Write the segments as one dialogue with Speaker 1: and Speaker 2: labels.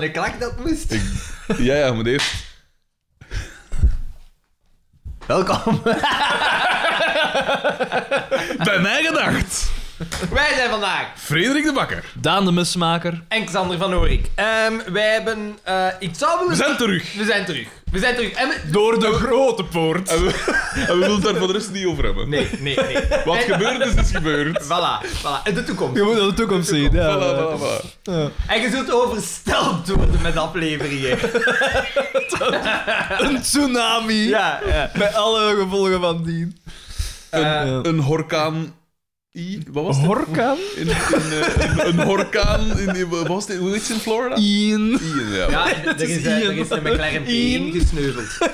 Speaker 1: ik dat moest.
Speaker 2: Ja, ja, maar eerst...
Speaker 1: Welkom.
Speaker 2: Bij mij gedacht.
Speaker 3: Wij zijn vandaag
Speaker 2: Frederik de Bakker.
Speaker 4: Daan de Mesmaker.
Speaker 3: en Xander van Oorik. Ehm, wij hebben... eh, ik zou willen...
Speaker 2: We zijn terug.
Speaker 3: We zijn terug. We zijn terug. En we-
Speaker 4: Door de grote poort.
Speaker 2: En we, en we willen het daar voor de rest niet over hebben.
Speaker 3: Nee, nee, nee.
Speaker 2: Wat gebeurd is, is gebeurd.
Speaker 3: Voilà, voilà. En de toekomst.
Speaker 4: Je moet naar de toekomst zien. Ja,
Speaker 2: Voilà, voilà, voilà.
Speaker 3: En je zult oversteld worden met afleveringen.
Speaker 4: Een tsunami.
Speaker 3: Ja, eh. ja.
Speaker 4: Met alle gevolgen van dien.
Speaker 3: Eh,
Speaker 4: Ja.
Speaker 2: Een horkaan... I, wat was het?
Speaker 4: Horkaan?
Speaker 2: In, in, eh, een- een horkaan in... in- Wat was het? Hoe heet het in Florida?
Speaker 4: Ian.
Speaker 2: Ian, ja.
Speaker 3: ja, er is,
Speaker 4: is
Speaker 3: eh, er
Speaker 4: Ian.
Speaker 3: is een McLaren
Speaker 4: Ian.
Speaker 3: P1 gesneuveld.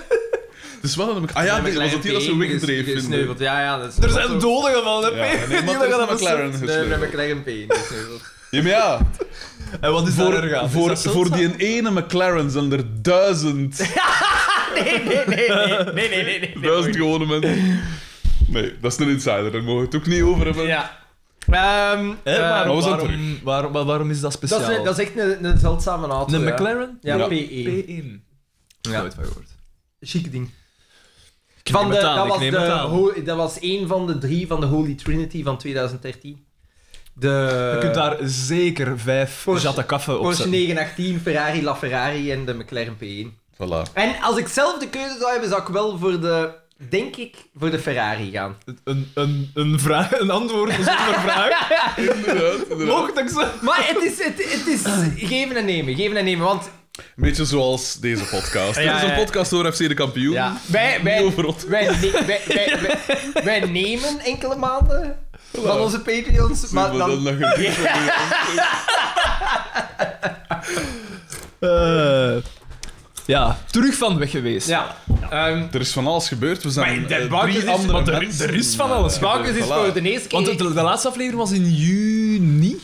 Speaker 2: Dus wel een... Ah ja,
Speaker 3: Een
Speaker 2: dit was het hier dat ze
Speaker 3: McLaren P1
Speaker 2: wegdreef. in de-
Speaker 3: Gesneuveld, ja, ja. Dat is
Speaker 4: Er zijn doden gevallen.
Speaker 2: Ja,
Speaker 4: hè?
Speaker 2: nee,
Speaker 4: Niet
Speaker 2: maar
Speaker 4: dat
Speaker 2: er is
Speaker 4: je
Speaker 2: een
Speaker 4: dat beseft.
Speaker 2: McLaren
Speaker 3: De
Speaker 2: gesneuveld.
Speaker 3: McLaren P1 gesneuveld.
Speaker 2: Ja, maar ja.
Speaker 4: En wat is daar er
Speaker 2: Voor,
Speaker 4: gaan?
Speaker 2: voor, voor die ene McLaren zijn er duizend...
Speaker 3: Nee, nee, nee, nee. Nee, nee, nee. nee, nee.
Speaker 2: Duizend gewone mensen. Nee, dat is een insider. Daar mogen we het ook niet over hebben.
Speaker 3: Ja. Ehm,
Speaker 4: Hè,
Speaker 3: ehm,
Speaker 4: maar
Speaker 2: Maar we zijn
Speaker 4: waarom, waarom, waar- waarom is dat
Speaker 3: dat,
Speaker 4: speciaal?
Speaker 3: is, een- dat is echt een, een zeldzame auto.
Speaker 4: Een
Speaker 3: ja.
Speaker 4: McLaren?
Speaker 3: Ja,
Speaker 2: Ja.
Speaker 4: E.
Speaker 3: P1.
Speaker 4: P1.
Speaker 3: Ja.
Speaker 4: Nooit van gehoord.
Speaker 3: Chique ding.
Speaker 4: Ik neem het aan,
Speaker 3: dat,
Speaker 4: ik
Speaker 3: was
Speaker 4: neem
Speaker 3: de
Speaker 4: het aan.
Speaker 3: ho- dat was één van de drie van de Holy Trinity van 2013. De
Speaker 4: Je kunt daar zeker vijf
Speaker 3: Porsche-
Speaker 4: jatten kaffe op
Speaker 3: Porsche
Speaker 4: zetten.
Speaker 3: 918, Ferrari LaFerrari en de McLaren P1.
Speaker 2: Voilà.
Speaker 3: En als ik zelf de keuze zou hebben, zou ik wel voor de, denk ik, voor de Ferrari gaan.
Speaker 4: Een, een, een, vraag, een antwoord zonder vraag.
Speaker 2: Inderdaad, inderdaad.
Speaker 4: Mocht ik ze...
Speaker 3: Maar het is, het, het is geven en nemen, geven en nemen. Want
Speaker 2: Een beetje zoals deze podcast.
Speaker 3: Ja,
Speaker 2: Dit is
Speaker 3: ja.
Speaker 2: een podcast over FC de kampioen.
Speaker 3: ja, wij,
Speaker 2: Niet
Speaker 3: wij,
Speaker 2: over rot.
Speaker 3: Wij, ne- wij, wij, wij, wij nemen enkele maanden van onze Patreons, maar
Speaker 2: Maar dan
Speaker 3: dan...
Speaker 2: nog een
Speaker 4: Eh, ja, terug van weg geweest.
Speaker 3: Ja. ehm,
Speaker 2: Er is van alles gebeurd. We zijn
Speaker 3: Maar de
Speaker 2: eh,
Speaker 3: Bakkers is-
Speaker 2: drie andere
Speaker 4: want er-
Speaker 2: mensen.
Speaker 4: er is van alles
Speaker 2: Eh,
Speaker 3: Bauke is
Speaker 2: voilà.
Speaker 3: voor de eerste keer...
Speaker 4: Want de, de laatste aflevering was in juni.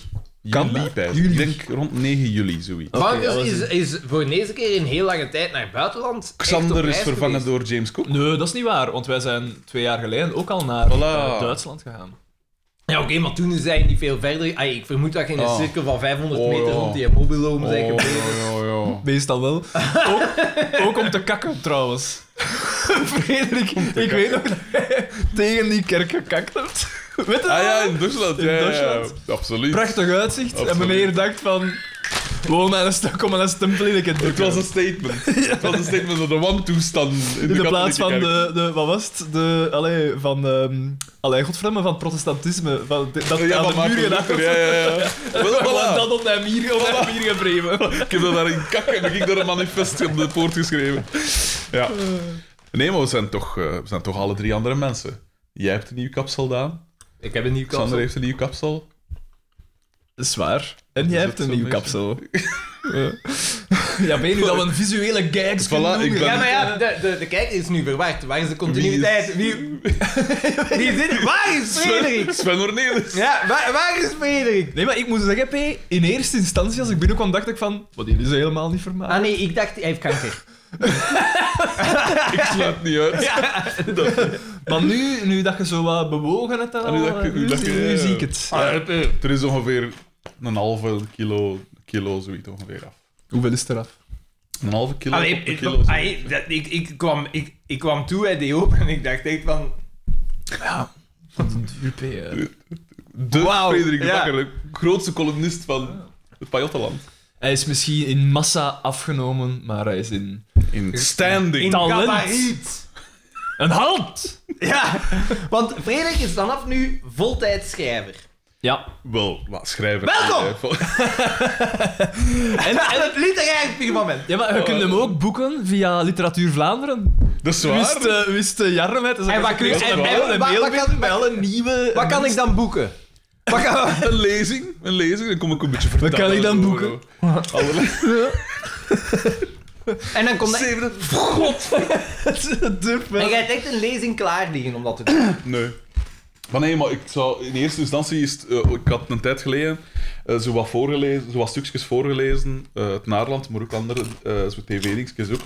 Speaker 4: Kan
Speaker 2: Juli,
Speaker 4: dat?
Speaker 2: bij- Ik
Speaker 4: Juli.
Speaker 2: denk rond 9 juli, zoiets.
Speaker 4: Oké,
Speaker 3: Bauke
Speaker 4: dat was
Speaker 3: is, is voor de eerste keer in heel lange tijd naar het buitenland. echt op
Speaker 2: Xander is
Speaker 3: reis
Speaker 2: vervangen
Speaker 3: geweest.
Speaker 2: door James Cook.
Speaker 4: Nee, dat is niet waar, want wij zijn twee jaar geleden ook al naar eh, Duitsland gegaan.
Speaker 3: Ja, oké, maar toen zijn die veel verder. Ai, ik vermoed dat je in een
Speaker 2: Oh.
Speaker 3: cirkel van 500
Speaker 2: Oh,
Speaker 3: meter
Speaker 2: ja.
Speaker 3: rond die mobiloom bent
Speaker 2: Oh, ja,
Speaker 3: gebleven.
Speaker 2: ja.
Speaker 4: Meestal wel. Ook, ook om te kakken, trouwens. Frederik, ik weet nog dat jij tegen die kerk gekakt hebt. Weet je dat?
Speaker 2: Ah ja, in Duitsland.
Speaker 4: In
Speaker 2: ja, ja, ja.
Speaker 4: Duitsland.
Speaker 2: Absoluut.
Speaker 4: Prachtig uitzicht.
Speaker 2: Absoluut.
Speaker 4: En meneer dacht van... Woon aan een stuk, kom aan een stempel in het
Speaker 2: Het was een statement. Het was een statement van de wantoestand in de,
Speaker 4: In de plaats
Speaker 2: katholieke
Speaker 4: van
Speaker 2: kerk.
Speaker 4: de, de... Wat was het? De... Allee, van... ehm allee, godverdomme, van het protestantisme. Van, de- dat
Speaker 2: Ja,
Speaker 4: aan
Speaker 2: van
Speaker 4: de muur
Speaker 2: Maarten
Speaker 4: gedacht
Speaker 2: Luther, Ja, ja, ja. Wel,
Speaker 4: Voilà.
Speaker 2: voilà.
Speaker 4: Dat op mijn mier, op mijn mier gevreven.
Speaker 2: Ik heb dat daar in kak en heb ik daar een manifest op de poort geschreven. Ja. Nee, maar we zijn toch, eh, we zijn toch alle drie andere mensen. Jij hebt een nieuw kapsel, Daan.
Speaker 3: Ik heb een nieuw kans.
Speaker 2: Sander heeft een nieuw kapsel.
Speaker 4: Dat is waar. En jij
Speaker 2: is
Speaker 4: hebt
Speaker 2: het
Speaker 4: een
Speaker 2: zo'n
Speaker 4: nieuw kapsel. ja, weet je nu dat we een visuele gag
Speaker 2: kunnen doen? ik ben-
Speaker 3: Ja, maar ja, de, de, de kijker is nu verward. Waar is de continuïteit? Wie, wie zit... Waar is Frederik?
Speaker 2: Sven Ornelis.
Speaker 3: Ja, waar, waar is Frederik?
Speaker 4: Nee, maar ik moet zeggen, P, in eerste instantie als ik binnenkwam, dacht ik van... Wat, die is helemaal niet vermaakt.
Speaker 3: Ah nee, ik dacht, hij heeft kanker.
Speaker 2: Ik sluit niet uit.
Speaker 3: Ah,
Speaker 2: Dat-
Speaker 4: Maar nu, nu dat je zo wat bewogen hebt en al,
Speaker 2: Ah, nu dat je-
Speaker 4: eh,
Speaker 2: nu dat je-
Speaker 4: nu zie ik het.
Speaker 2: Ah, eh, er is ongeveer een halve kilo, kilo zoiets ongeveer af.
Speaker 4: Hoeveel is er af?
Speaker 2: Een halve kilo.
Speaker 3: Allee,
Speaker 2: op een
Speaker 3: ik,
Speaker 2: kilo zoiets.
Speaker 3: allee, dat- ik, ik, kwam, ik, ik kwam toe bij die open en ik dacht echt van...
Speaker 4: Ja, dat is een duur P. eh. hè.
Speaker 2: de
Speaker 3: Wauw,
Speaker 2: Frederik de
Speaker 3: ja.
Speaker 2: Bakker, de grootste columnist van het Pajottenland.
Speaker 4: Hij is misschien in massa afgenomen, maar hij is in...
Speaker 2: In standing.
Speaker 3: In
Speaker 4: Talent.
Speaker 3: gabarit.
Speaker 4: Een halt!
Speaker 3: Ja, want Frederik is vanaf nu voltijds schrijver.
Speaker 4: Ja.
Speaker 2: Wel, wat schrijver.
Speaker 3: Welkom!
Speaker 4: En,
Speaker 3: En
Speaker 4: en,
Speaker 3: het literaire firmament.
Speaker 4: ja, maar je kunt hem ook boeken via Literatuur Vlaanderen.
Speaker 2: Dat is waar.
Speaker 4: Wist, eh, wist uh, Jarre met. Dus
Speaker 3: En wat kun je-
Speaker 2: en- en-
Speaker 4: een
Speaker 3: wat-
Speaker 4: mail
Speaker 3: wat kan-
Speaker 4: kan, bij alle nieuwe...
Speaker 3: Wat kan ik dan boeken? Wat kan...
Speaker 2: Een lezing, een lezing, dan kom ik een beetje vertellen.
Speaker 4: kan ik dan
Speaker 2: Zo,
Speaker 4: boeken?
Speaker 2: zo. Allerlei-
Speaker 3: En dan komt er...
Speaker 2: Zeven-
Speaker 4: het durf
Speaker 3: En
Speaker 4: wel.
Speaker 3: jij hebt echt een lezing klaar liggen om dat te doen.
Speaker 2: Nee. Maar nee, maar ik zou in eerste instantie is het, eh, ik had een tijd geleden eh, zo, wat voorgelezen, zo wat stukjes voorgelezen, eh, het Naarland, maar ook andere eh zo tv-dingetjes ook.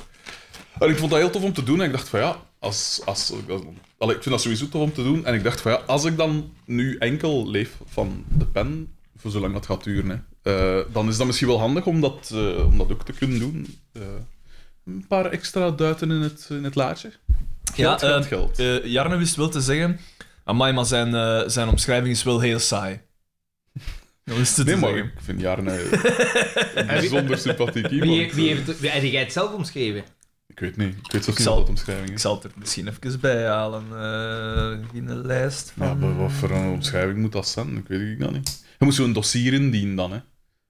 Speaker 2: En ik vond dat heel tof om te doen en ik dacht van ja, als, als, als- allee, ik vind dat sowieso tof om te doen en ik dacht van ja, als ik dan nu enkel leef van de pen, voor zolang dat gaat duren, hè, eh, dan is dat misschien wel handig om dat, eh, om dat ook te kunnen doen. Eh, een paar extra duiten in het, in het laadje. Geld, geld,
Speaker 4: eh,
Speaker 2: geld.
Speaker 4: eh, Jarne wist wel te zeggen... Amai, maar zijn, eh, zijn omschrijving is wel heel saai. Dat wist het
Speaker 2: Nee,
Speaker 4: te
Speaker 2: maar
Speaker 4: zeggen.
Speaker 2: ik vind Jarne een bijzonder sympathiek iemand.
Speaker 3: Wie, wie heeft, wie, heb jij het zelf omschreven?
Speaker 2: Ik weet niet. Ik weet zelfs niet
Speaker 4: zal-
Speaker 2: wat dat omschrijving
Speaker 4: Ik
Speaker 2: is.
Speaker 4: zal het er misschien even bij halen. eh, in een lijst van...
Speaker 2: Ja, maar wat voor een omschrijving moet dat zijn? Ik weet het dat niet. Je moet zo'n dossier indienen dan, hè.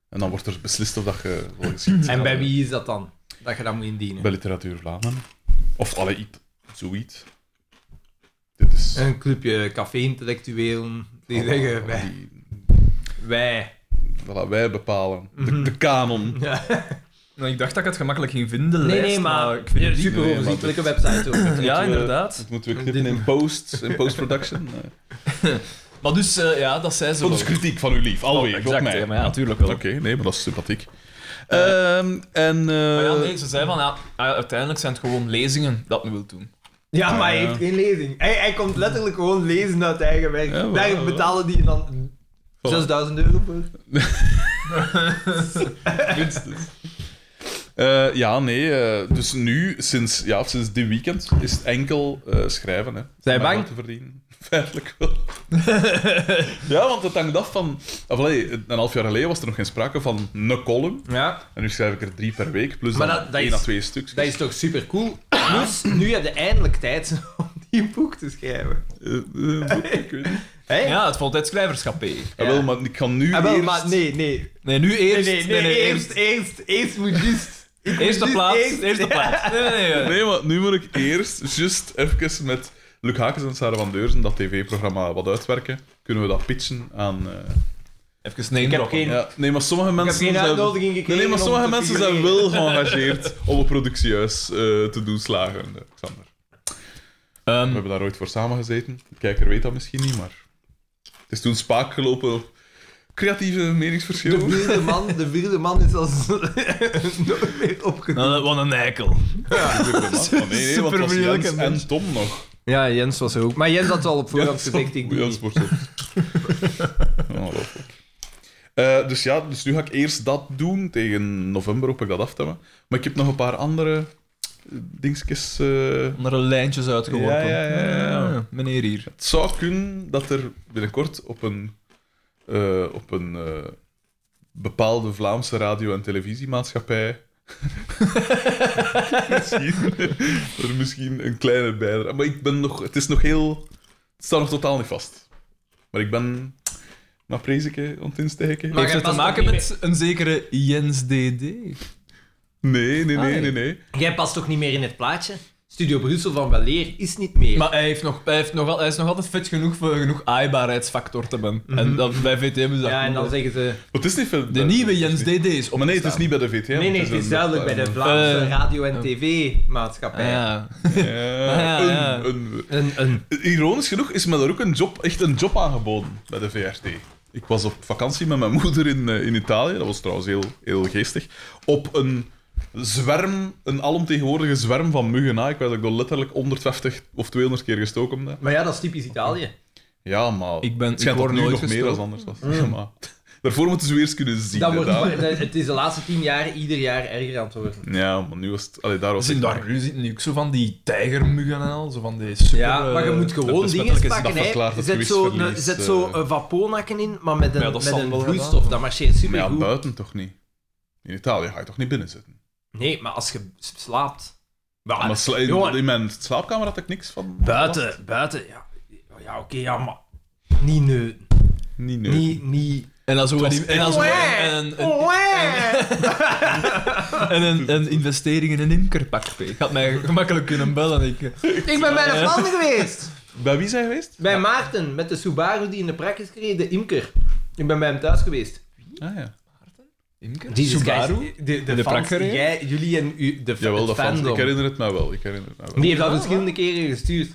Speaker 2: En dan wordt er beslist of dat je wel geschikt
Speaker 3: En
Speaker 2: gaat
Speaker 3: bij
Speaker 2: worden.
Speaker 3: wie is dat dan? Dat je dat moet indienen.
Speaker 2: Bij Literatuur Vlaanderen. Of alle iets. Zoiets. Dit is... Oh,
Speaker 3: Een clubje café-intellectuelen Eh, die zeggen: wij,
Speaker 2: Die-
Speaker 3: wij.
Speaker 2: voilà, wij bepalen.
Speaker 3: Mhm.
Speaker 2: De, de kanon.
Speaker 3: Ja.
Speaker 4: Nou, ik dacht dat ik het gemakkelijk ging vinden, de
Speaker 3: Nee,
Speaker 4: lijst,
Speaker 3: nee, maar
Speaker 4: ik vind
Speaker 3: een
Speaker 4: het niet.
Speaker 3: super
Speaker 2: Nee, maar
Speaker 3: overzichtelijke website ook.
Speaker 4: Ja,
Speaker 2: we-
Speaker 4: inderdaad.
Speaker 2: Dat moeten we knippen in post, in post-production. Eh,
Speaker 4: Maar dus, eh, ja, dat zei ze
Speaker 2: Dat
Speaker 4: wel.
Speaker 2: is kritiek van uw lief,
Speaker 3: Oh,
Speaker 2: alweer,
Speaker 4: Exact,
Speaker 2: op mij.
Speaker 4: Oh, ja, maar ja, natuurlijk wel.
Speaker 2: Oké, nee, maar dat is sympathiek. Ehm, en... eh,
Speaker 4: Maar ja, nee, ze zei van, ja, ah, uiteindelijk zijn het gewoon lezingen dat men wil doen.
Speaker 3: Ja, maar hij
Speaker 2: Ja.
Speaker 3: heeft geen lezing. Hij, hij komt letterlijk gewoon lezen uit eigen werk.
Speaker 2: Ja, wel,
Speaker 3: Daar
Speaker 2: wel.
Speaker 3: betalen die dan 6000 euro voor. dus.
Speaker 2: Eh, ja, nee. eh, dus nu, sinds, ja, sinds dit weekend, is het enkel eh, schrijven. Hè,
Speaker 3: Zijn
Speaker 2: Om
Speaker 3: bang?
Speaker 2: geld te verdienen. Feitelijk wel. ja, want het hangt af van... Of, allee, een half jaar geleden was er nog geen sprake van een column.
Speaker 3: Ja.
Speaker 2: En nu schrijf ik er drie per week, plus
Speaker 3: Maar
Speaker 2: dan
Speaker 3: dat- dat
Speaker 2: één
Speaker 3: is-
Speaker 2: à twee stuks.
Speaker 3: Dat is toch super cool? Plus, nu heb je eindelijk tijd om die boek te schrijven.
Speaker 2: Eh, ik weet niet.
Speaker 3: Hé?
Speaker 4: Ja, het voltijd schrijverschap, hè.
Speaker 2: Ah, wel, maar ik kan nu
Speaker 3: Ah, wel,
Speaker 2: eerst...
Speaker 3: maar nee, nee.
Speaker 4: Nee, nu
Speaker 3: Nee,
Speaker 4: eerst.
Speaker 3: nee, nee, eerst, eerst, eerst moet juist. ik moet
Speaker 4: Eerste
Speaker 3: juist
Speaker 4: plaats.
Speaker 3: eerst-
Speaker 4: Eerste plaats. Nee, nee, nee.
Speaker 2: Nee, maar nu moet ik eerst just even met Luc Hakens en Sarah van Deurzen dat tv-programma wat uitwerken. Kunnen we dat pitchen aan... eh,
Speaker 4: Even name
Speaker 3: Ik heb
Speaker 4: droppen.
Speaker 3: geen-
Speaker 2: Ja, nee, maar sommige
Speaker 3: Ik heb
Speaker 2: mensen
Speaker 3: geen
Speaker 2: zijn...
Speaker 3: uitnodiging
Speaker 2: Nee,
Speaker 3: gekregen.
Speaker 2: nee, maar
Speaker 3: om
Speaker 2: sommige
Speaker 3: te
Speaker 2: mensen zijn
Speaker 3: figureren.
Speaker 2: wel geëngageerd om een productiehuis eh te doen slagen, eh, Xander. We
Speaker 4: Ehm,
Speaker 2: hebben daar ooit voor samengezeten. De kijker weet dat misschien niet, maar... Het is toen spaak gelopen op creatieve meningsverschillen.
Speaker 3: De vierde man, de vierde man is als nooit meer opgenomen.
Speaker 4: nou, wat een eikel.
Speaker 2: Oh, nee, nee, want het was
Speaker 4: Supermoeilijke
Speaker 2: Jens
Speaker 4: mens.
Speaker 2: en Tom nog.
Speaker 3: Ja, Jens was er ook. Maar Jens had al op voorhand
Speaker 2: Jens-
Speaker 3: gezegd, ik doe niet.
Speaker 2: Jens wordt op. Ongelooflijk. Eh, dus ja, dus nu ga ik eerst dat doen. Tegen november hoop ik dat af te hebben. Maar ik heb nog een paar andere eh, dingetjes... eh,
Speaker 4: Onder de lijntjes uitgeworpen.
Speaker 2: Ja, ja, ja, ja.
Speaker 4: meneer hier.
Speaker 2: Het zou kunnen dat er binnenkort op een, eh, op een eh, bepaalde Vlaamse radio- en televisiemaatschappij. misschien, er misschien een kleine bijdrage. Maar ik ben nog, het is nog heel. Het staat nog totaal niet vast. Maar ik ben naar Prezeke aan het insteken.
Speaker 3: Maar
Speaker 4: Heeft
Speaker 3: jij
Speaker 4: het
Speaker 3: past
Speaker 4: te maken
Speaker 3: ook niet
Speaker 4: met een zekere Jens DD?
Speaker 2: Nee, nee,
Speaker 4: Ah,
Speaker 2: nee,
Speaker 4: ja.
Speaker 2: nee. nee.
Speaker 3: Jij past toch niet meer in het plaatje? Studio Brussel van Waleer is niet meer.
Speaker 4: Maar hij, heeft nog, hij, heeft nog, al- hij is nog altijd vet genoeg voor genoeg aaibaarheidsfactor te hebben. En dat, bij VTM is dat
Speaker 3: ja, en dan
Speaker 4: goed.
Speaker 3: zeggen ze...
Speaker 2: Maar het is niet veel-
Speaker 4: De nieuwe Jens DD is Oh,
Speaker 2: Maar nee, het is niet bij de VTM.
Speaker 3: Nee, nee, het is
Speaker 2: een-
Speaker 3: duidelijk bij de Vlaamse
Speaker 4: Eh,
Speaker 3: radio- en tv-maatschappij.
Speaker 4: Ja.
Speaker 2: Ja,
Speaker 3: Ah,
Speaker 4: ja, ja.
Speaker 2: een- een,
Speaker 3: Een, een...
Speaker 2: Ironisch genoeg is me daar ook een job, echt een job aangeboden bij de VRT. Ik was op vakantie met mijn moeder in, eh, in Italië, dat was trouwens heel, heel geestig, op een zwerm, een alomtegenwoordige zwerm van muggen. na. Ik weet dat ik door letterlijk 150 of 200 keer gestoken heb. daar.
Speaker 3: Maar ja, dat is typisch Italië.
Speaker 2: Ja, maar
Speaker 4: Ik ben-
Speaker 2: het schijnt
Speaker 4: ik
Speaker 2: dat
Speaker 4: word
Speaker 2: nu nog
Speaker 4: nooit
Speaker 2: meer
Speaker 4: gestoken.
Speaker 2: als anders was. Ja, maar daarvoor moeten ze weer eens kunnen zien.
Speaker 3: Mm. Dat
Speaker 2: hè,
Speaker 3: wordt,
Speaker 2: daar.
Speaker 3: dat- het is de laatste tien jaar ieder jaar erger aan het worden.
Speaker 2: Ja, maar nu was het... Allee, daar was
Speaker 4: Zien
Speaker 2: het-
Speaker 4: daar nu zitten nu ook zo van die tijgermuggen en al, zo van die super...
Speaker 3: Ja, maar je
Speaker 4: eh,
Speaker 3: moet gewoon
Speaker 2: is
Speaker 3: dingen
Speaker 2: wettelijk is-
Speaker 3: pakken.
Speaker 2: dat
Speaker 3: hè.
Speaker 2: verklaart het
Speaker 3: Zet zo, een,
Speaker 2: gewichtsverlies,
Speaker 3: zet
Speaker 2: eh.
Speaker 3: zo een vaponakken in, maar met een,
Speaker 4: Ja, dat
Speaker 3: met
Speaker 4: zal
Speaker 3: een
Speaker 4: wel gedaan
Speaker 3: vloeistof.
Speaker 4: worden.
Speaker 3: Dat marcheert
Speaker 2: Maar ja,
Speaker 3: supergoed.
Speaker 2: buiten toch niet. In Italië ga je toch niet binnen zitten?
Speaker 3: Nee, maar als je s- slaapt... Maar-
Speaker 2: Maar sla-
Speaker 3: Ah, jongen,
Speaker 2: in, in mijn slaapkamer had ik niks van...
Speaker 3: buiten, buiten, ja. Ja, oké, ja, maar... Niet neuten.
Speaker 2: Niet nu.
Speaker 3: Niet, niet...
Speaker 4: En dan zo
Speaker 2: was
Speaker 4: die- en dan zo en- en- en- En een, een investering in een imkerpak. P. Ik had mij gemakkelijk kunnen bellen. Ik, eh.
Speaker 3: Ik ben bij de
Speaker 4: Ja.
Speaker 3: Vlaanderen geweest.
Speaker 2: Bij wie zijn geweest?
Speaker 3: Bij Maarten, met de Subaru die in de prak is gereden, de imker. Ik ben bij hem thuis geweest.
Speaker 2: Ah ja.
Speaker 4: imker?
Speaker 3: Christ, De, de,
Speaker 4: In de
Speaker 3: fans
Speaker 4: prak gereden?
Speaker 3: die jij, jullie en u, de
Speaker 2: Jawel,
Speaker 3: het
Speaker 2: dat fans.
Speaker 3: fandom.
Speaker 2: Ik herinner het mij wel. Ik herinner het mij wel.
Speaker 3: Die heeft dat verschillende keren gestuurd.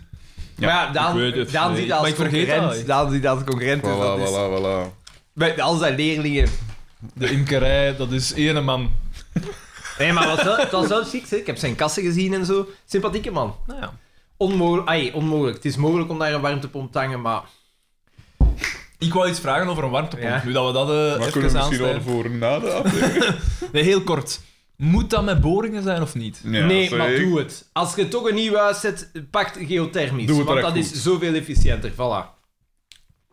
Speaker 3: maar ja, Daan,
Speaker 4: ik weet het,
Speaker 3: Daan
Speaker 4: nee.
Speaker 3: ziet dat
Speaker 4: Maar
Speaker 3: als
Speaker 4: ik vergeet dat
Speaker 3: concurrent.
Speaker 4: echt.
Speaker 3: Daan ziet dat als concurrent. dus
Speaker 2: Voilà,
Speaker 3: dat is-
Speaker 2: voilà, voilà.
Speaker 3: Bij al zijn leerlingen.
Speaker 4: De imkerij, dat is één man.
Speaker 3: Nee, maar het was wel- het was wel chic. hè. Ik heb zijn kassen gezien en zo. Sympathieke man.
Speaker 4: Nou ja.
Speaker 3: Onmogelijk. Ai, onmogelijk. Het is mogelijk om daar een warmtepomp te hangen, maar...
Speaker 4: Ik wou iets vragen over een warmtepomp.
Speaker 3: Ja.
Speaker 4: Nu dat we dat eh,
Speaker 2: Maar kunnen
Speaker 4: even
Speaker 2: we misschien wel
Speaker 4: aansnijden.
Speaker 2: voor na de aflevering?
Speaker 4: Nee, heel kort. Moet dat met boringen zijn of niet?
Speaker 2: Ja,
Speaker 3: nee,
Speaker 2: zeg
Speaker 3: maar
Speaker 2: ik.
Speaker 3: doe het. Als je toch een nieuw huis zet, pak geothermisch.
Speaker 2: Doe het
Speaker 3: want dat
Speaker 2: direct goed.
Speaker 3: is zoveel efficiënter. Voilà.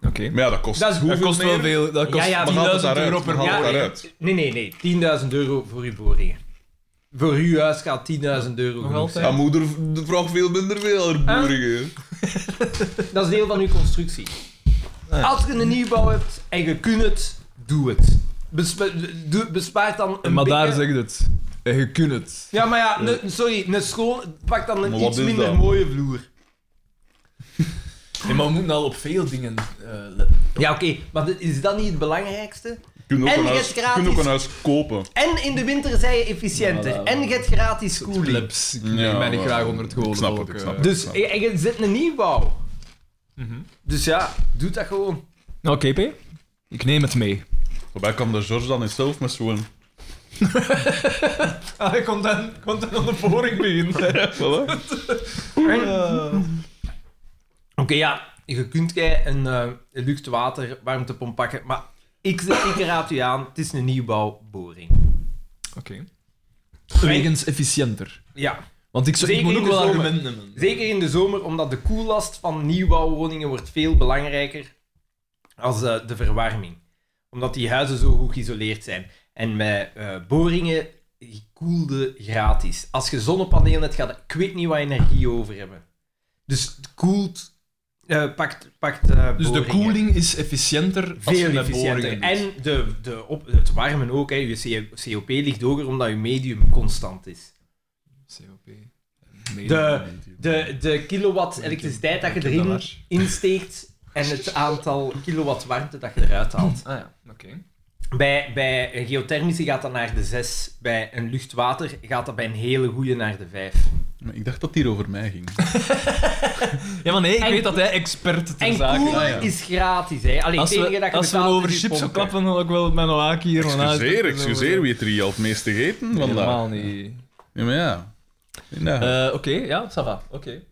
Speaker 4: Oké.
Speaker 2: Maar ja, dat kost...
Speaker 3: Dat is
Speaker 4: Dat
Speaker 3: hoeveel
Speaker 4: kost wel
Speaker 3: meer?
Speaker 4: veel. Dat kost
Speaker 3: Ja, ja, maar
Speaker 4: 10.000 euro per
Speaker 2: jaar.
Speaker 4: boring.
Speaker 2: Daaruit.
Speaker 3: Nee, nee, nee. 10.000 euro voor uw boringen. Voor uw huis gaat 10.000 euro
Speaker 4: Nog
Speaker 3: genoeg zijn.
Speaker 2: Ja, moeder v- vraagt veel minder veel aan haar
Speaker 3: Ah.
Speaker 2: boeringen.
Speaker 3: Dat is deel van uw constructie.
Speaker 4: Ah, ja.
Speaker 3: Als je een nieuwbouw hebt en je kunt het, doe het. Bespa- doe- bespaart dan een
Speaker 4: Maar daar
Speaker 3: beetje-
Speaker 4: zeg je het. En je kunt het.
Speaker 3: Ja, maar ja, ne- sorry, een schoon... Pak dan
Speaker 2: Maar
Speaker 3: een
Speaker 2: wat
Speaker 3: iets
Speaker 2: is
Speaker 3: minder
Speaker 2: dat?
Speaker 3: mooie vloer.
Speaker 4: Nee, maar we moeten al op veel dingen eh, letten.
Speaker 3: Ja, oké, maar dit- is dat niet het belangrijkste?
Speaker 2: Je kunt ook,
Speaker 3: En
Speaker 2: een
Speaker 3: je
Speaker 2: huis,
Speaker 3: is
Speaker 2: je
Speaker 3: gratis.
Speaker 2: kunt ook een huis kopen.
Speaker 3: En in de winter zijn je efficiënter.
Speaker 4: Ja,
Speaker 3: en je hebt gratis koeling.
Speaker 4: Plebs. Ik
Speaker 2: Ja,
Speaker 4: neem mij niet
Speaker 2: maar-
Speaker 4: graag onder het golen.
Speaker 2: Ik snap het,
Speaker 4: ook,
Speaker 2: ik
Speaker 4: eh.
Speaker 2: snap het.
Speaker 3: Dus, en je zit een nieuwbouw.
Speaker 4: Mhm.
Speaker 3: Dus ja, doe dat gewoon.
Speaker 4: Nou, KP, ik neem het mee.
Speaker 2: Waarbij kwam de George dan eens zelf met zo'n...
Speaker 4: Ah, ik kon dan, kon dan aan de boring beginnen.
Speaker 2: Voilà.
Speaker 3: Oké, ja, je kunt jij een eh lucht water warmtepomp pakken, maar ik, ik raad u aan, het is een nieuwbouwboring.
Speaker 4: Oké. Wegens efficiënter.
Speaker 3: Ja,
Speaker 4: Want ik, zou- ik
Speaker 3: Zeker
Speaker 4: moet
Speaker 3: in
Speaker 4: ook
Speaker 3: de
Speaker 4: wel
Speaker 3: zomer.
Speaker 4: argumenten hebben.
Speaker 3: zeker in de zomer, omdat de koellast van nieuwbouwwoningen wordt veel belangrijker als eh, de verwarming. Omdat die huizen zo goed geïsoleerd zijn. En met eh, boringen koelde gratis. Als je zonnepanelen hebt, gaat je- ik weet niet wat energie over hebben. Dus het koelt, eh, pakt, pakt eh,
Speaker 4: Dus de
Speaker 3: boringen.
Speaker 4: koeling is efficiënter als je
Speaker 3: Veel
Speaker 4: met boringen
Speaker 3: efficiënter.
Speaker 4: doet.
Speaker 3: En de, de op, het warmen ook. Hè. Je COP ligt hoger omdat je medium constant is.
Speaker 4: COP. Nee,
Speaker 3: De, de, de kilowatt elektriciteit dat je erin
Speaker 4: Ah
Speaker 3: insteekt en het aantal kilowatt warmte dat je eruit haalt.
Speaker 4: Ah, ja, oké.
Speaker 3: Bij, bij een geothermische gaat dat naar de 6. Bij een luchtwater gaat dat bij een hele goede naar de 5.
Speaker 2: Maar ik dacht dat het hier over mij ging.
Speaker 4: Ja, maar nee, ik
Speaker 3: En-
Speaker 4: weet dat hij expert ter
Speaker 3: En
Speaker 4: zake
Speaker 3: koelen
Speaker 4: is.
Speaker 2: ah, ja.
Speaker 3: is gratis. Hè. Alleen
Speaker 4: Als
Speaker 3: het enige
Speaker 4: we,
Speaker 3: dat je
Speaker 4: als we
Speaker 3: betaalt
Speaker 4: over
Speaker 3: is je
Speaker 4: chips
Speaker 3: pompen.
Speaker 4: klappen, dan wil ik wel mijn laak hier van uit.
Speaker 2: Excuseer, excuseer wie het er hier al het meest gegeten vandaag.
Speaker 4: Helemaal niet.
Speaker 2: Ja, maar ja. Ja.
Speaker 4: Eh, oké, ja, ça va. Oké. Het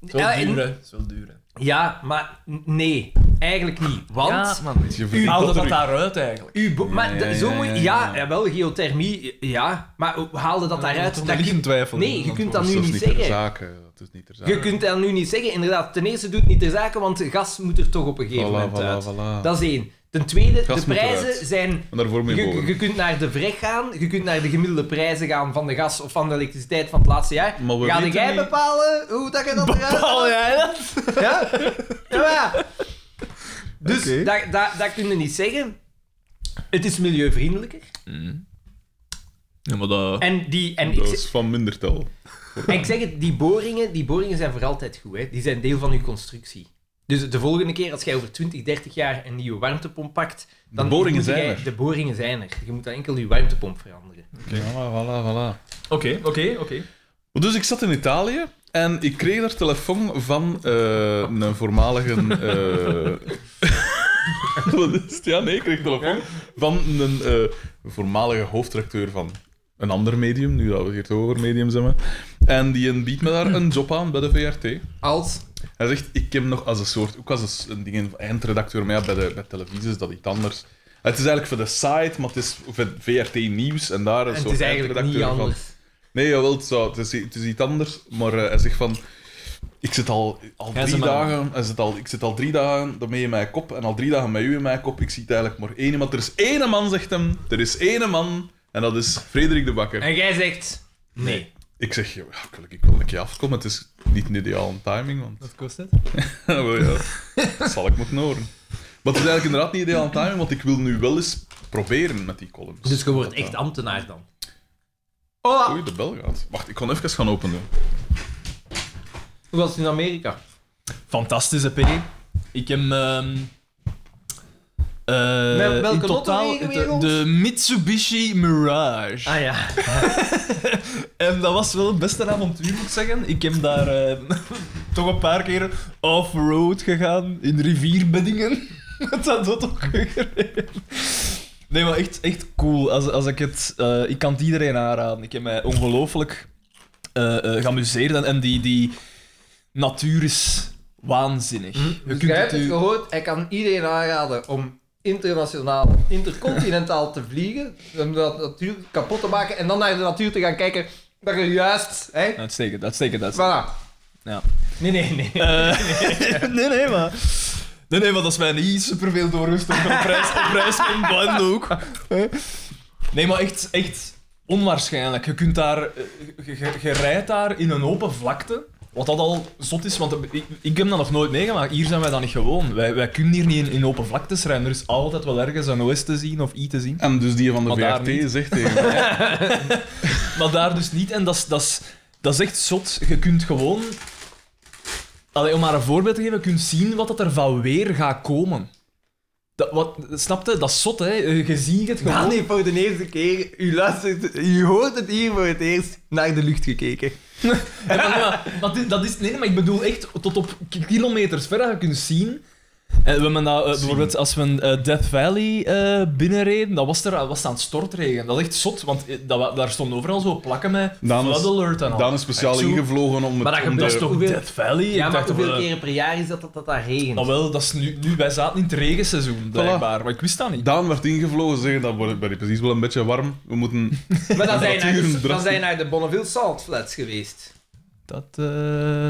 Speaker 4: is wel
Speaker 3: Ja, en-
Speaker 4: duur, hè. Het is wel duur, hè.
Speaker 3: Ja, maar n- nee. Eigenlijk niet. Want...
Speaker 4: Ja, man.
Speaker 2: Je
Speaker 4: U
Speaker 2: verdient
Speaker 4: haalde
Speaker 2: dat
Speaker 4: dat
Speaker 2: er-
Speaker 4: daaruit, eigenlijk.
Speaker 3: Uw bo- maar
Speaker 2: ja,
Speaker 3: d-
Speaker 2: ja,
Speaker 3: zo
Speaker 2: ja,
Speaker 3: moet je-
Speaker 2: ja,
Speaker 3: ja,
Speaker 2: ja.
Speaker 3: wel geothermie, ja, maar hoe haalde dat daaruit?
Speaker 4: Dat
Speaker 3: Dat
Speaker 4: ligt
Speaker 3: kun-
Speaker 4: een twijfel.
Speaker 3: Nee, je kunt dat
Speaker 2: is
Speaker 3: nu
Speaker 2: zelfs
Speaker 3: niet
Speaker 2: ter
Speaker 3: zeggen.
Speaker 2: zake. Dat is niet ter zake.
Speaker 3: Je kunt dat nu niet zeggen, inderdaad. Ten eerste doet het niet ter zake, want gas moet er toch op een
Speaker 2: Voilà,
Speaker 3: gegeven moment
Speaker 2: voilà,
Speaker 3: uit.
Speaker 2: voilà.
Speaker 3: Dat is één. Ten tweede,
Speaker 2: Gas
Speaker 3: de
Speaker 2: moet
Speaker 3: prijzen
Speaker 2: eruit.
Speaker 3: zijn...
Speaker 2: En daarvoor moet je
Speaker 3: Je,
Speaker 2: boren.
Speaker 3: je kunt naar de vreg gaan, je kunt naar de gemiddelde prijzen gaan van de gas of van de elektriciteit van het laatste jaar.
Speaker 2: Maar we
Speaker 3: Ga
Speaker 2: weten
Speaker 3: jij
Speaker 2: niet-
Speaker 3: bepalen hoe dat je dat eruit haalt?
Speaker 4: jij dat?
Speaker 3: Ja? Ja, maar ja. Dus
Speaker 4: Oké.
Speaker 3: dat, dat, dat kun je niet zeggen. Het is milieuvriendelijker.
Speaker 4: Ja, maar dat...
Speaker 3: En, die, en ik,
Speaker 2: Dat
Speaker 3: zeg-
Speaker 2: is van minder tel.
Speaker 3: en ik zeg het, die boringen, die boringen zijn voor altijd goed. Hè. Die zijn deel van uw constructie. Dus de volgende keer als jij over 20, 30 jaar een nieuwe warmtepomp pakt, dan
Speaker 2: De boringen
Speaker 3: moet
Speaker 2: zijn
Speaker 3: jij-
Speaker 2: er.
Speaker 3: De boringen zijn er. Je moet dan enkel je warmtepomp veranderen.
Speaker 2: Voilà, voilà, voilà.
Speaker 4: Oké, oké, oké.
Speaker 2: Dus ik zat in Italië en ik kreeg daar telefoon van eh, een voormalige. eh, Wat is het? Ja, nee, ik kreeg telefoon van een eh, voormalige hoofdredacteur van een ander medium, nu dat we het hier toch over mediums hebben. En die een biedt me daar een job aan bij de VRT.
Speaker 3: Als...
Speaker 2: Hij zegt, ik heb nog als een soort, ook als een s- een ding, eindredacteur, maar ja, bij, de, bij televisie is dat iets anders. Het is eigenlijk voor de site, maar het is voor VRT Nieuws en daar een
Speaker 3: En
Speaker 2: soort
Speaker 3: het is eigenlijk niet
Speaker 2: eindredacteur van.
Speaker 3: anders.
Speaker 2: Nee, jawel, het, zou, het, is, het is iets anders, maar eh, hij zegt van... Ik zit al, al
Speaker 4: Hij is
Speaker 2: drie
Speaker 4: een man.
Speaker 2: dagen... Hij zit al, ik zit al drie dagen daarmee in mijn kop en al drie dagen met u in mijn kop. Ik zie het eigenlijk maar één iemand. Er is één man, zegt hem. Er is één man en dat is Frederik de Bakker.
Speaker 3: En jij zegt... Nee.
Speaker 2: Ik zeg, ja, gelukkig, ik wil een keer afkomen. Het is niet een ideale timing, want...
Speaker 4: Wat kost het?
Speaker 2: Ja, wel Oh, ja. Dat zal ik moeten horen. Maar het is eigenlijk inderdaad niet ideaal aan timing, want ik wil nu wel eens proberen met die columns.
Speaker 3: Dus je wordt echt ambtenaar dan.
Speaker 2: Oei,
Speaker 3: Hola!
Speaker 2: de bel gaat. Wacht, ik kon even gaan openen.
Speaker 3: Hoe was het in Amerika?
Speaker 4: Fantastische P. Ik heb... ehm eh,
Speaker 3: Met welke
Speaker 4: in
Speaker 3: lotto
Speaker 4: totaal
Speaker 3: wegen we
Speaker 4: de-
Speaker 3: rond?
Speaker 4: de Mitsubishi Mirage.
Speaker 3: Ah ja.
Speaker 4: En dat was wel best een avontuur, moet ik zeggen. Ik heb daar eh, toch een paar keer off-road gegaan, in rivierbeddingen. Met dat auto gereden. Nee, maar echt, echt cool. Als, als ik, het, eh, ik kan het iedereen aanraden. Ik heb mij ongelooflijk eh, eh, geamuseerd. En, en die, die natuur is waanzinnig. Je
Speaker 3: Dus
Speaker 4: kunt
Speaker 3: jij
Speaker 4: het
Speaker 3: hebt het
Speaker 4: u-
Speaker 3: gehoord, ik kan iedereen aanraden om internationaal, intercontinentaal te vliegen, om dat natuur kapot te maken en dan naar de natuur te gaan kijken dat je juist... Hè?
Speaker 4: Uitstekend, uitstekend, uitstekend.
Speaker 3: Voilà.
Speaker 4: Ja.
Speaker 3: Nee, nee, nee.
Speaker 4: Eh, nee, nee, maar... Nee, nee, want dat is mij niet superveel doorgestoken. Op prijs, op prijs van Blend ook. Eh. Nee, maar echt, echt onwaarschijnlijk. Je kunt daar... eh, Je, je- je rijdt daar in een open vlakte. Wat dat al zot is, want ik, ik heb dat nog nooit meegemaakt. Hier zijn wij dat niet gewoon. Wij, wij kunnen hier niet in, in open vlaktes rijden. Er is altijd wel ergens een OS te zien of I te zien.
Speaker 2: En dus die van de
Speaker 4: Maar daar
Speaker 2: VRT zegt tegen mij...
Speaker 4: Maar daar dus niet. En dat is- dat is- dat is echt zot. Je kunt gewoon... Allee, om maar een voorbeeld te geven, je kunt zien wat dat er van weer gaat komen. Dat, wat, snap je? Dat is zot, hè? Eh, Je ziet het gewoon.
Speaker 3: Dani, voor de eerste keer, u, luistert, u hoort het hier voor het eerst, naar de lucht gekeken.
Speaker 4: Ja, maar, nee, maar, maar dit- dat is, nee, nee, maar ik bedoel echt tot op k- kilometers ver dat je kunt zien. En we hebben dat, eh, bijvoorbeeld als we in, eh, Death Valley eh, binnenreden, dat was, er, dat was aan het stortregen. Dat is echt zot, want eh, dat, wa- daar stonden overal zo plakken met
Speaker 2: Dan is-
Speaker 4: flood alert en al.
Speaker 2: Daan is speciaal
Speaker 4: Ik zoek-
Speaker 2: ingevlogen om het...
Speaker 4: Maar dat
Speaker 2: om
Speaker 4: gebeurt
Speaker 2: de-
Speaker 4: toch
Speaker 3: hoeveel-
Speaker 4: Death Valley? Ik
Speaker 3: Ja, maar
Speaker 4: dacht toch eh,
Speaker 3: hoeveel
Speaker 4: wel-
Speaker 3: keren per jaar is dat dat, dat daar regent?
Speaker 4: Nou wel, dat is nu, nu, wij zaten in het regenseizoen, blijkbaar. Maar ik wist dat niet.
Speaker 2: Daan werd ingevlogen, zeggen dat wordt ben precies wel een beetje warm. We moeten...
Speaker 3: Maar dan zijn, naar de,
Speaker 2: Temperaturen
Speaker 3: dan zijn naar de Bonneville Salt Flats geweest.
Speaker 4: Dat, eh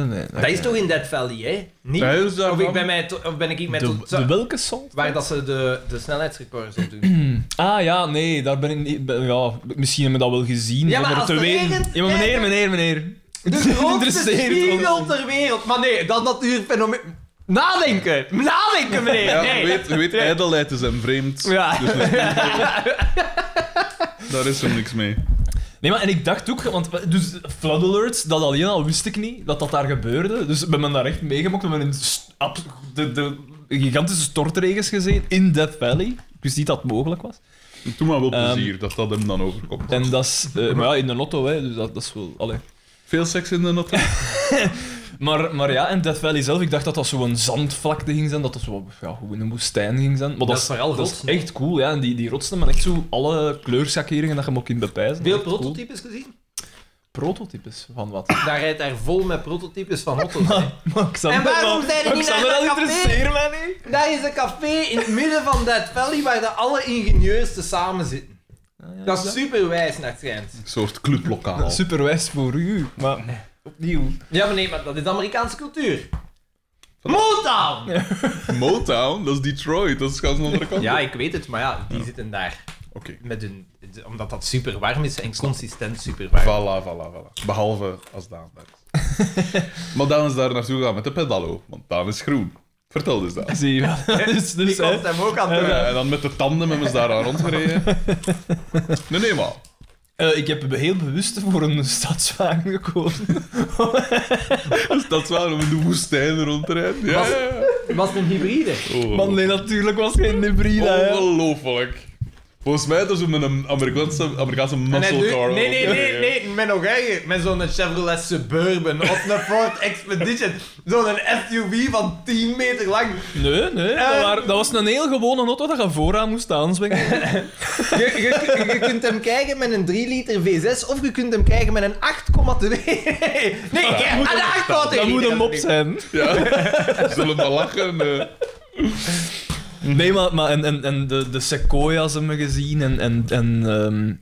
Speaker 4: nee.
Speaker 3: Dat is toch in Dead Valley, hè? Niet?
Speaker 2: Ja, dus daar
Speaker 3: of, ik
Speaker 2: van-
Speaker 3: ben mij to- of ben ik met
Speaker 4: de, de welke salt?
Speaker 3: Waar dat ze de, de snelheidsrecords op doen.
Speaker 4: Ah ja, nee, daar ben ik niet... ben- ja, misschien hebben we dat wel gezien.
Speaker 3: Ja, maar
Speaker 4: zonder
Speaker 3: als
Speaker 4: te
Speaker 3: het
Speaker 4: weten.
Speaker 3: regent,
Speaker 4: Ja, maar meneer,
Speaker 3: ja,
Speaker 4: meneer, meneer.
Speaker 3: De grootste
Speaker 4: interesseert ons
Speaker 3: spiegel
Speaker 4: niet.
Speaker 3: ter wereld. Maar nee, dat natuurfenomeen... Nadenken! Nadenken, meneer!
Speaker 2: Ja,
Speaker 3: nee.
Speaker 2: je weet, je weet ijdelheid is hem vreemd.
Speaker 4: Ja.
Speaker 2: Dus een spiegel- daar is hem niks mee.
Speaker 4: Nee, maar en ik dacht ook, want we- dus flood alerts, dat alleen al wist ik niet, dat dat daar gebeurde. Dus we hebben daar echt meegemokt. We hebben in st- ab- de, de gigantische stortregens gezeten in Death Valley. Ik wist niet dat het mogelijk was.
Speaker 2: Doe maar wel
Speaker 4: Ehm.
Speaker 2: plezier dat dat hem dan overkomt.
Speaker 4: En dat is... eh, maar ja, in de auto, hè, dus dat, dat is wel... Allee.
Speaker 2: Veel seks in de natte.
Speaker 4: Maar, maar ja, en Death Valley zelf, ik dacht dat dat zo'n zandvlakte ging zijn, dat dat zo ja, gewoon een woestijn ging zijn. Maar dat,
Speaker 3: is vooral
Speaker 4: dat
Speaker 3: rotsen,
Speaker 4: is echt cool, ja. En die, die rotsen, maar echt zo alle kleurschakeringen dat je hem ook in bepijzen.
Speaker 3: Veel
Speaker 4: Echt cool.
Speaker 3: prototypes gezien?
Speaker 4: Prototypes van wat?
Speaker 3: Daar rijdt daar vol met prototypes van auto's. hè.
Speaker 4: Maar Xander,
Speaker 3: En waarom
Speaker 4: maar-
Speaker 3: zijn die nou
Speaker 4: maar
Speaker 3: niet
Speaker 4: Xander,
Speaker 3: naar dat
Speaker 4: dat
Speaker 3: café?
Speaker 4: interesseert mij niet.
Speaker 3: Daar is een café in het midden van Dead Valley waar de alle ingenieurs te samen zitten. Dat is super wijs naar het schijnt.
Speaker 2: Een soort clublokaal.
Speaker 4: Superwijs voor u, maar opnieuw.
Speaker 3: Ja, maar nee, maar dat is Amerikaanse cultuur. Motown!
Speaker 2: Motown, dat is Detroit, dat is gans aan de andere kant.
Speaker 3: Ja, ik weet het, maar ja, die zitten daar.
Speaker 2: Oké.
Speaker 3: Met hun, de- omdat dat super warm is en consistent super warm.
Speaker 2: Voilà, voilà, voilà. Behalve als Daan daar is. maar Daan is daar naartoe gegaan met de pedalo, want Daan is groen. Vertel dus dat.
Speaker 4: Zie je wel. Dus, dus,
Speaker 3: Ik
Speaker 4: hè.
Speaker 3: was hem ook aan het doen.
Speaker 2: Ja, en dan met de tanden hebben ze daar aan rondgereden. Nee, nee, maar.
Speaker 4: Eh, ik heb heel bewust voor een stadswagen gekozen.
Speaker 3: Oh.
Speaker 2: Dus Dat is waar, om in de woestijn rond te rijden. Ja,
Speaker 3: Was-
Speaker 2: ja, ja.
Speaker 3: Was het een hybride?
Speaker 4: Maar nee, natuurlijk was het geen hybride. hè.
Speaker 3: Oh,
Speaker 2: Ongelooflijk. Volgens mij is het met een Amerikaanse, Amerikaanse
Speaker 3: En hij
Speaker 2: muscle
Speaker 3: doet-
Speaker 2: car. eh,
Speaker 3: nee, nee, nee, nee, met nog erger. Met zo'n Chevrolet Suburban of een Ford Expedition. Zo'n SUV van 10 meter lang.
Speaker 4: Nee, nee.
Speaker 3: Eh.
Speaker 4: Dat, waren- dat was een heel gewone auto dat je vooraan moest aanzwingen.
Speaker 3: Je, je, je kunt hem kijken met een 3 liter V6 of je kunt hem kijken met een 8,2. Nee, ja, een
Speaker 4: moet hem-
Speaker 3: 8,2.
Speaker 4: Ah, Dat moet een mop zijn.
Speaker 2: Ja. Zullen we lachen? eh.
Speaker 4: Nee, maar, maar en, en, en de, de sequoias hebben we gezien en, en, en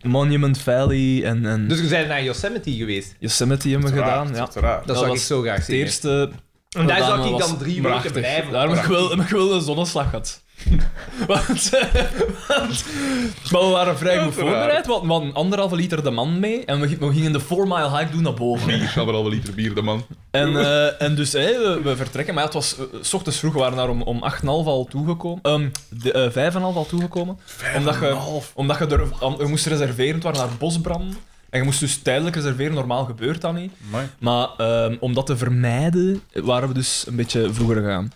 Speaker 4: ehm, Monument Valley en, en
Speaker 3: Dus we zijn naar Yosemite geweest.
Speaker 4: Yosemite hebben we gedaan.
Speaker 2: Uiteraard,
Speaker 4: Ja.
Speaker 2: uiteraard.
Speaker 3: Dat,
Speaker 4: Dat
Speaker 3: zou ik
Speaker 4: was
Speaker 3: zo graag
Speaker 4: Het
Speaker 3: zien. hè.
Speaker 4: eerste...
Speaker 3: En daar
Speaker 4: dat
Speaker 3: zou
Speaker 4: dame
Speaker 3: ik
Speaker 4: was
Speaker 3: dan drie
Speaker 2: prachtig.
Speaker 3: weken blijven.
Speaker 4: Daarom heb ik wel, heb ik wel een zonneslag gehad. want, want- maar we waren vrij goed
Speaker 2: Uiteraard.
Speaker 4: voorbereid, want we hadden anderhalve liter de man mee en we, we gingen de 4 mile hike doen naar boven.
Speaker 2: Ik ga er al wel liter bier, de man.
Speaker 4: En, eh, en dus hey, we, we vertrekken, maar ja, het was eh, s ochtends vroeg, we waren daar om, om 8,5 al toegekomen. Ehm de, eh, 5,5 al toegekomen. Omdat je, omdat je, er, aan- je moest reserveren, het waren naar bosbranden. En je moest dus tijdelijk reserveren, normaal gebeurt dat niet.
Speaker 2: Amai.
Speaker 4: Maar ehm, om dat te vermijden, waren we dus een beetje vroeger gegaan.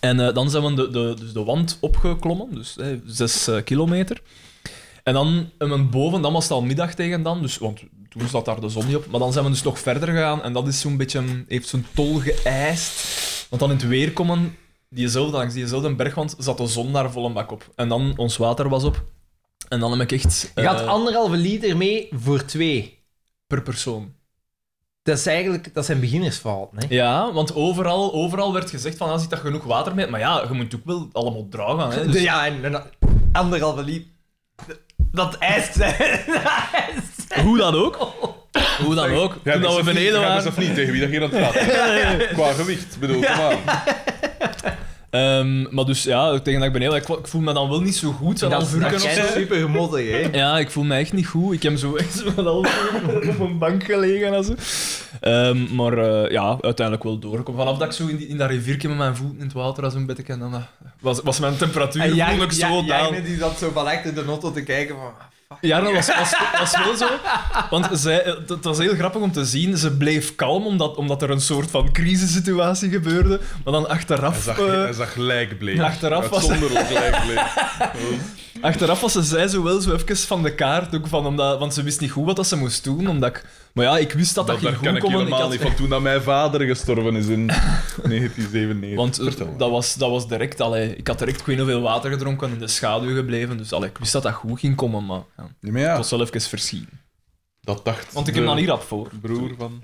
Speaker 4: En eh, dan zijn we de, de, dus de wand opgeklommen, dus eh, zes eh, kilometer. En dan hebben we boven, dan was het al middag tegen dan, dus, want toen zat daar de zon niet op. Maar dan zijn we dus nog verder gegaan en dat is zo'n beetje, een- heeft zo'n tol geëist. Want dan in het weer komen, diezelfde, langs diezelfde bergwand, zat de zon daar vol een bak op. En dan, ons water was op. En dan heb ik echt...
Speaker 3: Je had
Speaker 4: eh,
Speaker 3: anderhalve liter mee voor twee.
Speaker 4: per persoon.
Speaker 3: Dat, is eigenlijk, dat zijn beginnersfouten. Hè?
Speaker 4: Ja, want overal, overal werd gezegd van, ah, zit dat genoeg water mee? Maar ja, je moet ook wel allemaal droog gaan. Hè? Dus
Speaker 3: De- ja, en een anderhalve liep. Dat eist. dat eist.
Speaker 4: Hoe dan ook. dus- Hoe dan ook.
Speaker 2: Ja,
Speaker 4: Toen dat we beneden
Speaker 2: Dat
Speaker 4: waren...
Speaker 2: is of niet, tegen wie dat hier aan het gaat. Qua gewicht, bedoel, kom aan.
Speaker 4: Ehm, maar dus ja, tegen dat ik beneden... Ik, ik voel me dan wel niet zo goed. Zo'n half uur
Speaker 3: dat
Speaker 4: kunnen of
Speaker 3: jij
Speaker 4: zo.
Speaker 3: nog super gemoddig, hè?
Speaker 4: Ja, ik voel me echt niet goed. Ik heb zo echt zo een half uur op een bank gelegen en zo. Ehm, maar eh, ja, uiteindelijk wel door. Ik kom Vanaf dat ik zo in, die, in dat riviertje met mijn voeten in het water als een beetje en dan eh, was, was mijn temperatuur
Speaker 3: En jij-
Speaker 4: voel ik
Speaker 3: jij-
Speaker 4: zo
Speaker 3: jij
Speaker 4: down.
Speaker 3: net die zat zo van echt in de notto te kijken van... ah, fuck.
Speaker 4: Ja, dat was, was, was wel zo. Want zij, het, het was heel grappig om te zien. Ze bleef kalm omdat, omdat er een soort van crisissituatie gebeurde. Maar dan
Speaker 2: Hij
Speaker 4: achteraf,
Speaker 2: zag,
Speaker 4: eh,
Speaker 2: hij zag gelijk bleek.
Speaker 4: achteraf was-
Speaker 2: Uitzonderlijk gelijk bleek.
Speaker 4: achteraf was ze zij zo wel zo even van de kaart. Ook van, omdat, want ze wist niet goed wat dat ze moest doen. Omdat ik, maar ja, ik wist dat dat,
Speaker 2: Dat,
Speaker 4: ging
Speaker 2: daar kan ik
Speaker 4: goed komen.
Speaker 2: helemaal
Speaker 4: had-
Speaker 2: niet van toen dat mijn vader gestorven is in 1997.
Speaker 4: Want eh,
Speaker 2: Vertel maar.
Speaker 4: dat was, dat was direct, allee, ik had direct ik weet niet hoeveel water gedronken en in de schaduw gebleven. Dus allee, ik wist dat dat goed ging komen, maar ja, ik
Speaker 2: Ja, maar ja,
Speaker 4: was wel even verschiet.
Speaker 2: dat dacht
Speaker 4: Want ik
Speaker 2: de
Speaker 4: heb dan hier rap voor.
Speaker 2: broer van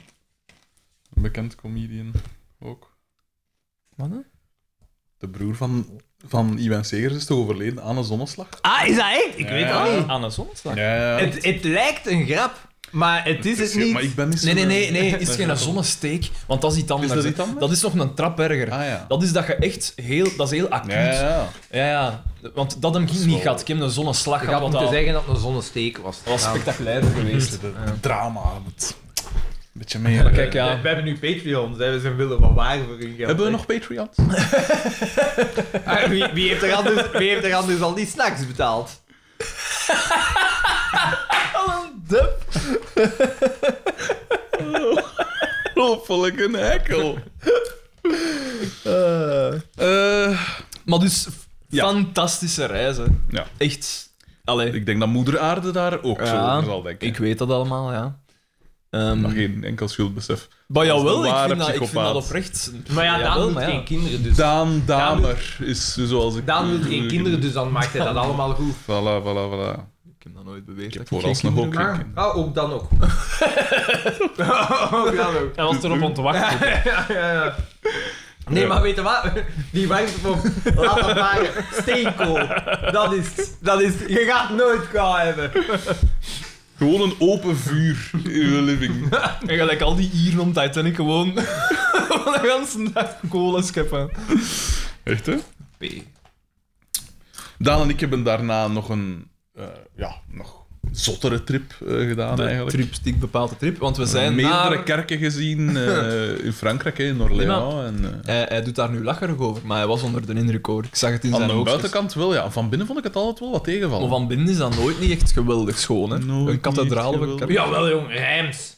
Speaker 2: een bekend comedian ook.
Speaker 4: Wat, hè?
Speaker 2: De broer van, van Iwan Segers is toch overleden aan een zonneslag?
Speaker 3: Ah, is dat echt? Ik
Speaker 2: Ja.
Speaker 3: weet dat niet.
Speaker 4: Aan de zonneslag?
Speaker 2: Ja, ja.
Speaker 3: Het, het lijkt een grap, maar het is het
Speaker 2: Ja,
Speaker 3: niet.
Speaker 2: Maar ik ben niet zo-
Speaker 4: Nee, nee, nee, nee, het is geen zonnesteek, want dat is iets anders.
Speaker 2: dat
Speaker 4: hè.
Speaker 2: iets anders?
Speaker 4: is nog een trap erger.
Speaker 2: Ah ja.
Speaker 4: Dat is dat je echt heel, dat is heel acuut.
Speaker 2: Ja, ja, ja.
Speaker 4: ja, ja. Want dat hem ging
Speaker 2: is
Speaker 4: niet
Speaker 2: wel-
Speaker 4: gehad. Ik heb een zonneslag
Speaker 3: Ik
Speaker 4: gehad,
Speaker 3: had
Speaker 4: wat
Speaker 3: moeten
Speaker 4: dat,
Speaker 3: zeggen dat het een zonnesteek was.
Speaker 4: dat was
Speaker 3: Ja.
Speaker 4: spectaculair geweest.
Speaker 2: Het drama. Het... Beetje meer.
Speaker 4: Maar
Speaker 2: eh,
Speaker 4: kijk, ja.
Speaker 3: We, we hebben nu Patreons, hè. we zijn willen wat waar voor hun geld.
Speaker 2: Hebben we
Speaker 3: hè.
Speaker 2: nog Patreons?
Speaker 3: Ah, wie, wie, heeft er anders, wie heeft er anders al die snacks betaald?
Speaker 4: Dup. Oh,
Speaker 2: Hopelijk een hekkel. Eh,
Speaker 4: Maar dus,
Speaker 2: Ja.
Speaker 4: fantastische reizen.
Speaker 2: ja,
Speaker 4: Echt. Allee,
Speaker 2: ik denk dat moeder aarde daar ook zo
Speaker 4: Ja,
Speaker 2: over zal denken.
Speaker 4: ik weet dat allemaal, ja. Ehm,
Speaker 2: Maar geen enkel schuldbesef.
Speaker 4: Maar
Speaker 2: Dat is de
Speaker 4: jawel, ik
Speaker 2: ware
Speaker 4: vind, dat, ik vind
Speaker 2: psychopaat.
Speaker 4: dat oprecht.
Speaker 3: Maar ja, Daan
Speaker 4: Jawel,
Speaker 3: doet
Speaker 4: maar
Speaker 3: geen
Speaker 4: ja.
Speaker 3: kinderen, dus...
Speaker 2: Daan Damer is zoals ik...
Speaker 3: Daan doet geen kinderen, dus dan maakt hij dat allemaal goed.
Speaker 2: Voilà, voilà, voilà.
Speaker 4: Ik heb dat nooit beweerd.
Speaker 2: Ik heb
Speaker 4: dat
Speaker 2: vooralsnog
Speaker 4: geen
Speaker 2: ook geen
Speaker 4: kinderen
Speaker 2: kinderen.
Speaker 3: Ah, ook dan ook. ook dan ook.
Speaker 4: heb. Hij was erop aan te wachten.
Speaker 3: ja, ja, ja. Nee, maar weet je wat? Die wacht op laat dat maar steenkool. Dat is, het. dat is, het. je gaat nooit kwaad hebben.
Speaker 2: Gewoon een open vuur in je living.
Speaker 4: En gelijk al die Ieren om Titanic gewoon de hele dag cola scheppen.
Speaker 2: Echt, hè?
Speaker 4: P.
Speaker 2: Daan en ik hebben daarna nog een... eh, ja, nog zottere trip eh, gedaan,
Speaker 4: De
Speaker 2: eigenlijk.
Speaker 4: trip, die bepaalde trip. Want we zijn
Speaker 2: meerdere
Speaker 4: naar...
Speaker 2: kerken gezien eh, in Frankrijk, hè, in Orléans. en, eh,
Speaker 4: Hij, hij doet daar nu lacherig over, maar hij was onder de indruk hoor. Ik zag het in
Speaker 2: aan
Speaker 4: zijn
Speaker 2: de
Speaker 4: oogjes.
Speaker 2: buitenkant wel, ja. Van binnen vond ik het altijd wel wat
Speaker 4: Maar
Speaker 2: tegenvallen.
Speaker 4: van binnen is dat nooit niet echt geweldig schoon, hè?
Speaker 2: Nooit
Speaker 4: een kathedraal
Speaker 2: niet
Speaker 4: of een kerk.
Speaker 2: geweldig.
Speaker 3: Jawel, jong, rijms.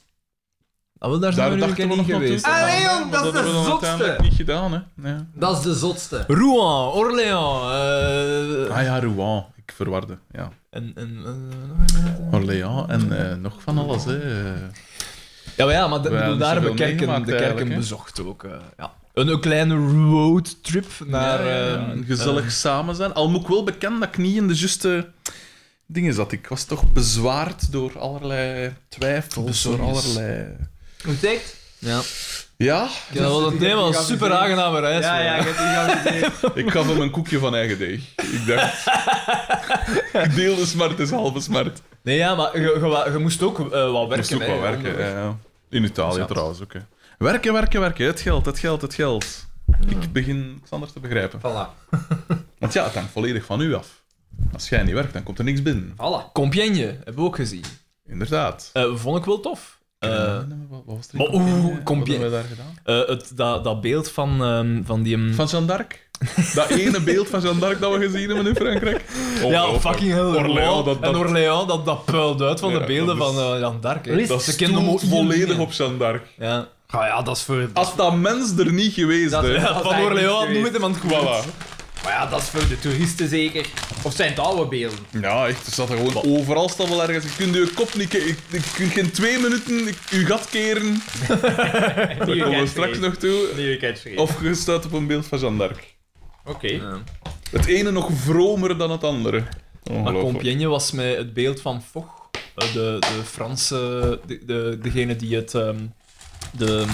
Speaker 4: Ah, wel, daar
Speaker 2: Daar
Speaker 4: zijn we nu een
Speaker 2: dachten
Speaker 4: keer
Speaker 2: we nog
Speaker 4: niet
Speaker 2: naartoe.
Speaker 4: geweest.
Speaker 3: Ah,
Speaker 4: hè.
Speaker 3: nee, jong,
Speaker 2: Maar
Speaker 3: dat is
Speaker 2: hebben we
Speaker 3: de
Speaker 2: dan
Speaker 3: zotste.
Speaker 2: uiteindelijk niet gedaan, hè. Nee.
Speaker 3: Dat is de zotste.
Speaker 4: Rouen, Orléans. eh,
Speaker 2: Ah ja, Rouen. Ik verwarde, ja.
Speaker 4: En, en, eh, nog een-
Speaker 2: Orléans en eh, nog van alles, hè. Eh,
Speaker 4: Ja, maar, ja, maar de-
Speaker 2: We hebben
Speaker 4: bedoel, daar
Speaker 2: zoveel
Speaker 4: hebben we kerken,
Speaker 2: meegemaakt
Speaker 4: de kerken
Speaker 2: eigenlijk, hè?
Speaker 4: bezocht ook. eh, ja. een, een kleine roadtrip naar...
Speaker 2: ja, ja, ja.
Speaker 4: ehm,
Speaker 2: Gezellig samen zijn. Al moet ik wel bekend dat ik niet in de juiste dingen zat. Ik was toch bezwaard door allerlei twijfels,
Speaker 4: Bezorgd.
Speaker 2: door allerlei...
Speaker 3: Hoe zegt?
Speaker 4: eh, ja.
Speaker 2: Ja,
Speaker 4: Ja, dat was het
Speaker 3: Die heb ik
Speaker 4: thema. was
Speaker 3: al
Speaker 4: een super
Speaker 3: gezien.
Speaker 4: aangename reis.
Speaker 3: Ja,
Speaker 4: man.
Speaker 3: ja, ik heb die al gezien.
Speaker 2: ik gaf hem een koekje van eigen deeg. Ik dacht... Deel de smart is halve smart.
Speaker 4: Nee, ja, maar je, je, wa- je moest ook eh, wat werken.
Speaker 2: Moest ook
Speaker 4: hè,
Speaker 2: wel werken.
Speaker 4: onderweg.
Speaker 2: ja, ja. In Italië
Speaker 4: Zat.
Speaker 2: trouwens ook. Hè. Werken, werken, werken. Het geld, het geld, het geld. Ik begin Xander te begrijpen.
Speaker 3: Voilà.
Speaker 2: Want ja, het hangt volledig van u af. Als jij niet werkt, dan komt er niks binnen.
Speaker 3: Voilà.
Speaker 4: Compiègne, hebben we ook gezien.
Speaker 2: Inderdaad.
Speaker 4: Eh, vond ik wel tof. Eh,
Speaker 2: wat was er
Speaker 4: maar oeh, kom
Speaker 2: Wat
Speaker 4: je-
Speaker 2: hebben we daar gedaan?
Speaker 4: eh, het, dat, dat beeld van, ehm, van die... ehm,
Speaker 2: Van Jeanne d'Arc? Dat ene beeld van Jeanne d'Arc dat we gezien hebben in Frankrijk?
Speaker 4: ja, fucking hell.
Speaker 2: Orléans, dat,
Speaker 4: En
Speaker 2: dat,
Speaker 4: Orléans, dat, dat puilt uit van
Speaker 2: Ja,
Speaker 4: de beelden
Speaker 2: dat is-
Speaker 4: van eh Jan d'Arc. hè.
Speaker 3: List.
Speaker 2: dat
Speaker 4: Ze
Speaker 2: stoelt
Speaker 4: kennen hem ook
Speaker 2: volledig op Jeanne d'Arc.
Speaker 4: Ja.
Speaker 3: Ah ja, dat is voor...
Speaker 2: Als dat mens er niet geweest
Speaker 3: Dat-
Speaker 2: hè.
Speaker 3: ja.
Speaker 4: Ja, van
Speaker 3: eigenlijk
Speaker 4: Orléans,
Speaker 3: niet
Speaker 4: noem het hem aan het
Speaker 2: Voilà.
Speaker 3: Maar ja, dat is voor de toeristen zeker. Of zijn het oude beelden?
Speaker 2: Ja, echt, er staat er gewoon overal staat wel ergens. Je kunt je kop niet... ke- Ik, ik kun geen twee minuten ik, uw gat keren. Daar komen we straks nog toe.
Speaker 3: Nieuwe catchphrase.
Speaker 2: Of je staat op een beeld van Jeanne d'Arc.
Speaker 3: Oké.
Speaker 4: Ja.
Speaker 2: Het ene nog vromer dan het andere.
Speaker 4: Maar
Speaker 2: Ongelooflijk.
Speaker 4: Compiègne was mij het beeld van Foch, eh, de, de Franse, de, de, degene die het ehm, de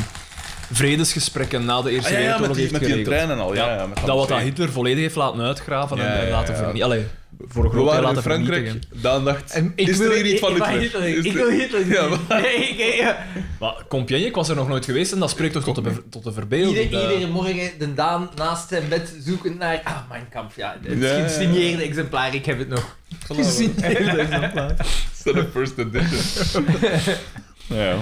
Speaker 4: vredesgesprekken na de Eerste
Speaker 2: Ah, ja, ja,
Speaker 4: Wereldoorlog
Speaker 2: met die,
Speaker 4: heeft
Speaker 2: met die
Speaker 4: geregeld.
Speaker 2: trein en al. Ja, ja, met
Speaker 4: dat wat dat
Speaker 2: twee.
Speaker 4: Hitler volledig heeft laten uitgraven
Speaker 2: Ja,
Speaker 4: en
Speaker 2: ja,
Speaker 4: laten
Speaker 2: ja.
Speaker 4: vernietigen. Allee, voor een
Speaker 2: We
Speaker 4: groot deel
Speaker 2: waren in
Speaker 4: laten
Speaker 2: Frankrijk,
Speaker 4: vernietigen.
Speaker 2: Daan dacht,
Speaker 3: En
Speaker 2: is er hier
Speaker 3: wil-
Speaker 2: iets van
Speaker 3: ik- ik-
Speaker 2: Hitler?
Speaker 3: ik-
Speaker 2: Is
Speaker 3: Ik
Speaker 2: er-
Speaker 3: wil Hitler
Speaker 2: Ja,
Speaker 3: zien. Nee, ik- ik-
Speaker 4: Maar Compiègne, ik was er nog nooit geweest en dat spreekt toch tot de, be- tot de verbeelding.
Speaker 3: Ieder,
Speaker 4: eh.
Speaker 3: iedere morgen de Daan naast zijn bed zoeken naar... Ah, mijn kamp, ja. Het
Speaker 2: Ja, ja, ja.
Speaker 3: gesigneerde exemplaar, ik heb het nog.
Speaker 4: Gezien heel exemplaar.
Speaker 2: Is dat een first edition? ja.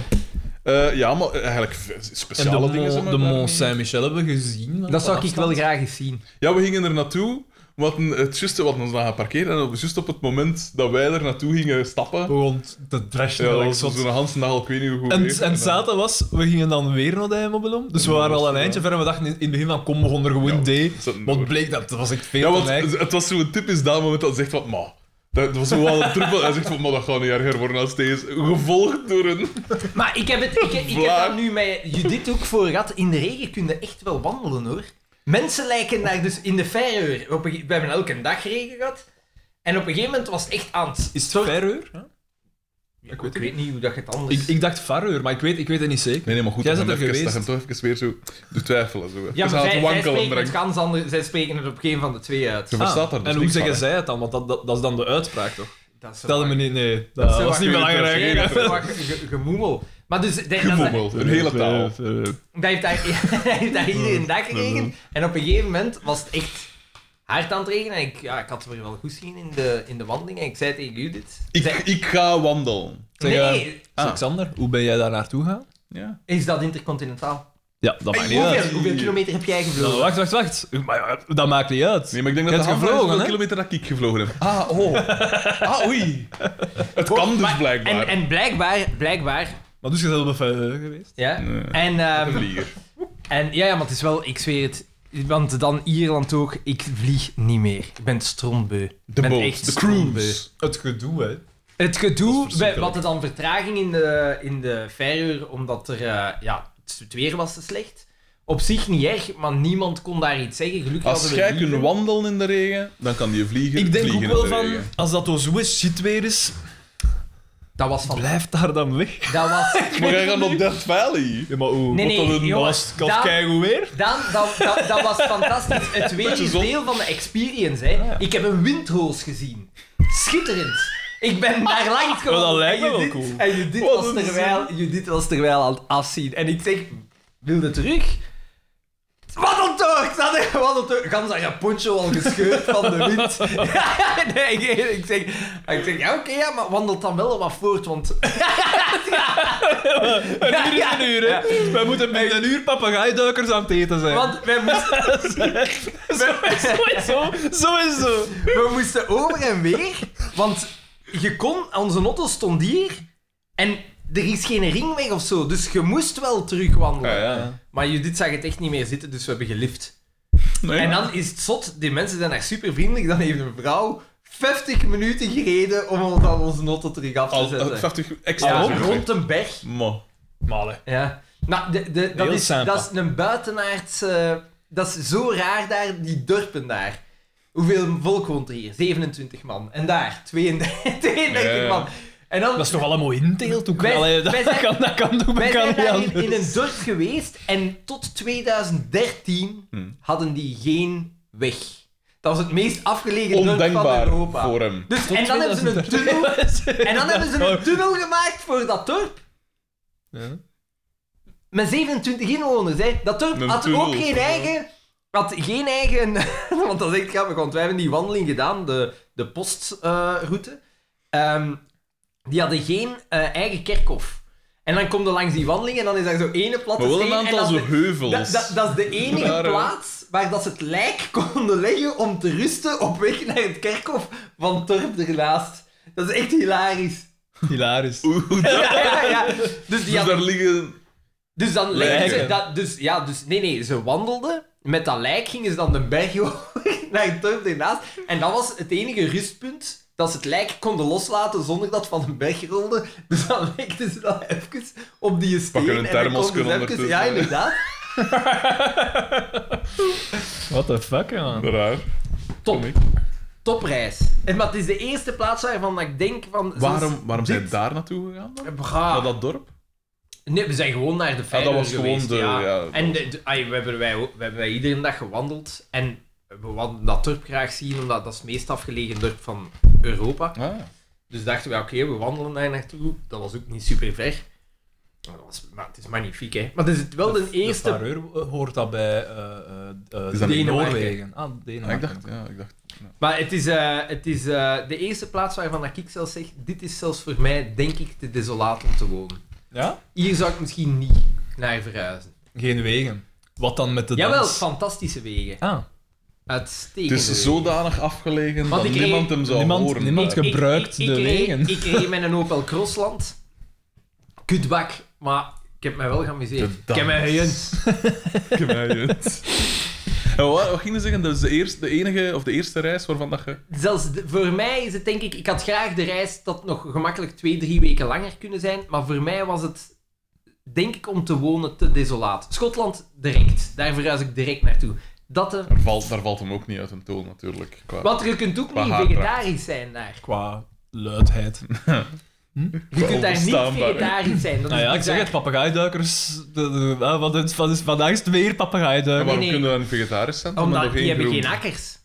Speaker 2: Eh, ja, maar eigenlijk
Speaker 4: En de,
Speaker 2: speciale dingen zijn
Speaker 4: Mo-
Speaker 2: er
Speaker 4: de
Speaker 2: daar
Speaker 4: Mont
Speaker 2: niet.
Speaker 4: Saint-Michel hebben we gezien.
Speaker 3: Dat zou ik wel graag eens zien.
Speaker 2: Ja, we gingen er naartoe. We hadden het juist, we hadden ons daar geparkeerd en op- juist op het moment dat wij er naartoe gingen stappen,
Speaker 4: Begon te
Speaker 2: ja,
Speaker 4: trashen.
Speaker 2: dat
Speaker 4: gelijk
Speaker 2: was
Speaker 4: zot.
Speaker 2: zo'n Hansen dag al, ik weet niet hoe goed.
Speaker 4: En,
Speaker 2: weer.
Speaker 4: en zaten was, we gingen dan weer naar de Heimobelom. Dus we
Speaker 2: En
Speaker 4: waren
Speaker 2: dan
Speaker 4: al
Speaker 2: was
Speaker 4: een
Speaker 2: het,
Speaker 4: eindje ver en we dachten in in het begin van kom, we gaan er gewoon D.
Speaker 2: we zetten
Speaker 4: Want
Speaker 2: door.
Speaker 4: bleek dat, dat was echt
Speaker 2: Ja,
Speaker 4: veel te
Speaker 2: want
Speaker 4: lijken.
Speaker 2: het het was zo'n typisch dat moment dat zegt wat, ma. Dat was zo wel een truppel. Hij zegt van, maar dat gaat niet erger worden als deze. Gevolgd door een...
Speaker 3: Maar ik heb, het, ik, ik heb
Speaker 2: Vlaar.
Speaker 3: daar nu met Judith ook voor gehad. In de regen kun je echt wel wandelen, hoor. Mensen lijken daar dus in de verreur. Op een ge- We hebben elke dag regen gehad. En op een gegeven moment was het echt aan het...
Speaker 4: Is het Ferreur?
Speaker 3: Ik, weet, niet hoe dat je het anders...
Speaker 4: Ik, ik dacht Farreur, maar ik weet, ik weet het niet zeker.
Speaker 2: Nee, nee, maar goed.
Speaker 4: Jij
Speaker 2: dat
Speaker 4: bent
Speaker 2: hem
Speaker 4: er
Speaker 2: even- Dat
Speaker 4: geweest.
Speaker 2: hem toch even weer zo doet twijfelen. Zo.
Speaker 3: ja,
Speaker 2: Even
Speaker 3: maar
Speaker 2: aan
Speaker 3: zij,
Speaker 2: het
Speaker 3: zij,
Speaker 2: wankelen
Speaker 3: spreken het
Speaker 2: brengt.
Speaker 3: gans anders, zij spreken het op geen van de twee uit.
Speaker 2: Ze verstaat daar dus
Speaker 4: Ah, en hoe
Speaker 2: niks van,
Speaker 4: zeggen
Speaker 2: hè.
Speaker 4: zij het dan? Want dat, dat, dat is dan de uitspraak toch?
Speaker 3: Dat is zo
Speaker 4: Stel
Speaker 3: waar.
Speaker 4: me niet, nee. Dat,
Speaker 3: Dat is zo
Speaker 4: was
Speaker 3: waar.
Speaker 4: niet belangrijk.
Speaker 3: Nee,
Speaker 4: hè.
Speaker 3: dat is zo waar. Ge- ge- Gemoemel. Maar dus... dat- dat-
Speaker 2: Gevoemeld, een hele taal.
Speaker 3: Dat heeft daar, dat heeft daar iedere dag geregend. En op een gegeven moment was het echt hard aan het regenen. En ik, ja, ik had het weer wel goed zien in de, in de wandeling. En ik zei tegen Judith...
Speaker 2: Ik,
Speaker 3: zei-
Speaker 2: ik ga wandelen.
Speaker 4: Zeg, eh,
Speaker 3: nee,
Speaker 2: Ah.
Speaker 4: Alexander, hoe ben jij daar naartoe gegaan?
Speaker 2: Ja.
Speaker 3: is dat intercontinentaal?
Speaker 4: Ja, dat maakt niet
Speaker 2: hoeveel-
Speaker 4: uit.
Speaker 3: Hoeveel, hoeveel kilometer heb jij
Speaker 4: Nou,
Speaker 3: gevlogen?
Speaker 4: wacht, wacht, wacht. Maar ja, dat maakt niet uit.
Speaker 2: Nee, maar ik denk
Speaker 4: Je
Speaker 2: dat de hamvraag is
Speaker 4: hebt gevlogen,
Speaker 2: hoeveel
Speaker 4: hè?
Speaker 2: kilometer dat ik gevlogen heb. Ah, oh. Ah, oei. Het kan dus
Speaker 3: Oh, en,
Speaker 2: blijkbaar.
Speaker 3: en blijkbaar... blijkbaar
Speaker 4: Maar dus je bent op een Ferreur geweest.
Speaker 3: ja.
Speaker 2: Nee.
Speaker 3: En, ehm,
Speaker 2: Een lieger.
Speaker 3: en ja, ja, maar het is wel... Ik zweer het. Want dan Ierland ook. Ik vlieg niet meer. Ik ben strombeu.
Speaker 2: De
Speaker 3: ben
Speaker 2: boot,
Speaker 3: echt
Speaker 2: de
Speaker 3: strombeu.
Speaker 2: cruise.
Speaker 4: Het gedoe, hè.
Speaker 3: Het
Speaker 4: Dat
Speaker 3: gedoe, we,
Speaker 4: is verschrikkelijk.
Speaker 3: we hadden dan vertraging in de, in de verhuur, omdat er, eh, ja, het, het weer was te slecht. Op zich niet erg, maar niemand kon daar iets zeggen. Gelukkig
Speaker 2: Als
Speaker 3: hadden
Speaker 2: jij
Speaker 3: we
Speaker 2: kunt
Speaker 3: wielen.
Speaker 2: wandelen in de regen, dan kan die vliegen.
Speaker 4: Ik denk ook
Speaker 2: vliegen
Speaker 4: wel
Speaker 2: in de
Speaker 4: van,
Speaker 2: regen.
Speaker 4: als dat zo zo'n shit weer is,
Speaker 3: Dat was van...
Speaker 4: blijf daar dan weg.
Speaker 3: Dat was...
Speaker 2: Maar jij gaat op Death Valley.
Speaker 4: Ja, maar hoe?
Speaker 3: Nee, nee,
Speaker 4: wat dan
Speaker 3: jongen,
Speaker 4: was het
Speaker 3: daar-
Speaker 4: keigoed weer?
Speaker 3: Dan, dat, dat, dat was fantastisch. Het weer
Speaker 2: Beetje
Speaker 3: is
Speaker 2: zon.
Speaker 3: deel van de experience,
Speaker 4: Ah,
Speaker 3: hè. Ik heb een windhoos gezien. Schitterend. Ik ben daar langs gekomen.
Speaker 4: Oh, dat lijkt me
Speaker 3: en
Speaker 4: wel
Speaker 3: Judith-
Speaker 4: cool.
Speaker 3: En Judith
Speaker 4: Wat
Speaker 3: was,
Speaker 4: een
Speaker 3: terwijl, Judith was terwijl aan het afzien. En ik zeg, wilde terug? Wat ontoog! Dat is wat ontoog! Gans haar poncho al gescheurd van de wind. nee, ik, ik zeg, ik zeg ja, oké, ja, maar wandelt dan wel wat voort, want...
Speaker 4: Een uur is een uur, hè. Wij moeten met een uur papegaaiduikers aan het eten zijn.
Speaker 3: Want wij moesten,
Speaker 4: Zo is het, zo. Zo is het, zo.
Speaker 3: we moesten over en weer, want je kon, onze auto stond hier en er is geen ringweg of zo, dus je moest wel terugwandelen.
Speaker 2: Ja, ja.
Speaker 3: Maar Judith zag het echt niet meer zitten, dus we hebben gelift.
Speaker 2: Nee.
Speaker 3: En dan is het zot, die mensen zijn daar super vriendelijk. Dan heeft een vrouw 50 minuten gereden om ons aan onze auto terug af
Speaker 2: Al
Speaker 3: te
Speaker 2: eh,
Speaker 3: zetten.
Speaker 2: 50 extra.
Speaker 3: Ja,
Speaker 2: zeg.
Speaker 3: rond een berg.
Speaker 2: Maar,
Speaker 4: Malen.
Speaker 3: Ja. Nou, de, de, dat,
Speaker 4: Heel
Speaker 3: is,
Speaker 4: sympa.
Speaker 3: dat is een buitenaardse... dat is zo raar daar, die dorpen daar. Hoeveel volk woont er hier? 27 man. En daar, 32, 32
Speaker 2: Ja, ja.
Speaker 3: man. En dan,
Speaker 4: Dat is toch wel een mooi inteelt ook.
Speaker 3: Wij-
Speaker 4: Allee, dat,
Speaker 3: wij zijn-
Speaker 4: kan, dat kan toch
Speaker 3: wij zijn
Speaker 4: kan niet
Speaker 3: daar in,
Speaker 4: anders.
Speaker 3: in een dorp geweest en tot 2013
Speaker 2: Hmm.
Speaker 3: hadden die geen weg. Dat was het meest afgelegen dorp
Speaker 2: ondenkbaar
Speaker 3: van Europa.
Speaker 2: voor hem.
Speaker 3: Dus,
Speaker 4: Tot Oh,
Speaker 3: en dan hebben ze een tunnel, en dan hebben ze
Speaker 2: Oh.
Speaker 3: een tunnel gemaakt voor dat dorp.
Speaker 4: Ja.
Speaker 3: Met 27 inwoners, hè. Dat dorp
Speaker 2: Een
Speaker 3: had
Speaker 2: tunnel,
Speaker 3: ook geen
Speaker 2: ja.
Speaker 3: eigen... Had geen eigen... want dat is echt grappig, want wij hebben die wandeling gedaan, de, de postroute. Ehm, die hadden geen eh, eigen kerkhof. En dan kom je langs die wandeling en dan is daar zo ene platte
Speaker 2: Maar wel een
Speaker 3: steen en
Speaker 2: aantal
Speaker 3: dat
Speaker 2: zo
Speaker 3: is de-
Speaker 2: heuvels.
Speaker 3: dat, dat, dat is de enige
Speaker 2: Daar, hè.
Speaker 3: plaats waar dat ze het lijk konden leggen om te rusten op weg naar het kerkhof van het dorp ernaast. Dat is echt hilarisch.
Speaker 4: Hilarisch.
Speaker 2: Hoe- hoe dat-
Speaker 3: Ja, ja, ja. Dus, die
Speaker 2: Dus daar
Speaker 3: hadden-
Speaker 2: liggen...
Speaker 3: dus dan legden ze
Speaker 4: Lijken.
Speaker 3: dat... Dus, ja, dus nee, nee, ze wandelden. Met dat lijk gingen ze dan de berg over naar het dorp ernaast. En dat was het enige rustpunt dat ze het lijk konden loslaten zonder dat het van de berg rolde. Dus dan legden ze dat even op die steen.
Speaker 2: Pakken een
Speaker 3: en dan konden
Speaker 2: thermosken
Speaker 3: ze even-
Speaker 2: ondertussen.
Speaker 3: Ja, inderdaad.
Speaker 4: What the fuck, man.
Speaker 2: Raar.
Speaker 3: Dus Top. Topreis. En maar het is de eerste plaats waarvan ik denk van...
Speaker 2: Waarom, waarom zijn
Speaker 3: dit- Ah.
Speaker 2: daar naartoe gegaan dan?
Speaker 3: Bra.
Speaker 2: Naar dat dorp?
Speaker 3: Nee, we zijn gewoon naar de
Speaker 2: Ah, dat
Speaker 3: Feyenoord
Speaker 2: was gewoon
Speaker 3: geweest,
Speaker 2: de-
Speaker 3: ja.
Speaker 2: ja, dat
Speaker 3: en de, de- ai, we, hebben wij, ook- we hebben wij iedere dag gewandeld. En we wilden dat dorp graag zien, omdat dat is het meest afgelegen dorp van Europa.
Speaker 2: Ah,
Speaker 3: Dus dachten we, oké, we wandelen daar naartoe. Dat was ook niet super ver. Maar, dat was, maar het is magnifiek, hè. Maar het is wel de, eerste...
Speaker 4: De Fareur hoort dat bij eh, eh, eh,
Speaker 2: Is dat niet
Speaker 3: Denemarken?
Speaker 4: Noorwegen. Ah, Denemarken.
Speaker 2: ah, ik dacht, ja, ik dacht.
Speaker 3: maar het is, eh, het is eh, de eerste plaats waarvan dat ik zelfs zeg... Dit is zelfs voor mij, denk ik, te desolaat om te wonen.
Speaker 4: Ja?
Speaker 3: Hier zou ik misschien niet naar verhuizen.
Speaker 4: Geen wegen. Wat dan met de dans?
Speaker 3: Jawel, fantastische wegen.
Speaker 4: Ah,
Speaker 2: Het
Speaker 3: Uitstekende
Speaker 2: is
Speaker 3: wegen.
Speaker 2: zodanig afgelegen
Speaker 3: Want
Speaker 2: dat
Speaker 3: ik reed-
Speaker 2: niemand hem zou
Speaker 4: niemand-
Speaker 2: horen.
Speaker 4: niemand
Speaker 2: Ja.
Speaker 4: ge- gebruikt de
Speaker 3: reed-
Speaker 4: wegen.
Speaker 3: Ik reed met een Opel Crossland. Kutbak, maar ik heb mij wel geamuseerd.
Speaker 2: De
Speaker 3: Ik heb mij
Speaker 2: dans.
Speaker 3: gejunt.
Speaker 2: Ik mij uit. En wat, wat ging je zeggen? Dat is de, eerste, de enige of de eerste reis waarvan dat je.
Speaker 3: Zelfs de- voor mij is het denk ik... Ik had graag de reis dat nog gemakkelijk twee, drie weken langer kunnen zijn. Maar voor mij was het, denk ik, om te wonen te desolaat. Schotland direct. Daar verhuis ik direct naartoe. Dat er...
Speaker 2: Daar valt, daar valt hem ook niet uit een toon, natuurlijk. Qua...
Speaker 3: Want je kunt ook
Speaker 2: Qua
Speaker 3: niet
Speaker 2: haardracht.
Speaker 3: vegetarisch zijn daar.
Speaker 4: qua luidheid.
Speaker 3: Je kunt daar niet
Speaker 2: Onverstaanbaar, hè.
Speaker 3: vegetarisch zijn. Dat
Speaker 4: Nou
Speaker 3: is
Speaker 4: ja, ik
Speaker 3: bizar.
Speaker 4: zeg het, papegaaiduikers. de- de- ah, Wat is, wat is, vandaag is het weer
Speaker 2: En
Speaker 4: papegaaiduiker.
Speaker 2: waarom
Speaker 3: nee.
Speaker 2: kunnen we een vegetarisch zijn? Omdat
Speaker 3: Omdat
Speaker 2: nog
Speaker 3: die hebben
Speaker 2: groen.
Speaker 3: geen akkers.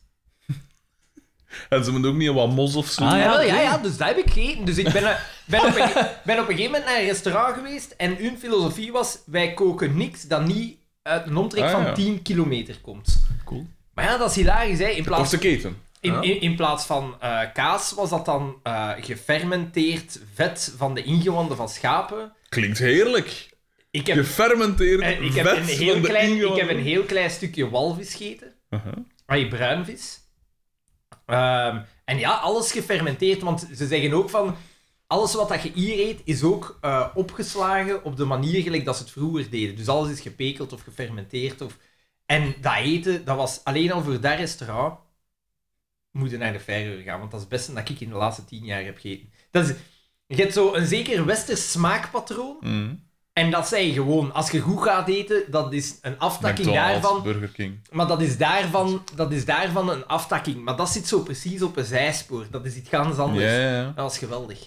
Speaker 2: En ze moeten ook niet wat mos of zo.
Speaker 4: Ah,
Speaker 3: Ja, wel,
Speaker 4: oké.
Speaker 3: ja, ja, dus dat heb ik gegeten. Dus ik ben, ben, op een, ge- ben op een gegeven moment naar een restaurant geweest en hun filosofie was, wij koken niks dat niet uit een omtrek
Speaker 2: Ah, ja.
Speaker 3: van 10 kilometer komt.
Speaker 4: Cool.
Speaker 3: Maar ja, dat is hilarisch, hè. In plaats,
Speaker 2: Korte keten.
Speaker 3: in,
Speaker 4: ja.
Speaker 3: in, in plaats van eh, kaas was dat dan eh, gefermenteerd vet van de ingewanden van schapen.
Speaker 2: Klinkt heerlijk.
Speaker 3: Ik heb,
Speaker 2: Gefermenteerd.
Speaker 3: eh, ik, heb
Speaker 2: vet
Speaker 3: een
Speaker 2: van
Speaker 3: heel
Speaker 2: de Uh-huh.
Speaker 3: klein, ik
Speaker 2: ingewanden.
Speaker 3: heb een heel klein stukje walvis gegeten.
Speaker 2: Aha.
Speaker 3: Ai, bruinvis. Ehm, en ja, alles gefermenteerd, want ze zeggen ook van... Alles wat dat je hier eet, is ook eh, opgeslagen op de manier gelijk dat ze het vroeger deden. Dus alles is gepekeld of gefermenteerd. Of... En dat eten, dat was alleen al voor dat restaurant... Moet je naar de Ferreur gaan, want dat is het beste dat ik in de laatste tien jaar heb gegeten. Dat is, je hebt zo een zeker westers smaakpatroon.
Speaker 2: Mhm.
Speaker 3: En dat zijn gewoon, als je goed gaat eten, dat is een aftakking
Speaker 2: McDonald's,
Speaker 3: daarvan.
Speaker 2: Burger King.
Speaker 3: Maar dat is, daarvan, dat is daarvan een aftakking. Maar dat zit zo precies op een zijspoor. Dat is iets ganz
Speaker 2: Ja,
Speaker 3: anders.
Speaker 2: ja, ja.
Speaker 3: Dat was geweldig.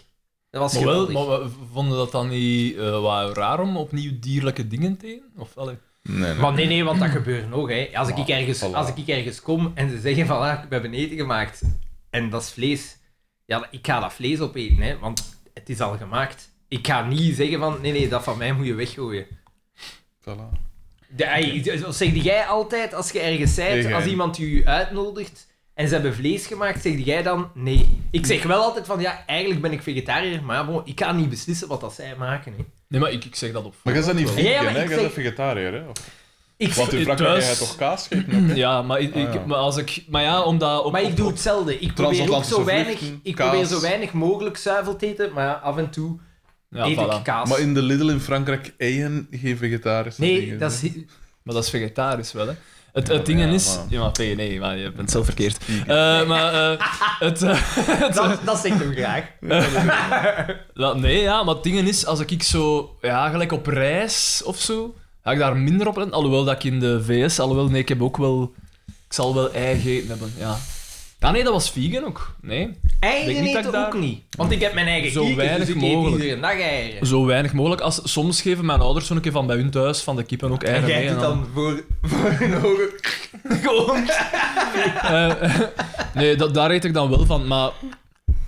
Speaker 3: Dat was
Speaker 4: Maar, wel,
Speaker 3: geweldig.
Speaker 4: maar we vonden dat dan niet eh, wat raar om opnieuw dierlijke dingen te eten? Of, allee,
Speaker 2: Nee, nee.
Speaker 3: Maar nee, nee, want dat gebeurt nog. Hè. Als, ik
Speaker 2: Maar,
Speaker 3: ergens,
Speaker 2: voilà.
Speaker 3: als ik ergens kom en ze zeggen van ah, we hebben eten gemaakt en dat is vlees. Ja, ik ga dat vlees opeten, hè, want het is al gemaakt. Ik ga niet zeggen van nee, nee, dat van mij moet je weggooien.
Speaker 2: Voilà.
Speaker 3: De, ei, de- zeg jij altijd als je ergens
Speaker 2: Nee,
Speaker 3: bent,
Speaker 2: jij.
Speaker 3: als iemand je uitnodigt en ze hebben vlees gemaakt, zeg jij dan nee. Ik zeg wel altijd van ja, eigenlijk ben ik vegetariër, maar bon, ik kan niet beslissen wat dat zij maken. Hè.
Speaker 4: nee, maar ik, ik zeg dat op
Speaker 2: Maar jij bent niet
Speaker 4: voorhand
Speaker 2: vegan,
Speaker 3: Ja, ja, maar
Speaker 2: hè?
Speaker 3: ik
Speaker 2: Jij
Speaker 3: zeg-
Speaker 2: bent vegetariër, hè? Of-
Speaker 3: Ik,
Speaker 2: Want in
Speaker 4: ik-
Speaker 2: Frankrijk
Speaker 4: thuis-
Speaker 2: jij toch kaas gegeten?
Speaker 4: wel. Ja, maar, ik, ik-
Speaker 2: Ah, ja.
Speaker 4: maar als ik... Maar ja, omdat... Op,
Speaker 3: maar ik
Speaker 4: op-
Speaker 3: doe
Speaker 4: op-
Speaker 3: hetzelfde. Ik probeer ook zo
Speaker 2: Transatlantische
Speaker 3: weinig,
Speaker 2: vluchten,
Speaker 3: ik probeer
Speaker 2: kaas.
Speaker 3: zo weinig mogelijk zuivel te eten, maar ja, af en toe
Speaker 4: Ja,
Speaker 3: eet
Speaker 4: voilà.
Speaker 3: ik kaas.
Speaker 2: Maar in de Lidl in Frankrijk eieren geen vegetarische
Speaker 3: Nee,
Speaker 2: dingen,
Speaker 3: dat
Speaker 2: hè?
Speaker 3: is...
Speaker 4: Maar dat is vegetarisch wel, hè? Het,
Speaker 2: Ja,
Speaker 4: het ding
Speaker 2: maar ja,
Speaker 4: is...
Speaker 2: maar-
Speaker 4: Ja, maar nee, nee, maar je bent zelf verkeerd. Eh, maar eh, het... eh, het
Speaker 3: Dat, dat zegt hem graag.
Speaker 4: la- nee, ja, maar het ding is, als ik zo... Ja, gelijk op reis of zo, ga ik daar minder op letten. Alhoewel dat ik in de VS... Alhoewel, nee, ik heb ook wel... Ik zal wel ei gegeten hebben, ja. Ah nee, dat was vegan ook. Nee.
Speaker 3: Eieren
Speaker 4: Denk niet dat
Speaker 3: eten
Speaker 4: ik
Speaker 3: ook
Speaker 4: daar-
Speaker 3: niet. Want ik heb mijn eigen
Speaker 4: Zo
Speaker 3: kiekers,
Speaker 4: weinig
Speaker 3: dus ik
Speaker 4: mogelijk.
Speaker 3: eet iedere dag eieren.
Speaker 4: Zo weinig mogelijk. Als, soms geven mijn ouders zo'n keer van bij hun thuis, van de kippen ook eieren
Speaker 3: En
Speaker 4: mee.
Speaker 3: jij doet
Speaker 4: en dan-
Speaker 3: dan voor, voor hun ogen gewoon
Speaker 4: Eh, nee, dat, daar eet ik dan wel van, maar...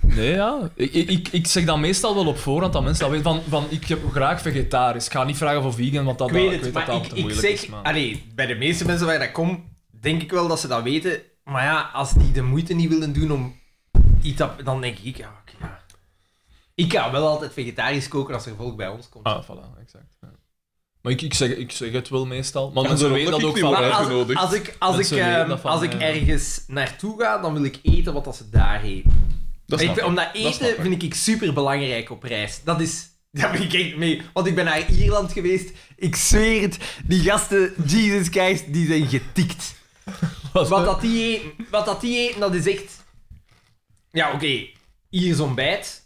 Speaker 4: Nee, ja. Ik, ik- ik, ik zeg dan meestal wel op voorhand dat mensen dat weten. Van, van, ik heb graag vegetarisch. Ik ga niet vragen voor vegan, want dat,
Speaker 3: Ik weet
Speaker 4: dat-
Speaker 3: het,
Speaker 4: dat
Speaker 3: maar
Speaker 4: dat
Speaker 3: ik,
Speaker 4: te
Speaker 3: ik
Speaker 4: moeilijk
Speaker 3: zeg...
Speaker 4: is. maar-
Speaker 3: allee, bij de meeste mensen waar ik dat kom, denk ik wel dat ze dat weten. Maar ja, als die de moeite niet willen doen om iets... dat- Dan denk ik, ja, oké, ja. Ik ga wel altijd vegetarisch koken als er volk bij ons komt.
Speaker 4: Ah, voilà, exact. ja. Maar ik, ik, zeg, ik zeg het wel meestal. Maar
Speaker 2: Ja,
Speaker 4: mensen
Speaker 2: daarom
Speaker 4: weten
Speaker 2: dat
Speaker 4: dat
Speaker 2: ik
Speaker 4: ook
Speaker 2: niet
Speaker 4: van...
Speaker 2: wou
Speaker 3: Maar als,
Speaker 2: uitgenodigd.
Speaker 3: als ik, als ik,
Speaker 4: Mensen weten
Speaker 3: ehm,
Speaker 4: dat van
Speaker 3: als ik
Speaker 4: mij, ja.
Speaker 3: ergens naartoe ga, dan wil ik eten wat dat ze daar eten.
Speaker 2: Dat
Speaker 3: Ik vind-
Speaker 2: snap ik.
Speaker 3: omdat
Speaker 2: Dat snap
Speaker 3: eten
Speaker 2: ik.
Speaker 3: vind ik super belangrijk op reis. Dat is. Daar ben ik echt mee. Want ik ben naar Ierland geweest. Ik zweer het. Die gasten, Jesus Christ, die zijn getikt.
Speaker 4: Wat-
Speaker 3: Wat dat die eten, wat dat, die eten dat is echt... Ja, oké. Hier is ontbijt.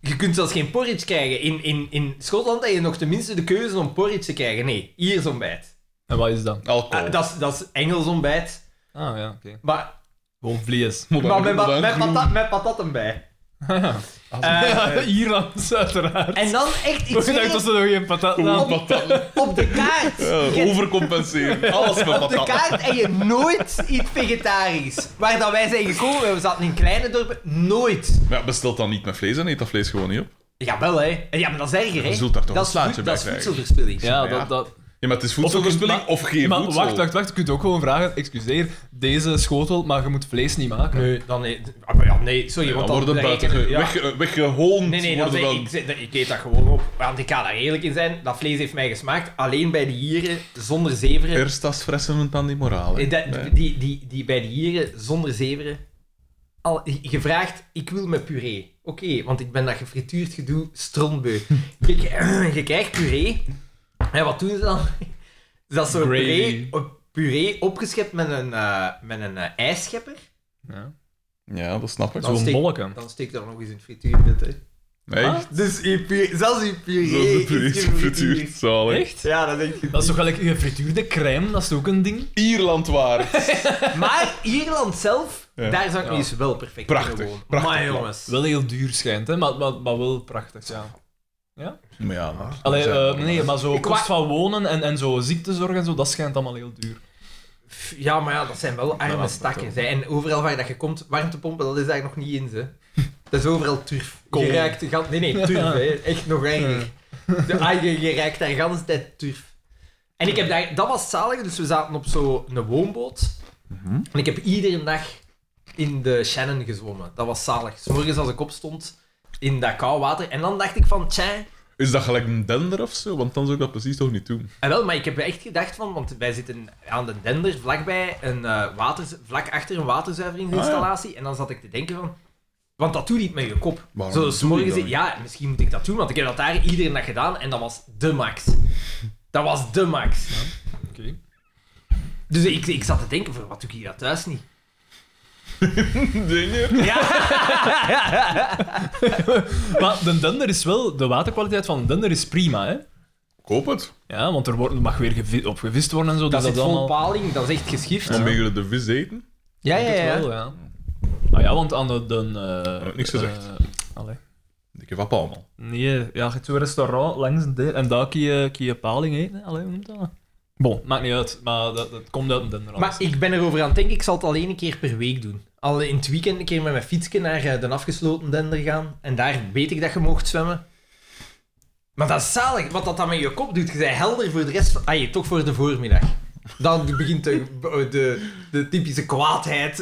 Speaker 3: Je kunt zelfs geen porridge krijgen. In, in, in Schotland heb je nog tenminste de keuze om porridge te krijgen. Nee, hier is ontbijt.
Speaker 4: En wat is dat?
Speaker 2: Alcohol.
Speaker 3: Ah, dat, is, dat is Engels ontbijt.
Speaker 4: Ah, Oh. ja, oké.
Speaker 3: Maar,
Speaker 4: Gewoon vlees.
Speaker 2: Moderne-
Speaker 3: maar met, pa-
Speaker 2: moderne
Speaker 3: met,
Speaker 2: groen.
Speaker 3: patat, met patat erbij. Eh,
Speaker 4: Ja, Ierland, uiteraard.
Speaker 3: en dan echt, ik
Speaker 4: Ik
Speaker 3: zweer
Speaker 4: dacht dat
Speaker 3: het,
Speaker 4: ze nog geen patat namen.
Speaker 2: Patat.
Speaker 3: op de kaart.
Speaker 2: Ja, overcompenseren. Alles met
Speaker 3: Op de
Speaker 2: patat.
Speaker 3: kaart en je nooit iets vegetarisch. Waar dat wij zijn gekomen, we zaten in kleine dorpen, nooit.
Speaker 2: Maar ja, bestel dan niet met vlees en eet dat vlees gewoon niet op.
Speaker 3: Jawel, hè. Ja, maar dat is erger, hè.
Speaker 2: Je zult daar toch
Speaker 3: dat is
Speaker 2: een slaatje
Speaker 3: voed-
Speaker 2: bij
Speaker 3: Dat is
Speaker 2: krijgen.
Speaker 3: voedselverspilling.
Speaker 4: Ja,
Speaker 2: Ja.
Speaker 4: dat... dat...
Speaker 2: Ja, maar het is voedselverspilling of,
Speaker 4: Maar-
Speaker 2: geen
Speaker 4: maar
Speaker 2: voedsel.
Speaker 4: Wacht, wacht, wacht. Je kunt ook gewoon vragen, excuseer, deze schotel, maar je moet vlees niet maken.
Speaker 3: Nee, dan... Nee, ah, maar ja, nee, sorry,
Speaker 2: Ja,
Speaker 3: want
Speaker 2: dan worden buiten
Speaker 3: rekenen-
Speaker 2: ge-
Speaker 3: ja.
Speaker 2: wegge- weggehoond.
Speaker 3: Nee, nee, dat
Speaker 2: worden
Speaker 3: is-
Speaker 2: dan...
Speaker 3: ik, zit- ik eet dat gewoon op. Want ik ga daar eerlijk in zijn, dat vlees heeft mij gesmaakt. Alleen bij de hieren zonder zeveren.
Speaker 2: Erstas fressen dan die moraal.
Speaker 3: Eh, dat- die, die, die bij de hieren zonder zeveren. Al, gevraagd, ik wil met puree. Oké, want ik ben dat gefrituurd gedoe strontbeu. je, k- je krijgt puree. En wat doen ze dan? Dat is zo'n
Speaker 4: Gravy.
Speaker 3: puree, op- puree opgeschept met een, eh, met een eh, ijsschepper.
Speaker 2: Ja, dat snap ik.
Speaker 3: Dan
Speaker 4: Zo'n
Speaker 3: steek-
Speaker 4: bolleke.
Speaker 3: Dan steek daar nog eens een frituurpunt uit.
Speaker 2: Nee,
Speaker 4: Ah,
Speaker 3: Dus je puree, zelfs je puree,
Speaker 2: zo is
Speaker 3: is
Speaker 2: het niet
Speaker 3: gefrituurd.
Speaker 2: gefrituurd. Zalig.
Speaker 4: Echt?
Speaker 3: Ja, dat denk ik.
Speaker 4: Dat is toch wel een gefrituurde crème, dat is ook een ding?
Speaker 2: Ierland waard.
Speaker 3: Maar Ierland zelf,
Speaker 2: Ja.
Speaker 3: daar zou ik
Speaker 4: Ja.
Speaker 3: nu eens wel perfect
Speaker 2: Prachtig,
Speaker 3: kunnen wonen.
Speaker 2: prachtig
Speaker 3: maar
Speaker 2: land.
Speaker 3: jongens.
Speaker 4: Wel heel duur schijnt, hè, maar, maar, maar wel prachtig, ja.
Speaker 2: maar ja,
Speaker 3: Ah.
Speaker 2: maar-
Speaker 4: Allee,
Speaker 2: zijn-
Speaker 4: eh, nee, maar zo
Speaker 3: Ik
Speaker 4: kost
Speaker 3: wa-
Speaker 4: van wonen en, en zo ziektezorg en zo, dat schijnt allemaal heel duur.
Speaker 3: Pff, Ja, maar ja, dat zijn wel arme
Speaker 4: dat
Speaker 3: stakken.
Speaker 4: wel.
Speaker 3: Zij. En overal waar dat je komt, warmtepompen, dat is daar nog niet in. Ze. Dat is overal turf.
Speaker 4: Kool.
Speaker 3: Je ruikt de gan- Nee, nee, turf. hè. Echt nog erger. De, ah, je, je ruikt daar de hele tijd turf. En ik heb daar... Dat was zalig, dus we zaten op zo'n woonboot. En ik heb iedere dag in de Shannon gezwommen. Dat was zalig. 's morgens als ik opstond, in dat koud water. En dan dacht ik van, tja,
Speaker 2: Is dat gelijk een dender of zo? Want dan zou ik dat precies toch niet doen.
Speaker 3: Ah, wel, maar ik heb echt gedacht van, want wij zitten aan de dender vlakbij een eh, water, vlak achter een
Speaker 2: Ah,
Speaker 3: waterzuiveringsinstallatie. En dan zat ik te denken van, want dat doe je niet met je kop.
Speaker 2: Waarom
Speaker 3: Zo
Speaker 2: doe
Speaker 3: s
Speaker 2: je
Speaker 3: morgens,
Speaker 2: dat niet?
Speaker 3: ja, misschien moet ik dat doen, want ik heb dat daar iedere dag gedaan en dat was de max. Dat was de max.
Speaker 4: Oké.
Speaker 3: Dus ik, ik zat te denken van, wat doe ik hier thuis niet?
Speaker 2: Dingen?
Speaker 3: Ja,
Speaker 4: Maar de dender is wel, de waterkwaliteit van de dender is prima, hè?
Speaker 2: Koop het.
Speaker 4: Ja, want er wordt, mag weer gevi- op gevist worden en zo.
Speaker 3: dat
Speaker 4: dus
Speaker 3: zit
Speaker 4: dat
Speaker 3: vol
Speaker 4: allemaal-
Speaker 3: paling, dat is echt geschift.
Speaker 2: Dan ben je de vis eten.
Speaker 3: Ja,
Speaker 4: Ik
Speaker 3: ja, ja.
Speaker 4: denk het wel, ja. Ah ja, want aan de... de eh,
Speaker 2: heb niks gezegd.
Speaker 4: eh, allee.
Speaker 2: Dikke wap allemaal.
Speaker 4: Nee, ja, je zo'n restaurant langs een deur en daar kun je, kun je paling eten. hè. Allee, hoe noemt dat? Bon, maakt niet uit, maar dat, dat komt uit een dender.
Speaker 3: Maar ik ben erover aan het denken, ik zal het alleen een keer per week doen. Al in het weekend een keer met mijn fietsje naar eh, de afgesloten dender gaan. En daar weet ik dat je mocht zwemmen. Maar dat is zalig, wat dat dan met je kop doet. Je bent helder voor de rest van... Ah, je, toch voor de voormiddag. Dan begint de, de, de typische kwaadheid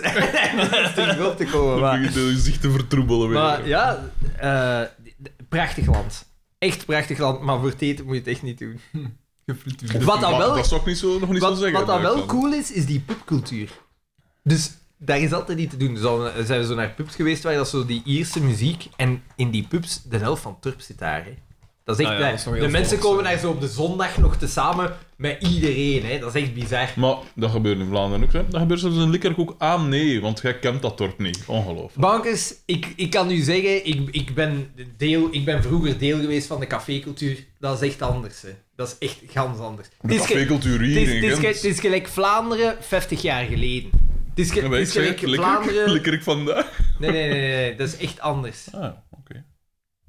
Speaker 3: terug op te komen.
Speaker 2: Dan
Speaker 3: Maar,
Speaker 2: begint je gezicht te vertroebelen weer.
Speaker 3: maar ja, eh, prachtig land. Echt prachtig land, maar voor het eten moet je het echt niet doen.
Speaker 4: gefrituurd.
Speaker 3: Wat dan wel-
Speaker 2: Dus Dat zou ik niet zo, nog niet zo
Speaker 3: Wat,
Speaker 2: zeggen.
Speaker 3: wat dan wel
Speaker 2: Alexander.
Speaker 3: cool is, is die pubcultuur. Dus daar is altijd iets te doen. Dus dan eh, zijn we zo naar pubs geweest waar dat zo die Ierse muziek. En in die pubs, de helft van Turp zit daar. Hè. Dat is echt
Speaker 4: Ah ja,
Speaker 3: blij.
Speaker 4: dat is nog heel
Speaker 3: De mensen
Speaker 4: volks,
Speaker 3: komen
Speaker 4: hè.
Speaker 3: daar zo op de zondag nog tezamen met iedereen. Hè. Dat is echt bizar.
Speaker 2: Maar dat gebeurt in Vlaanderen ook. Hè. Dat gebeurt zelfs in Likkerkoek aan. Nee, want jij kent dat dorp niet. Ongelooflijk.
Speaker 3: Bankers, ik, ik kan u zeggen, ik, ik, ben deel, ik ben vroeger deel geweest van de cafécultuur. Dat is echt anders. Hè. Dat is echt gans anders. Het
Speaker 2: De
Speaker 3: is ge-
Speaker 2: cafécultuur hier
Speaker 3: Het is,
Speaker 2: in
Speaker 3: het, is, ge-
Speaker 2: Gent.
Speaker 3: het is gelijk Vlaanderen 50 jaar geleden. Het is, ge-
Speaker 2: Ja,
Speaker 3: het
Speaker 2: maar ik
Speaker 3: is
Speaker 2: zei het,
Speaker 3: gelijk
Speaker 2: Likkerk-
Speaker 3: Vlaanderen.
Speaker 2: Likkerk vandaag.
Speaker 3: Nee, nee, nee, nee, nee, dat is echt anders.
Speaker 2: Ah, oké.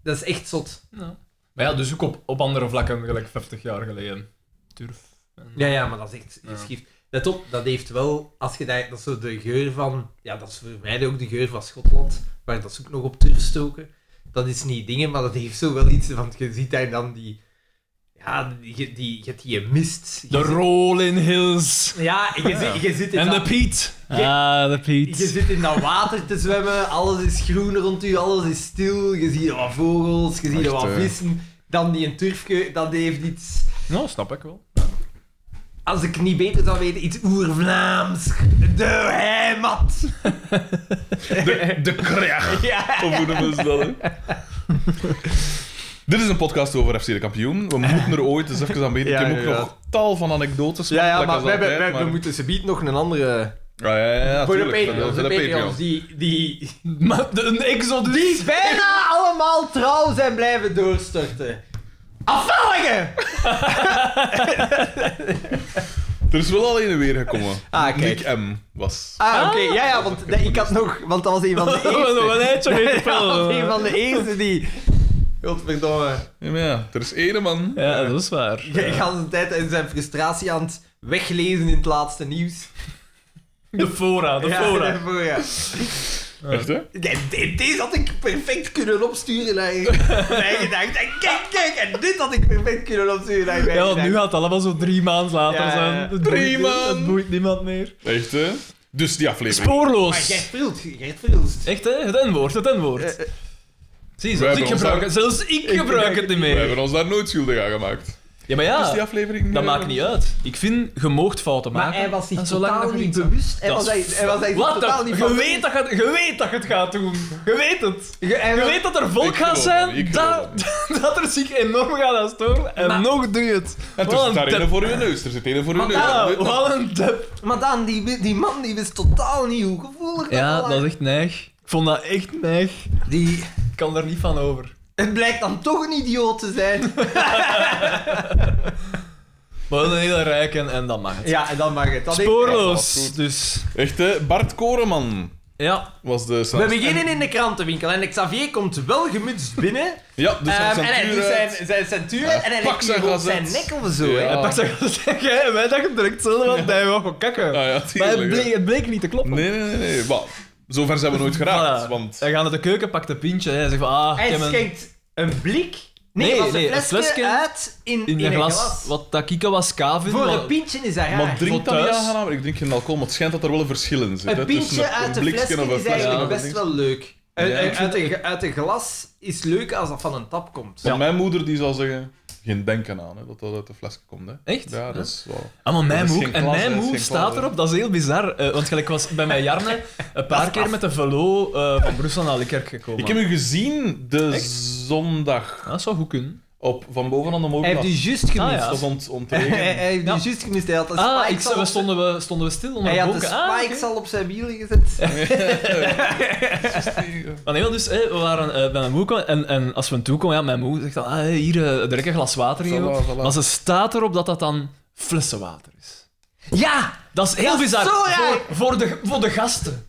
Speaker 3: Dat is echt zot.
Speaker 4: Ja. Maar ja, dus ook op, op andere vlakken, gelijk 50 jaar geleden. Turf. en-
Speaker 3: Ja, ja, maar dat is echt
Speaker 4: Ja.
Speaker 3: geschift. Let op, dat heeft wel, als je daar, dat is zo de geur van, ja, dat is voor mij ook de geur van Schotland, waar dat ze ook nog op turf stoken. Dat is niet dingen, maar dat heeft zo wel iets, want je ziet daar dan die, ja, die, die, je hebt die mist. Je
Speaker 4: De
Speaker 3: zit-
Speaker 4: Rolling Hills.
Speaker 3: Ja, je, zit- je zit in
Speaker 4: En de
Speaker 3: dat...
Speaker 4: Piet.
Speaker 3: Je-
Speaker 4: Ah, de
Speaker 3: Je
Speaker 4: Piet.
Speaker 3: zit in dat water te zwemmen, alles is groen rond u, alles is stil. Je ziet wat vogels, je ziet
Speaker 2: Echt,
Speaker 3: wat
Speaker 2: eh.
Speaker 3: vissen. Dan die een turfke, dat heeft iets.
Speaker 4: Nou, snap ik wel.
Speaker 3: Als ik niet beter zou weten, iets oer-Vlaams. De heimat.
Speaker 2: De, de kracht.
Speaker 3: Ja.
Speaker 2: Of hoe noemen ze dat? hè? Dit is een podcast over FC de kampioen. We moeten er ooit eens even aan weten.
Speaker 3: Ja,
Speaker 2: ik heb ook
Speaker 3: inderdaad.
Speaker 2: nog tal van anekdotes.
Speaker 3: Ja, ja,
Speaker 2: like
Speaker 3: maar
Speaker 2: als
Speaker 3: we, hebben,
Speaker 2: altijd,
Speaker 3: we- we moeten ze biedt nog een andere...
Speaker 2: Ja, Ah, ja, ja, ja,
Speaker 3: Voor de
Speaker 2: tuurlijk.
Speaker 3: Patreons,
Speaker 2: Voor
Speaker 3: de
Speaker 2: de
Speaker 3: Patreons,
Speaker 2: Patreons.
Speaker 3: die, die,
Speaker 4: Maar de, een exodus.
Speaker 3: die bijna allemaal trouw zijn blijven doorstorten. Afvalligen!
Speaker 2: Er is wel alleen een weer gekomen.
Speaker 3: Ah, kijk.
Speaker 2: Nick M. was.
Speaker 3: Ah, oké. Ja, ja, want dat- ik had nog... Want dat was een van de
Speaker 4: Wat
Speaker 3: eerste.
Speaker 4: heet je weet het
Speaker 3: Dat
Speaker 4: wel.
Speaker 3: was een van de eerste die... Godverdomme.
Speaker 2: Ja, maar ja, er is ene man.
Speaker 4: Ja, dat is waar.
Speaker 3: De hele tijd in zijn frustratie aan het weglezen in het laatste nieuws.
Speaker 4: De fora, de fora.
Speaker 3: Ja, voorraad.
Speaker 2: Echt, hè?
Speaker 3: Nee, dit, dit had ik perfect kunnen opsturen naar mijn gedachten. En Kijk, kijk, en dit had ik perfect kunnen opsturen naar mijn
Speaker 4: Ja, want nu
Speaker 3: gedachten.
Speaker 4: gaat het allemaal zo drie maanden later
Speaker 3: Ja, ja, ja.
Speaker 4: zijn. Het boeit
Speaker 2: Drie
Speaker 4: niet-
Speaker 2: maanden.
Speaker 4: Het boeit niemand meer.
Speaker 2: Echt, hè? Dus die aflevering.
Speaker 3: Maar
Speaker 4: Spoorloos.
Speaker 3: Gert Vrult, Gert Vrult.
Speaker 4: Echt, hè? Het N-woord, het N-woord.
Speaker 3: Eh, eh,
Speaker 4: Zie je,
Speaker 2: Wij
Speaker 4: zelfs ik
Speaker 2: hebben ons
Speaker 4: gebruik
Speaker 2: daar-
Speaker 4: het. Zelfs ik gebruik het niet
Speaker 2: We
Speaker 4: meer.
Speaker 2: hebben ons daar nooit schuldig aan gemaakt.
Speaker 4: Ja, maar
Speaker 2: Dus die
Speaker 4: ja,
Speaker 2: aflevering...
Speaker 4: dat
Speaker 2: eh,
Speaker 4: maakt niet uit. Ik vind, je moogt fouten maken.
Speaker 3: maar hij was zich
Speaker 4: en zolang
Speaker 3: totaal
Speaker 4: dat je
Speaker 3: niet
Speaker 4: niet-
Speaker 3: bewust. Hij
Speaker 4: Dat
Speaker 3: was,
Speaker 4: is
Speaker 3: hij, hij was zich
Speaker 4: Wat
Speaker 3: totaal
Speaker 4: dan?
Speaker 3: niet
Speaker 4: Je
Speaker 3: bewust.
Speaker 4: weet, dat het, je weet dat je het gaat doen. Je weet het.
Speaker 3: Je- hij
Speaker 4: Je
Speaker 3: was-
Speaker 4: weet dat er volk
Speaker 2: Ik
Speaker 4: gaat
Speaker 2: geloof hem,
Speaker 4: zijn
Speaker 2: ik
Speaker 4: dat,
Speaker 2: geloof
Speaker 4: dat er zich enorm gaat aan storen. En
Speaker 3: Maar-
Speaker 4: nog doe je het.
Speaker 2: En er
Speaker 4: Wat
Speaker 2: zit daar
Speaker 3: eh,
Speaker 2: ene
Speaker 4: een dep.
Speaker 2: voor je neus. Er zit ene voor je
Speaker 3: Maar
Speaker 2: neus.
Speaker 4: Ja,
Speaker 2: Dat weet nog.
Speaker 4: wat een dep.
Speaker 3: Maar dan, die, wi- die man die wist totaal niet hoe gevoelig
Speaker 4: Ja,
Speaker 3: was.
Speaker 4: dat is echt neig. Ik vond dat echt neig.
Speaker 3: Die,
Speaker 4: Ik kan daar niet van over.
Speaker 3: het blijkt dan toch een idioot te zijn.
Speaker 4: Maar dat is een hele rijk en, en dat mag het.
Speaker 3: Ja, en dan mag het. Dan ik-
Speaker 2: Ja, dat is
Speaker 4: Spoorloos.
Speaker 2: goed.
Speaker 4: Dus
Speaker 2: Echt, hè? Bart Koreman
Speaker 4: ja,
Speaker 2: was de...
Speaker 3: We
Speaker 2: sans-
Speaker 3: beginnen in de krantenwinkel en Xavier komt wel gemutst binnen.
Speaker 2: Ja, dus
Speaker 3: Ehm,
Speaker 2: zijn
Speaker 3: en hij
Speaker 2: centuur
Speaker 3: doet
Speaker 2: uit.
Speaker 3: zijn, zijn centuur
Speaker 2: Hij
Speaker 3: en hij
Speaker 2: pakt
Speaker 3: legt
Speaker 2: zijn
Speaker 3: die op zijn
Speaker 2: gazet.
Speaker 3: nek of zo.
Speaker 2: Ja.
Speaker 3: hè.
Speaker 4: hij pakt zijn gezegd en wij dachten direct zo, want hij wou gewoon kakken.
Speaker 2: Ah, ja,
Speaker 4: maar
Speaker 2: tuurlijk,
Speaker 4: het
Speaker 2: hè.
Speaker 4: bleek, het bleek niet te kloppen.
Speaker 2: Nee, nee, nee. nee. Maar, zover zijn we nooit geraakt,
Speaker 4: Voilà.
Speaker 2: want...
Speaker 4: Hij gaat naar de keuken, pakt een pintje en hij zegt van ah, ik
Speaker 3: Hij
Speaker 4: heb een-
Speaker 3: schenkt een blik. Nee,
Speaker 4: Nee,
Speaker 3: was
Speaker 4: nee,
Speaker 3: een
Speaker 4: een
Speaker 3: flesje,
Speaker 4: flesje
Speaker 3: uit in,
Speaker 4: in een glas. Wat dat kieken was kaven.
Speaker 3: Voor
Speaker 4: maar-
Speaker 3: een pintje is dat raar.
Speaker 2: Maar drink
Speaker 4: Voor
Speaker 2: dat niet
Speaker 4: thuis?
Speaker 2: aangenaam. Ik drink geen alcohol, maar het schijnt dat er wel een verschil in zit. hè,
Speaker 3: een
Speaker 2: tussen
Speaker 3: pintje uit een
Speaker 2: blikje
Speaker 3: flesje
Speaker 2: of een
Speaker 3: is
Speaker 2: flesje
Speaker 3: eigenlijk
Speaker 2: of een
Speaker 3: best
Speaker 2: ding.
Speaker 3: wel leuk.
Speaker 2: Ja.
Speaker 3: Uit- uit- Uit, een, uit een glas is leuk als dat van een tap komt.
Speaker 2: Want mijn moeder die zal zeggen, geen denken aan hè, dat dat uit de flesje komt. Hè.
Speaker 4: Echt?
Speaker 2: Ja, dat is wel...
Speaker 4: Ah, maar mijn
Speaker 2: Dat is
Speaker 4: moe,
Speaker 2: geen
Speaker 4: en
Speaker 2: klas,
Speaker 4: mijn
Speaker 2: hè, dat is
Speaker 4: moe
Speaker 2: geen
Speaker 4: staat
Speaker 2: klas,
Speaker 4: erop, dat is heel bizar. eh, want gelijk was bij mijn Jarne een paar keer met de velo eh, van Brussel naar de kerk gekomen.
Speaker 2: Ik heb u gezien de
Speaker 4: Echt?
Speaker 2: zondag
Speaker 4: Ah, dat zou goed kunnen.
Speaker 2: op Van Boven aan de
Speaker 3: Hij heeft
Speaker 2: Molenplaats.
Speaker 3: die juist gemist.
Speaker 4: Ah, ja.
Speaker 2: Dat is ont,
Speaker 3: Hij,
Speaker 2: ontregen.
Speaker 3: hij heeft die
Speaker 4: Ja.
Speaker 3: juist gemist. Hij had de
Speaker 4: Ah, ik,
Speaker 3: spikes al
Speaker 4: we
Speaker 3: op-
Speaker 4: stonden, we, stonden we stil onder
Speaker 3: Hij
Speaker 4: de
Speaker 3: had de
Speaker 4: boken. Ah,
Speaker 3: spikes
Speaker 4: oké.
Speaker 3: al op zijn wielen gezet.
Speaker 4: Maar nee, wel, dus, eh, we waren eh, bij mijn moe komen en, en als we toe komen, ja, mijn moe zegt dan, ah, hier, eh, direct een glas water geven.
Speaker 2: Voilà, voilà.
Speaker 4: Maar ze staat erop dat dat dan flessenwater is.
Speaker 3: Ja!
Speaker 4: Dat is heel
Speaker 3: Dat is
Speaker 4: bizar.
Speaker 3: zo raar.
Speaker 4: voor, voor, de, voor de gasten.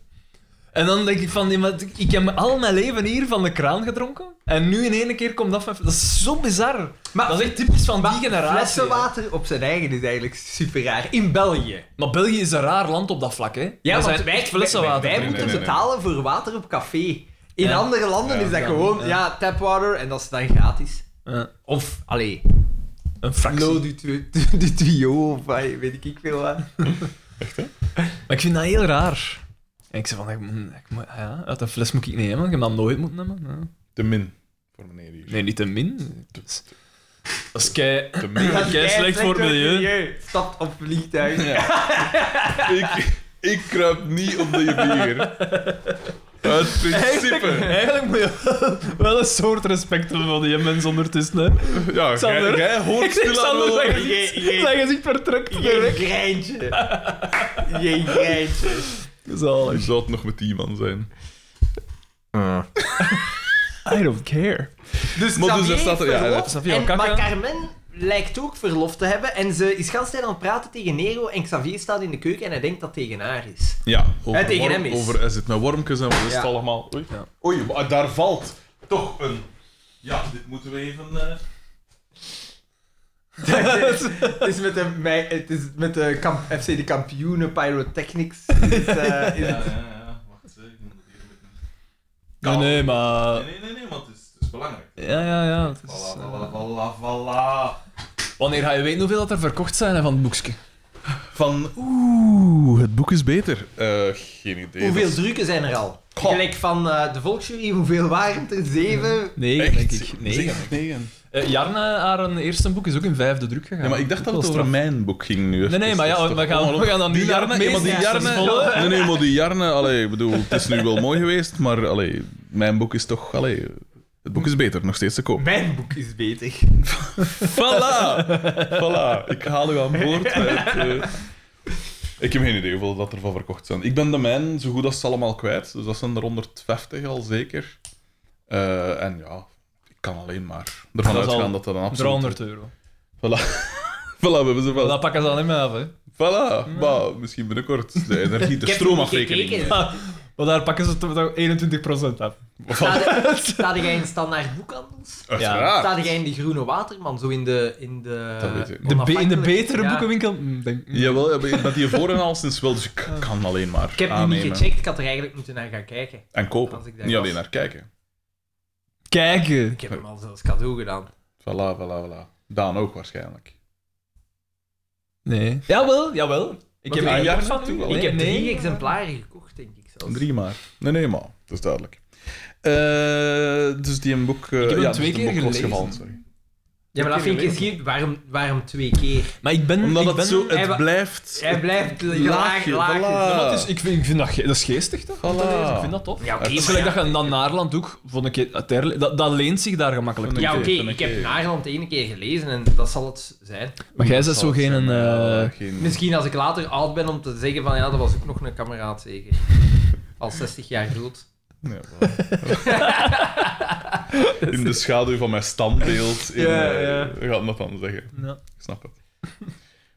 Speaker 4: En dan denk ik van, nee, maar ik heb al mijn leven hier van de kraan gedronken. En nu in één keer komt dat van... Dat is zo bizar.
Speaker 3: Maar-
Speaker 4: dat is echt typisch van die
Speaker 3: Maar
Speaker 4: generatie.
Speaker 3: flessen
Speaker 4: hè.
Speaker 3: water op zijn eigen is eigenlijk super raar. In België.
Speaker 4: Maar België is een raar land op dat vlak, hè.
Speaker 3: Ja,
Speaker 4: Wij
Speaker 3: want
Speaker 4: zijn
Speaker 3: wij,
Speaker 4: echt flessenwater.
Speaker 3: wij, wij
Speaker 2: Nee,
Speaker 3: moeten
Speaker 2: nee, nee,
Speaker 3: betalen voor water op café. In
Speaker 4: Ja.
Speaker 3: andere landen
Speaker 2: Ja,
Speaker 3: is dat
Speaker 4: ja,
Speaker 3: gewoon, ja,
Speaker 4: ja.
Speaker 3: tapwater en dat is dan gratis.
Speaker 4: Ja,
Speaker 3: Of, allee,
Speaker 4: een fractie.
Speaker 3: Lo du, tu- tu- du Tuyau of eh, weet ik veel wat.
Speaker 4: Maar ik vind dat heel raar. En ik zei van, ik, moet- ik moet- ja, uit een fles moet ik niet nemen. Ik heb dat nooit moeten nemen. Ja.
Speaker 2: Te min. Voor meneer hier.
Speaker 4: Nee, niet te min. Dat is- Dat is kei...
Speaker 2: Te min.
Speaker 4: Ja.
Speaker 3: Jij
Speaker 4: slecht voor het milieu.
Speaker 3: Stapt op vliegtuig.
Speaker 2: Ja. ik, ik kruip niet op de bier. Uit principe.
Speaker 4: Eigenlijk moet je wel- wel een soort respect hebben voor die mensen ondertussen. Hè.
Speaker 2: Ja, jij,
Speaker 4: Xander.
Speaker 2: jij hoort stilaan
Speaker 4: Xander,
Speaker 2: wel...
Speaker 4: zeg-
Speaker 3: Je- je-
Speaker 4: Zijn gezicht vertrekt
Speaker 3: Je
Speaker 4: direct.
Speaker 3: greintje. Je greintje.
Speaker 2: Je
Speaker 4: Zalig.
Speaker 2: zou het nog met die man zijn. Ah.
Speaker 4: I don't care.
Speaker 3: Dus
Speaker 2: Maar dus
Speaker 3: Xavier
Speaker 2: dat staat er- ja,
Speaker 3: verlof,
Speaker 2: dat-
Speaker 4: Xavier
Speaker 3: en-
Speaker 4: ook,
Speaker 3: maar
Speaker 4: ja.
Speaker 3: Carmen lijkt ook verlof te hebben en ze is gans tijd aan het praten tegen Nero en Xavier staat in de keuken en hij denkt dat het tegen haar is.
Speaker 2: Ja, over,
Speaker 3: Het tegen
Speaker 2: worm-
Speaker 3: hem is.
Speaker 2: over hij zit met wormpjes en wat is
Speaker 3: Ja.
Speaker 2: het allemaal. Oei.
Speaker 4: Ja.
Speaker 2: Oei, maar daar valt toch een... Ja, dit moeten we even... eh,
Speaker 3: het is met de, mij- het is met de kamp, FC de kampioenen Pyrotechnics. Is, het, eh, is
Speaker 2: Ja,
Speaker 3: het-
Speaker 2: ja, ja. Wacht, hè, ik moet het hier met een-
Speaker 4: Nee, nee, maar...
Speaker 2: Nee, nee, nee, nee, want het is, het is belangrijk.
Speaker 4: Ja, ja, ja. het is,
Speaker 2: Voilà,
Speaker 4: eh,
Speaker 2: voilà, voilà, voilà.
Speaker 4: Wanneer ga je weten hoeveel dat er verkocht zijn hè, van het boekje?
Speaker 2: Van, oeh, het boek is beter. Eh, geen idee.
Speaker 3: hoeveel
Speaker 2: dat-
Speaker 3: drukken zijn er al?
Speaker 2: Goh.
Speaker 3: Gelijk van eh, de Volksjury, hoeveel waren het er? Zeven?
Speaker 4: Nee,
Speaker 2: Echt?
Speaker 4: denk ik. Nee.
Speaker 2: Zeker negen.
Speaker 4: Eh, Jarne, haar eerste boek, is ook in vijfde druk gegaan.
Speaker 2: Ja, maar ik dacht dat
Speaker 4: Ook
Speaker 2: het
Speaker 4: wel
Speaker 2: over
Speaker 4: straf.
Speaker 2: mijn boek ging nu.
Speaker 4: Nee, nee, maar ja, we gaan, we gaan dan nu
Speaker 2: Die
Speaker 4: naar
Speaker 2: Jarne,
Speaker 4: het
Speaker 2: ja, maar
Speaker 4: meest
Speaker 2: die
Speaker 4: succesvolle,
Speaker 2: Jarne...
Speaker 4: hè.
Speaker 2: Nee, nee, maar die Jarne... Allee, ik bedoel, het is nu wel mooi geweest, maar allee, mijn boek is toch... Allee, het boek is beter, nog steeds te koop.
Speaker 3: Mijn boek is beter.
Speaker 2: Voilà! Voilà, ik haal u aan boord. Met, eh, Ik heb geen idee hoeveel dat er van verkocht zijn. Ik ben de mijn zo goed als ze allemaal kwijt. Dus dat zijn er 150 al zeker. Eh, en ja, ik kan alleen maar ervan
Speaker 4: Dat is al
Speaker 2: uitgaan dat dat een absoluut...
Speaker 4: 300 euro.
Speaker 2: Voilà. Voilà, we hebben ze
Speaker 4: Maar
Speaker 2: wel.
Speaker 4: dat pakken ze aan hem af, hè.
Speaker 2: Voilà, maar misschien binnenkort. De energie, de
Speaker 3: Ik heb niet
Speaker 2: stroomafrekening.
Speaker 3: gekeken.
Speaker 4: Ah, Maar daar pakken ze toch nog 21% af.
Speaker 2: Voilà,
Speaker 3: Staat staat jij in standaard boekhandels?
Speaker 2: Ah. Uiteraard.
Speaker 3: Staat jij in de Groene Waterman, zo in de... In de,
Speaker 2: Dat weet ik niet.
Speaker 4: De be- in de
Speaker 3: onafhankelijke-
Speaker 4: betere
Speaker 3: Oh, Ja.
Speaker 4: boekenwinkel? Hm, denk, hm.
Speaker 2: Jawel, ja, maar ik ben die voor en al sinds wel, dus ik kan alleen Ah, maar
Speaker 3: Ik heb die
Speaker 2: aannemen.
Speaker 3: niet gecheckt, ik had er eigenlijk moeten naar gaan kijken.
Speaker 2: En
Speaker 3: Als ik
Speaker 2: kopen,
Speaker 3: daar
Speaker 2: niet
Speaker 3: was.
Speaker 2: alleen naar kijken.
Speaker 4: Kijken.
Speaker 3: Ik heb hem al zelfs cadeau gedaan.
Speaker 2: Voilà, voilà, voilà. Daan ook waarschijnlijk.
Speaker 4: Nee. Jawel, jawel. Ik
Speaker 3: Wat doe
Speaker 2: Een
Speaker 4: heb
Speaker 3: je?
Speaker 4: eigenlijk-
Speaker 2: jaar van toe
Speaker 4: Nee,
Speaker 2: wel.
Speaker 3: ik heb
Speaker 4: nee.
Speaker 3: drie exemplaren gekocht, denk ik zelfs.
Speaker 2: Drie maar. Nee, nee, maar. Dat is duidelijk. Eh, dus die een boek... eh,
Speaker 4: Ik heb hem
Speaker 2: ja,
Speaker 4: twee
Speaker 2: dus
Speaker 4: keer
Speaker 2: een boek was
Speaker 4: gelezen.
Speaker 2: gevallen, sorry.
Speaker 3: Ja, maar dat
Speaker 2: Twee
Speaker 3: vind ik
Speaker 2: keer
Speaker 3: eens geen... Waarom, waarom twee keer?
Speaker 4: Maar ik ben...
Speaker 2: Omdat
Speaker 4: Hm,
Speaker 2: het
Speaker 4: ik ben,
Speaker 2: zo... Ah.
Speaker 3: Hij wa-
Speaker 2: Het blijft...
Speaker 3: Hij blijft laag,
Speaker 2: Laagje,
Speaker 3: laag.
Speaker 2: voilà.
Speaker 4: Dat is, ik, vind, ik vind dat... ge- Dat is geestig, toch? om te lezen. Ik vind dat tof.
Speaker 3: Ja, oké,
Speaker 2: Het
Speaker 4: Het is
Speaker 3: maar
Speaker 4: gelijk
Speaker 3: ja.
Speaker 4: dat je dan Naarland ook, vond ik, het herle- dat, dat leent zich daar gemakkelijk toe.
Speaker 2: Ja.
Speaker 3: Ja, oké,
Speaker 2: Oké,
Speaker 3: ik heb
Speaker 2: oké.
Speaker 3: Naarland één keer gelezen en dat zal het zijn.
Speaker 4: Maar jij bent zo geen...
Speaker 2: Zal
Speaker 4: Een,
Speaker 2: het zijn, maar ja,
Speaker 4: eh
Speaker 2: geen-
Speaker 3: Misschien als ik later oud ben om te zeggen van ja, dat was ook nog een kameraad zeker. Al 60 jaar dood.
Speaker 2: Nee, wel. in de schaduw van mijn standbeeld. In,
Speaker 4: Ja,
Speaker 2: eh,
Speaker 4: ja.
Speaker 2: we gaan dat dan zeggen.
Speaker 4: ja.
Speaker 2: Ik snap het.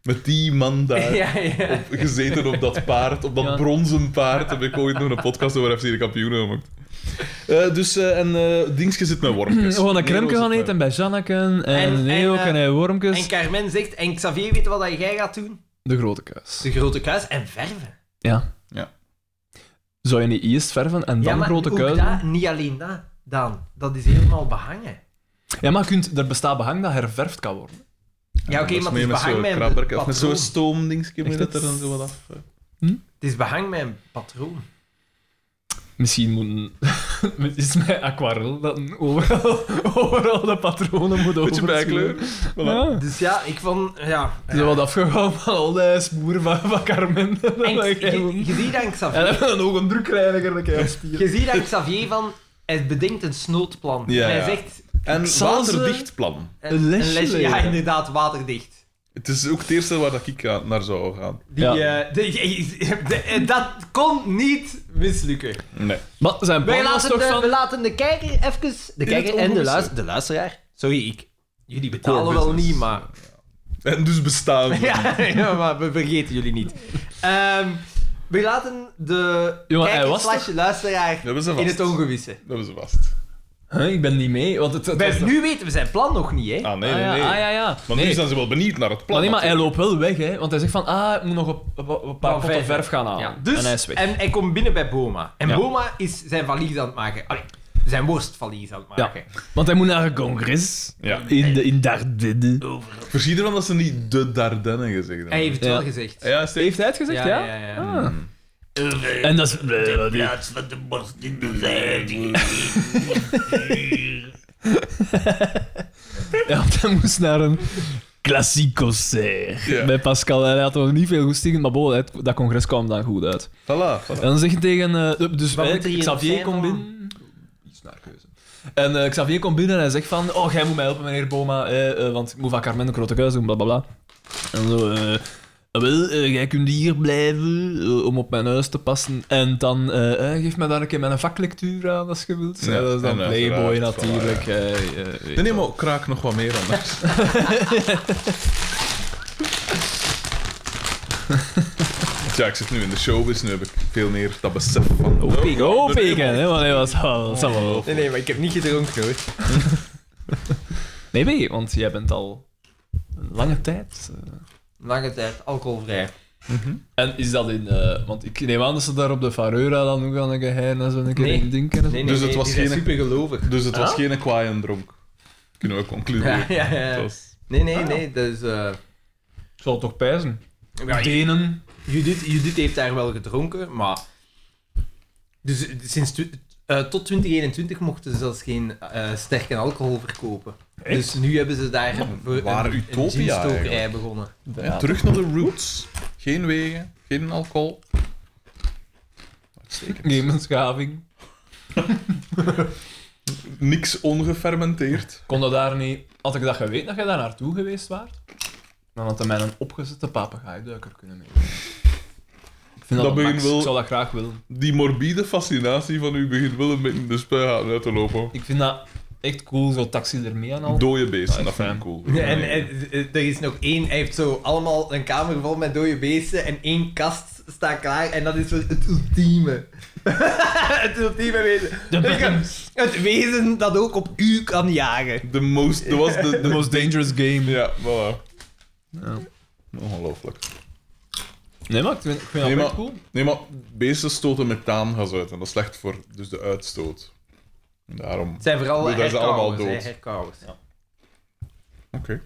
Speaker 2: Met die man daar.
Speaker 3: ja, ja.
Speaker 2: Gezeten op dat paard, op dat
Speaker 4: Ja.
Speaker 2: bronzen paard, heb ik ooit nog een podcast over FC de kampioenen gemaakt. Eh, dus, eh, en eh Dingske zit met wormpjes.
Speaker 4: Gewoon een kremke
Speaker 2: Nero
Speaker 4: gaan
Speaker 2: zit met-
Speaker 4: eten bij Janneken en,
Speaker 3: En-
Speaker 4: en Neo
Speaker 3: en,
Speaker 4: en,
Speaker 3: eh,
Speaker 4: hij
Speaker 3: En
Speaker 2: Dus-
Speaker 4: Wormkes.
Speaker 3: Carmen zegt, en Xavier weet wat jij gaat doen?
Speaker 4: De grote kuis.
Speaker 3: De grote kuis en verven.
Speaker 4: Ja.
Speaker 2: Ja.
Speaker 4: Zou je niet eerst verven en dan
Speaker 3: ja, maar
Speaker 4: grote
Speaker 3: ook
Speaker 4: kuis? doen?
Speaker 3: dat, niet alleen dat, Daan. Dat is helemaal behangen.
Speaker 4: Ja, maar je kunt, er bestaat behang dat herverfd kan worden.
Speaker 3: Ja, oké,
Speaker 2: dat is
Speaker 3: maar het is
Speaker 2: mee met
Speaker 3: behang
Speaker 2: zo'n
Speaker 3: met een
Speaker 2: krabberke- Of met
Speaker 3: patroon.
Speaker 2: zo'n stoomdingske
Speaker 4: Echt,
Speaker 2: met het er
Speaker 4: dat-
Speaker 2: dan zo wat af. eh.
Speaker 3: Het is behang met een patroon.
Speaker 4: Misschien moeten... Het is mijn aquarel dat overal, overal de patronen moeten
Speaker 2: Beetje bijkleur.
Speaker 4: overschuiven.
Speaker 2: Voilà.
Speaker 4: Ja.
Speaker 3: Dus ja, ik vond... Ja,
Speaker 4: Ze
Speaker 3: ja.
Speaker 4: wat afgegaan van al die smoer van, van Carmen.
Speaker 3: En
Speaker 4: Dat ik-
Speaker 3: je, je, je ziet aan
Speaker 4: En
Speaker 3: Xavier...
Speaker 4: hebben dan ook een drukreiniger dat ik spier.
Speaker 3: Je ziet aan Xavier van... Hij bedenkt een snoodplan.
Speaker 2: Ja,
Speaker 3: en hij
Speaker 2: ja.
Speaker 3: zegt... eh,
Speaker 2: En
Speaker 4: zal ze-
Speaker 2: waterdicht plan.
Speaker 3: Een,
Speaker 4: Een lesje leren.
Speaker 3: Ja, inderdaad, waterdicht.
Speaker 2: Het is ook het eerste waar dat ik aan- naar zou gaan.
Speaker 3: Die,
Speaker 4: Ja.
Speaker 3: eh, de- de- de- dat kon niet mislukken.
Speaker 2: Nee.
Speaker 4: Maar zijn
Speaker 3: Wij
Speaker 4: plan was
Speaker 3: laten,
Speaker 4: toch
Speaker 3: de, we
Speaker 4: van...
Speaker 3: laten de kijker even... De kijker en de,
Speaker 2: onbewuste.
Speaker 3: luister, de luisteraar. Sorry, ik... Jullie betalen
Speaker 2: Core
Speaker 3: wel
Speaker 2: business.
Speaker 3: niet, maar...
Speaker 2: En dus bestaan. we.
Speaker 3: Ja, ja, maar we vergeten jullie niet. Ehm, we laten de
Speaker 4: Ja, maar hij
Speaker 3: kijker
Speaker 4: was
Speaker 3: slash luisteraar
Speaker 2: Dat hebben ze
Speaker 3: in
Speaker 2: vast.
Speaker 3: het ongewisse.
Speaker 2: Dat is vast.
Speaker 4: Huh, ik ben niet mee, want het... het
Speaker 3: Wij,
Speaker 4: was-
Speaker 3: nu weten we zijn plan nog niet, hè?
Speaker 2: Ah, nee,
Speaker 4: ah,
Speaker 2: nee,
Speaker 4: ja,
Speaker 2: nee.
Speaker 4: ah, ja, ja.
Speaker 2: Maar nu
Speaker 4: nee.
Speaker 2: zijn ze wel benieuwd naar het plan.
Speaker 4: Maar nee, maar hij loopt wel weg, hè. Want hij zegt van, ah, ik moet nog een, een- een paar
Speaker 3: Van
Speaker 4: potten
Speaker 3: verf.
Speaker 4: verf gaan halen.
Speaker 3: Ja, dus,
Speaker 4: En hij is weg.
Speaker 3: En hij komt binnen bij Boma. En
Speaker 4: Ja.
Speaker 3: Boma is zijn valies aan het maken. Allee, zijn worstvalise aan het
Speaker 4: Ja.
Speaker 3: maken.
Speaker 4: Want hij moet naar een congres.
Speaker 2: Ja.
Speaker 4: In, de, in Dardenne.
Speaker 2: Verschiet ervan dat ze niet de Dardenne gezegd hebben. Ah,
Speaker 3: Hij heeft het
Speaker 4: Ja.
Speaker 3: wel gezegd.
Speaker 2: Ja, Steve.
Speaker 4: Heeft hij het gezegd, ja?
Speaker 3: ja, ja.
Speaker 4: Ah. En dat is... eh,
Speaker 5: plaats van de borst in de zijde.
Speaker 4: Ja, want hij moest naar een klassiek concert
Speaker 2: Ja.
Speaker 4: bij Pascal. En hij had er niet veel goesting, in, maar bon, het- dat congres kwam dan goed uit.
Speaker 2: Voilà, voilà.
Speaker 4: En dan zeg je tegen... eh, dus
Speaker 3: Wat
Speaker 4: wij-
Speaker 3: moet er hier nog
Speaker 4: Xavier
Speaker 3: zijn
Speaker 4: komt
Speaker 3: dan?
Speaker 4: binnen... Iets naar keuze. En eh, Xavier komt binnen en hij zegt van... Oh, jij moet mij helpen, meneer Boma, eh, eh, want ik moet van Carmen een grote kuis doen, blablabla. En zo... eh, "Ah, wel, eh, jij kunt hier blijven eh, om op mijn huis te passen. En dan eh, eh, geef mij daar een keer mijn vaklectuur aan als je wilt.
Speaker 2: Ja,
Speaker 4: Ja, eh, dat is dan
Speaker 2: en
Speaker 4: Playboy
Speaker 2: uiteraard, voilà,
Speaker 4: natuurlijk. eh eh,
Speaker 2: Nee,
Speaker 4: weet
Speaker 2: nee,
Speaker 4: wel.
Speaker 2: maar kraak nog wat meer anders. ja, ik zit nu in de showbiz, nu heb ik veel meer dat besef van... Oh,
Speaker 4: Oh, peken, hè, want hij was al. zal wel wel.
Speaker 3: Nee, nee, maar ik heb niet gedronken hoor.
Speaker 4: Nee, Peke, want jij bent al een lange tijd. eh.
Speaker 3: Lange tijd, alcoholvrij.
Speaker 4: En is dat in. eh, want ik neem aan dat ze daar op de Fareura dan ook aan een geheim en zo een keer
Speaker 3: Nee.
Speaker 4: in ding kennen.
Speaker 3: Nee, nee,
Speaker 2: Dus het
Speaker 3: nee,
Speaker 2: was
Speaker 3: die zijn
Speaker 2: geen-
Speaker 3: supergelovig.
Speaker 2: Dus het was
Speaker 4: Ah?
Speaker 2: geen kwaaien dronk. Kunnen we concluderen.
Speaker 3: Ja, ja,
Speaker 2: Het
Speaker 3: ja.
Speaker 2: was-
Speaker 3: Nee, nee, nee, dus... eh
Speaker 4: Ik zal het toch pijzen.
Speaker 3: ja,
Speaker 4: Denen.
Speaker 3: Judith, Judith heeft daar wel gedronken, maar... Dus sinds tw- eh, tot 2021 mochten ze zelfs geen eh, sterke alcohol verkopen. Dus nu hebben ze daar voor
Speaker 2: waar
Speaker 3: een,
Speaker 2: utopia
Speaker 3: een ginstokerij
Speaker 2: eigenlijk.
Speaker 3: begonnen.
Speaker 2: Ja, terug naar de roots. Geen wegen, geen alcohol. Uitstekend.
Speaker 4: Gemenschaving.
Speaker 2: Niks ongefermenteerd.
Speaker 4: Kon dat daar niet. Had ik dat geweten dat je daar naartoe geweest waart, dan had hij mij een opgezette papegaaideuker kunnen meenemen. Ik vind
Speaker 2: Dat
Speaker 4: dat, een
Speaker 2: begin
Speaker 4: max.
Speaker 2: wel-
Speaker 4: Ik zou dat graag willen.
Speaker 2: Die morbide fascinatie van u begint wel een beetje in de spuigaten uit te lopen.
Speaker 4: Ik vind dat echt cool, zo taxi ermee en al.
Speaker 2: Dode beesten,
Speaker 4: Ja,
Speaker 2: dat vind ik
Speaker 4: fijn.
Speaker 2: cool.
Speaker 3: Ja, en, en, eh, er is nog één, hij heeft zo allemaal een kamer vol met dode beesten en één kast staat klaar en dat is voor het ultieme. het ultieme wezen. Dus
Speaker 4: De
Speaker 3: Ik kan-
Speaker 4: Beckhams.
Speaker 3: Het wezen dat ook op u kan jagen.
Speaker 2: De most... Dat was de...
Speaker 4: The
Speaker 2: de
Speaker 4: most dangerous game.
Speaker 2: ja, voilà.
Speaker 4: Ja.
Speaker 2: Ongelooflijk.
Speaker 4: Nee, maar ik vind, ik vind
Speaker 2: Nee,
Speaker 4: dat
Speaker 2: maar-
Speaker 4: echt cool.
Speaker 2: Nee, maar beesten stoten methaangas uit en dat is slecht voor dus de uitstoot. Daarom...
Speaker 3: Het zijn vooral
Speaker 2: Nee, dat is allemaal
Speaker 3: herkauwers.
Speaker 2: dood.
Speaker 3: hè, herkauwers.
Speaker 2: Oké.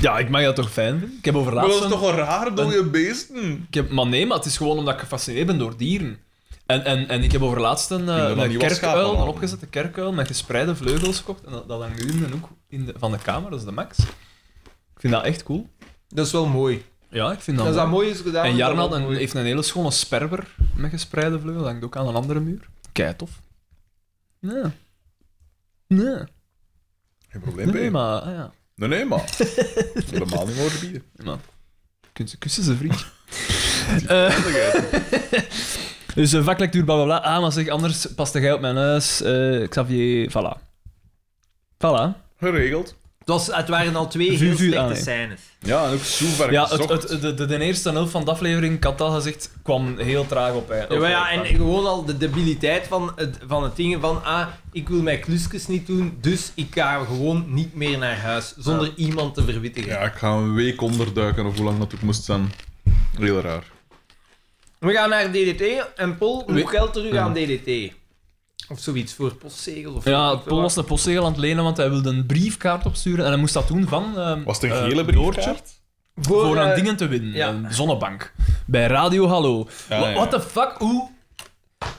Speaker 4: Ja, ik mag dat toch fijn vinden. Ik heb
Speaker 2: Maar
Speaker 4: overlaatst...
Speaker 2: dat is toch een raar dode beesten?
Speaker 4: Ik heb, maar nee, maar het is gewoon omdat ik gefascineerd ben door dieren. En, en, en ik heb overlaatst een, eh,
Speaker 2: dat dan
Speaker 4: een
Speaker 2: niet wat
Speaker 4: kerkuil,
Speaker 2: schapen
Speaker 4: een
Speaker 2: hadden.
Speaker 4: opgezette kerkuil met gespreide vleugels gekocht. En dat, dat hangt nu in de hoek in de, van de kamer, dat is de max. Ik vind dat echt cool.
Speaker 3: Dat is wel mooi.
Speaker 4: Ja, ik vind
Speaker 3: Dat
Speaker 4: dat...
Speaker 3: is dat mooi is gedaan.
Speaker 4: en
Speaker 3: is dat
Speaker 4: Jarn had
Speaker 3: wel
Speaker 4: een-
Speaker 3: mooi.
Speaker 4: heeft een hele schone sperber met gespreide vleugels, hangt ook aan een andere muur. Kei tof. Nee. Nee,
Speaker 2: Geen probleem
Speaker 4: nee,
Speaker 2: bij.
Speaker 4: maar... ah ja.
Speaker 2: Nee, nee, maar. Helemaal niet meer bier.
Speaker 4: Nee, maar... Kun ze kussen, ze vriend. Eh, Dus eh, vaklectuur, bla bla bla. Ah, maar zeg, anders past jij op mijn huis. eh, Xavier, voilà. Voilà.
Speaker 2: Geregeld.
Speaker 3: Het, was, het waren al twee
Speaker 4: Vuur,
Speaker 3: heel
Speaker 4: vuur
Speaker 3: slechte
Speaker 4: aan, hè.
Speaker 3: scènes.
Speaker 2: Ja, en ook zo ver
Speaker 4: Ja, het,
Speaker 2: gezocht.
Speaker 4: het, de, de, de eerste helft van de aflevering, ik had al gezegd, kwam heel traag op.
Speaker 3: Ja, maar ja,
Speaker 4: eh,
Speaker 3: en gewoon al de debiliteit van het, van het ding van ah, ik wil mijn klusjes niet doen, dus ik ga gewoon niet meer naar huis zonder iemand te verwittigen.
Speaker 2: Ja, ik ga een week onderduiken of hoe lang dat ook moest zijn. Heel raar.
Speaker 3: We gaan naar DDT en Paul
Speaker 4: We-
Speaker 3: moet geld terug
Speaker 4: Ja.
Speaker 3: aan DDT. Of zoiets voor postzegel of
Speaker 4: Ja, Paul was een postzegel aan het lenen, want hij wilde een briefkaart opsturen. En hij moest dat doen van... ehm,
Speaker 2: Was het een
Speaker 4: eh,
Speaker 2: gele
Speaker 4: Doortje.
Speaker 2: briefkaart?
Speaker 4: Voor, aan
Speaker 3: eh,
Speaker 4: dingen te winnen.
Speaker 3: ja.
Speaker 4: Een zonnebank. Bij Radio Hallo.
Speaker 2: Ja,
Speaker 4: Wa-
Speaker 2: ja.
Speaker 4: What the fuck? Hoe...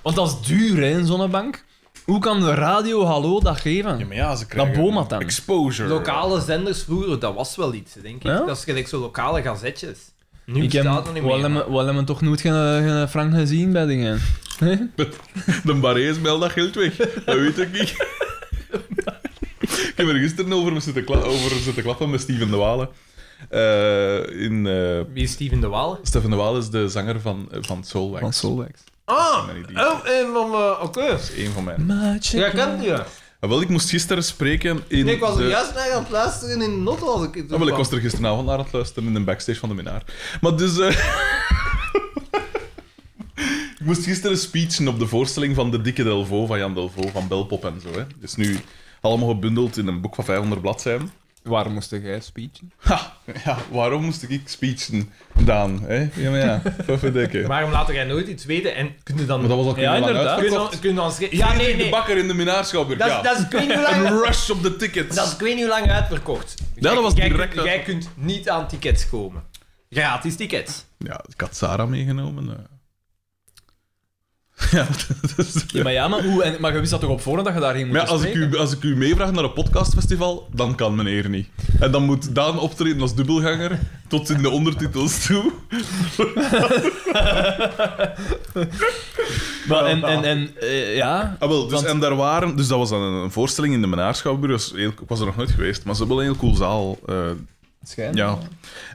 Speaker 4: Want dat is duur, hè, een zonnebank. Hoe kan de Radio Hallo dat geven?
Speaker 2: Ja, maar ja, ze
Speaker 4: Dat
Speaker 2: krijgen...
Speaker 4: bomat dan.
Speaker 2: Exposure.
Speaker 3: Lokale zenders vroeger, dat was wel iets, denk ik.
Speaker 4: Ja?
Speaker 3: Dat is gelijk zo lokale gazetjes. Nu
Speaker 4: Ik heb,
Speaker 3: bestaat dat niet
Speaker 4: we
Speaker 3: meer.
Speaker 4: hebben, we hebben toch nooit geen, geen Frank gezien bij dingen. Nee?
Speaker 2: De Barrees bel dat geld weg. Dat weet ik niet. ik heb er gisteren over zitten, kla- over zitten klappen met Steven de Walen. Eh, in, eh,
Speaker 3: Wie is Steven de Waal?
Speaker 2: Steven de Walen is de zanger van, eh, van Soulwax.
Speaker 4: Van Solwex.
Speaker 3: Ah!
Speaker 2: Nee, die-
Speaker 3: Oh, en van... eh, Oké.
Speaker 2: Dat is één van mij.
Speaker 3: Ja, kent die? ja.
Speaker 2: Ah, Wel, ik moest gisteren spreken in
Speaker 3: Nee, ik was er
Speaker 2: de...
Speaker 3: juist naar aan het luisteren in de notte als ik het
Speaker 2: Ah, wel, ik was er gisteravond naar aan het luisteren in de backstage van de Minaar. Maar dus... eh, ik moest gisteren speechen op de voorstelling van de dikke Delvaux, van Jan Delvaux, van Belpop en zo. Hè. Dus nu allemaal gebundeld in een boek van 500 bladzijden.
Speaker 4: Waarom moest jij speechen?
Speaker 2: Ha, ja, waarom moest ik speechen, Daan? Hè? Ja, maar ja, verdikken.
Speaker 3: Waarom laat jij nooit iets weten en kun je dan...
Speaker 2: Maar dat was al
Speaker 4: Ja,
Speaker 2: ja, lang
Speaker 4: inderdaad.
Speaker 3: kun je
Speaker 2: uitverkocht.
Speaker 3: dan, kun je dan schri- Ja, nee,
Speaker 2: De
Speaker 3: nee.
Speaker 2: bakker in de Minaarschouwburg,
Speaker 3: Dat,
Speaker 2: ja.
Speaker 3: is- dat is ik weet niet hoe lang...
Speaker 2: Een rush op de tickets.
Speaker 3: Dat is ik weet niet hoe lang uitverkocht.
Speaker 2: Ja, dat was
Speaker 3: Jij-
Speaker 2: direct
Speaker 3: Jij,
Speaker 2: uit-
Speaker 3: jij kunt niet aan tickets komen. Gratis tickets.
Speaker 2: Ja, ik had Sarah meegenomen. eh. Ja, dat is...
Speaker 4: Ja, maar ja, maar, hoe, en, maar je wist dat toch op voorhand dat je daarheen moest
Speaker 2: Maar ja, als ik, u, als ik u meevraag naar een podcastfestival, dan kan meneer niet. En dan moet Daan optreden als dubbelganger, tot in de ondertitels toe.
Speaker 4: Maar, en, en, en eh, ja...
Speaker 2: Ah, wel, dus,
Speaker 4: Want-
Speaker 2: en daar waren, dus dat was dan een, een voorstelling in de Menaarschouwburg. Dat was heel- Ik was er nog nooit geweest, maar ze hebben wel een heel cool zaal. eh,
Speaker 4: Schijn.
Speaker 2: ja.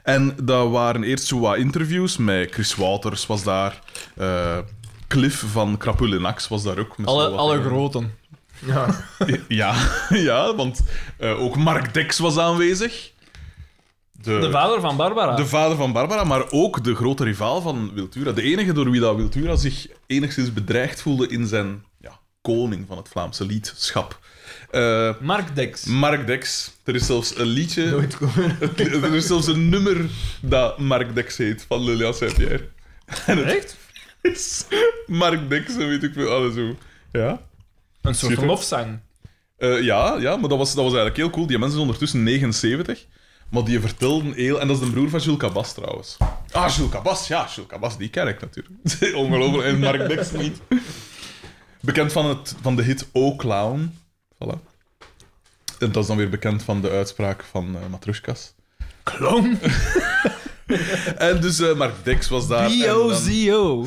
Speaker 2: En daar waren eerst zo wat interviews met Chris Wouters was daar. eh, Cliff van Krapul en Ax was daar ook. met
Speaker 4: Alle,
Speaker 2: zo wat
Speaker 4: alle
Speaker 2: dingen.
Speaker 4: groten.
Speaker 3: Ja.
Speaker 2: Ja, ja want eh, ook Mark Dex was aanwezig.
Speaker 4: De vader van Barbara.
Speaker 2: De vader van Barbara, maar ook de grote rivaal van Wiltura. De enige door wie dat Wiltura zich enigszins bedreigd voelde in zijn ja, koning van het Vlaamse liedschap. Eh,
Speaker 4: Mark Dex.
Speaker 2: Mark Dex. Er is zelfs een liedje...
Speaker 3: Nooit komen.
Speaker 2: Er is zelfs een nummer dat Mark Dex heet, van Lilian Saint-Pierre. En het
Speaker 4: Echt?
Speaker 2: is Mark Dex, en weet ik veel, alles hoe. Ja.
Speaker 4: Een soort
Speaker 2: Schitterend.
Speaker 4: lofzang.
Speaker 2: Eh, ja, ja, maar dat was, dat was eigenlijk heel cool. Die mensen zijn ondertussen 79. Maar die vertelden heel... En dat is de broer van Jules Cabas, trouwens. Ah, Jules Cabas. Ja, Jules Cabas, die ken ik natuurlijk. Ongelooflijk. En Mark Dex niet. Bekend van, het, van de hit O Clown. Voilà. En dat is dan weer bekend van de uitspraak van eh Matrushkas.
Speaker 4: Kloon.
Speaker 2: En dus eh, Mark Dex was daar. en dan-
Speaker 4: B.O.Z.O.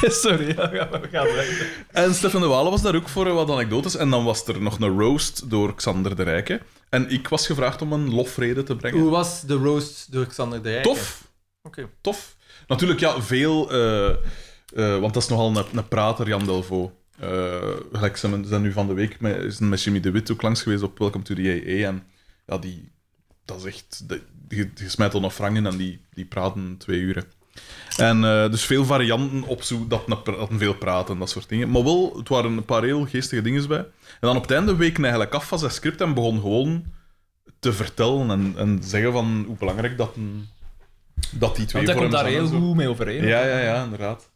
Speaker 4: Sorry, ja, we gaan- we gaan weg.
Speaker 2: En Stefan de Walen was daar ook voor eh, wat anekdotes. En dan was er nog een roast door Xander de Rijke. En ik was gevraagd om een lofrede te brengen.
Speaker 3: Hoe was de roast door Xander de Rijk?
Speaker 2: Tof.
Speaker 3: Oké.
Speaker 2: tof. Natuurlijk, ja, veel... eh, eh, want dat is nogal een, een prater, Jan Delvaux. eh, gelijk, ze zijn nu van de week met, is met Jimmy de Wit ook langs geweest op Welcome to the AA. En ja, die, dat is echt... de- Je je smijt al nog wrang in en die, die praten twee uren. En eh, dus veel varianten op zo dat, een pra- dat een veel praten, dat soort dingen. Maar wel, het waren een paar heel geestige dingen bij. En dan op het einde week hij eigenlijk af van zijn script en begon gewoon te vertellen en, en zeggen van hoe belangrijk dat, een, dat die twee
Speaker 6: Want hij
Speaker 2: voor
Speaker 6: komt daar
Speaker 2: hem zijn en
Speaker 6: heel
Speaker 2: zo.
Speaker 6: goed mee overeen.
Speaker 2: Ja, ja, ja, inderdaad.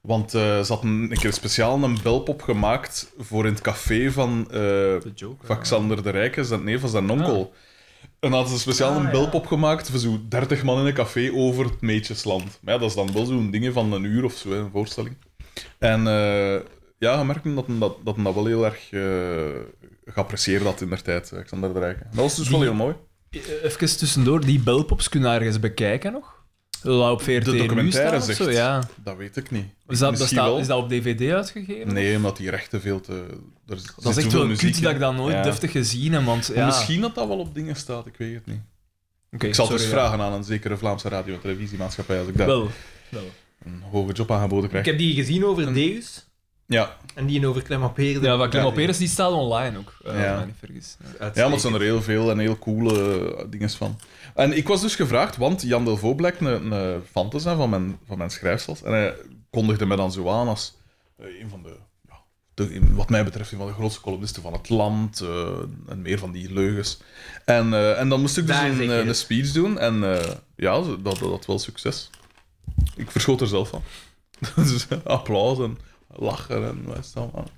Speaker 2: Want eh, ze hadden een keer speciaal een belpop gemaakt voor in het café van, eh
Speaker 6: De Joker.
Speaker 2: van Xander de Rijke, zijn, nee, van zijn onkel. En hadden ze speciaal
Speaker 6: Ah,
Speaker 2: een
Speaker 6: ja.
Speaker 2: belpop gemaakt voor zo'n 30 man in een café over het Meetjesland. Maar ja, dat is dan wel zo'n ding van een uur of zo, hè, een voorstelling. En eh, ja, je merkte dat hem dat, dat, hem dat wel heel erg eh, geapprecieerd had in der tijd, eh, Xander de Rijke. Dat was dus
Speaker 6: Die-
Speaker 2: wel heel mooi.
Speaker 6: Eh, Even tussendoor, die belpops kunnen ergens bekijken nog? Dat op 14
Speaker 2: documentaire
Speaker 6: uur staan of zo,
Speaker 2: zegt.
Speaker 6: ja.
Speaker 2: Dat weet ik niet.
Speaker 6: Is dat, dat
Speaker 2: Misschien
Speaker 6: staat-
Speaker 2: wel.
Speaker 6: is dat op DVD uitgegeven?
Speaker 2: Nee, omdat die rechten veel te... Er
Speaker 6: Dat is echt wel kut dat ik dat nooit
Speaker 2: Ja.
Speaker 6: deftig gezien heb, want ja...
Speaker 2: Ja. Misschien dat dat wel op dingen staat, ik weet het niet.
Speaker 6: Oké,
Speaker 2: Ik zal
Speaker 6: sorry,
Speaker 2: het dus
Speaker 6: ja.
Speaker 2: vragen aan een zekere Vlaamse radio- en televisiemaatschappij als ik daar
Speaker 6: Wel,
Speaker 2: een hoge job aangeboden
Speaker 3: Ik
Speaker 2: krijg.
Speaker 3: heb die gezien over Deus
Speaker 2: Ja,
Speaker 3: en die in over Clem op Heerde.
Speaker 6: ja, wat Clem op Peres, die staat online ook. eh,
Speaker 2: Ja.
Speaker 6: als ik me niet vergis. Ja.
Speaker 2: ja maar er zijn er heel veel en heel coole eh, dingen van. En ik was dus gevraagd, want Jan Delvaux blijkt een, een fan te zijn van mijn, van mijn schrijfsels. En hij kondigde me dan zo aan als eh, een van de, ja, de- in- wat mij betreft, een van de grootste columnisten van het land. eh, en meer van die leugens. En, eh, en dan moest ik dus
Speaker 3: Daar zeg
Speaker 2: een,
Speaker 3: je
Speaker 2: eh, een
Speaker 3: het.
Speaker 2: speech doen. En eh, ja, ze- dat, dat had wel succes. Ik verschoot er zelf van. Dus applaus en lachen en wat is het allemaal.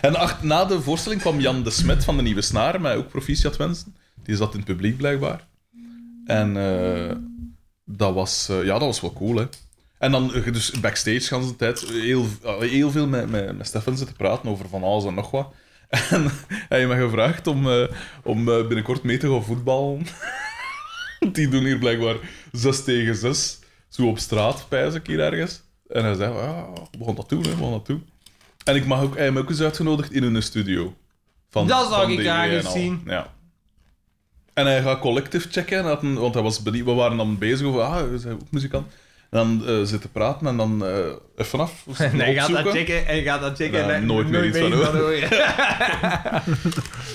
Speaker 2: En ach- na de voorstelling kwam Jan de Smet van de Nieuwe Snaar, mij ook proficiat wensen. Die zat in het publiek blijkbaar. En eh, dat, was, eh, ja, dat was wel cool, hè. En dan eh, dus backstage de hele tijd heel, eh, heel veel met, met, met Stefan zitten praten over van alles en nog wat. En hij heeft me gevraagd om, eh, om eh, binnenkort mee te gaan voetballen. Die doen hier blijkbaar 6 tegen 6. Zo op straat, pijs ik hier ergens. En hij zei, ja, we gaan dat doen, hè, we gaan dat doen. En ik mag ook, hij heeft me ook eens uitgenodigd in hun studio. Van,
Speaker 3: Dat zou
Speaker 2: van
Speaker 3: ik
Speaker 2: DE
Speaker 3: graag
Speaker 2: en
Speaker 3: eens
Speaker 2: al.
Speaker 3: zien.
Speaker 2: Ja. En hij gaat collectief checken, en had een- want hij was benieuwd, we waren dan bezig over, ah, we zijn ook muzikant. En dan eh, zitten praten en dan eh even af.
Speaker 3: En hij gaat dat
Speaker 2: opzoeken.
Speaker 3: checken en gaat dat checken.
Speaker 2: Ja,
Speaker 3: en
Speaker 2: nooit meer iets van
Speaker 3: horen.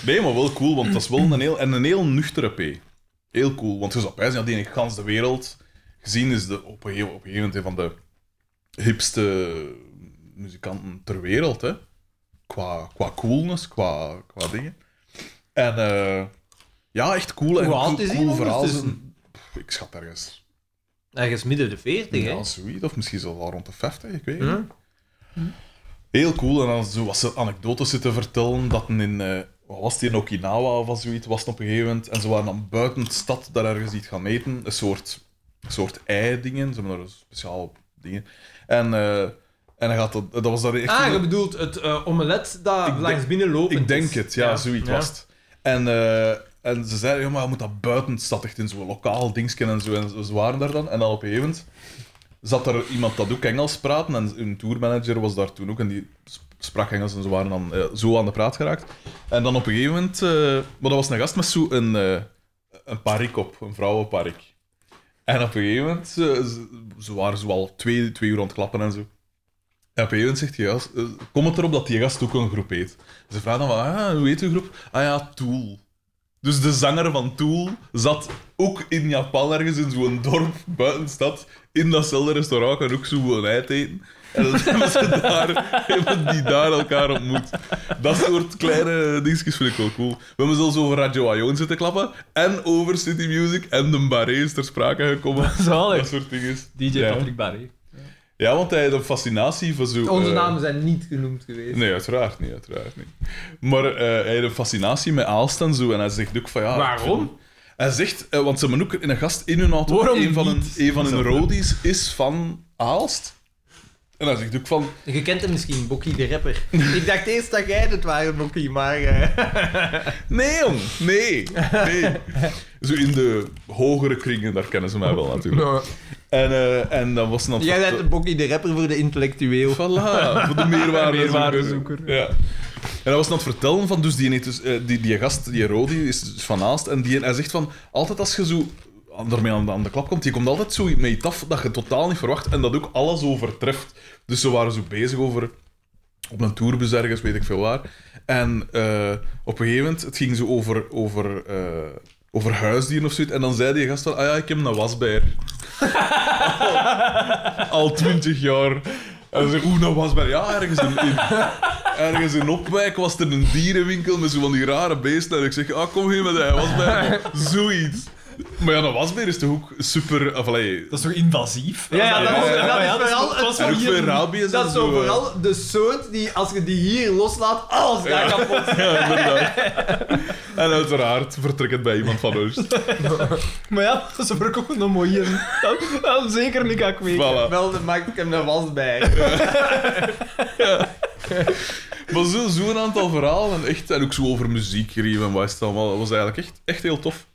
Speaker 2: Nee, maar wel cool, want dat is wel een heel, en een heel nuchtere P. Heel cool, want je zou bijzien dat die in gans de wereld gezien is de, op, een gegeven, op een gegeven moment een van de hipste muzikanten ter wereld, hè. Qua, qua coolness, qua, qua dingen. En eh, ja, echt cool. en
Speaker 3: Hoe
Speaker 2: cool,
Speaker 3: oud is die
Speaker 2: cool
Speaker 3: ondertussen?
Speaker 2: verhaal. Pff, Ik schat ergens.
Speaker 3: Ergens midden de 40, hè?
Speaker 2: Ja, zoiets. Of misschien zelfs al rond de 50, ik weet het niet.
Speaker 3: Hm?
Speaker 2: Heel cool. En dan zo was ze anekdotes zitten vertellen dat een in... eh, wat was het, in Okinawa of wat zoiets was het op een gegeven moment. En ze waren dan buiten de stad daar ergens iets gaan eten. Een soort, een soort ei-dingen. Ze hebben daar een speciaal dingen. En, eh, en dan gaat dat... Dat was daar echt...
Speaker 3: Ah, je bedoelt het eh, omelet dat
Speaker 2: Ik denk-
Speaker 3: langs binnen loopt.
Speaker 2: Ik denk het, ja, zoiets was het. En, eh, en ze zeiden, ja, maar je moet dat buiten de stad, echt in zo'n lokaal dingetje en zo. En ze- ze waren daar dan. En dan op een gegeven moment zat er iemand dat ook Engels praatte. En hun tourmanager was daar toen ook. En die sp- sprak Engels en ze waren dan eh, zo aan de praat geraakt. En dan op een gegeven moment... eh, maar dat was een gast met zo'n... een eh, een parik op, een vrouwenparik. En op een gegeven moment... eh, ze, ze waren zo al twee, twee uur aan het klappen en zo. En op een gegeven moment zegt die gast... eh, Kom het erop dat die gast ook een groep heet. Ze vragen dan van, ah, hoe heet uw groep? Ah ja, Tool. Dus de zanger van Tool zat ook in Japan, ergens in zo'n dorp buiten de stad, in datzelfde restaurant en ook zo'n ei te eten. En dan hebben, ze daar, hebben die daar elkaar ontmoet. Dat soort kleine dingetjes vind ik wel cool. We hebben zelfs over Radio Ion zitten klappen. En over City Music. En de Barré is ter sprake gekomen.
Speaker 6: Zalig.
Speaker 2: Dat soort dingen.
Speaker 6: DJ
Speaker 2: ja.
Speaker 6: Patrick Barry.
Speaker 2: Ja, want hij had een fascinatie voor zo...
Speaker 3: Onze
Speaker 2: eh,
Speaker 3: namen zijn niet genoemd geweest.
Speaker 2: Nee, uiteraard niet, uiteraard niet. Maar eh, hij heeft een fascinatie met Aalst en zo. En hij zegt ook van ja...
Speaker 3: Waarom?
Speaker 2: ik vind- Hij zegt, eh, want ze hebben ook een gast in hun auto.
Speaker 6: Waarom
Speaker 2: een van hun,
Speaker 6: niet?
Speaker 2: een van hun roadies is van Aalst. En hij zegt ook van...
Speaker 3: Je kent hem misschien, Bokkie de rapper. ik dacht eerst dat jij het waren, Bokkie, maar... eh,
Speaker 2: Nee, jong, nee, nee. Zo in de hogere kringen, daar kennen ze mij wel natuurlijk. En, eh, en dan was ze dan...
Speaker 3: jij bent de Bokkie de rapper voor de intellectueel.
Speaker 2: Voilà, voor de meerwaarde
Speaker 6: Meerwaardezoeker.
Speaker 2: Ja. En hij was aan het vertellen van, dus die, ene dus, eh, die, die gast, die Rodi, is dus van Aalst. En die, hij zegt van, altijd als je zo daarmee aan, de- aan de klap komt, je komt altijd zo mee iets af dat je totaal niet verwacht en dat ook alles overtreft. Dus ze waren zo bezig over op een tourbus ergens, weet ik veel waar. En eh, op een gegeven moment, het ging zo over, over, eh, over huisdieren of zoiets. En dan zei die gast van, ah ja, ik heb een wasbeer. Al twintig jaar. En ze hoe een wasbeer? Ja, ergens in, in, ergens in Opwijk was er een dierenwinkel met zo van die rare beesten. En ik zeg, ah, kom hier met een wasbeer. Zoiets. Maar ja, nou een wasbeer is toch ook super... Of, allee,
Speaker 6: Dat is toch invasief?
Speaker 3: Ja, ja, dat is-
Speaker 6: ja,
Speaker 3: dat
Speaker 6: maar ja,
Speaker 3: is vooral
Speaker 6: dat was
Speaker 2: en
Speaker 6: wel
Speaker 2: ook
Speaker 6: hier
Speaker 2: voor
Speaker 6: een-
Speaker 2: rabies en
Speaker 3: Dat is
Speaker 2: zo,
Speaker 3: zo
Speaker 2: eh.
Speaker 3: vooral de soort die, als je die hier loslaat, alles daar kapot.
Speaker 2: Ja, inderdaad. En uiteraard vertrekt het bij iemand van ons.
Speaker 6: Maar ja, ze verkopen een mooie. Dat, dat zeker niet ga kweken.
Speaker 2: Voilà.
Speaker 3: Wel, dan maak ik hem een was bij. Dus
Speaker 2: Maar zo- zo'n aantal verhalen. En, echt, en ook zo over muziek, Riem en wat is het allemaal. Dat was eigenlijk echt, echt heel tof.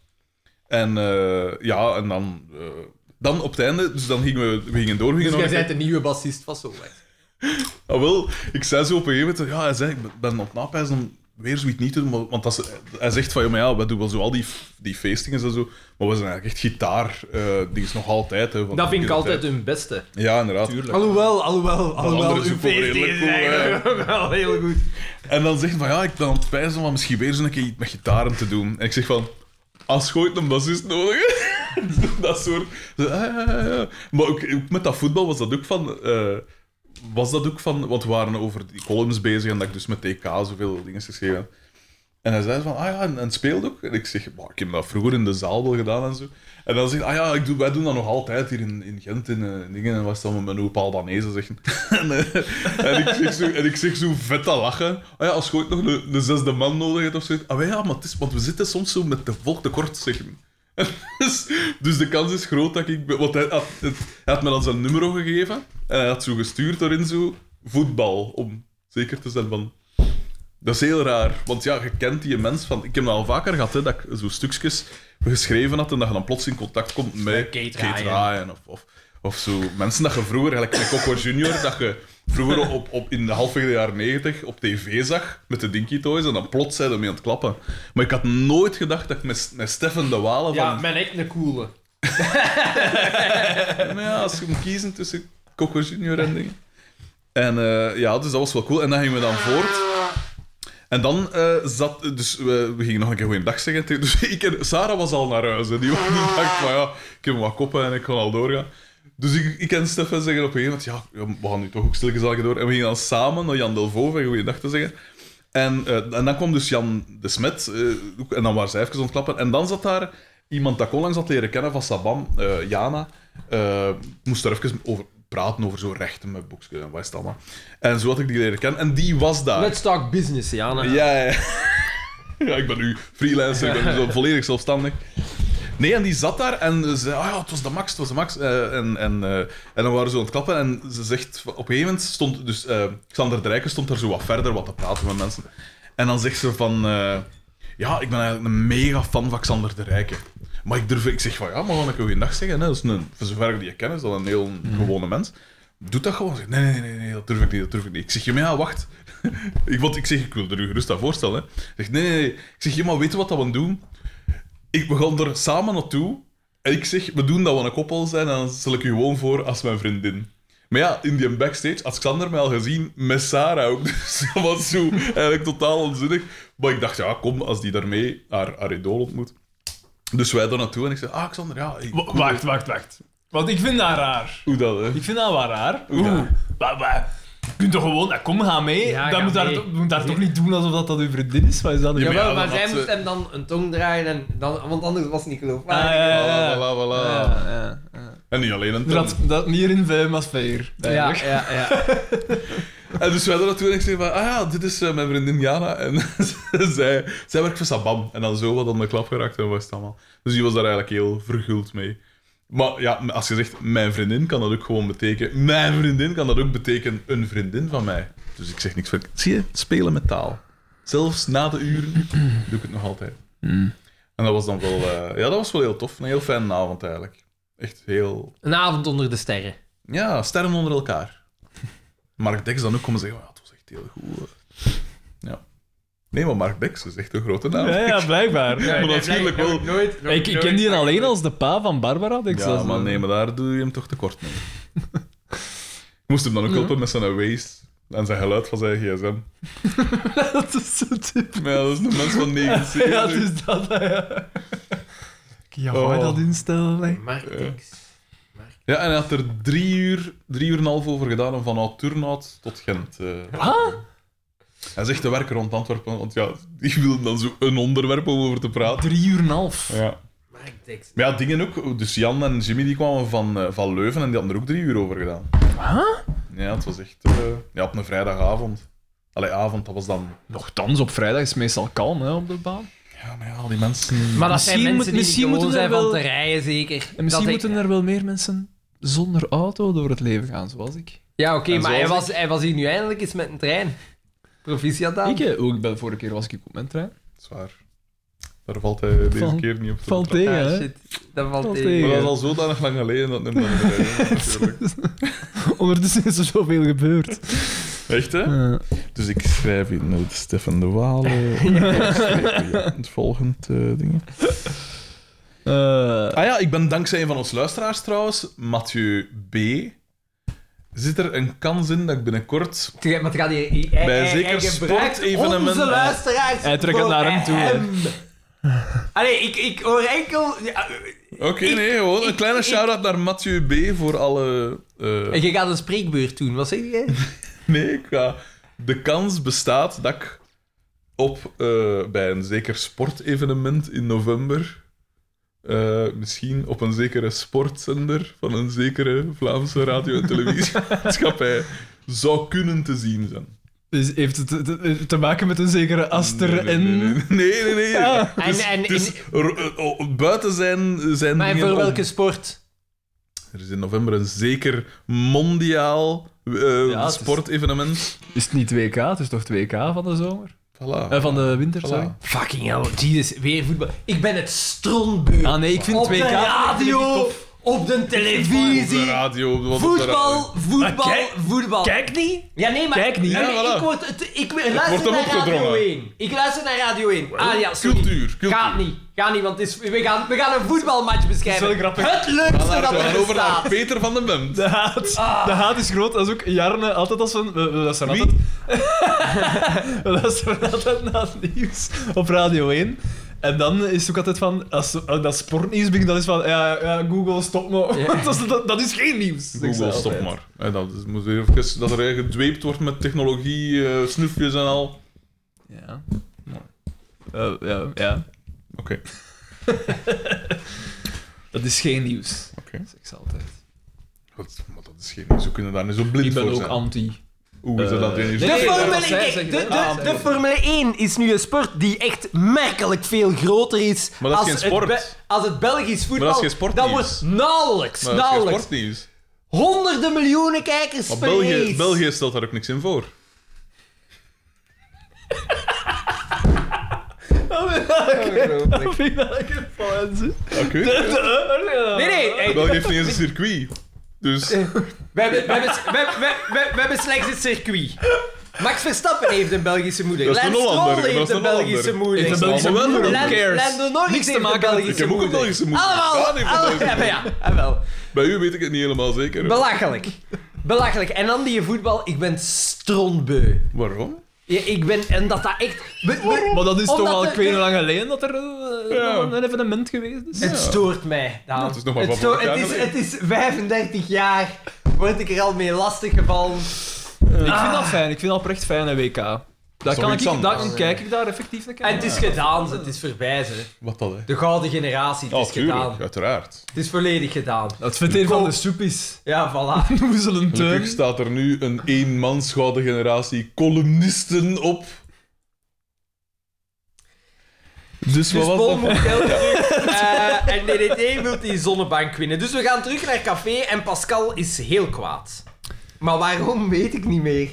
Speaker 2: En eh, ja, en dan, eh, dan op het einde, dus dan gingen we, we gingen door. we
Speaker 3: Dus
Speaker 2: Gingen
Speaker 3: jij
Speaker 2: nog een-
Speaker 3: bent de nieuwe bassist van Solveig.
Speaker 2: Ah, wel, ik zei zo op een gegeven moment, ja, hij zei, ik ben op napijs om weer zoiets niet te doen, maar- want dat is- hij zegt van, ja, maar ja, we doen wel zo al die, die feestingen en zo, maar we zijn eigenlijk echt gitaar, eh die is nog altijd. Hè, van
Speaker 3: Dat vind ik
Speaker 2: de
Speaker 3: altijd
Speaker 2: tijd.
Speaker 3: hun beste.
Speaker 2: Ja, inderdaad.
Speaker 3: Alhoewel, alhoewel, alhoewel,
Speaker 2: andere
Speaker 3: uw
Speaker 2: zoeken wel
Speaker 3: feest
Speaker 2: redelijk
Speaker 3: is
Speaker 2: goed,
Speaker 3: eigenlijk wel heel goed.
Speaker 2: En dan zegt hij van, ja, ik ben aan het pijzen om misschien weer zo'n keer iets met gitaren te doen. En ik zeg van, als je ooit een bassist nodig hebt. dat soort... zo, ah, ja, ja, ja. Maar ook, ook met dat voetbal was dat ook van... eh, was dat ook van... Want we waren over die columns bezig en dat ik dus met TK zoveel dingen geschreven had. En hij zei van, ah ja, en, en speelt ook. En ik zeg, maar, ik heb dat vroeger in de zaal wel gedaan en zo. En dan zegt hij, ah ja, ik doe, wij doen dat nog altijd hier in, in Gent in, eh, dingen. En was dan met mijn opa Albanese zeggen. en, eh, en, ik zeg zo, en ik zeg zo vet te lachen. Ah ja, als je ooit nog de, de zesde man nodig hebt of zo. Ah ja, maar het is, want we zitten soms zo met de volk tekort, zeggen. Dus, dus de kans is groot dat ik... be- Want hij had, het, hij had me dan zijn nummer gegeven. En hij had zo gestuurd daarin zo voetbal. Om zeker te zijn van... Dat is heel raar, want ja, je kent die mens van... Ik heb dat al vaker gehad, hè, dat ik zo stukjes geschreven had en dat je dan plots in contact komt met
Speaker 3: Met Kate Ryan.
Speaker 2: of, of, of zo. Mensen dat je vroeger, gelijk met Coco Junior, dat je vroeger op, op, in de halfweg de jaren negentig op tv zag met de Dinky Toys en dan plots zijn ze mee aan het klappen. Maar ik had nooit gedacht dat ik met, met Stefan de Walen van...
Speaker 3: Ja, ben echt een coole.
Speaker 2: Nou ja, als je moet kiezen tussen Coco Junior en dingen. En eh, ja, dus dat was wel cool. En dan gingen we dan voort. En dan eh, zat... Dus we, we gingen nog een keer goeiedag zeggen. tegen- Dus ik en Sarah was al naar huis. hè. Die, die dacht van ja, ik heb wat koppen en ik kan al doorgaan. Dus ik, ik en Stefan zeggen op een gegeven moment... Ja, we gaan nu toch ook stilletjes al door. En we gingen dan samen naar Jan Delvaux en goeiedag te zeggen. En, eh, en dan kwam dus Jan de Smet, eh, ook- en dan waren zij even ontklappen. En dan zat daar iemand dat ik onlangs had leren kennen van Sabam, eh, Jana. eh, moest daar even over praten, over zo rechten met boekjes en wat is het allemaal. En zo had ik die leren kennen. En die was daar.
Speaker 3: Let's talk business, Jana.
Speaker 2: Ja, ja. ja, ik ben nu freelancer, ik ben zo volledig zelfstandig. Nee, en die zat daar en zei, ah ja, het was de max, het was de max. Eh, en, en, eh, en dan waren ze aan het klappen en ze zegt, op een gegeven moment stond, dus eh Xander Drijken stond daar zo wat verder wat te praten met mensen. En dan zegt ze van, eh, ja, ik ben eigenlijk een mega fan van Xander de Rijken. Maar ik durf, ik zeg van, ja, maar gewoon een goede dag zeggen. Hè? Dat is een, voor zover ik die ken, is dat een heel gewone mens. Doe dat gewoon. Zeg, nee, nee, nee, nee, dat durf ik niet, dat durf ik niet. Ik zeg, ja, maar ja, wacht. ik, want ik zeg, ik wil er u gerust aan voorstellen. Hè. Ik zeg, nee, nee, nee. Ik zeg, ja, maar weet je wat dat we doen? Ik, we gaan er samen naartoe. En ik zeg, we doen dat we een koppel zijn en dan stel ik u gewoon voor als mijn vriendin. Maar ja, in die backstage had Xander mij al gezien met Sarah ook. Dus dat was zo eigenlijk totaal onzinnig. Maar ik dacht, ja, kom, als die daarmee haar, haar idool ontmoet. Dus wij daar naartoe en ik zei, ah, Xander, ja, ik-
Speaker 6: Wa- Wacht, wacht, wacht. Want ik vind dat raar.
Speaker 2: hoe dat, hè?
Speaker 6: Ik vind dat wel raar.
Speaker 2: Oeh.
Speaker 6: Maar, maar, je kunt toch gewoon, nou, kom, ga mee.
Speaker 3: Ja,
Speaker 6: dat
Speaker 3: ga
Speaker 6: moet daar,
Speaker 3: mee.
Speaker 6: to- moet daar toch niet doen alsof dat, dat uw vriendin is? Wat is dat?
Speaker 2: Ja,
Speaker 3: Jawel,
Speaker 2: maar
Speaker 3: maar
Speaker 2: dan
Speaker 3: zij
Speaker 2: had ze-
Speaker 3: moest hem dan een tong draaien, en dan, want anders was het niet
Speaker 6: Ah,
Speaker 3: geloofwaardig.
Speaker 6: ja, ja,
Speaker 2: Voilà,
Speaker 6: ja.
Speaker 2: voilà, voilà.
Speaker 6: Ja, ja, ja.
Speaker 2: En niet alleen een
Speaker 6: Er had- Dat meer in vijf als veer.
Speaker 3: ja, ja, ja.
Speaker 2: En dus wij daar naartoe en ik zei van, ah ja, dit is eh, mijn vriendin Jana. En zij, zij werkt voor Sabam. En dan zo wat aan de klap geraakt en was het allemaal. Dus die was daar eigenlijk heel verguld mee. Maar ja, als je zegt mijn vriendin, kan dat ook gewoon betekenen... Mijn vriendin kan dat ook betekenen een vriendin van mij. Dus ik zeg niks van... Zie je, spelen met taal. Zelfs na de uren doe ik het nog altijd. En dat was dan wel... eh, ja, dat was wel heel tof. Een heel fijne avond eigenlijk. Echt heel...
Speaker 3: Een avond onder de sterren.
Speaker 2: Ja, sterren onder elkaar. Mark Dex dan ook komen zeggen, ja, het was echt heel goed. eh." Ja. Nee, maar Mark Dex is echt een grote naam.
Speaker 6: Ja, ja, blijkbaar.
Speaker 2: Maar
Speaker 6: Ja,
Speaker 2: natuurlijk wel...
Speaker 3: Nooit,
Speaker 6: ik, ik ken die alleen als de pa van Barbara. denk ik
Speaker 2: Ja,
Speaker 6: zelfs.
Speaker 4: eh,
Speaker 2: maar nee, maar daar doe je hem toch tekort mee. Ik moest hem dan ook helpen met zijn waist. En zijn geluid van zijn gsm.
Speaker 4: dat is zo typ.
Speaker 2: Maar ja, dat is een mens van 79.
Speaker 4: Ja, het is dat, hè, ja. Ja,
Speaker 2: Oh.
Speaker 4: ga je dat instellen, hè?
Speaker 3: Marketing.
Speaker 2: Ja, en hij had er drie uur, drie uur en een half over gedaan om van Oud-Turnhout tot Gent. eh. Hij zegt de werker rond Antwerpen, want ja, die wilden dan zo een onderwerp om over te praten.
Speaker 4: Drie uur en een half.
Speaker 2: Ja.
Speaker 3: Marketing.
Speaker 2: Maar ja, dingen ook. Dus Jan en Jimmy die kwamen van, eh, van Leuven en die hadden er ook drie uur over gedaan. Ja, het was echt... eh, ja, op een vrijdagavond. Allee, avond, dat was dan...
Speaker 4: Nochtans, op vrijdag is het meestal kalm hè, op de baan.
Speaker 2: Ja, maar ja, al die mensen...
Speaker 3: Maar dat
Speaker 4: Misschien
Speaker 3: zijn mensen
Speaker 4: moet-
Speaker 3: die
Speaker 4: misschien
Speaker 3: niet gewoon
Speaker 4: moeten
Speaker 3: zijn
Speaker 4: er
Speaker 3: van
Speaker 4: wel-
Speaker 3: te rijden, zeker.
Speaker 4: En misschien
Speaker 3: Dat ik-
Speaker 4: moeten er wel meer mensen zonder auto door het leven gaan, zoals ik.
Speaker 3: Ja, oké,
Speaker 2: En
Speaker 3: maar hij
Speaker 2: zoals
Speaker 3: was, hij was hier nu eindelijk eens met een trein. Proficiat dan.
Speaker 4: Ik, eh, ook, ik ben vorige keer was ik op mijn trein.
Speaker 2: Zwaar. Daar valt hij deze
Speaker 4: Valt-
Speaker 2: keer niet op te
Speaker 4: Valt
Speaker 2: betrappen.
Speaker 4: tegen,
Speaker 3: Ah,
Speaker 4: hè?
Speaker 3: shit. Dat valt
Speaker 4: Valt
Speaker 3: tegen.
Speaker 2: Maar
Speaker 4: tegen.
Speaker 2: dat is al zodanig lang geleden dat het niet meer rijden, natuurlijk.
Speaker 4: Ondertussen is er zoveel gebeurd.
Speaker 2: Echt, hè?
Speaker 4: Eh,
Speaker 2: Dus ik schrijf in eh, Stefan de Waal. eh, ik schrijf, ja, het volgende eh, dingen.
Speaker 4: eh,
Speaker 2: Ah ja, ik ben dankzij een van ons luisteraars trouwens, Mathieu B. Zit er een kans in dat ik binnenkort...
Speaker 3: Terwijl- Maar het gaat hier... Hij,
Speaker 2: Bij
Speaker 3: hij-
Speaker 2: zeker
Speaker 3: hij gebruikt
Speaker 2: sportevenementen-
Speaker 3: onze luisteraars
Speaker 4: Hij trekt het
Speaker 3: voor
Speaker 4: naar hem toe, hè.
Speaker 3: Allee, ik, ik hoor enkel... ja,
Speaker 2: Oké, nee, gewoon een
Speaker 3: ik-
Speaker 2: kleine
Speaker 3: ik-
Speaker 2: shout-out naar Mathieu B. voor alle... eh,
Speaker 3: En je gaat een spreekbeurt doen, wat zeg je?
Speaker 2: Nee, ik ga... De kans bestaat dat ik op, eh, bij een zeker sportevenement in november... eh, misschien op een zekere sportzender van een zekere Vlaamse radio- en televisiemaatschappij zou kunnen te zien zijn.
Speaker 4: dus heeft het te- te, te maken met een zekere aster
Speaker 2: Nee,
Speaker 4: en...
Speaker 2: nee, nee. nee, nee, nee.
Speaker 4: Ah.
Speaker 2: Het is-
Speaker 3: En- en-
Speaker 2: het is r- eh, oh, buiten zijn, zijn
Speaker 3: Maar
Speaker 2: dingen
Speaker 3: voor
Speaker 2: om.
Speaker 3: welke sport?
Speaker 2: Er is in november een zeker mondiaal eh,
Speaker 4: Ja, het is-
Speaker 2: sportevenement.
Speaker 4: Is het niet 2K? Het is toch 2K van de zomer?
Speaker 2: Voilà.
Speaker 4: Eh, van de winter,
Speaker 2: Voilà.
Speaker 4: sorry.
Speaker 3: Fucking hell, Jesus, weer voetbal. Ik ben het strontbeurt.
Speaker 4: Ah nee, ik vind
Speaker 3: op
Speaker 4: 2K...
Speaker 3: de radio, op de
Speaker 2: Op de
Speaker 3: televisie.
Speaker 2: radio. op de- op de radio. Ah,
Speaker 3: Voetbal, voetbal,
Speaker 4: Maar kijk-
Speaker 3: voetbal.
Speaker 4: Kijk niet!
Speaker 3: Ja, nee, maar...
Speaker 4: Kijk niet.
Speaker 3: Nee,
Speaker 2: Ja,
Speaker 3: maar
Speaker 2: voilà.
Speaker 3: ik, word, het, ik luister
Speaker 2: wordt hem
Speaker 3: naar Radio
Speaker 2: opgedrongen.
Speaker 3: 1. Ik luister naar Radio 1. ah ja, sorry.
Speaker 2: Cultuur. cultuur.
Speaker 3: Gaat niet. Gaat niet, want het is, we, gaan, we gaan een voetbalmatch beschrijven.
Speaker 4: Dat is wel grappig.
Speaker 3: Het leukste dat
Speaker 2: We gaan
Speaker 3: er
Speaker 2: over naar
Speaker 3: bestaat.
Speaker 2: Peter van den Bemt.
Speaker 4: De haat,
Speaker 3: Ah.
Speaker 4: de haat is groot. Dat is ook Jarne altijd als van... We, we luisteren
Speaker 2: Wie?
Speaker 4: altijd... we luisteren altijd naar het nieuws op Radio 1. En dan is het ook altijd van... Als, als dat sportnieuws begint, dan is van... Ja, ja Google, stop maar.
Speaker 3: Ja.
Speaker 4: dat, is, dat, dat is geen nieuws. zeg ze
Speaker 2: Google,
Speaker 4: altijd.
Speaker 2: stop maar. Eh, dat, is, moet weer even, dat er eigenlijk gedweept wordt met technologie, eh, snoefjes en al.
Speaker 4: Ja. Eh, ja, ja.
Speaker 2: Oké.
Speaker 4: Dat is geen nieuws.
Speaker 2: Oké.
Speaker 4: Zeg ze altijd.
Speaker 2: Goed, Maar dat is geen... Ze kunnen daar niet zo blind
Speaker 4: Ik ben
Speaker 2: voor
Speaker 4: ook
Speaker 2: zijn.
Speaker 4: anti.
Speaker 2: Hoe is dat
Speaker 4: Eh,
Speaker 2: dat weer niet
Speaker 3: De
Speaker 4: Nee, nee,
Speaker 3: Formule,
Speaker 4: dat was zij,
Speaker 3: kijk,
Speaker 4: zeg je
Speaker 3: de,
Speaker 4: dat? Ah,
Speaker 3: de, de
Speaker 4: oké.
Speaker 3: Formule 1 is nu een sport die echt merkelijk veel groter is.
Speaker 2: Maar dat is
Speaker 3: als
Speaker 2: geen sport.
Speaker 3: Het Be- als het Belgisch voetbal.
Speaker 2: is geen sportnieuws.
Speaker 3: Dat wordt nauwelijks,
Speaker 2: Maar dat is geen
Speaker 3: nauwelijks.
Speaker 2: sportnieuws.
Speaker 3: Honderden miljoenen kijkers
Speaker 2: Maar
Speaker 3: per
Speaker 2: België,
Speaker 3: race.
Speaker 2: België stelt daar ook niks in voor.
Speaker 4: Dat vind ik wel lekker fancy.
Speaker 2: Oké. eh,
Speaker 3: Nee, nee. hey,
Speaker 2: België heeft niet eens een circuit. Dus
Speaker 3: we, hebben, we, hebben, we, hebben- we, we- we hebben slechts het circuit. Max Verstappen heeft een Belgische moeder.
Speaker 2: Dat is een
Speaker 3: Lance Stroll
Speaker 2: Hollander, dat
Speaker 3: heeft
Speaker 2: is
Speaker 3: een
Speaker 2: een
Speaker 3: Belgische
Speaker 2: Hollander.
Speaker 3: moeder.
Speaker 4: Heeft een Belgische
Speaker 2: allemaal wel
Speaker 4: moeder,
Speaker 2: een
Speaker 4: who
Speaker 3: Lando-
Speaker 4: cares?
Speaker 3: Lando Norris
Speaker 4: Niks te
Speaker 3: heeft een
Speaker 4: maken met
Speaker 2: ik
Speaker 3: Belgische
Speaker 2: heb ook een
Speaker 3: moeder.
Speaker 2: Belgische moeder.
Speaker 3: Allemaal.
Speaker 2: Ja, nee, van
Speaker 3: allemaal Ah,
Speaker 2: België.
Speaker 3: ja, maar ja, jawel.
Speaker 2: Bij u weet ik het niet helemaal zeker. hè.
Speaker 3: Belachelijk. Belachelijk. En dan die voetbal, ik ben strontbeu.
Speaker 2: Waarom?
Speaker 3: Ja, ik ben... En dat dat echt... we- we-
Speaker 4: Maar dat is
Speaker 3: Omdat
Speaker 4: toch al,
Speaker 3: de-
Speaker 4: ik weet niet hoe lang geleden dat er eh,
Speaker 2: Ja.
Speaker 4: nog een evenement geweest is.
Speaker 3: Het stoort mij, Daan.
Speaker 2: het is nog maar
Speaker 3: het,
Speaker 2: wat voor
Speaker 3: het,
Speaker 2: elkaar
Speaker 3: is,
Speaker 2: geleden.
Speaker 3: het is 35 jaar, word ik er al mee lastiggevallen.
Speaker 4: Ik vind dat
Speaker 3: Ah.
Speaker 4: fijn, ik vind dat oprecht fijn, een WK. Daar
Speaker 2: toch
Speaker 4: kan ik,
Speaker 2: iets
Speaker 4: daar,
Speaker 2: anders?
Speaker 4: dan kijk ik daar effectief
Speaker 3: En
Speaker 4: naar kijken.
Speaker 3: het is gedaan, ze, het is voorbij, ze.
Speaker 2: Wat dat, hè?
Speaker 3: De gouden generatie, het
Speaker 2: Oh,
Speaker 3: is gedaan.
Speaker 2: tuurlijk, uiteraard.
Speaker 3: Het is volledig gedaan.
Speaker 4: Dat vindt een van de soep is.
Speaker 3: Ja, voilà.
Speaker 4: Noemen ze een
Speaker 2: Gelukkig
Speaker 4: teun.
Speaker 2: staat er nu een eenmans gouden generatie columnisten op. Dus
Speaker 3: Dus
Speaker 2: wat was
Speaker 3: Bol
Speaker 2: dat?
Speaker 3: moet geld terug. Eh, en DDT wil die zonnebank winnen. Dus we gaan terug naar café en Pascal is heel kwaad. Maar waarom, weet ik niet meer.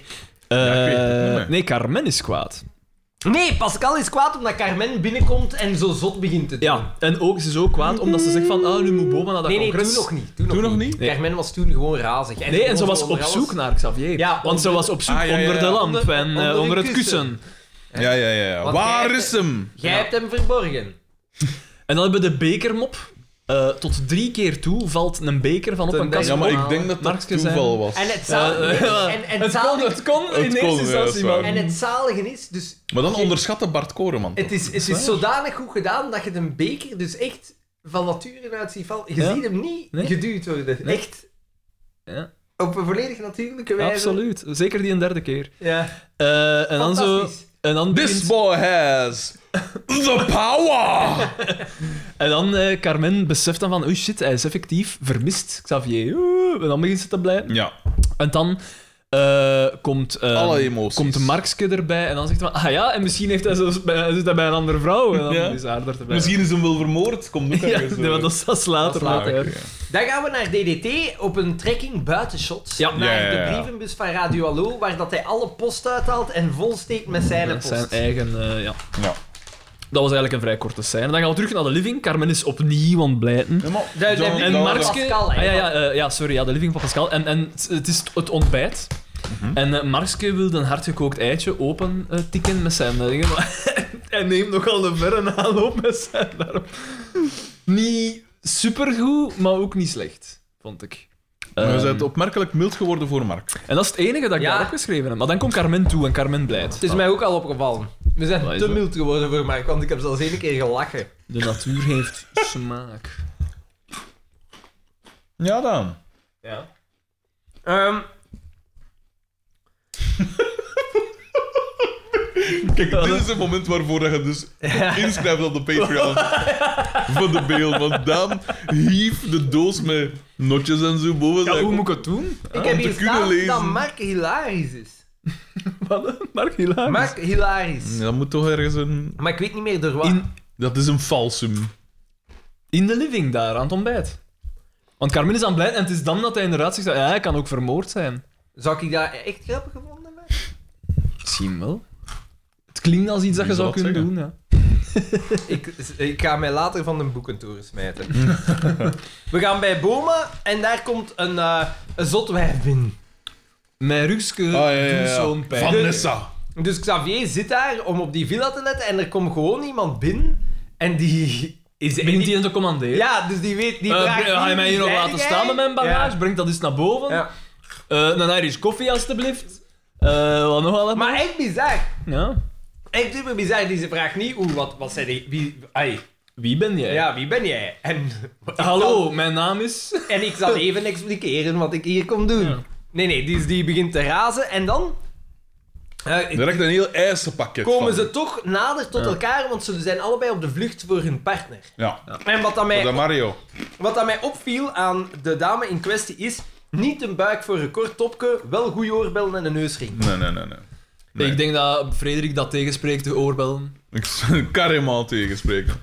Speaker 2: Ja, ik weet het niet
Speaker 4: Eh,
Speaker 2: meer.
Speaker 4: nee, Carmen is kwaad.
Speaker 3: Nee, Pascal is kwaad omdat Carmen binnenkomt en zo zot begint te doen.
Speaker 4: Ja, en ook, ze is ook kwaad omdat ze zegt van, ah, nu moet Boma naar dat
Speaker 3: nee, nee,
Speaker 4: congres.
Speaker 3: toen nog niet. Toen,
Speaker 2: Toen
Speaker 3: nog
Speaker 2: nog
Speaker 3: niet.
Speaker 2: niet?
Speaker 4: Nee.
Speaker 3: Carmen was toen gewoon razig. En
Speaker 4: Nee, en ze was
Speaker 3: onder
Speaker 4: op
Speaker 3: alles-
Speaker 4: zoek naar Xavier.
Speaker 3: Ja,
Speaker 4: Want ze
Speaker 3: onder-
Speaker 4: was op zoek
Speaker 2: Ah, ja, ja, ja.
Speaker 4: onder de lamp
Speaker 3: Onder-
Speaker 4: en eh,
Speaker 3: onder een
Speaker 4: onder, het
Speaker 3: kussen.
Speaker 4: kussen.
Speaker 2: Ja, ja, ja. ja.
Speaker 3: Wat
Speaker 2: Waar
Speaker 3: jij-
Speaker 2: is hem?
Speaker 3: Jij hebt hem verborgen.
Speaker 4: En dan hebben we de bekermop. eh, tot drie keer toe valt een beker van op
Speaker 6: Ten
Speaker 4: een kast.
Speaker 2: Ja, maar ik
Speaker 4: van-
Speaker 2: denk dat dat
Speaker 6: Markske zijn.
Speaker 2: toeval was.
Speaker 3: En het,
Speaker 4: Eh,
Speaker 3: zalige,
Speaker 4: ja.
Speaker 3: en,
Speaker 6: Het
Speaker 3: en,
Speaker 6: kon,
Speaker 3: zalige-
Speaker 6: het kon
Speaker 2: Het
Speaker 6: in
Speaker 2: kon,
Speaker 6: eerste
Speaker 2: ja, dat is
Speaker 6: instantie,
Speaker 2: waar.
Speaker 6: man.
Speaker 3: en eh, het zalige is, dus
Speaker 2: Maar dan onderschatte Bart Koreman.
Speaker 3: Het is, het is zodanig goed gedaan dat je de beker dus echt van nature uit ziet vallen. Je
Speaker 4: Ja.
Speaker 3: ziet hem niet
Speaker 4: Nee.
Speaker 3: geduwd worden.
Speaker 4: Nee.
Speaker 3: Echt
Speaker 4: Ja,
Speaker 3: op een volledig natuurlijke wijze.
Speaker 4: absoluut. Zeker die een derde keer.
Speaker 3: Ja.
Speaker 4: Eh, en dan zo...
Speaker 3: Fantastisch.
Speaker 4: En dan,
Speaker 2: This
Speaker 4: begint-
Speaker 2: boy has the power!
Speaker 4: en dan eh, Carmen beseft dan van, oei shit, hij is effectief vermist, Xavier. Oeh, en dan begint ze te blij.
Speaker 2: Ja,
Speaker 4: En dan eh, komt, eh,
Speaker 2: alle emoties.
Speaker 4: komt Markske erbij en dan zegt hij van, ah ja, en misschien heeft hij zelfs bij, zit hij bij een andere vrouw. En dan
Speaker 2: Ja.
Speaker 4: is haar er te bij.
Speaker 2: Misschien is hem wel vermoord. Komt ook
Speaker 4: Ja,
Speaker 2: ergens,
Speaker 4: nee,
Speaker 2: eh,
Speaker 4: maar dat is, dat is later.
Speaker 3: Dat is
Speaker 4: maakt
Speaker 2: ah,
Speaker 4: niet uit.
Speaker 2: oké, ja.
Speaker 3: Dan gaan we naar DDT op een trekking buiten shots.
Speaker 4: Ja.
Speaker 3: Naar
Speaker 2: Ja, ja, ja.
Speaker 3: de brievenbus van Radio Hallo, waar dat hij alle post uithaalt en volsteekt met zijn
Speaker 4: Met
Speaker 3: post.
Speaker 4: zijn eigen, eh, ja.
Speaker 2: Ja.
Speaker 4: Dat was eigenlijk een vrij korte scène. Dan gaan we terug naar de living. Carmen is opnieuw aan het blijten.
Speaker 2: Ja, maar-
Speaker 3: Daar- daar-
Speaker 2: John-
Speaker 4: En
Speaker 2: John-
Speaker 4: Markske...
Speaker 3: Pascal, hè,
Speaker 4: ah, ja, ja, eh, ja, sorry, ja, de living van Pascal. En, en het- het is het ontbijt. En eh, Markske wil een hardgekookt eitje open eh, tikken met zijn eh, dingen. Maar hij neemt nogal een verre aanloop met zijn daarop. Niet supergoed, maar ook niet slecht, vond ik.
Speaker 2: Eh, We
Speaker 4: Ehm,
Speaker 2: zijn opmerkelijk mild geworden voor Mark.
Speaker 4: en dat is het enige dat ik
Speaker 3: Ja.
Speaker 4: daar opgeschreven heb. Maar dan komt Carmen toe en Carmen blijft.
Speaker 3: Het is mij ook al opgevallen. We zijn
Speaker 4: Wat is
Speaker 3: te
Speaker 4: dat?
Speaker 3: mild geworden voor Mark, want ik heb zelfs één keer gelachen.
Speaker 4: De natuur heeft smaak.
Speaker 2: Ja, dan.
Speaker 3: Ja. Ehm,
Speaker 2: Kijk, dit is het moment waarvoor dat je dus inschrijft op de Patreon van de beeld. Want Daan hief de doos met notjes en zo boven.
Speaker 4: Ja,
Speaker 2: zijn kop.
Speaker 4: hoe moet ik het doen?
Speaker 3: ik heb
Speaker 2: te
Speaker 3: hier
Speaker 2: kunnen
Speaker 3: staan dat
Speaker 2: lezen.
Speaker 3: Mark hilarisch is.
Speaker 4: Wat? Mark, helaas.
Speaker 3: Mark hilarisch.
Speaker 2: dat moet toch ergens een...
Speaker 3: Maar ik weet niet meer door wat.
Speaker 4: In,
Speaker 2: Dat is een falsum.
Speaker 4: in de living daar, aan het ontbijt. Want Carmen is aan het blij en het is dan dat hij inderdaad zegt, ja, hij kan ook vermoord zijn.
Speaker 3: Zou ik dat echt grappig gevonden hebben?
Speaker 4: Misschien wel. Het klinkt als iets dat je
Speaker 2: Wie
Speaker 4: zou
Speaker 2: zou het
Speaker 4: kunnen doen, ja.
Speaker 3: Ik, ik ga mij later van de boekentoren smijten. We gaan bij Boma en daar komt een, eh een zotwijf binnen.
Speaker 4: Mijn rugske
Speaker 2: Ah, ja, ja,
Speaker 4: doet
Speaker 2: ja.
Speaker 4: zo'n pijn.
Speaker 2: Vanessa.
Speaker 3: Dus Xavier zit daar om op die villa te letten en er komt gewoon iemand binnen en die... Is, en
Speaker 4: Begint
Speaker 3: die-
Speaker 4: hij te commanderen?
Speaker 3: ja, dus die weet... Die
Speaker 4: Eh,
Speaker 3: vraagt
Speaker 4: ga je
Speaker 3: wie
Speaker 4: mij hier nog
Speaker 3: zijn
Speaker 4: laten
Speaker 3: jij?
Speaker 4: staan met mijn bagage? Breng dat eens naar boven.
Speaker 3: Ja. Ja.
Speaker 4: Eh, een Irish koffie, alstublieft. Eh, wat nog allemaal?
Speaker 3: Maar echt bizar.
Speaker 4: Ja.
Speaker 3: Echt super bizar. Die ze vraagt niet hoe, wat, wat zijn die... Wie, ai,
Speaker 4: Wie ben jij?
Speaker 3: ja, wie ben jij? En,
Speaker 4: Hallo, mijn naam is...
Speaker 3: en ik zal even expliceren wat ik hier kom doen.
Speaker 4: Ja.
Speaker 3: Nee, nee, die, die begint te razen en dan... eh,
Speaker 2: Direct een heel ijzerpakket
Speaker 3: komen
Speaker 2: van.
Speaker 3: ze toch nader tot elkaar, want ze zijn allebei op de vlucht voor hun partner.
Speaker 2: Ja,
Speaker 3: En wat dat
Speaker 2: voor de
Speaker 3: mij,
Speaker 2: Mario.
Speaker 3: wat dat mij opviel aan de dame in kwestie is, niet een buik voor een kort topje, wel goede oorbellen en een neusring.
Speaker 2: Nee, nee, nee. nee. Nee.
Speaker 4: Ik denk dat Frederik dat tegenspreekt, de oorbellen.
Speaker 2: Ik zou Karimaan tegenspreken.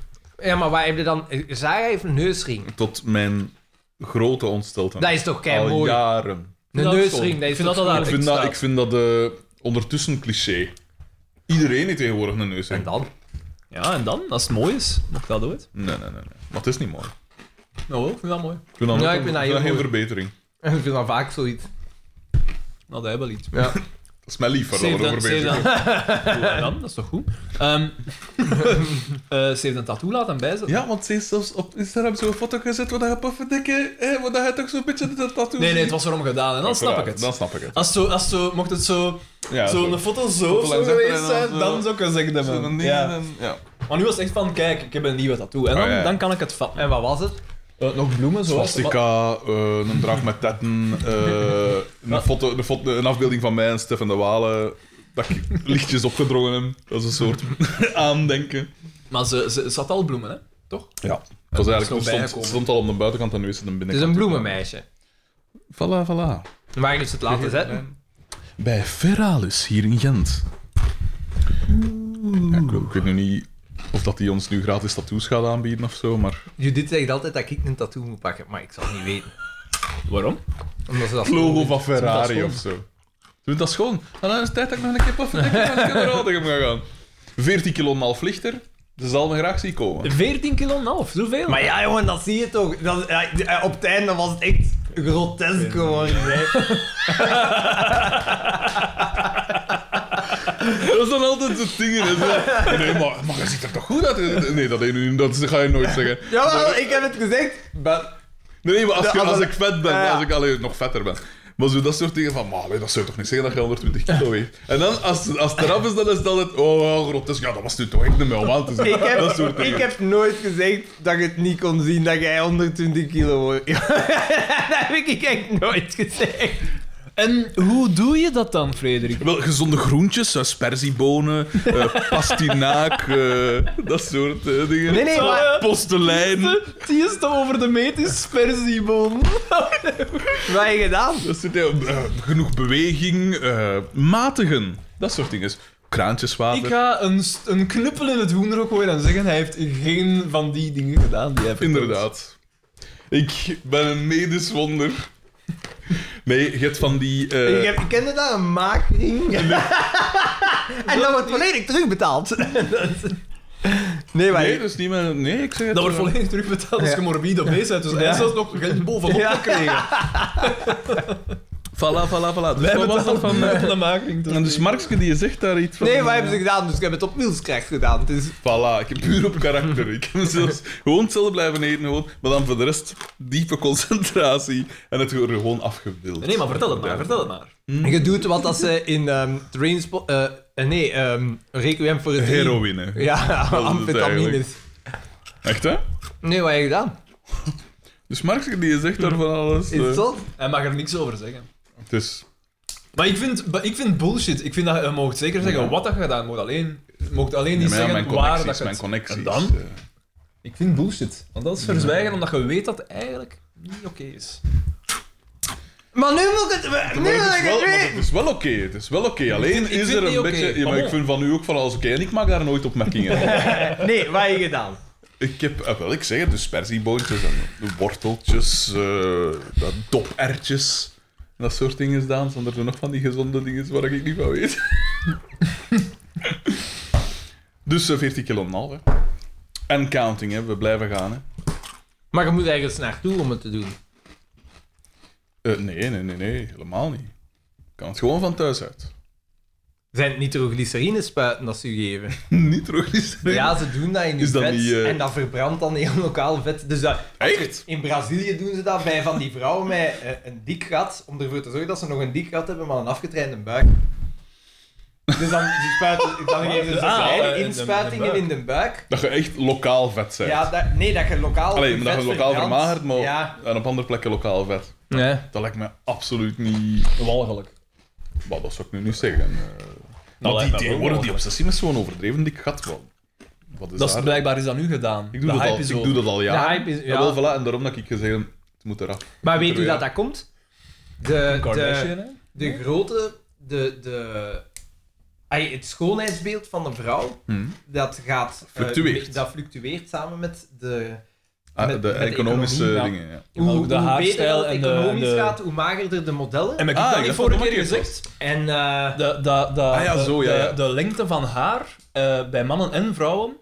Speaker 3: Ja, maar waar heb je dan... Zara heeft een neusring.
Speaker 2: Tot mijn grote ontsteltenis.
Speaker 3: Dat is toch
Speaker 2: Al
Speaker 3: kei mooi.
Speaker 2: jaren.
Speaker 3: Een
Speaker 4: Ja,
Speaker 3: neusring, dat
Speaker 4: ik
Speaker 3: is
Speaker 4: vind
Speaker 3: toch
Speaker 4: dat dat
Speaker 2: Ik
Speaker 4: daar-
Speaker 2: vind dat,
Speaker 4: staat.
Speaker 2: ik vind dat eh, ondertussen een cliché. Iedereen heeft tegenwoordig een neus. hè?
Speaker 3: En dan?
Speaker 4: Ja, en dan? Als het mooi is, mag dat ooit?
Speaker 2: Nee, nee, nee, nee. Maar het is niet mooi.
Speaker 4: Nou, ik vind dat mooi.
Speaker 2: Ik vind dat,
Speaker 3: Ja,
Speaker 2: ook-
Speaker 3: ik vind dat
Speaker 2: ik
Speaker 3: heel
Speaker 2: geen
Speaker 3: mooi.
Speaker 2: verbetering.
Speaker 3: Ik vind dat vaak zoiets.
Speaker 4: Nou, dat hebben we iets.
Speaker 3: Ja.
Speaker 2: Dat is mijn lief waar we over bezig zijn.
Speaker 4: dat is toch goed? Ehm eh, ze heeft een tattoo laten bijzetten.
Speaker 2: Ja, want ze heeft zelfs op Instagram zo'n foto gezet waar je puffe dikke, hè, waar je toch zo'n beetje dat tattoo
Speaker 4: Nee, nee, het
Speaker 2: ziet.
Speaker 4: was erom gedaan en dan snap ik
Speaker 2: Uiteraard,
Speaker 4: het.
Speaker 2: Dan snap ik het.
Speaker 4: Als zo, als zo, mocht het zo,
Speaker 2: Ja,
Speaker 4: zo een foto zo,
Speaker 2: Foto
Speaker 4: of zo
Speaker 2: langs achter
Speaker 4: geweest
Speaker 2: en dan
Speaker 4: zijn,
Speaker 2: zo.
Speaker 4: dan zou ik een zeggen
Speaker 2: Zo'n
Speaker 4: hebben.
Speaker 2: ding
Speaker 4: Ja.
Speaker 2: en- ja.
Speaker 4: Maar nu was het echt van, kijk, ik heb een nieuwe tattoo. En dan,
Speaker 2: Ah, ja, ja.
Speaker 4: dan kan ik het vatten.
Speaker 3: En wat was het?
Speaker 4: Eh, nog bloemen, zo.
Speaker 2: Swastika, eh, een draak met tetten, eh, een, foto, een, foto, een afbeelding van mij en Stefan de Walen. Dat ik lichtjes opgedrongen heb. Dat is een soort aandenken.
Speaker 4: Maar ze, ze, ze had al bloemen, hè?
Speaker 2: Ja. Het was
Speaker 4: is nog
Speaker 2: eigenlijk, het stond,
Speaker 4: bijgekomen.
Speaker 2: stond al op de buitenkant en nu is het een
Speaker 3: Het is
Speaker 2: binnenkant.
Speaker 3: een bloemenmeisje.
Speaker 2: Voilà, voilà.
Speaker 3: Waar is het laten zetten?
Speaker 2: Bij Feralus, hier in Gent. Ja, ik, ik weet nu niet of dat die ons nu gratis tattoos gaat aanbieden of zo, maar...
Speaker 3: Judith zegt altijd dat ik een tattoo moet pakken, maar ik zal het niet weten.
Speaker 4: Waarom?
Speaker 3: Omdat ze dat
Speaker 2: Het logo
Speaker 3: vroeg
Speaker 2: van Ferrari
Speaker 4: schoon.
Speaker 2: of zo. Doe dat schoon. En Ah, dan is het tijd dat ik nog een keer puffen dikke naar Rotterdam ga gaan. 14 kilo en een half lichter. Ze zal me graag zien komen.
Speaker 4: 14 kilo en een half, zoveel.
Speaker 3: Maar ja, jongen, dat zie je toch. Dat, ja, eh, op het einde was het echt grotesk geworden. hè.
Speaker 2: Dat is dan altijd het dingen. hè. Zo, Nee, maar, maar je ziet er toch goed uit? Nee, dat, dat ga je nooit zeggen.
Speaker 3: Jawel, ik heb het gezegd. Maar
Speaker 2: Nee, nee, maar als,
Speaker 3: Ja,
Speaker 2: je-
Speaker 3: als
Speaker 2: als
Speaker 3: dat-
Speaker 2: ik vet ben,
Speaker 3: Ja, ja.
Speaker 2: als ik alleen nog vetter ben. Maar zo dat soort dingen van, maar allee, dat zou je toch niet zeggen dat je 120 kilo weegt? En dan, als, als het eraf is, dan is het altijd, oh, ja, grotesk, ja, dat was nu toch echt niet meer om aan te zien.
Speaker 3: ik
Speaker 2: dat
Speaker 3: heb,
Speaker 2: soort
Speaker 3: ik
Speaker 2: dingen.
Speaker 3: heb nooit gezegd dat ik het niet kon zien dat jij 120 kilo wordt. dat heb ik echt nooit gezegd.
Speaker 4: En hoe doe je dat dan, Frederik?
Speaker 2: Wel, gezonde groentjes, zoals perziebonen, eh, pastinaak, eh, dat soort eh, dingen.
Speaker 3: Nee, nee, maar-
Speaker 2: Postelijn.
Speaker 6: Die is toch over de meet is persieboon.
Speaker 3: Wat heb je gedaan?
Speaker 2: Dat zit, eh, eh, genoeg beweging, eh, matigen, dat soort dingen. Kraantjeswater.
Speaker 6: Ik ga een, st- een knuppel in het hoenderhok gooien en zeggen hij heeft geen van die dingen gedaan die hij vertelt.
Speaker 2: Inderdaad. Ik ben een medisch wonder. Nee, je hebt van die... eh,
Speaker 3: Ik, heb, ik kende daar een maakring. en dat wordt volledig terugbetaald. nee, maar...
Speaker 2: Nee, dat is niet meer... Nee, ik zeg het
Speaker 6: Dat wordt
Speaker 2: wel.
Speaker 6: volledig terugbetaald als je
Speaker 3: Ja.
Speaker 6: morbide obese bent. Dus hij
Speaker 3: Ja.
Speaker 6: is zelfs nog geen bol van
Speaker 3: Ja.
Speaker 6: opgekregen.
Speaker 2: Voilà, voilà, voilà. Dus
Speaker 6: Wij
Speaker 2: dat was
Speaker 6: betalen
Speaker 2: dat
Speaker 6: van
Speaker 2: van... eh,
Speaker 6: de making.
Speaker 2: en dus Markske, die zegt daar iets van...
Speaker 3: Nee, wat hebben ze gedaan? Dus ik heb het op Wilskracht gedaan. Dus
Speaker 2: Voilà, ik heb puur op karakter. Ik heb zelfs gewoon hetzelfde blijven eten, gewoon, maar dan voor de rest diepe concentratie. En het wordt gewoon afgebeeld.
Speaker 4: Nee, maar vertel het maar, vertel het maar.
Speaker 2: Hmm.
Speaker 3: je doet wat dat ze in ehm Trainspot... eh, eh, nee, ehm Requiem voor het Dream.
Speaker 2: Heroïne.
Speaker 3: Ja,
Speaker 2: het eigenlijk.
Speaker 3: amfetamines.
Speaker 2: Echt, hè?
Speaker 3: Nee, wat heb je gedaan?
Speaker 2: Dus Markske, die zegt daar van alles.
Speaker 3: Is
Speaker 2: eh,
Speaker 3: het zo?
Speaker 6: Hij mag er niks over zeggen.
Speaker 2: het is-
Speaker 6: Maar ik vind, maar ik vind bullshit. Ik vind dat je mag zeker zeggen
Speaker 2: Ja.
Speaker 6: wat dat je gedaan hebt. alleen, je mag alleen
Speaker 2: Ja,
Speaker 6: niet
Speaker 2: maar ja, mijn
Speaker 6: zeggen waar dat
Speaker 2: connecties,
Speaker 6: je
Speaker 2: mijn
Speaker 6: het...
Speaker 2: connecties.
Speaker 6: En dan?
Speaker 2: eh.
Speaker 6: Ik vind bullshit. Want dat is verzwijgen omdat je weet dat het eigenlijk niet oké is.
Speaker 3: Maar nu moet ik het... Nu wil
Speaker 2: Maar
Speaker 3: ik
Speaker 2: het is wel,
Speaker 3: het
Speaker 2: maar
Speaker 3: weten.
Speaker 2: het is wel oké, het is wel oké. Alleen
Speaker 6: vind- ik
Speaker 2: is
Speaker 6: vind
Speaker 2: er
Speaker 6: die
Speaker 2: een
Speaker 6: oké.
Speaker 2: beetje... Ja, maar
Speaker 6: Kom
Speaker 2: ik
Speaker 6: op.
Speaker 2: vind van u ook van alles oké en ik maak daar nooit opmerkingen over.
Speaker 3: Nee, wat heb je gedaan?
Speaker 2: Ik heb, eh, wel, ik zeg het, dus persieboontjes en de worteltjes, eh, dat dopertjes. en Dat soort dingen gedaan, zonder er nog van die gezonde dingen waar ik niet van weet. dus eh, 40 kilo en een half, hè. En counting, hè. We blijven gaan, hè.
Speaker 3: Maar je moet ergens naartoe om het te doen.
Speaker 2: Eh, nee, nee, nee, nee. Helemaal niet. Ik kan het gewoon van thuis uit.
Speaker 3: Zijn het nitroglycerine spuiten dat ze u geven?
Speaker 2: niet terug.
Speaker 3: Ja, ze doen dat in die
Speaker 2: Is dat
Speaker 3: vet
Speaker 2: niet, eh,
Speaker 3: en dat verbrandt dan heel lokaal vet. Dus dat,
Speaker 2: Echt?
Speaker 3: in Brazilië doen ze dat bij van die vrouwen met eh, een dik gat, om ervoor te zorgen dat ze nog een dik gat hebben, maar een afgetrainde buik. Dus dan, ze spuiten, dan geven ze
Speaker 6: Ah,
Speaker 3: kleine
Speaker 6: eh, in de-
Speaker 3: inspuitingen in de buik.
Speaker 2: Dat je echt lokaal vet bent.
Speaker 3: Ja, dat, nee, dat je lokaal
Speaker 2: Alleen, maar dat
Speaker 3: vet
Speaker 2: je lokaal
Speaker 3: verbrandt.
Speaker 2: vermagert, maar
Speaker 3: Ja.
Speaker 2: en op andere plekken lokaal vet.
Speaker 4: Nee.
Speaker 2: Dat lijkt me absoluut niet...
Speaker 4: Walgelijk.
Speaker 2: Wat dat zou ik nu niet zeggen. eh.
Speaker 6: Nou,
Speaker 3: Nou,
Speaker 2: maar
Speaker 4: lijkt
Speaker 2: die
Speaker 4: me
Speaker 2: tegenwoordig,
Speaker 4: wel
Speaker 2: die obsessie met zo'n overdreven dik gat wel. Wat is
Speaker 4: Dat is,
Speaker 2: daar?
Speaker 4: blijkbaar is dat nu gedaan.
Speaker 2: ik, doe dat al, ik doe dat al
Speaker 3: De
Speaker 2: jaren.
Speaker 3: hype is...
Speaker 2: Ja.
Speaker 3: ja.
Speaker 2: wel, voilà, en daarom dat ik gezegd heb, het moet eraf.
Speaker 3: Maar weet u
Speaker 2: Ja.
Speaker 3: dat dat komt? De, de,
Speaker 4: Kardashian, hè?
Speaker 3: de grote... De, de, ai, het schoonheidsbeeld van een vrouw
Speaker 2: Hm.
Speaker 3: dat gaat... eh,
Speaker 2: Fluctueert.
Speaker 3: me- dat fluctueert samen met de...
Speaker 2: Ah,
Speaker 3: Met-
Speaker 2: de
Speaker 3: met de
Speaker 2: economische
Speaker 3: economie, ja.
Speaker 2: dingen, ja.
Speaker 4: Ja, maar ook de haarstijl
Speaker 3: beter dat
Speaker 4: en
Speaker 3: het
Speaker 4: de-
Speaker 3: economisch
Speaker 4: en de-
Speaker 3: gaat, hoe magerder de modellen.
Speaker 6: En
Speaker 3: En,
Speaker 6: heb ik
Speaker 2: Ah,
Speaker 6: dat
Speaker 2: ik
Speaker 6: niet
Speaker 2: dacht
Speaker 6: vorige
Speaker 2: dat
Speaker 6: keer
Speaker 2: dat een keer
Speaker 6: gezegd?
Speaker 3: eh,
Speaker 4: De, de, de,
Speaker 2: Ah ja,
Speaker 4: de-
Speaker 2: zo, ja,
Speaker 4: de-
Speaker 2: ja.
Speaker 4: de lengte van haar eh, bij mannen en vrouwen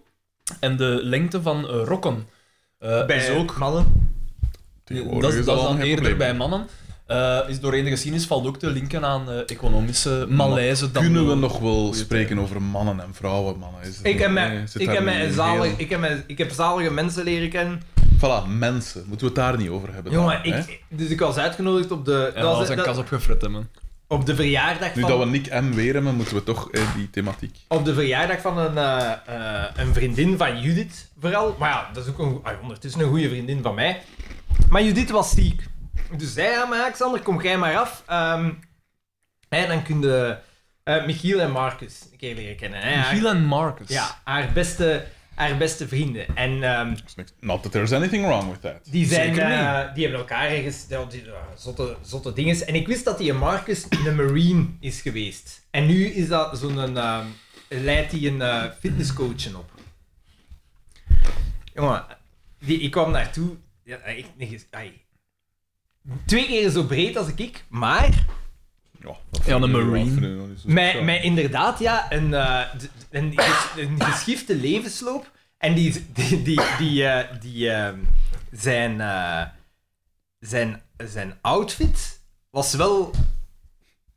Speaker 4: en de lengte van eh, rokken. Eh,
Speaker 3: bij
Speaker 4: is ook,
Speaker 3: ook mannen.
Speaker 2: Tegenwoordig
Speaker 4: dat is,
Speaker 2: is
Speaker 4: dat is
Speaker 2: al
Speaker 4: dan
Speaker 2: geen
Speaker 4: eerder
Speaker 2: probleem.
Speaker 4: bij mannen. Eh, is doorheen de geschiedenis valt ook te linken aan eh, economische malaise. Dan
Speaker 2: Kunnen we
Speaker 4: wel.
Speaker 2: nog wel
Speaker 4: goeie
Speaker 2: spreken over mannen en vrouwen, mannen? Is het
Speaker 3: Ik heb,
Speaker 2: nog-
Speaker 3: mij-
Speaker 2: nee, zit
Speaker 3: ik,
Speaker 2: daar
Speaker 3: heb
Speaker 2: niet
Speaker 3: mij
Speaker 2: in
Speaker 3: zalig,
Speaker 2: heel-
Speaker 3: ik, heb mij- ik heb zalige mensen leren kennen.
Speaker 2: Voilà, mensen. Moeten we het daar niet over hebben?
Speaker 3: Jongen,
Speaker 2: dan, hè?
Speaker 3: ik, dus ik was uitgenodigd op de,
Speaker 4: En
Speaker 3: dat
Speaker 4: dat
Speaker 3: was-
Speaker 4: was een
Speaker 3: dat-
Speaker 4: kas opgefrit, hè, man.
Speaker 3: op de verjaardag
Speaker 2: Nu
Speaker 3: van...
Speaker 2: dat we Nick M weer hebben, moeten we toch eh, die thematiek...
Speaker 3: Op de verjaardag van een, eh, eh, een vriendin van Judith, vooral. Maar ja, dat is ook een, goe- ah, ondertussen een goede vriendin van mij. Maar Judith was ziek. Dus zij aan mij, Alexander, kom jij maar af. Ehm, en dan kun je eh, Michiel en Marcus een keer leren kennen. Hè? Haar,
Speaker 4: Michiel en Marcus.
Speaker 3: ja, haar beste, haar beste vrienden. En ehm,
Speaker 2: is niks- Not that there's anything wrong with that.
Speaker 3: die, zijn,
Speaker 4: Zeker niet.
Speaker 3: eh, die hebben elkaar ergens, ja, die, eh, zotte, zotte dinges. En ik wist dat die Marcus een marine is geweest. En nu is dat zo'n, ehm, leidt hij een eh fitnesscoach op. Jongen, die, ik kwam naartoe, ja, echt, een ges- ai. twee keer zo breed als ik, maar
Speaker 2: Ja,
Speaker 4: Ja, een
Speaker 2: Marine.
Speaker 4: marine.
Speaker 3: met, met inderdaad, ja, een, eh, d- een, ges- een geschifte levensloop. En die, die, die, die, eh, die ehm, zijn, eh, zijn, zijn outfit was wel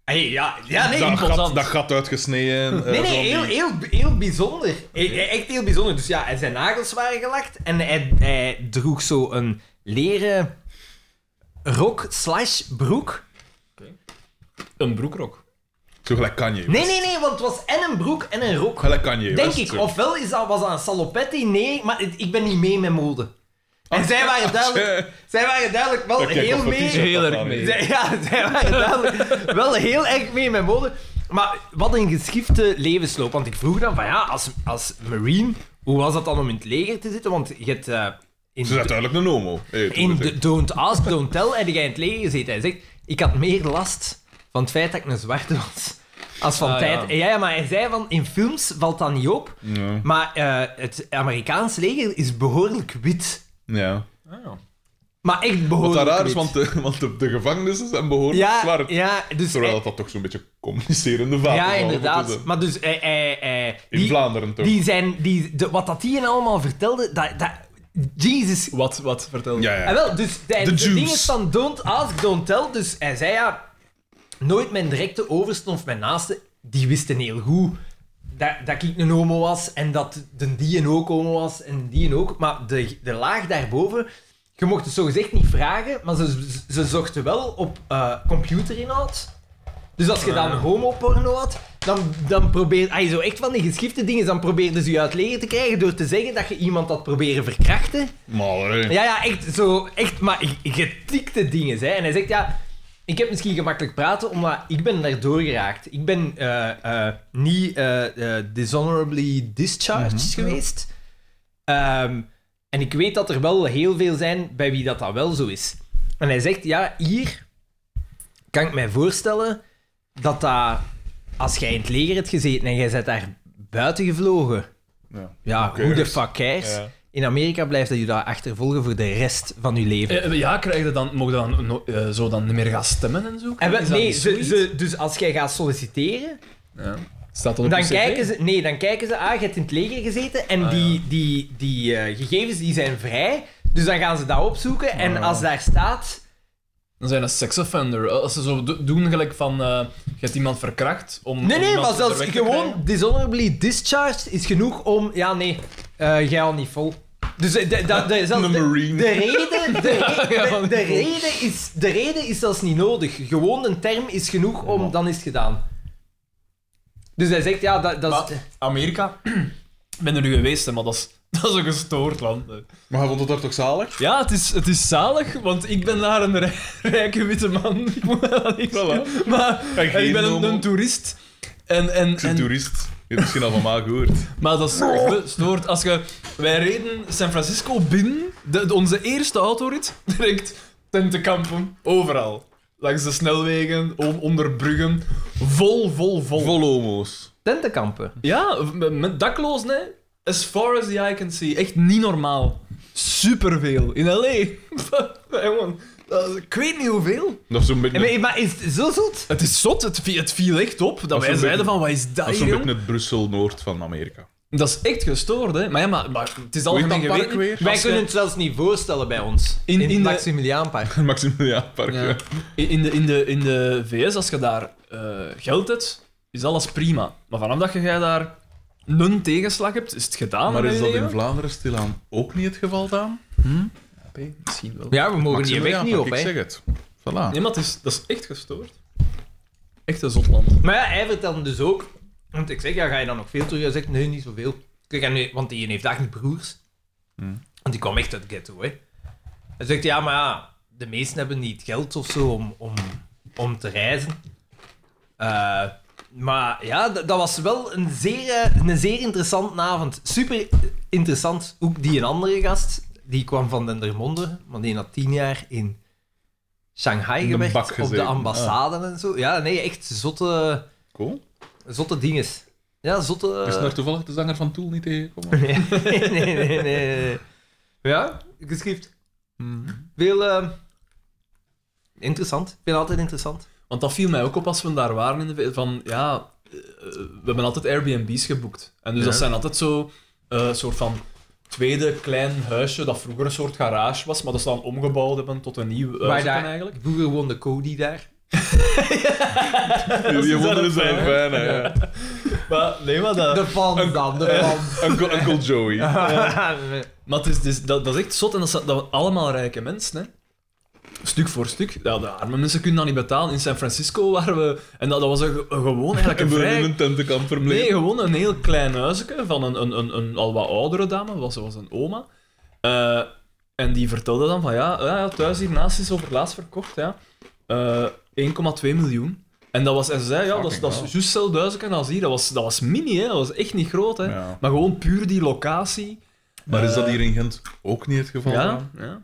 Speaker 3: Hey, ja, ja, nee.
Speaker 2: dat, gat,
Speaker 4: imposant.
Speaker 2: dat gat uitgesneden. eh,
Speaker 3: Nee,
Speaker 2: zo
Speaker 3: nee,
Speaker 2: die-
Speaker 3: heel, heel, heel bijzonder. E- e- Echt heel bijzonder. Dus ja, en zijn nagels waren gelakt en hij, hij droeg zo een leren rok slash broek.
Speaker 4: Een broekrok.
Speaker 2: Zo gelijk kan je.
Speaker 3: Nee, nee, nee, want het was en een broek en een rok.
Speaker 2: Gelijk kan je.
Speaker 3: Denk ik. Ofwel is dat, was dat een salopetti, nee, maar het- ik ben niet mee met mode. En zij waren duidelijk, zij waren duidelijk wel heel mee.
Speaker 4: Heel erg mee.
Speaker 3: Zij- ja, zij waren duidelijk wel heel erg mee met mode. Maar wat een geschifte levensloop. Want ik vroeg dan van ja, als, als marine, hoe was dat dan om in het leger te zitten? Want je hebt eh, in,
Speaker 2: Ze zijn duidelijk een homo. Hey,
Speaker 3: in
Speaker 2: dat
Speaker 3: de Don't Ask, Don't Tell heb jij in het leger gezeten. Hij zegt, ik had meer last van het feit dat ik een zwarte was. Als van
Speaker 4: Ah,
Speaker 3: tijd.
Speaker 4: ja.
Speaker 3: Ja. ja, maar hij zei van in films valt dat niet op.
Speaker 2: is- Ja.
Speaker 3: Maar eh, het Amerikaans leger is behoorlijk wit.
Speaker 2: ja.
Speaker 3: Maar echt
Speaker 2: Wat
Speaker 3: behoorlijk
Speaker 2: daar raar
Speaker 3: wit.
Speaker 2: is, want, de, want de, de gevangenissen zijn behoorlijk
Speaker 3: ja,
Speaker 2: zwart.
Speaker 3: ja, dus
Speaker 2: Terwijl
Speaker 3: hij-
Speaker 2: dat, dat toch zo'n beetje communicerende vaten
Speaker 3: Ja,
Speaker 2: waren,
Speaker 3: inderdaad.
Speaker 2: moeten ze-
Speaker 3: Maar dus, eh, eh, eh,
Speaker 2: In
Speaker 3: die,
Speaker 2: Vlaanderen toch?
Speaker 3: die zijn, die, de, wat dat die en allemaal vertelde, dat, dat, Jesus.
Speaker 4: Wat, wat, vertel.
Speaker 2: Ja,
Speaker 3: En
Speaker 2: ja.
Speaker 3: wel, dus de, de
Speaker 2: Jews.
Speaker 3: dingen van don't ask, don't tell, dus hij zei ja, nooit mijn directe oversten of mijn naasten, die wisten heel goed dat, dat ik een homo was en dat de die en ook homo was en die en ook, maar de, de laag daarboven, je mocht het zogezegd niet vragen, maar ze, ze zochten wel op eh, computerinhoud. Dus als
Speaker 2: Ah,
Speaker 3: je dan homoporno had, dan, dan probeerde... Ay, zo echt van die geschifte dingen, dan probeerden ze je uit leger te krijgen door te zeggen dat je iemand had proberen verkrachten.
Speaker 2: Maar, eh, hey.
Speaker 3: Ja, ja, echt zo. Echt, maar ik- getikte dingen. Hè. En hij zegt, ja, ik heb misschien gemakkelijk praten, omdat ik ben daardoor geraakt. Ik ben eh, eh, niet eh, eh, dishonorably discharged geweest. Ehm, en ik weet dat er wel heel veel zijn bij wie dat, dat wel zo is. En hij zegt, ja, hier kan ik mij voorstellen dat dat... Als jij in het leger hebt gezeten en jij bent daar buiten gevlogen...
Speaker 2: Ja.
Speaker 3: Ja,
Speaker 2: Who
Speaker 3: hoe de
Speaker 2: cares?
Speaker 3: fuck cares?
Speaker 2: Ja.
Speaker 3: In Amerika blijft dat je daar achtervolgen voor de rest van je leven.
Speaker 4: Eh, eh, Ja, krijg je dan, mogen dan no- eh, zo dan niet meer gaan stemmen en zo?
Speaker 3: en wel-
Speaker 4: Is dat
Speaker 3: nee,
Speaker 4: niet
Speaker 3: ze,
Speaker 4: zoiets?
Speaker 3: ze- dus als jij gaat solliciteren,
Speaker 4: Ja. Staat dat op
Speaker 3: dan
Speaker 4: je cv?
Speaker 3: kijken, ze, nee, dan kijken ze, ah, je hebt in het leger gezeten en
Speaker 4: Ah,
Speaker 3: die,
Speaker 4: ja.
Speaker 3: die, die eh, gegevens die zijn vrij, dus dan gaan ze dat opzoeken en
Speaker 4: Ah.
Speaker 3: als daar staat,
Speaker 4: Dan zijn dat sex offender. Als ze zo do- doen, gelijk van... eh, je hebt iemand verkracht om... om
Speaker 3: nee, nee,
Speaker 4: iemand
Speaker 3: maar zelfs
Speaker 4: er weg te
Speaker 3: gewoon
Speaker 4: krijgen.
Speaker 3: dishonorably discharged is genoeg om, ja, nee, eh, jij al niet vol. Dus eh, de, de, de, zelfs
Speaker 2: Een
Speaker 3: de-
Speaker 2: marine.
Speaker 3: de reden, de, re-
Speaker 4: Ja,
Speaker 3: de-
Speaker 4: van
Speaker 3: de
Speaker 4: die vol.
Speaker 3: reden is, de reden is zelfs niet nodig. Gewoon een term is genoeg om, dan is het gedaan. Dus hij zegt, ja, dat, dat is...
Speaker 4: Maar Amerika... Ik ben er nu geweest, hè, maar dat is, dat is een gestoord land. hè.
Speaker 2: Maar hij vond het daar toch zalig?
Speaker 4: Ja, het is, het is zalig, want ik ben daar een rij- rijke witte man. Ik moet dat niet
Speaker 2: Voilà.
Speaker 4: Maar
Speaker 2: En
Speaker 4: en
Speaker 2: geen
Speaker 4: ik ben een,
Speaker 2: homo.
Speaker 4: een toerist. En, en,
Speaker 2: Een
Speaker 4: en,
Speaker 2: toerist. Je hebt misschien al van mij gehoord.
Speaker 4: maar dat is gestoord. Als je, wij reden San Francisco binnen, de, de- onze eerste autorit, direct tentenkampen, overal. Langs de snelwegen, om, onder bruggen, vol, vol, vol.
Speaker 2: Vol homo's.
Speaker 3: Tentenkampen.
Speaker 4: Ja, met- met daklozen, hè. As far as the eye can see. Echt niet normaal. Superveel. In L.A. Jongen, dat is- ik weet niet hoeveel.
Speaker 2: Dat is zo'n beetje,
Speaker 3: Maar, maar is het zo zot?
Speaker 4: Het is zot, het, vi- het viel echt op. Dat,
Speaker 2: is
Speaker 4: wij
Speaker 2: een
Speaker 4: zeiden
Speaker 2: beetje-
Speaker 4: van, wat is dat
Speaker 2: dat is
Speaker 4: hier,
Speaker 2: zo'n
Speaker 4: jong?
Speaker 2: beetje het Brussel-Noord van Amerika.
Speaker 4: Dat is echt gestoord, hè. Maar ja, maar, maar het is
Speaker 2: Hoe heet
Speaker 4: algemeen
Speaker 2: dat park
Speaker 4: geweten.
Speaker 2: weer?
Speaker 3: Wij
Speaker 4: Als
Speaker 3: kunnen
Speaker 4: je-
Speaker 3: het zelfs niet voorstellen bij ons.
Speaker 4: In-
Speaker 3: In,
Speaker 4: in
Speaker 3: het
Speaker 4: de-
Speaker 3: Maximiliaanpark.
Speaker 2: Maximiliaanpark.
Speaker 4: Ja.
Speaker 2: Ja.
Speaker 4: In, in de, in, de, in de VS, als je daar eh, geld hebt, is alles prima. Maar vanaf dat jij daar een tegenslag hebt, is het gedaan.
Speaker 2: Maar
Speaker 4: hè,
Speaker 2: is dat in
Speaker 4: Leo?
Speaker 2: Vlaanderen stilaan ook niet het geval, Daan?
Speaker 4: Misschien wel.
Speaker 3: Ja, we mogen hier weg
Speaker 2: Maximiliaanpark,
Speaker 3: niet op,
Speaker 2: ik zeg
Speaker 3: hè.
Speaker 2: het. Voilà.
Speaker 4: Nee, maar het is, dat is echt gestoord. Echt een zotland.
Speaker 3: Maar ja, hij vertelde dus ook... Want ik zeg, ja, ga je dan nog veel terug? Hij zegt, nee, niet zoveel. Ik zeg, ja, nee, want die heeft eigenlijk broers.
Speaker 2: Hmm.
Speaker 3: Want die kwam echt uit het ghetto, hè. Hij zegt, ja, maar ja, de meesten hebben niet het geld of zo om, om, om te reizen. Eh, maar ja, dat, dat was wel een zeer, eh, een zeer interessante avond. Super interessant. Ook die een andere gast, die kwam van Dendermonde, maar die had tien jaar in Shanghai
Speaker 2: In de bak
Speaker 3: gewerkt, op de
Speaker 2: gezeten. Ah.
Speaker 3: ambassade en zo. Ja, nee, echt zotte,
Speaker 2: Cool.
Speaker 3: zotte dinges. Ja, zotte... eh,
Speaker 2: Is daar toevallig de zanger van Tool niet tegengekomen?
Speaker 3: Nee, nee, nee, nee, nee. Ja, geschikt.
Speaker 2: Hmm.
Speaker 3: Veel eh, interessant. Ik vind het altijd interessant.
Speaker 4: Want dat viel mij ook op als we daar waren in de V- van ja, eh, we hebben altijd Airbnb's geboekt. En dus dat zijn altijd zo eh soort van tweede klein huisje dat vroeger een soort garage was, maar dat ze dan omgebouwd hebben tot een nieuw huis
Speaker 3: daar-
Speaker 4: eigenlijk.
Speaker 3: Vroeger woonde Cody daar.
Speaker 2: Die wonder is
Speaker 6: een
Speaker 2: een
Speaker 6: fan,
Speaker 2: fan, hè. ja.
Speaker 6: Maar nee, maar
Speaker 2: Eh,
Speaker 6: dat...
Speaker 3: De fans dan, de fans.
Speaker 2: Uncle, Uncle Joey.
Speaker 4: Maar het is, het is- dat, dat is echt zot en dat zijn dat zijn allemaal rijke mensen. Hè. Stuk voor stuk. Ja, de arme mensen kunnen dat niet betalen. In San Francisco waren we... En dat, dat was een, ge- een gewoon eigenlijk een
Speaker 2: En we in
Speaker 4: vrij...
Speaker 2: een tentenkamp
Speaker 4: Nee,
Speaker 2: verbleven.
Speaker 4: gewoon een heel klein huisje van een, een, een, een al wat oudere dame. Was, was een oma. Eh, en die vertelde dan van... Ja, ja ja, thuis hiernaast is over laatst verkocht. Ja. Eh, 1,2 miljoen. En dat was... En ze zei, ja, dat, is- dat
Speaker 2: Fucking
Speaker 4: is juist hetzelfde huisje als hier. Dat was, dat was mini, hè. Dat was echt niet groot, hè.
Speaker 2: Ja.
Speaker 4: Maar gewoon puur die locatie.
Speaker 2: Maar is dat hier in Gent ook niet het geval?
Speaker 4: Ja, ja.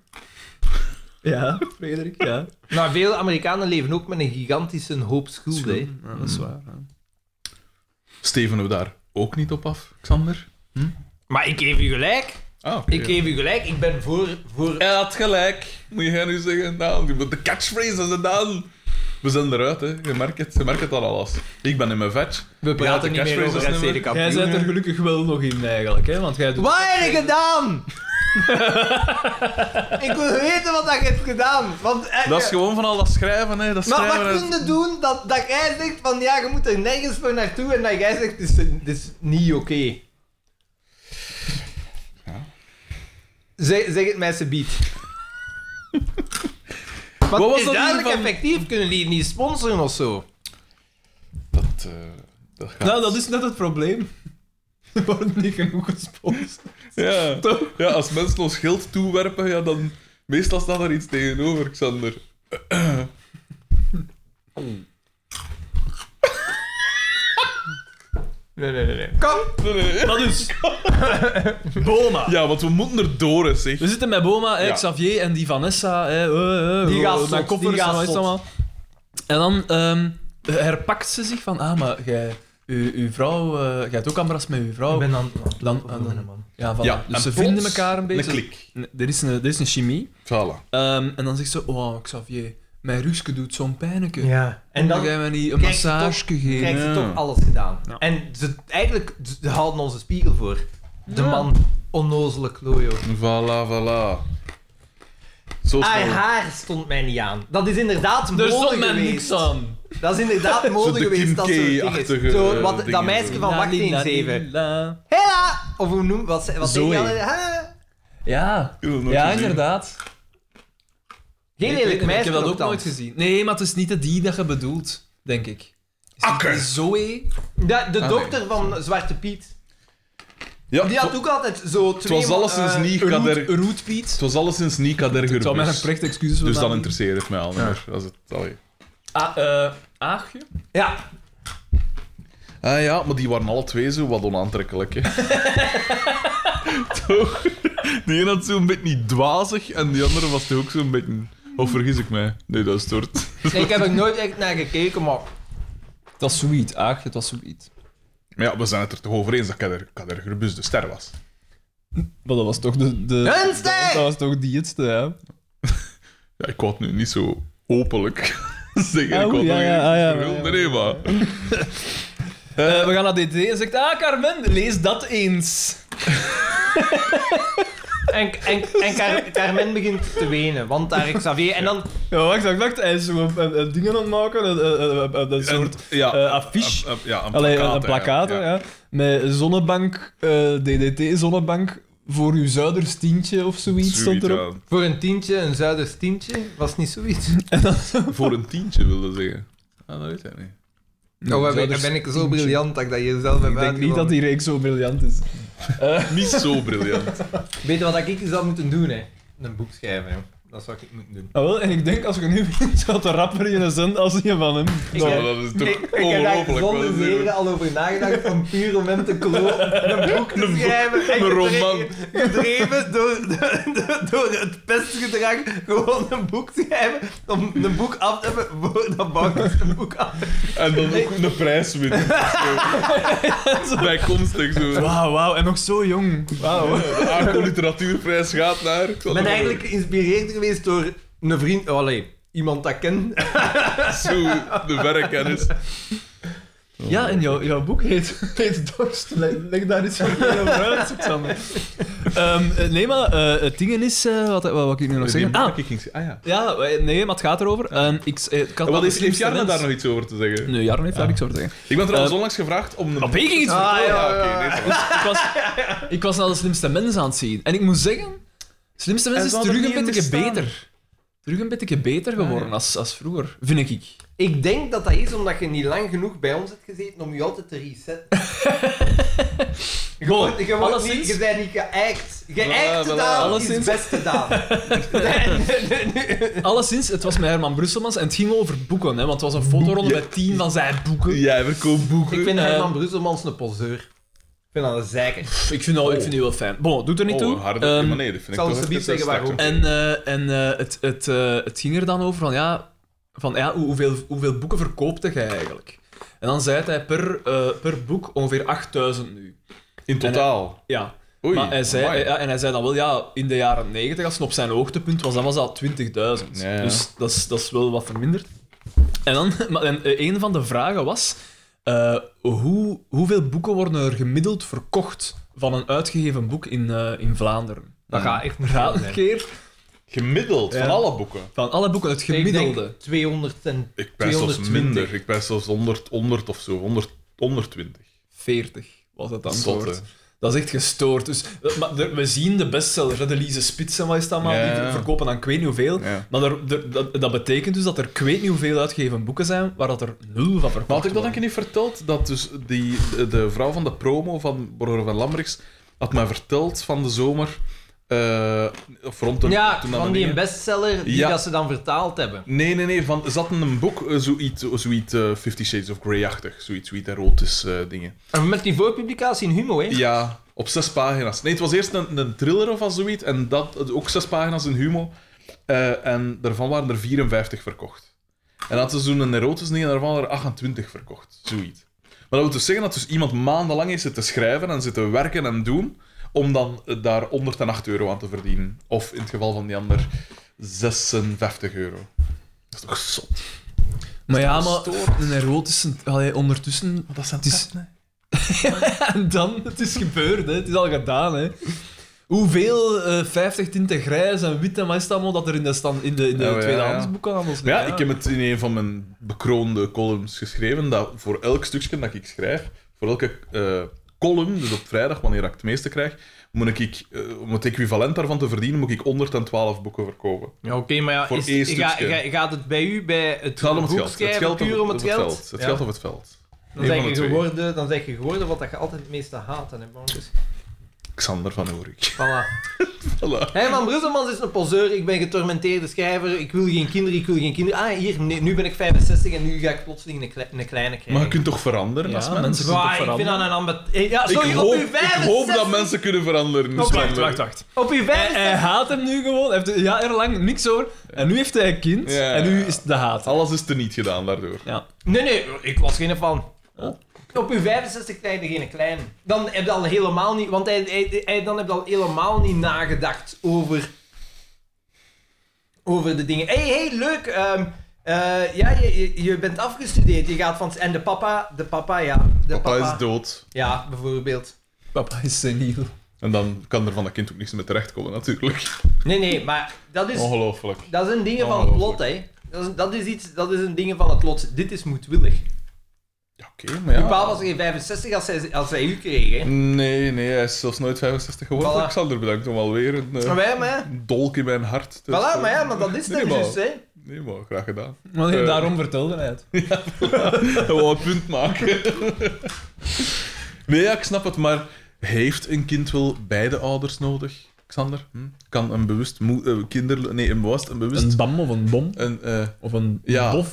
Speaker 4: Ja, Frederik, ja.
Speaker 3: Maar veel Amerikanen leven ook met een gigantische hoop schulden. hè.
Speaker 4: Ja, dat is waar. ja.
Speaker 2: Steven we daar ook niet op af, Xander?
Speaker 3: Maar ik geef u gelijk.
Speaker 2: Ah, oké.
Speaker 3: Ik geef u gelijk. Ik ben voor... voor...
Speaker 2: Hij had gelijk. Moet je nu zeggen? Nou, de catchphrase is gedaan. We zijn eruit, hè. Je merkt het. Je merkt het aan alles. Ik ben in mijn vet.
Speaker 3: We praten
Speaker 2: de
Speaker 3: niet meer over
Speaker 2: catchphrases
Speaker 3: het
Speaker 2: nummer.
Speaker 3: CD-kampioen.
Speaker 4: Jij bent er gelukkig wel nog in, eigenlijk, hè? Want jij doet...
Speaker 3: Wat heb je gedaan? ik wil weten wat dat je hebt gedaan. Want, eh,
Speaker 2: Dat is gewoon van al dat schrijven, hè. Dat
Speaker 3: maar
Speaker 2: schrijven
Speaker 3: wat
Speaker 2: is-
Speaker 3: kun je doen dat, dat jij zegt van ja, je moet er nergens voor naartoe en dat jij zegt dit is, dit is niet oké. Zeg, zeg het mij alsjeblieft. Want
Speaker 2: was
Speaker 3: is
Speaker 2: dat hier
Speaker 3: duidelijk
Speaker 2: van-
Speaker 3: effectief, kunnen die niet sponsoren of zo?
Speaker 2: Dat, eh, dat gaat.
Speaker 4: Nou, dat is net het probleem. Er worden niet genoeg gesponsord.
Speaker 2: Ja.
Speaker 4: Toch?
Speaker 2: ja, als mensen ons geld toewerpen, ja, dan... Meestal staat daar iets tegenover, Xander.
Speaker 3: Nee, nee, nee. nee. Kom!
Speaker 2: Nee, nee.
Speaker 4: Dat is... Boma.
Speaker 2: Ja, want we moeten er door, hè, zeg.
Speaker 4: We zitten met Boma, hè,
Speaker 2: Ja.
Speaker 4: Xavier en die Vanessa. Hè, eh, eh,
Speaker 3: Die
Speaker 4: eh,
Speaker 3: gaat
Speaker 4: mijn
Speaker 3: zot,
Speaker 4: koffers
Speaker 3: die
Speaker 4: en
Speaker 3: gaat
Speaker 4: wat is het
Speaker 3: zot.
Speaker 4: allemaal. En dan ehm, herpakt ze zich van... Ah, maar jij... u- Uw vrouw... eh, jij hebt ook aanbrast met uw vrouw.
Speaker 3: dan...
Speaker 4: Dan, ja, voilà.
Speaker 2: Ja, en
Speaker 4: dus ze
Speaker 2: plots
Speaker 4: vinden elkaar een beetje.
Speaker 2: Een klik.
Speaker 4: Nee, Er is een, er is een chemie.
Speaker 2: Voilà.
Speaker 4: Ehm, en dan zegt ze, oh Xavier, mijn rugske doet zo'n pijnlijke.
Speaker 3: Ja. En dan
Speaker 4: ga je mij niet een
Speaker 3: krijgt ze
Speaker 4: massage geven.
Speaker 3: krijgt ze
Speaker 2: Ja.
Speaker 3: toch alles gedaan.
Speaker 4: Ja.
Speaker 3: En ze, eigenlijk, ze haalden onze spiegel voor. De
Speaker 4: Ja.
Speaker 3: man, onnozele klojo.
Speaker 2: Voilà, voilà. Zo
Speaker 3: Haar
Speaker 2: snel.
Speaker 3: haar stond mij niet aan. Dat is inderdaad
Speaker 4: Er
Speaker 3: mode
Speaker 4: stond mij
Speaker 3: geweest.
Speaker 4: niks aan.
Speaker 3: Dat is inderdaad mode
Speaker 2: de
Speaker 3: geweest,
Speaker 2: Kim
Speaker 3: dat soort dingen.
Speaker 2: K-achtige,
Speaker 3: Zo,
Speaker 2: eh,
Speaker 3: wat, dat
Speaker 2: dingen.
Speaker 3: meisje van
Speaker 4: La,
Speaker 3: Wacht
Speaker 4: li, la,
Speaker 3: 7.
Speaker 4: li, la.
Speaker 3: Hela! Of hoe noem... Wat, wat
Speaker 4: Zoe.
Speaker 3: zeg je? Ha?
Speaker 4: Ja,
Speaker 2: Ik heb dat nooit
Speaker 4: ja
Speaker 2: gezien.
Speaker 4: inderdaad.
Speaker 3: Geen
Speaker 4: Ik- ik-
Speaker 3: lelijk meisje
Speaker 4: Ik heb dat ook
Speaker 3: nogthans.
Speaker 4: nooit gezien. Nee, maar het is niet de die dat je bedoelt, denk ik. Is het
Speaker 2: Akker.
Speaker 4: die Zoe.
Speaker 3: De, de
Speaker 2: Ah,
Speaker 3: dokter van Zwarte Piet.
Speaker 2: Ja,
Speaker 3: Die had ook altijd zo
Speaker 2: Het
Speaker 3: twee...
Speaker 2: was alleszins
Speaker 3: eh,
Speaker 2: niet
Speaker 4: Roet-
Speaker 2: Kader...
Speaker 4: Roetpiet.
Speaker 2: Het was alleszins niet Kader
Speaker 4: Het zou mij een
Speaker 2: Gurbus.
Speaker 4: precht excuses
Speaker 2: Dus dan
Speaker 4: vertalen.
Speaker 2: interesseert het mij al niet meer. Dat is het, allee.
Speaker 4: Ah, eh, Aagje?
Speaker 3: Ja.
Speaker 2: Ah ja, maar die waren alle twee zo wat onaantrekkelijk, hè. Toch? Die ene had zo'n beetje dwazig en die andere was toch ook zo'n beetje... Of vergis ik mij? Nee, dat is tort.
Speaker 3: Nee, ik heb er nooit echt naar gekeken, maar...
Speaker 4: Het was sweet, Aagje, het was sweet.
Speaker 2: Maar ja, we zijn het er toch over eens dat Kader, Kader Gurbus de ster was.
Speaker 4: Maar dat was toch de... de
Speaker 3: Hun ster!
Speaker 4: Dat was toch die het, ja.
Speaker 2: Ja, ik wou het nu niet zo openlijk zeggen.
Speaker 4: Ah,
Speaker 2: ik
Speaker 4: oei,
Speaker 2: wou
Speaker 4: ja,
Speaker 2: nog
Speaker 4: ja,
Speaker 2: even
Speaker 4: ah, ja,
Speaker 2: verwilderen,
Speaker 4: ja,
Speaker 2: hè, maar...
Speaker 4: Eh, we gaan naar DT en zegt, ah Carmen, lees dat eens.
Speaker 3: En, en, en Car- Carmen begint te wenen, want daar Xavier... En dan...
Speaker 4: Ja, wacht, wacht, wacht. Hij is zo een, een- een dingen aan het maken, een, een, een- een- een soort
Speaker 2: En- ja,
Speaker 4: eh, affiche.
Speaker 2: een- een- ja, een
Speaker 4: Allee, een-
Speaker 2: plakkaat,
Speaker 4: een plakkaat,
Speaker 2: hè,
Speaker 4: ja. Met zonnebank, eh, DDT, zonnebank voor uw zuiderstientje of zoiets, stond
Speaker 2: Zoiets,
Speaker 4: erop.
Speaker 2: ja.
Speaker 3: Voor een tientje, een zuiders tientje, was niet zoiets.
Speaker 2: Voor een tientje wilde zeggen. Ah, dat weet hij niet.
Speaker 3: Oh,
Speaker 4: Een
Speaker 3: ben,
Speaker 4: zuiders-
Speaker 3: ben ik zo briljant dat ik dat je zelf hebt
Speaker 4: Ik denk niet dat die reeks zo briljant is.
Speaker 2: Niet zo briljant.
Speaker 3: Weet je wat ik zou moeten doen, hè? Een boek schrijven, hè. Dat zou ik moeten doen.
Speaker 4: Ah, wel, en ik denk als je nu wint, gaat de rapper je een zin als je van hem.
Speaker 3: Ik
Speaker 2: Nou,
Speaker 3: heb-
Speaker 2: dat is
Speaker 3: Ik,
Speaker 2: toch
Speaker 3: ik heb daar
Speaker 2: ongelooflijk. wat
Speaker 3: zonder
Speaker 2: is er-
Speaker 3: zeden al over nagedacht om puur om hem te klonen, een boek te schrijven. en
Speaker 2: een
Speaker 3: gedreven-
Speaker 2: roman.
Speaker 3: Gedreven door, door, door het pestgedrag gewoon een boek schrijven, om een boek af te hebben voordat Bakkers een boek af
Speaker 2: En dan ook een prijs winnen. Zo. Bijkomstig zo.
Speaker 4: Wauw, wauw, en nog zo jong. Wauw.
Speaker 2: De Arco Literatuurprijs gaat naar. Ik zal
Speaker 3: Ik ben
Speaker 2: er-
Speaker 3: eigenlijk geïnspireerd geweest door een vriend, oh, allee, iemand dat ik ken.
Speaker 2: Zo, de verrekennis.
Speaker 4: Ja, en jouw, jouw boek heet, heet Dorst. Leg, leg daar iets voor mij over uit, Xander. Ehm, eh, nee, maar eh, het ding is... eh, wat, wat, wou ik nu nog zeggen? Ah,
Speaker 2: ik ging ah ja.
Speaker 4: ja, eh, nee, maar het gaat erover. En ik, eh, ik had
Speaker 2: En
Speaker 4: wel
Speaker 2: wat
Speaker 4: de
Speaker 2: is, heeft
Speaker 4: slimste
Speaker 2: Jarno
Speaker 4: mens-
Speaker 2: daar nog iets over te zeggen?
Speaker 4: Nee, Jarno heeft daar niks over te zeggen.
Speaker 2: Ik ben trouwens
Speaker 4: Eh,
Speaker 2: onlangs gevraagd om een... Oh,
Speaker 4: Op Ah, ik ging iets vertellen.
Speaker 2: ja, oké. nee, sorry.
Speaker 4: ik, was, ik was naar de slimste mens aan het zien. En ik moet zeggen, slimste mens
Speaker 2: En
Speaker 4: is
Speaker 2: ze hadden
Speaker 4: terug
Speaker 2: niet Ah,
Speaker 4: een beetje
Speaker 2: bestaan.
Speaker 4: beter. Terug een beetje beter geworden als, als vroeger, vind ik.
Speaker 3: Ik denk dat dat is omdat je niet lang genoeg bij ons hebt gezeten om je altijd te resetten. Je wordt- je wordt niet-
Speaker 4: alleszins-
Speaker 3: je bent niet geëikt.
Speaker 2: Voilà,
Speaker 3: Geëikt
Speaker 2: voilà.
Speaker 3: gedaan is
Speaker 4: Alleszins-
Speaker 3: best gedaan.
Speaker 4: Alleszins, het was met Herman Brusselmans en het ging over boeken. Hè, want het was een fotoronde
Speaker 2: ja.
Speaker 4: met tien van zijn boeken.
Speaker 2: Jij verkoopt boeken.
Speaker 3: Ik vind Herman
Speaker 4: Eh,
Speaker 3: Brusselmans een poseur. Ik vind dat een zeiker.
Speaker 4: Pff, Ik vind, dat- ik vind die wel fijn. Bon, doet er niet toe.
Speaker 2: Oh, een harde
Speaker 4: Ehm,
Speaker 2: maar nee, dat vind ik
Speaker 3: zal
Speaker 2: toch
Speaker 3: ze
Speaker 2: even
Speaker 3: niet zeggen
Speaker 2: straks.
Speaker 3: waarom.
Speaker 4: En, eh, en eh, het, het, eh, het ging er dan over van, ja, van, ja hoe- hoeveel, hoeveel boeken verkoopte jij eigenlijk? En dan zei hij per, eh, per boek ongeveer 8000 nu.
Speaker 2: In
Speaker 4: eh,
Speaker 2: totaal.
Speaker 4: Ja.
Speaker 2: Oei,
Speaker 4: maar hij zei,
Speaker 2: amai.
Speaker 4: ja, en hij zei dan wel, ja, in de jaren 90, als het op zijn hoogtepunt was, dan was dat 20.000.
Speaker 2: Ja, ja.
Speaker 4: Dus dat is, dat is wel wat verminderd. En dan, maar en, eh, een van de vragen was, eh, hoe, hoeveel boeken worden er gemiddeld verkocht van een uitgegeven boek in, eh, in Vlaanderen?
Speaker 3: Dat gaat echt niet
Speaker 4: Raad
Speaker 3: veel
Speaker 4: een
Speaker 3: zijn.
Speaker 4: keer
Speaker 2: Gemiddeld, van
Speaker 4: Ja.
Speaker 2: alle boeken.
Speaker 4: van alle boeken het
Speaker 3: Ik denk
Speaker 4: gemiddelde.
Speaker 3: 200 en...
Speaker 2: Ik ben zelfs
Speaker 3: 220.
Speaker 2: minder. Ik ben zelfs 100, 100 of zo. 100, 120.
Speaker 4: 40 was het antwoord.
Speaker 2: Zot, hè.
Speaker 4: Dat is echt gestoord. Dus, eh, maar er- we zien de bestsellers, hè, de Lise Spits en wat is dat maar,
Speaker 2: Ja.
Speaker 4: die ver- verkopen dan ik weet niet hoeveel.
Speaker 2: Ja.
Speaker 4: Maar er- er- dat, dat betekent dus dat er ik weet niet hoeveel uitgegeven boeken zijn waar dat er nul van verkocht
Speaker 2: Maar had ik dat een
Speaker 4: worden.
Speaker 2: keer niet verteld? Dat dus die, de, de vrouw van de promo van Borger van Lambrechts had mij verteld van de zomer... eh, of rond de,
Speaker 3: Ja,
Speaker 2: toen dat
Speaker 3: van
Speaker 2: we
Speaker 3: die
Speaker 2: gingen-
Speaker 3: bestseller die
Speaker 2: Ja.
Speaker 3: dat ze dan vertaald hebben.
Speaker 2: Nee, nee, nee. Van, zat in een boek, eh, zoiets, zoiets eh, Fifty Shades of Grey-achtig. Zoiets, zoiets erotisch eh, dingen.
Speaker 3: En met die voorpublicatie in Humo, hè?
Speaker 2: Ja, op zes pagina's. Nee, het was eerst een, een thriller of zoiets. En dat, ook zes pagina's in Humo. Eh, en daarvan waren er 54 verkocht. En dat is toen een erotisch ding en daarvan waren er 28 verkocht. Zoiets. Maar dat wil dus zeggen dat dus iemand maandenlang is zitten schrijven en zitten werken en doen. Om dan eh, daar 108 euro aan te verdienen. Of in het geval van die ander 56 euro. Dat is toch zot?
Speaker 4: Maar ja, maar een erotische... Allee, ondertussen...
Speaker 2: Dat zijn
Speaker 4: Het is... en dan, het is gebeurd, hè. het is al gedaan. Hè. Hoeveel eh 50 tinten grijs en wit en wat is dat allemaal dat er in de, stand, in de, in de
Speaker 2: Oh, ja, ja.
Speaker 4: tweedehandsboekhandels
Speaker 2: Maar ja,
Speaker 4: ligt,
Speaker 2: ik heb het in een van mijn bekroonde columns geschreven dat voor elk stukje dat ik schrijf, voor elke eh, column, dus op vrijdag, wanneer ik het meeste krijg, moet ik, eh, om het equivalent daarvan te verdienen, moet ik 112 boeken verkopen.
Speaker 3: Ja, oké, maar ja,
Speaker 2: Voor
Speaker 3: is,
Speaker 2: één
Speaker 3: ga,
Speaker 2: stukje.
Speaker 3: ga- gaat het bij u bij het,
Speaker 2: Het gaat om het
Speaker 3: boek
Speaker 2: geld. Het
Speaker 3: schrijven
Speaker 2: geld
Speaker 3: puur om het geld?
Speaker 2: Het
Speaker 3: Ja.
Speaker 2: geld op het veld.
Speaker 3: Dan
Speaker 2: Eén
Speaker 3: zeg,
Speaker 2: van de
Speaker 3: je
Speaker 2: twee.
Speaker 3: geworden, dan zeg je geworden wat dat je altijd het meeste haat aan hebt, Maurits.
Speaker 2: Xander van Oorik.
Speaker 3: Voilà.
Speaker 2: Voilà.
Speaker 3: Herman Brusselmans is een poseur, ik ben getormenteerde schrijver, ik wil geen kinderen, ik wil geen kinderen. Ah, hier, nee, nu ben ik 65 en nu ga ik plotseling een, kle- een kleine krijgen.
Speaker 2: Maar je kunt toch veranderen
Speaker 4: Ja,
Speaker 2: als mens?
Speaker 4: mensen-
Speaker 3: Zwaar,
Speaker 4: kunt toch
Speaker 3: ik vind dat een ambet... eh, Ja,
Speaker 2: Ik
Speaker 3: sorry,
Speaker 2: hoop,
Speaker 3: op uw
Speaker 2: ik hoop
Speaker 3: 65...
Speaker 2: dat mensen kunnen veranderen.
Speaker 4: hè.
Speaker 2: Xander.
Speaker 4: Oh, Wacht, wacht, wacht.
Speaker 3: Op uw
Speaker 4: Hij,
Speaker 3: 65...
Speaker 4: hij haat hem nu gewoon. Hij heeft een jaar lang niks over. En nu heeft hij een kind.
Speaker 2: Ja.
Speaker 4: En nu is het de haat.
Speaker 2: Alles is teniet gedaan daardoor.
Speaker 4: Ja.
Speaker 3: Nee, nee, ik was geen fan.
Speaker 4: Oh.
Speaker 3: Op uw 65 krijg je geen klein. Dan heb je al helemaal niet... Want hij, hij, hij- dan heb je al helemaal niet nagedacht over... Over de dingen. hey, hey, leuk. ehm, eh, ja, je, je, je bent afgestudeerd. Je gaat van... En de papa... De papa, ja. De
Speaker 2: Papa
Speaker 3: papa,
Speaker 2: is dood.
Speaker 3: Ja, bijvoorbeeld.
Speaker 4: Papa is seniel.
Speaker 2: En dan kan er van dat kind ook niks meer terechtkomen, natuurlijk.
Speaker 3: Nee, nee, maar dat is...
Speaker 2: Ongelooflijk.
Speaker 3: Dat is een ding van het
Speaker 2: Ongelooflijk.
Speaker 3: lot, hè. Dat is, dat is iets... Dat is een ding van het lot. Dit is moedwillig.
Speaker 2: Ja, Oké, maar ja.
Speaker 3: Uw pa was geen 65 als hij, als hij u kreeg, hè.
Speaker 2: Nee, nee, hij is zelfs nooit 65 geworden.
Speaker 3: Voilà.
Speaker 2: Alexander, bedankt om alweer een eh,
Speaker 3: Maar ja, maar ja.
Speaker 2: dolk in mijn hart te
Speaker 3: Voilà,
Speaker 2: stoppen.
Speaker 3: maar ja, maar dat is
Speaker 2: Nee,
Speaker 3: dan
Speaker 2: maar-
Speaker 3: juist, hè.
Speaker 2: Nee, maar graag gedaan.
Speaker 4: Maar nee,
Speaker 2: Eh.
Speaker 4: daarom vertelde hij het.
Speaker 2: Ik wil een punt maken. nee, ja, ik snap het, maar heeft een kind wel beide ouders nodig, Xander? Hm? Kan een bewust moe- eh, kinder... Nee, een bewust... Een bewust...
Speaker 4: Een bam of een bom.
Speaker 2: Een, eh,
Speaker 4: Of een
Speaker 2: Ja.
Speaker 4: bof.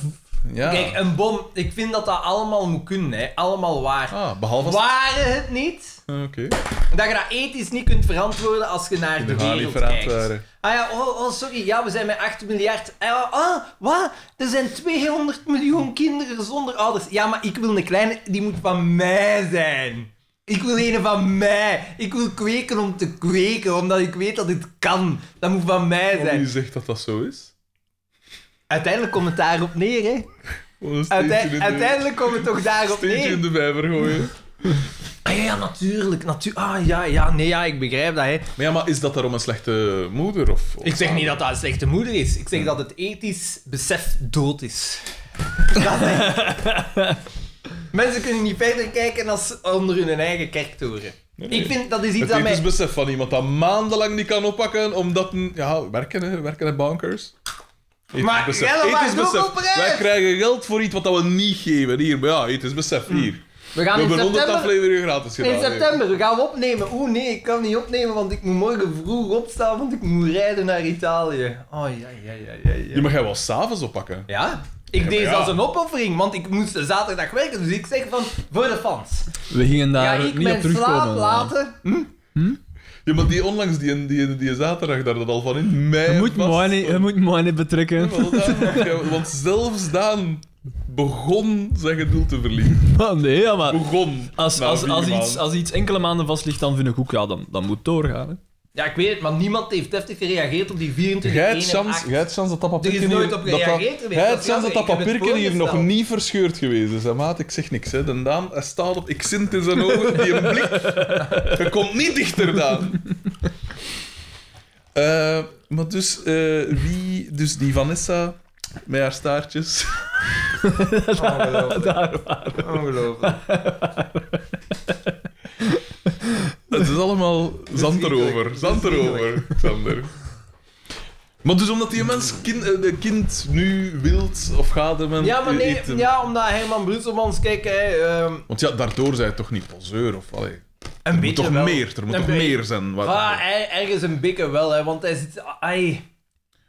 Speaker 2: ja.
Speaker 3: Kijk, een bom, ik vind dat dat allemaal moet kunnen, hè. Allemaal waar.
Speaker 2: ah, behalve... als-
Speaker 3: Waren het niet,
Speaker 2: Eh, Oké.
Speaker 3: dat je dat ethisch niet kunt verantwoorden als je naar de,
Speaker 2: Inderdaad,
Speaker 3: wereld
Speaker 2: die verhaal
Speaker 3: kijkt.
Speaker 2: waren.
Speaker 3: Ah ja, oh, oh, sorry, ja, we zijn met 8 miljard. Ah, ah, wat? Er zijn 200 miljoen kinderen zonder ouders. Ja, maar ik wil een kleine, die moet van mij zijn. Ik wil een van mij. Ik wil kweken om te kweken, omdat ik weet dat het kan. Dat moet van mij
Speaker 2: Wie
Speaker 3: zijn.
Speaker 2: zegt dat dat zo is?
Speaker 3: Uiteindelijk komt het daarop neer, hè.
Speaker 2: Gewoon een steentje
Speaker 3: Uite-
Speaker 2: in de-
Speaker 3: uiteindelijk komt het toch daarop
Speaker 2: steentje in
Speaker 3: neer.
Speaker 2: de vijver gooien.
Speaker 3: Ik ja, Ah, ja, natuurlijk. Natu ah, ja, ja, nee, ja, ik begrijp dat. Hè.
Speaker 2: Maar ja, maar is dat daarom een slechte moeder? Of, of-
Speaker 3: Ik zeg niet dat dat een slechte moeder is. Ik zeg dat het ethisch besef dood is. Mensen kunnen niet verder kijken als onder hun eigen kerktoren.
Speaker 2: nee.
Speaker 3: Ik vind dat is iets
Speaker 2: Het
Speaker 3: dat
Speaker 2: ethisch
Speaker 3: mij...
Speaker 2: besef van iemand dat maandenlang niet kan oppakken, omdat... Een, ja, werken, hè. Werken en bankers. Ethisch
Speaker 3: Maar
Speaker 2: besef.
Speaker 3: jij dan maar
Speaker 2: Ethisch
Speaker 3: doe
Speaker 2: besef.
Speaker 3: op reis.
Speaker 2: Wij krijgen geld voor iets wat dat we niet geven. Hier, maar ja, ethisch besef.
Speaker 4: Hmm.
Speaker 2: Hier.
Speaker 3: We
Speaker 2: We
Speaker 3: gaan in
Speaker 2: hebben 100
Speaker 3: september...
Speaker 2: afleveringen gratis gedaan.
Speaker 3: In
Speaker 2: hè.
Speaker 3: september we gaan we opnemen. Oeh, nee, ik kan niet opnemen, want ik moet morgen vroeg opstaan, want ik moet rijden naar Italië. Oh, ja, ja, ja, ja,
Speaker 2: Je
Speaker 3: ja.
Speaker 2: mag jij wel s'avonds oppakken.
Speaker 3: Ja, ik
Speaker 2: maar
Speaker 3: deed
Speaker 2: ja.
Speaker 3: zelfs een opoffering, want ik moest zaterdag werken. Dus ik zeg van, voor de fans.
Speaker 4: We gingen
Speaker 3: Ga
Speaker 4: daar
Speaker 3: ik
Speaker 4: niet op
Speaker 3: mijn slaap
Speaker 4: terugkomen.
Speaker 3: laten?
Speaker 2: Ja, maar die onlangs, die, die, die zaterdag, daar dat al van in mei...
Speaker 4: Je moet
Speaker 2: was.
Speaker 4: money, je moet money betrekken.
Speaker 2: Wel, dan- Want zelfs Daan begon zijn geduld te verliezen.
Speaker 4: Maar nee, ja, maar
Speaker 2: Begon.
Speaker 4: als,
Speaker 2: na
Speaker 4: als,
Speaker 2: vier
Speaker 4: als,
Speaker 2: maanden.
Speaker 4: iets, als iets enkele maanden vast ligt, dan vind ik ook, ja, dan, dan moet het doorgaan. Hè.
Speaker 3: Ja, ik weet het, maar niemand heeft heftig gereageerd op die 24
Speaker 2: Jij hebt
Speaker 3: 1 en
Speaker 2: kans-
Speaker 3: 8.
Speaker 2: jij hebt kans dat dat
Speaker 3: Er is
Speaker 2: papierken
Speaker 3: nooit
Speaker 2: hier-
Speaker 3: op
Speaker 2: dat dat-
Speaker 3: gereageerd geweest,
Speaker 2: jij hebt
Speaker 3: dat is
Speaker 2: kans dat dat
Speaker 3: jammer, ik heb het
Speaker 2: papierken hier nog
Speaker 3: voorgesteld.
Speaker 2: niet verscheurd geweest is. hè, Maat, ik zeg niks. Hè. De Daan, hij staat op... Ik zint in zijn ogen, die een blik. Je komt niet dichter, Daan. Eh, maar dus, eh, wie... Dus die Vanessa met haar staartjes...
Speaker 3: Ongelooflijk. Ongelooflijk.
Speaker 2: Het is allemaal zand
Speaker 3: Verschrikkelijk.
Speaker 2: erover. Zand erover, Sander. Maar dus omdat die mens kind, eh, de kind nu wild of gaat hem...
Speaker 3: Ja, maar nee,
Speaker 2: eet hem.
Speaker 3: ja, omdat Herman Brusselmans, kijk, hè, ehm,
Speaker 2: Want ja, daardoor zijn het toch niet poseur of... Allee,
Speaker 3: een
Speaker 2: er moet
Speaker 3: beetje
Speaker 2: toch
Speaker 3: wel.
Speaker 2: meer, er moet
Speaker 3: Een
Speaker 2: toch
Speaker 3: beetje.
Speaker 2: meer zijn. Wat
Speaker 3: Ah, hij- ergens een bikke wel, hè, want hij zit... Ai.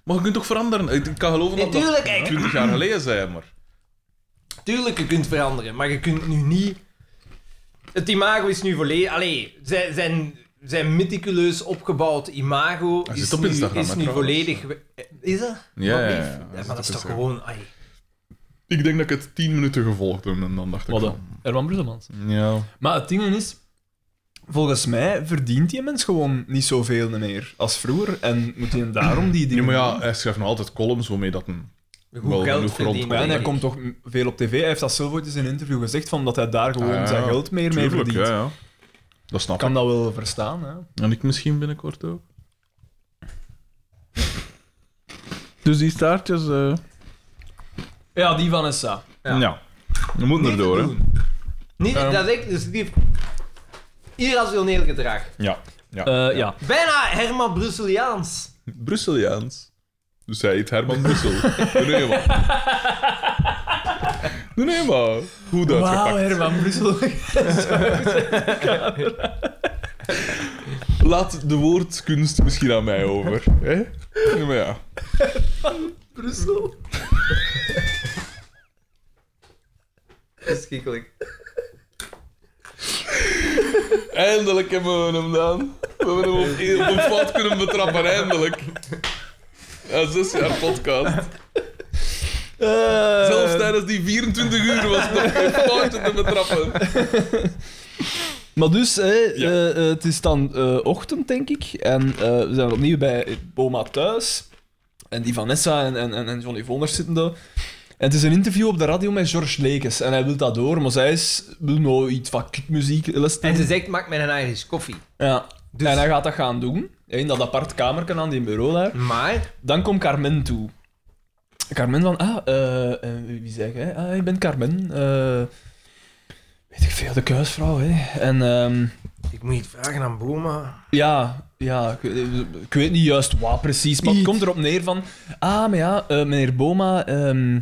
Speaker 2: maar je kunt toch veranderen? Ik ik kan geloven dat dat
Speaker 3: Natuurlijk, kijk.
Speaker 2: 20 jaar geleden zijn, maar...
Speaker 3: Tuurlijk, je kunt veranderen, maar je kunt nu niet... Het imago is nu volledig... Allee, zijn, zijn, zijn meticuleus opgebouwd imago
Speaker 2: Hij
Speaker 3: is
Speaker 2: zit op
Speaker 3: nu,
Speaker 2: Instagram,
Speaker 3: is
Speaker 2: hè,
Speaker 3: nu
Speaker 2: trouwens.
Speaker 3: volledig... we- Is dat?
Speaker 2: Ja, ja, ja. Hij
Speaker 3: maar
Speaker 2: zit
Speaker 3: dat is
Speaker 2: op
Speaker 3: toch
Speaker 2: Instagram.
Speaker 3: gewoon... Ai.
Speaker 2: Ik denk dat ik het 10 minuten gevolgd heb en dan dacht ik
Speaker 4: Wat dan?
Speaker 2: van...
Speaker 4: Herman Brusselmans.
Speaker 2: Ja.
Speaker 4: Maar het ding is, volgens mij verdient die mens gewoon niet zoveel meer als vroeger. En moet hij daarom die
Speaker 2: Ja,
Speaker 4: dingen
Speaker 2: maar ja,
Speaker 4: doen.
Speaker 2: hij schrijft nog altijd columns waarmee dat een...
Speaker 3: Goed
Speaker 2: Wel
Speaker 3: geld
Speaker 2: genoeg
Speaker 3: verdienen.
Speaker 2: grond.
Speaker 4: Ja, en hij
Speaker 3: denk ik.
Speaker 4: komt toch m- veel op tv. Hij heeft dat zelf ooit eens in een interview gezegd, van dat hij daar gewoon
Speaker 2: Ah, ja,
Speaker 4: zijn geld meer mee
Speaker 2: Tuurlijk,
Speaker 4: verdient.
Speaker 2: ja, ja. Dat snap
Speaker 4: Ik kan dat wel verstaan, hè.
Speaker 2: En ik misschien binnenkort ook. Dus die staartjes... eh,
Speaker 4: Ja, die van SA.
Speaker 3: Ja.
Speaker 2: Ja. We moeten
Speaker 3: Niet
Speaker 2: erdoor,
Speaker 3: te
Speaker 2: hè.
Speaker 3: doen. Niet, dat ik dus die irrationeel gedrag.
Speaker 2: Ja. ja.
Speaker 4: Eh, Ja. ja.
Speaker 3: Bijna Herman Brusseliaans.
Speaker 2: Brusseliaans. Dus hij heet Herman Brussel. Doe nee, man. Doe nee, man. Goed
Speaker 4: Wauw,
Speaker 2: uitgepakt.
Speaker 4: Herman Brussel.
Speaker 2: Laat de woordkunst misschien aan mij over. Hè? Ja, maar ja.
Speaker 4: Brussel.
Speaker 3: Verschrikkelijk.
Speaker 2: Eindelijk hebben we hem dan. We hebben hem op, op een fout kunnen betrappen, eindelijk. Ja, zes jaar podcast.
Speaker 4: Eh,
Speaker 2: Zelfs tijdens die 24 uur was het nog geen fouten te betrappen.
Speaker 4: Maar dus, hè,
Speaker 2: Ja.
Speaker 4: eh, eh, het is dan eh, ochtend, denk ik. En eh, we zijn opnieuw bij Boma thuis. En die Vanessa en, en, en en Johnny Voners zitten daar. En het is een interview op de radio met George Lekes. En hij wil dat door, maar zij is, wil nou iets van kutmuziek les
Speaker 3: En ze zegt, maak mij een Irish koffie.
Speaker 4: Ja.
Speaker 3: Dus-
Speaker 4: En hij gaat dat gaan doen. In dat apart kamertje aan die bureau daar.
Speaker 3: Maar,
Speaker 4: Dan komt Carmen toe. Carmen van, ah, eh, eh, wie zeg jij? Ah, ik ben Carmen. eh, weet ik veel, de kuisvrouw, hè. En... ehm,
Speaker 3: ik moet iets vragen aan Boma.
Speaker 4: Ja, ja ik, ik weet niet juist wat precies, maar het komt erop neer van... Ah, maar ja, eh, meneer Boma... ehm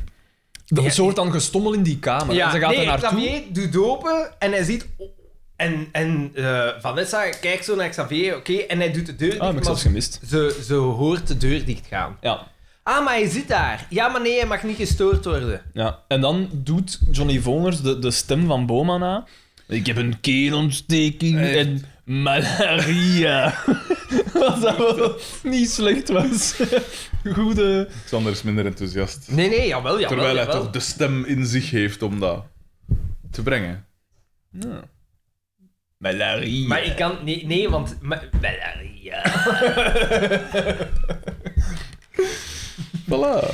Speaker 4: dat
Speaker 3: Ja.
Speaker 4: soort dan gestommel in die kamer. en ze gaat
Speaker 3: nee,
Speaker 4: er naartoe. Ah,
Speaker 3: Xavier doet open en hij ziet... En, en eh, Vanessa kijkt zo naar Xavier, oké, en hij doet de deur dicht,
Speaker 4: Ah, heb ik
Speaker 3: maar
Speaker 4: zelfs gemist.
Speaker 3: ze, ze hoort de deur dichtgaan.
Speaker 4: Ja,
Speaker 3: Ah, maar hij zit daar. Ja, maar nee, hij mag niet gestoord worden.
Speaker 4: ja. En dan doet Johnny Voners de, de stem van Boma na. Ik heb een keelontsteking en malaria. Wat dat wel niet slecht was. Goede...
Speaker 2: Sander is minder enthousiast.
Speaker 3: Nee, nee, jawel, jawel.
Speaker 2: Terwijl hij
Speaker 3: jawel.
Speaker 2: toch de stem in zich heeft om dat te brengen.
Speaker 4: Ja. Malaria.
Speaker 3: Maar ik kan... Nee, nee want... Maar, ja.
Speaker 2: Voilà.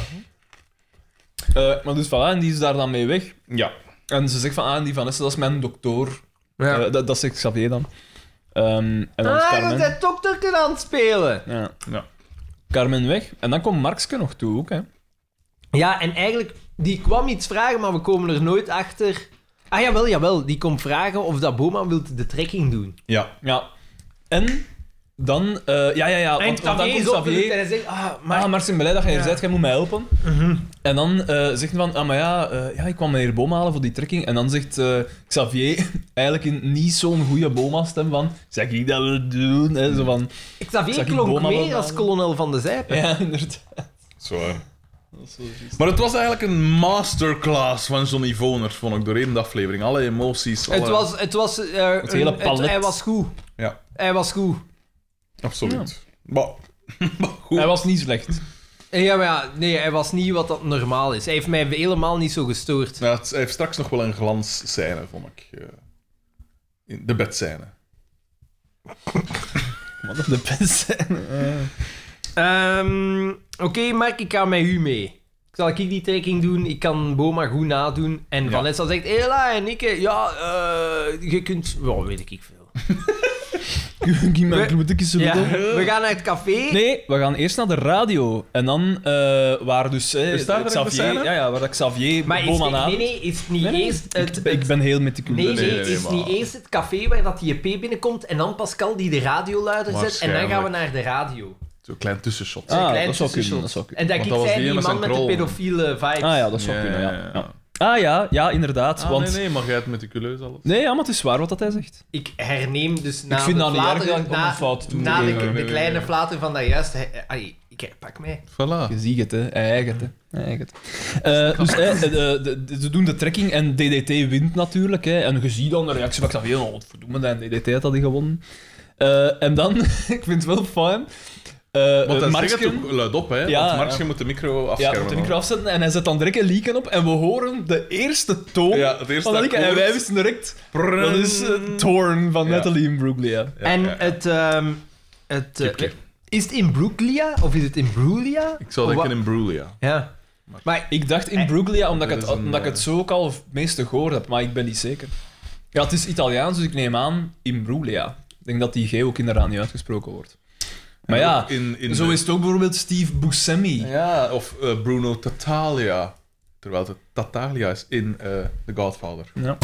Speaker 4: Eh, maar dus voilà, en die is daar dan mee weg.
Speaker 2: Ja.
Speaker 4: En ze zegt van, ah, die Vanessa, dat is mijn dokter.
Speaker 3: Ja.
Speaker 6: Eh, dat, dat zegt Xavier dan. Ehm, en dan is
Speaker 3: ah,
Speaker 6: Carmen.
Speaker 3: dat is dokter aan het spelen.
Speaker 6: Ja.
Speaker 2: Ja.
Speaker 6: Carmen weg. En dan komt Markske nog toe ook, hè.
Speaker 3: Ja, en eigenlijk, die kwam iets vragen, maar we komen er nooit achter. Ah jawel, jawel, die komt vragen of dat Boma wil de trekking doen.
Speaker 2: Ja.
Speaker 6: Ja.
Speaker 4: En dan... eh, ja, ja, ja.
Speaker 3: En
Speaker 4: Want, want dan komt
Speaker 3: is opgelucht en
Speaker 4: Xavier...
Speaker 3: hij zegt, ah, maar...
Speaker 4: Maar... Ah, Marcin, blij dat jij
Speaker 3: Ja. Mhm.
Speaker 4: er bent. Jij moet mij helpen. En dan eh, zegt hij van... Ah, maar ja, eh, ja, ik kwam meneer Boom halen voor die trekking. En dan zegt eh, Xavier eigenlijk in niet zo'n goede Boma-stem van... Zeg ik dat we doen? Hè, zo van...
Speaker 3: Xavier
Speaker 4: Zag ik
Speaker 3: klonk
Speaker 4: Boma
Speaker 3: meer
Speaker 4: wel
Speaker 3: als
Speaker 4: aan?
Speaker 3: kolonel van de Zijpen.
Speaker 4: Ja, inderdaad.
Speaker 2: Zwaar. Maar het was eigenlijk een masterclass van Johnny Voners, vond ik, doorheen de aflevering. Alle emoties. Alle...
Speaker 3: Het was... Het, was, eh,
Speaker 4: Het hele
Speaker 3: een-
Speaker 4: palet.
Speaker 3: hij was goed.
Speaker 2: Ja,
Speaker 3: Hij was goed.
Speaker 2: absoluut. Maar, maar goed.
Speaker 4: Hij was niet slecht.
Speaker 3: Eh, Ja, maar ja, nee, hij was niet wat dat normaal is. Hij heeft mij helemaal niet zo gestoord.
Speaker 2: Ja, het- hij heeft straks nog wel een glansscène, vond ik. eh, in de bedscène.
Speaker 6: Wat een de beste.
Speaker 3: Ehm, Oké, Mark, ik ga met u mee. Ik zal ik die trekking doen, ik kan Boma goed nadoen. En Vanessa zegt, hela, en ik, eh, ja, eh, je kunt... Wel, weet ik veel.
Speaker 6: Guy, mijn
Speaker 3: We-
Speaker 6: bloedekjes zo
Speaker 3: Ja,
Speaker 6: bedoel.
Speaker 3: we gaan naar het café.
Speaker 4: Nee, we gaan eerst naar de radio. En dan eh, waar dus... eh,
Speaker 2: Is daar direct de
Speaker 4: Xavier,
Speaker 2: scène?
Speaker 4: ja, ja, waar dat Xavier
Speaker 3: maar is,
Speaker 4: Boma
Speaker 3: nee,
Speaker 4: na...
Speaker 3: nee, nee, is het niet
Speaker 4: Nee, nee.
Speaker 3: eerst het... het-
Speaker 4: Ik ben heel meticuleus.
Speaker 3: Nee, nee,
Speaker 2: Nee, nee, nee,
Speaker 3: is
Speaker 2: maar-
Speaker 3: niet eerst het café waar dat die JP binnenkomt en dan Pascal die de radio luider zet en dan gaan we
Speaker 2: Waarschijnlijk.
Speaker 3: naar de radio.
Speaker 2: Zo'n klein tussenshot.
Speaker 3: een
Speaker 4: Ah,
Speaker 3: klein
Speaker 4: dat zou
Speaker 3: tussenshot.
Speaker 4: kunnen, dat zou kunnen.
Speaker 3: En dat
Speaker 2: Want
Speaker 3: ik
Speaker 2: dat was
Speaker 3: zei,
Speaker 2: die
Speaker 3: die
Speaker 2: met
Speaker 3: man
Speaker 2: zijn
Speaker 3: met
Speaker 2: krol.
Speaker 3: de pedofiele vibes.
Speaker 4: Ah ja, dat zou
Speaker 2: Ja,
Speaker 4: kunnen, ja.
Speaker 2: ja, ja.
Speaker 4: Ja. Ah ja, ja, inderdaad.
Speaker 2: Ah,
Speaker 4: want...
Speaker 2: nee,
Speaker 4: nee,
Speaker 2: nee, maar jij hebt meticuleus alles.
Speaker 4: ja, maar het is waar wat dat hij zegt.
Speaker 3: Ik herneem dus na
Speaker 4: ik vind
Speaker 3: de
Speaker 4: dat niet erg
Speaker 3: flater-
Speaker 4: dat ik op
Speaker 3: na-
Speaker 4: een fout toe.
Speaker 3: Na de,
Speaker 2: Nee, nee,
Speaker 3: de
Speaker 2: nee,
Speaker 3: kleine
Speaker 2: nee.
Speaker 3: flater van dat juist... Hij, ai, ik herpak mij.
Speaker 2: Voilà.
Speaker 4: Je ziet het, hè. Hij eigen het, hè. Hij eigen het. Eh, dus eh, eh, de- de- de- ze doen de trekking en DDT wint natuurlijk. Hè. En je ziet dan de reactie van Xavier, oh, wat verdoemende, en DDT had dat die gewonnen. Eh, en dan, ik vind het wel fijn, Eh
Speaker 2: Want
Speaker 4: eh,
Speaker 2: dan zeg
Speaker 4: Marksken-
Speaker 2: het ook luid op, hè.
Speaker 4: Ja,
Speaker 2: want Marksken
Speaker 4: ja.
Speaker 2: moet de micro
Speaker 4: ja,
Speaker 2: afschermen.
Speaker 4: moet de micro afzetten en hij zet dan direct een lieken op en we horen de eerste toon
Speaker 2: Ja, het eerste
Speaker 4: van dat lieken. En
Speaker 2: akkoord.
Speaker 4: wij wisten direct, dat is eh, Torn van
Speaker 2: Ja.
Speaker 4: Natalie in Bruglia.
Speaker 2: Ja,
Speaker 3: en
Speaker 2: ja, ja.
Speaker 3: het... ehm, het eh,
Speaker 2: Kipje.
Speaker 3: is het in Brooklia of is het in Brulia?
Speaker 2: Ik zou
Speaker 3: Of
Speaker 2: denken
Speaker 3: wa-
Speaker 2: in Brulia.
Speaker 3: Ja. Maar
Speaker 4: Ik dacht in Bruglia, omdat, ik
Speaker 2: Er
Speaker 4: het,
Speaker 2: is een,
Speaker 4: omdat ik het zo ook al het meeste gehoord heb, maar ik ben niet zeker. Ja, het is Italiaans, dus ik neem aan in Bruglia. Ik denk dat die G ook inderdaad niet uitgesproken wordt. Maar
Speaker 2: En
Speaker 4: ja,
Speaker 2: ook in, in
Speaker 4: zo is het ook bijvoorbeeld Steve Buscemi.
Speaker 2: Ja, of eh, Bruno Tatalia. Terwijl het Tatalia is in eh, The Godfather.
Speaker 4: Ja.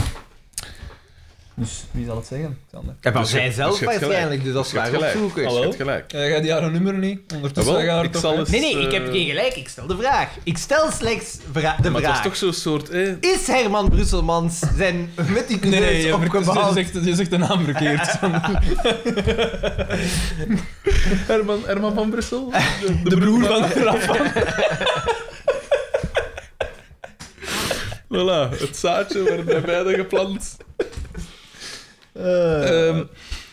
Speaker 4: Dus wie zal het zeggen, Xander?
Speaker 3: en van
Speaker 2: Dus je-
Speaker 3: zij
Speaker 2: dus je
Speaker 3: zelf
Speaker 2: hebt gelijk.
Speaker 3: waarschijnlijk, dus dat is
Speaker 2: Je hebt
Speaker 3: waar
Speaker 2: gelijk.
Speaker 3: opzoeken.
Speaker 4: Hallo?
Speaker 2: Je hebt gelijk.
Speaker 4: Jij gaat die haar nummer niet? Ondertussen
Speaker 2: Jawel,
Speaker 4: ga je haar
Speaker 2: ik
Speaker 4: toch...
Speaker 2: zal
Speaker 4: hè?
Speaker 2: eens-
Speaker 3: Nee, nee, ik
Speaker 2: Eh,
Speaker 3: heb geen gelijk. Ik stel de vraag. Ik stel slechts vra- de
Speaker 2: Maar het was
Speaker 3: vraag.
Speaker 2: toch zo'n soort... eh,
Speaker 3: Is Herman Brusselmans zijn
Speaker 4: Nee,
Speaker 3: meticuleus
Speaker 4: nee, je, ver- je,
Speaker 3: opgebouwd?
Speaker 4: zegt, je zegt de naam verkeerd.
Speaker 2: Herman, Herman van Brussel?
Speaker 4: De, broer van Rafa.
Speaker 2: Voilà, het zaadje werd bij beide geplant. Ehm,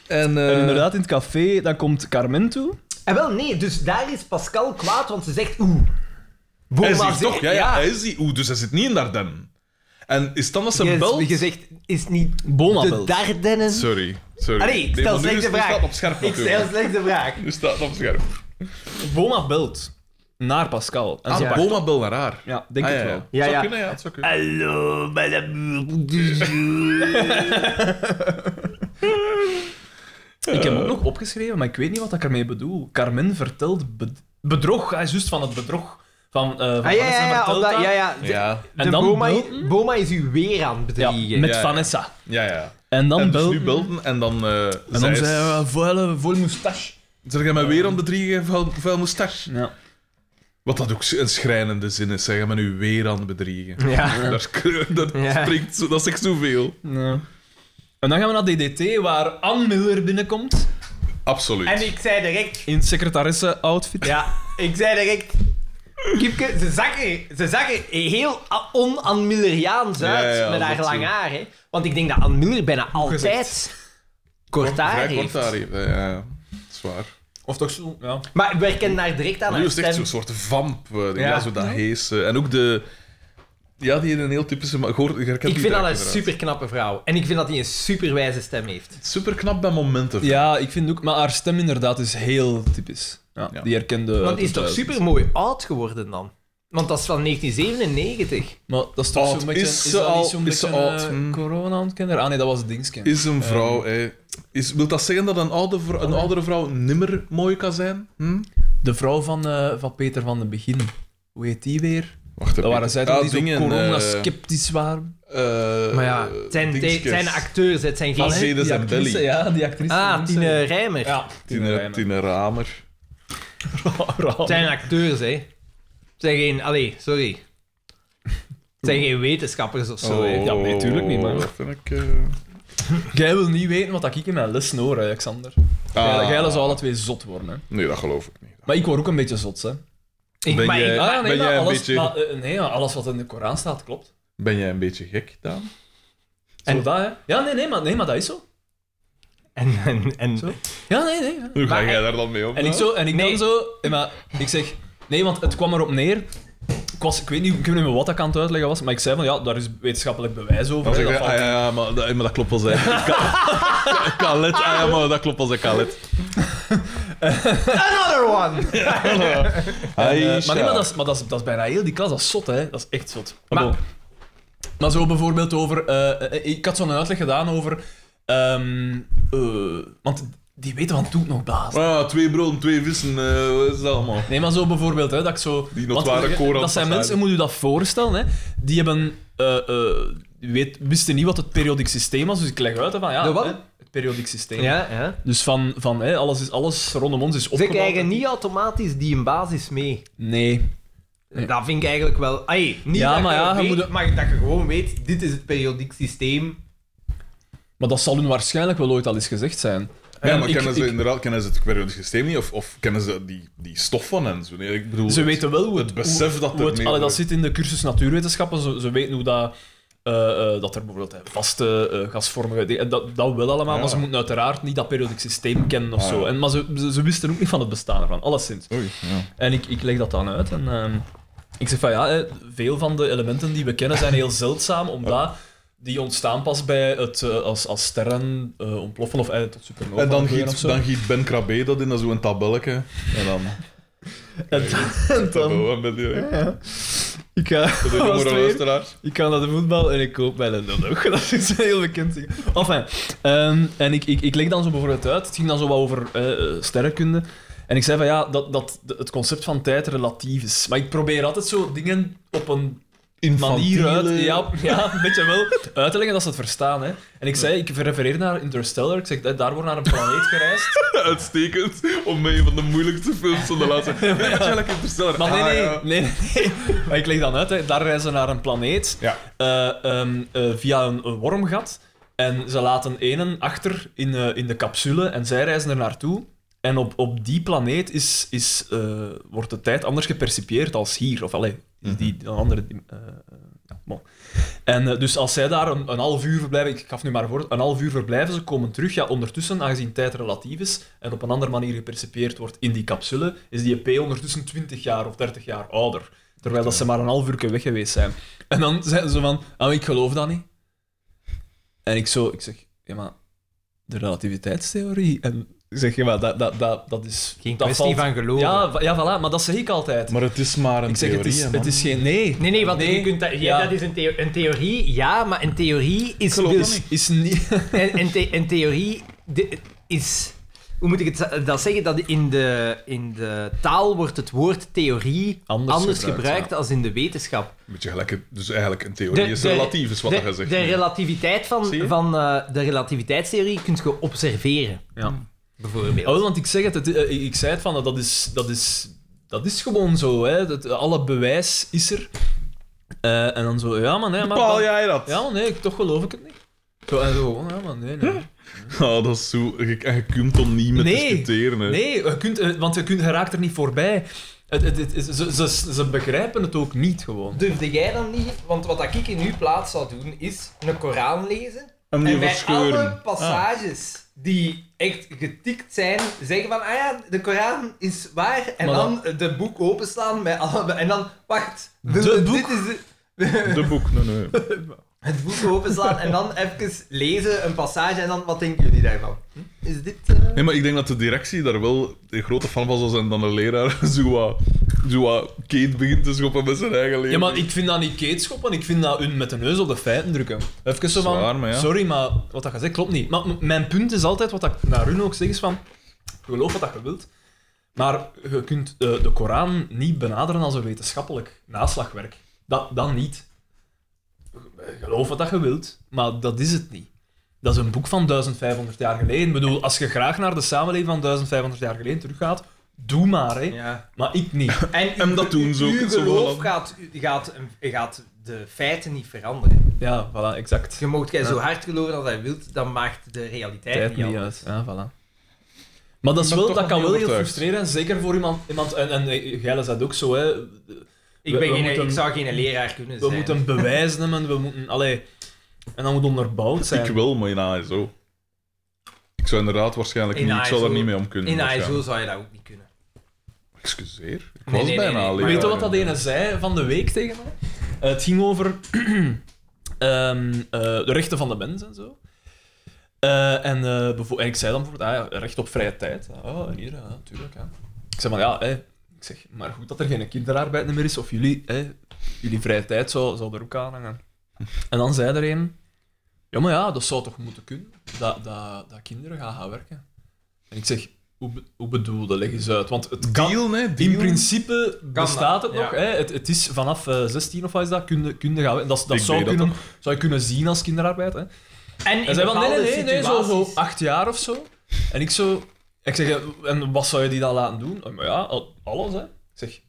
Speaker 2: en, eh,
Speaker 4: En inderdaad, in het café, dan komt Carmen toe.
Speaker 3: En wel, nee, dus daar is Pascal kwaad, want ze zegt oeh. Boma
Speaker 2: hij is hier
Speaker 3: zegt-
Speaker 2: toch? Ja, ja, hij is hier. Oeh, dus hij zit niet in Dardenne. En is het dan dat ze
Speaker 3: Je-
Speaker 2: belt?
Speaker 3: Je zegt, is niet
Speaker 4: Bona
Speaker 3: de
Speaker 4: belt.
Speaker 3: Dardennen?
Speaker 2: Sorry, sorry.
Speaker 3: Allee,
Speaker 2: Nee,
Speaker 3: stel
Speaker 2: maar nu
Speaker 3: slechts
Speaker 2: is-
Speaker 3: de
Speaker 2: Nu staat
Speaker 3: vraag.
Speaker 2: het op scherp
Speaker 3: Ik
Speaker 2: natuurlijk.
Speaker 3: stel slechts de vraag.
Speaker 2: Nu staat het op scherp.
Speaker 4: Boma belt naar Pascal. En
Speaker 2: Ah,
Speaker 4: ze
Speaker 3: ja.
Speaker 4: pakt-
Speaker 2: Boma bel naar haar.
Speaker 4: Ja, denk
Speaker 2: Ah,
Speaker 4: ik
Speaker 2: ja,
Speaker 4: wel.
Speaker 2: ja.
Speaker 3: Ja,
Speaker 2: Het
Speaker 3: ja. Eh,
Speaker 2: zou kunnen, ja. Het zou kunnen.
Speaker 5: Hallo, madame.
Speaker 4: Ik heb ook nog opgeschreven, maar ik weet niet wat ik ermee bedoel. Carmen vertelt bed- bedrog. Hij is juist van het bedrog. Van, eh van
Speaker 3: Ah, ja,
Speaker 4: Vanessa
Speaker 3: ja, ja,
Speaker 4: vertelt
Speaker 3: omdat,
Speaker 4: dat.
Speaker 3: ja, ja. De,
Speaker 2: Ja,
Speaker 3: de
Speaker 4: En dan
Speaker 3: Boma,
Speaker 4: belten?
Speaker 3: Boma is u weer aan het
Speaker 4: Ja,
Speaker 3: bedriegen.
Speaker 4: met
Speaker 2: Ja, ja.
Speaker 4: Vanessa.
Speaker 2: ja, ja.
Speaker 4: En dan
Speaker 2: En dus
Speaker 4: belt.
Speaker 2: nu belden en dan... eh
Speaker 4: En dan zei hij, voile, vol moustache.
Speaker 2: Zeg jij
Speaker 3: Ehm.
Speaker 2: mij weer aan de drie vuil, vuil moustache?
Speaker 4: Ja.
Speaker 2: Wat dat ook een schrijnende zin is. Zeg jij mij nu weer aan het bedriegen?
Speaker 3: Ja.
Speaker 2: Daar, daar
Speaker 3: Ja.
Speaker 2: springt zo, dat zegt zoveel.
Speaker 4: En dan gaan we naar DDT, waar Ann Miller binnenkomt.
Speaker 2: Absoluut.
Speaker 3: En ik zei direct,
Speaker 4: In secretaresse-outfit.
Speaker 3: ja, ik zei direct. Kipke, ze zag er, ze zag er heel a- on-Anmilleriaans
Speaker 2: Ja, ja,
Speaker 3: uit
Speaker 2: ja,
Speaker 3: met haar
Speaker 2: dat
Speaker 3: lang
Speaker 2: zo.
Speaker 3: haar. Hè. Want ik denk dat Ann Miller bijna altijd kort haar
Speaker 2: Vrij
Speaker 3: heeft.
Speaker 2: kort haar heeft, hè, ja, ja. Zwaar.
Speaker 4: Of toch zo? Ja.
Speaker 3: Maar we herkennen haar direct aan
Speaker 2: Maar nu
Speaker 3: haar
Speaker 2: is het echt
Speaker 3: stem.
Speaker 2: zo'n soort vamp. eh, Ja,
Speaker 3: Ja.
Speaker 2: zo dat hees. eh, En ook de... Ja, die heeft een heel typische... Maar, goor, ik
Speaker 3: Ik vind dat een super knappe vrouw. En ik vind dat hij een super wijze stem heeft.
Speaker 2: Super knap bij momenten.
Speaker 4: ja, ik vind ook. Maar haar stem inderdaad is heel typisch. Ja,
Speaker 2: Ja.
Speaker 4: Die herkende.
Speaker 3: Want die is toch super mooi oud geworden dan? Want dat is van 1997.
Speaker 4: Maar dat is toch
Speaker 2: Oh,
Speaker 4: zo'n beetje...
Speaker 2: is ze
Speaker 4: dat niet
Speaker 2: al-
Speaker 4: zo'n
Speaker 2: is ze
Speaker 4: beetje,
Speaker 2: oud?
Speaker 4: eh,
Speaker 2: Hmm.
Speaker 4: corona aan het kinderen? Ah nee, dat was het dingetje.
Speaker 2: Is een vrouw, hè. Is, wil dat zeggen dat een, oude vrou- een oudere vrouw nimmer mooi kan zijn? Hm?
Speaker 4: De vrouw van, eh, van Peter van den Begin. Hoe heet die weer?
Speaker 2: Wacht,
Speaker 4: Dat waren zij toch die
Speaker 2: dingen, eh,
Speaker 4: zo corona-sceptisch waren?
Speaker 3: Maar ja, het zijn, het
Speaker 2: dingetjes.
Speaker 3: zijn acteurs, het zijn geen...
Speaker 2: Als je-
Speaker 4: Allee,
Speaker 2: Mercedes en
Speaker 4: die actrice,
Speaker 2: Belly.
Speaker 4: Ja, die actrice.
Speaker 3: Ah,
Speaker 4: Mensen.
Speaker 3: Tine Rijmer.
Speaker 4: Ja,
Speaker 2: Tine, Tine Ramer.
Speaker 3: Het zijn acteurs, hè. Het zijn geen... Allee, sorry. Het zijn geen wetenschappers of zo, hè.
Speaker 4: Oh, ja, nee, tuurlijk niet, maar-
Speaker 2: Oh, Dat vind ik... eh,
Speaker 4: Jij wil niet weten wat ik in mijn les hoor, hè, Alexander. Jij,
Speaker 2: ah.
Speaker 4: jij zou alle twee zot worden. Hè.
Speaker 2: Nee, dat geloof ik niet.
Speaker 4: Maar ik word ook een beetje zot, hè.
Speaker 3: Ik,
Speaker 2: Ben
Speaker 3: maar
Speaker 2: jij-
Speaker 3: ik-
Speaker 4: Ah,
Speaker 2: ben
Speaker 4: nee, maar
Speaker 2: jij een
Speaker 4: alles,
Speaker 2: beetje-
Speaker 4: maar, eh, nee, ja, alles wat in de Koran staat, klopt.
Speaker 2: Ben jij een beetje gek, Daan?
Speaker 4: Zo dat, hè. Ja, nee, nee maar, nee, maar dat is zo.
Speaker 3: en, en, en,
Speaker 4: Zo. Ja, nee, nee. ja.
Speaker 2: Hoe ga
Speaker 3: Maar-
Speaker 2: jij daar dan mee om?
Speaker 4: En ik, zo, en ik dan zo... eh, Maar ik zeg... Nee, want het kwam erop neer... Ik, was, ik, weet niet, ik weet niet meer wat ik aan het uitleggen was, maar ik zei van, ja, daar is wetenschappelijk bewijs
Speaker 2: Dan
Speaker 4: over. hè,
Speaker 2: zeg
Speaker 4: Oh, dat
Speaker 2: je,
Speaker 4: valt-
Speaker 2: ah ja, ja, maar, dat, maar dat klopt wel zijn. Ka- Kalet, ah ja, maar dat klopt wel zijn Kalet.
Speaker 3: Another one!
Speaker 4: Eh, maar nee, maar, dat is, maar dat, is, dat is bijna heel die klas. Dat is zot, hè. Dat is echt zot. Maar,
Speaker 3: Maar-
Speaker 4: maar zo bijvoorbeeld over... eh, eh, ik had zo'n uitleg gedaan over... ehm, eh, want die weten van Toet nog baas.
Speaker 2: Ah, twee broden, twee vissen, eh, wat is dat allemaal?
Speaker 4: Nee, maar zo bijvoorbeeld, hè, dat ik zo...
Speaker 2: Die
Speaker 4: want
Speaker 2: notware
Speaker 4: dat-
Speaker 2: Koran
Speaker 4: Dat zijn
Speaker 2: van
Speaker 4: mensen,
Speaker 2: Zuiden.
Speaker 4: moet je dat voorstellen, hè. Die hebben... eh, eh, weet, wisten niet wat het periodiek systeem was, dus ik leg uit hè, van ja...
Speaker 3: De wat?
Speaker 4: hè, het periodiek systeem.
Speaker 3: Ja, ja.
Speaker 4: Dus van, van hè, alles, is, alles rondom ons is
Speaker 3: Ze
Speaker 4: opgebouwd.
Speaker 3: krijgen niet automatisch die in basis mee.
Speaker 4: Nee. Nee.
Speaker 3: Dat vind ik eigenlijk wel... Ay, niet
Speaker 4: Ja,
Speaker 3: dat
Speaker 4: maar
Speaker 3: je
Speaker 4: ja,
Speaker 3: dat
Speaker 4: je
Speaker 3: weet,
Speaker 4: moet het-
Speaker 3: maar dat je gewoon weet, dit is het periodiek systeem.
Speaker 4: Maar dat zal hun waarschijnlijk wel ooit al eens gezegd zijn.
Speaker 2: Ja,
Speaker 4: En
Speaker 2: maar
Speaker 4: ik-
Speaker 2: kennen ze
Speaker 4: ik-
Speaker 2: inderdaad kennen ze het periodisch systeem niet? Of, of kennen ze die, die stof van hen? Zo, nee, ik bedoel,
Speaker 4: Ze weten wel hoe het,
Speaker 2: het besef dat
Speaker 4: hoe
Speaker 2: er
Speaker 4: het-
Speaker 2: meer-
Speaker 4: allee, dat zit in de cursus natuurwetenschappen. Ze, ze weten hoe dat, eh, eh, dat er bijvoorbeeld eh, vaste eh, gasvormige dingen- dat, dat wel allemaal,
Speaker 2: Ja.
Speaker 4: maar ze moeten uiteraard niet dat periodic systeem kennen of
Speaker 2: Ah,
Speaker 4: zo.
Speaker 2: ja.
Speaker 4: En, maar ze, ze, ze wisten ook niet van het bestaan ervan, alleszins.
Speaker 2: Oei, ja.
Speaker 4: En ik, ik leg dat dan uit en ehm, ik zeg van ja, eh, veel van de elementen die we kennen zijn heel zeldzaam, omdat die ontstaan pas bij het eh, als, als sterren eh, ontploffen of eh, tot supernova.
Speaker 2: En dan
Speaker 4: groeien of
Speaker 2: giet,
Speaker 4: zo.
Speaker 2: dan giet Ben Krabbe dat in, dat is zo'n tabelletje. En dan...
Speaker 4: En dan- en dan-
Speaker 2: Tabel, met die, met
Speaker 4: ik ga.
Speaker 2: die
Speaker 4: was
Speaker 2: jongere
Speaker 4: het weer?
Speaker 2: luisteraars.
Speaker 4: Ik ga naar de voetbal en ik koop mij een dildo. Dat is een heel bekend ding. Enfin, ehm, en ik, ik, ik leg dan zo bijvoorbeeld uit. Het ging dan zo wat over eh, eh, sterrenkunde. En ik zei van ja, dat, dat de- het concept van tijd relatief is. Maar ik probeer altijd zo dingen op een manier uit,
Speaker 2: Infantiele-
Speaker 4: ja, ja, een beetje wel, uit te leggen dat ze het verstaan. Hè. En ik zei, ik refereer naar Interstellar. Ik zeg, eh, daar wordt naar een planeet gereisd.
Speaker 2: Uitstekend. Om mee van de moeilijkste films van de laatste... Ja, maar eigenlijk interessant.
Speaker 4: Maar nee,
Speaker 2: Ah,
Speaker 4: nee,
Speaker 2: ja.
Speaker 4: nee, nee, nee. Maar ik leg dan uit, hè. daar reizen ze naar een planeet.
Speaker 2: Ja.
Speaker 4: eh, ehm, eh, via een, een wormgat. En ze laten enen achter in, eh, in de capsule en zij reizen er naartoe. En op, op die planeet is, is, eh, wordt de tijd anders gepercipieerd als hier. Of allee, is die een andere. dim- eh, eh, ja, bon. En eh, dus als zij daar een, een half uur verblijven, ik gaf nu maar voor, een half uur verblijven, ze komen terug. Ja, ondertussen, aangezien tijd relatief is en op een andere manier gepercipieerd wordt in die capsule, is die EP ondertussen 20 jaar of 30 jaar ouder. Terwijl dat ze maar een half uur weg geweest zijn. En dan zeiden ze van, ah, ik geloof dat niet. En ik zo, ik zeg, ja maar, de relativiteitstheorie. En ik zeg, ja maar, dat, dat, dat, dat is...
Speaker 3: Geen
Speaker 4: dat
Speaker 3: kwestie
Speaker 4: valt-
Speaker 3: van geloven.
Speaker 4: Ja, va- ja, voilà, maar dat zeg ik altijd.
Speaker 2: Maar het is maar een
Speaker 4: ik zeg,
Speaker 2: theorie,
Speaker 4: het, is,
Speaker 2: hè,
Speaker 4: het
Speaker 2: man.
Speaker 4: is geen... Nee.
Speaker 3: Nee, nee, want
Speaker 4: Nee.
Speaker 3: je kunt dat, ja,
Speaker 4: Ja.
Speaker 3: dat is een, theo- een theorie, ja, maar een theorie is...
Speaker 2: geloof dat
Speaker 3: dus,
Speaker 4: Is, is niet...
Speaker 3: en, en the- en theorie de- is... Hoe moet ik het za- dat zeggen? Dat in de, in de taal wordt het woord theorie
Speaker 4: Anders
Speaker 3: anders,
Speaker 4: gebruikt,
Speaker 3: gebruikt,
Speaker 4: ja.
Speaker 3: als in de wetenschap.
Speaker 2: Een beetje gelijk... het- Dus eigenlijk een theorie is relatief, is wat
Speaker 3: de,
Speaker 2: dat gezegd
Speaker 3: De
Speaker 2: wordt.
Speaker 3: relativiteit van,
Speaker 2: Zie je?
Speaker 3: van eh, de relativiteitstheorie kun je observeren,
Speaker 4: Ja.
Speaker 3: bijvoorbeeld.
Speaker 4: Ja, wel, want ik zeg het, het, eh, ik zei het van, dat is, dat is, dat is gewoon zo. Hè. Dat, alle bewijs is er. Eh, en dan zo, ja maar nee, maar...
Speaker 2: Bepaal
Speaker 4: dan-
Speaker 2: jij dat?
Speaker 4: Ja maar nee, ik- toch geloof ik het niet. Zo, en zo, gewoon, ja maar nee, nee.
Speaker 2: Oh, dat is zo... Je, en je kunt er niet mee
Speaker 4: Nee.
Speaker 2: discussiëren, hè.
Speaker 4: Nee, je kunt, eh, want je, kunt, je raakt er niet voorbij. Het, het, het is- ze, ze, ze begrijpen het ook niet gewoon.
Speaker 3: Durfde jij dan niet? Want wat dat ik in uw plaats zou doen, is een Koran lezen.
Speaker 2: Hem die
Speaker 3: en bij
Speaker 2: verscheuren.
Speaker 4: Ah.
Speaker 3: alle passages die echt getikt zijn, zeggen van, ah ja, de Koran is waar. En
Speaker 4: Maar
Speaker 3: dan de boek openslaan met alle... En dan, wacht,
Speaker 4: De
Speaker 3: dit
Speaker 4: boek?
Speaker 3: is... de-
Speaker 2: De boek, nee, nee.
Speaker 3: het boek openslaan en dan even lezen, een passage, en dan wat denken jullie daarvan? Is dit... eh,
Speaker 2: Nee, maar ik denk dat de directie daar wel een grote fan van zal zijn dan een leraar zo wat, zo wat Kate begint te schoppen met zijn eigen leven.
Speaker 4: Ja, maar ik vind dat niet keetschoppen, ik vind dat hun met de neus op de feiten drukken. Even zo van,
Speaker 2: Zwaar, maar ja.
Speaker 4: sorry, maar wat dat je zegt klopt niet. Maar m- mijn punt is altijd, wat ik naar hun ook zeg, is van, geloof wat dat je wilt, maar je kunt eh, de Koran niet benaderen als een wetenschappelijk naslagwerk. Dat, dat niet. Geloof wat dat je wilt, maar dat is het niet. Dat is een boek van 1500 jaar geleden. Ik bedoel, als je graag naar de samenleving van 1500 jaar geleden teruggaat, doe maar, hè.
Speaker 3: Ja.
Speaker 4: Maar ik niet.
Speaker 3: En,
Speaker 2: En
Speaker 3: uw-
Speaker 2: dat doen ze ook
Speaker 3: Uw
Speaker 2: in sommige
Speaker 3: geloof
Speaker 2: landen.
Speaker 3: gaat, gaat, gaat de feiten niet veranderen.
Speaker 4: Ja, voilà, exact.
Speaker 3: Je moogt jij zo hard geloven als hij wilt, dan maakt de realiteit
Speaker 4: tijd
Speaker 3: niet
Speaker 4: niet
Speaker 3: anders.
Speaker 4: uit. Ja, voilà. Maar dat, is
Speaker 2: Ik ben
Speaker 4: wel,
Speaker 2: toch
Speaker 4: dat
Speaker 2: nog niet
Speaker 4: kan wel heel
Speaker 2: overtuigd.
Speaker 4: frustrerend, zeker voor iemand. iemand en en eh, jij is dat ook zo, hè.
Speaker 3: Ik,
Speaker 4: We-
Speaker 3: ben
Speaker 4: we
Speaker 3: geen,
Speaker 4: moeten-
Speaker 3: ik zou geen leraar kunnen
Speaker 4: We
Speaker 3: zijn.
Speaker 4: moeten bewijzen hebben, we moeten... Allee, en dat moet onderbouwd zijn.
Speaker 2: Ik wil, maar in ISO. Ik zou inderdaad waarschijnlijk
Speaker 3: In
Speaker 2: niet, ik zou
Speaker 3: ISO.
Speaker 2: daar niet mee om kunnen.
Speaker 3: In
Speaker 2: waarschijnlijk.
Speaker 3: ISO zou je dat ook niet kunnen.
Speaker 2: Excuseer, ik
Speaker 3: Nee,
Speaker 2: was
Speaker 3: nee, nee,
Speaker 2: bijna
Speaker 3: nee.
Speaker 2: alleen.
Speaker 4: Weet je wat dat ene zei van de week tegen mij? Eh, het ging over ehm, eh, de rechten van de mens en zo. Eh, en, eh, bevo- en ik zei dan bijvoorbeeld, ah, ja, recht op vrije tijd. Oh, en hier, ja, natuurlijk. ja. Ik zei van, ja, hè, ik zeg, maar goed dat er geen kinderarbeid meer is, of jullie, hè, jullie vrije tijd zou, zou er ook aan hangen. En dan zei er een, ja, maar ja, dat zou toch moeten kunnen, dat, dat, dat kinderen gaan gaan werken. En ik zeg, hoe, be- hoe bedoel je, leg eens uit, want het kan...
Speaker 2: Deal, nee, deal.
Speaker 4: In principe bestaat
Speaker 3: dat,
Speaker 4: het nog.
Speaker 3: ja.
Speaker 4: Hè? Het, het is vanaf eh, 16 of wat is dat, kunde, kunde gaan. we- Dat, dat,
Speaker 2: Ik
Speaker 4: zou,
Speaker 2: deed dat
Speaker 4: kunnen, zou je kunnen zien als kinderarbeid. Hè?
Speaker 3: En
Speaker 4: En
Speaker 3: in
Speaker 4: zei van, nee,
Speaker 3: bepaalde
Speaker 4: nee, nee, nee, zo, zo
Speaker 3: situaties-
Speaker 4: acht jaar of zo. En ik zo... Ik zeg, en wat zou je die dan laten doen? Eh, Maar ja, al- alles, hè. Ik zeg,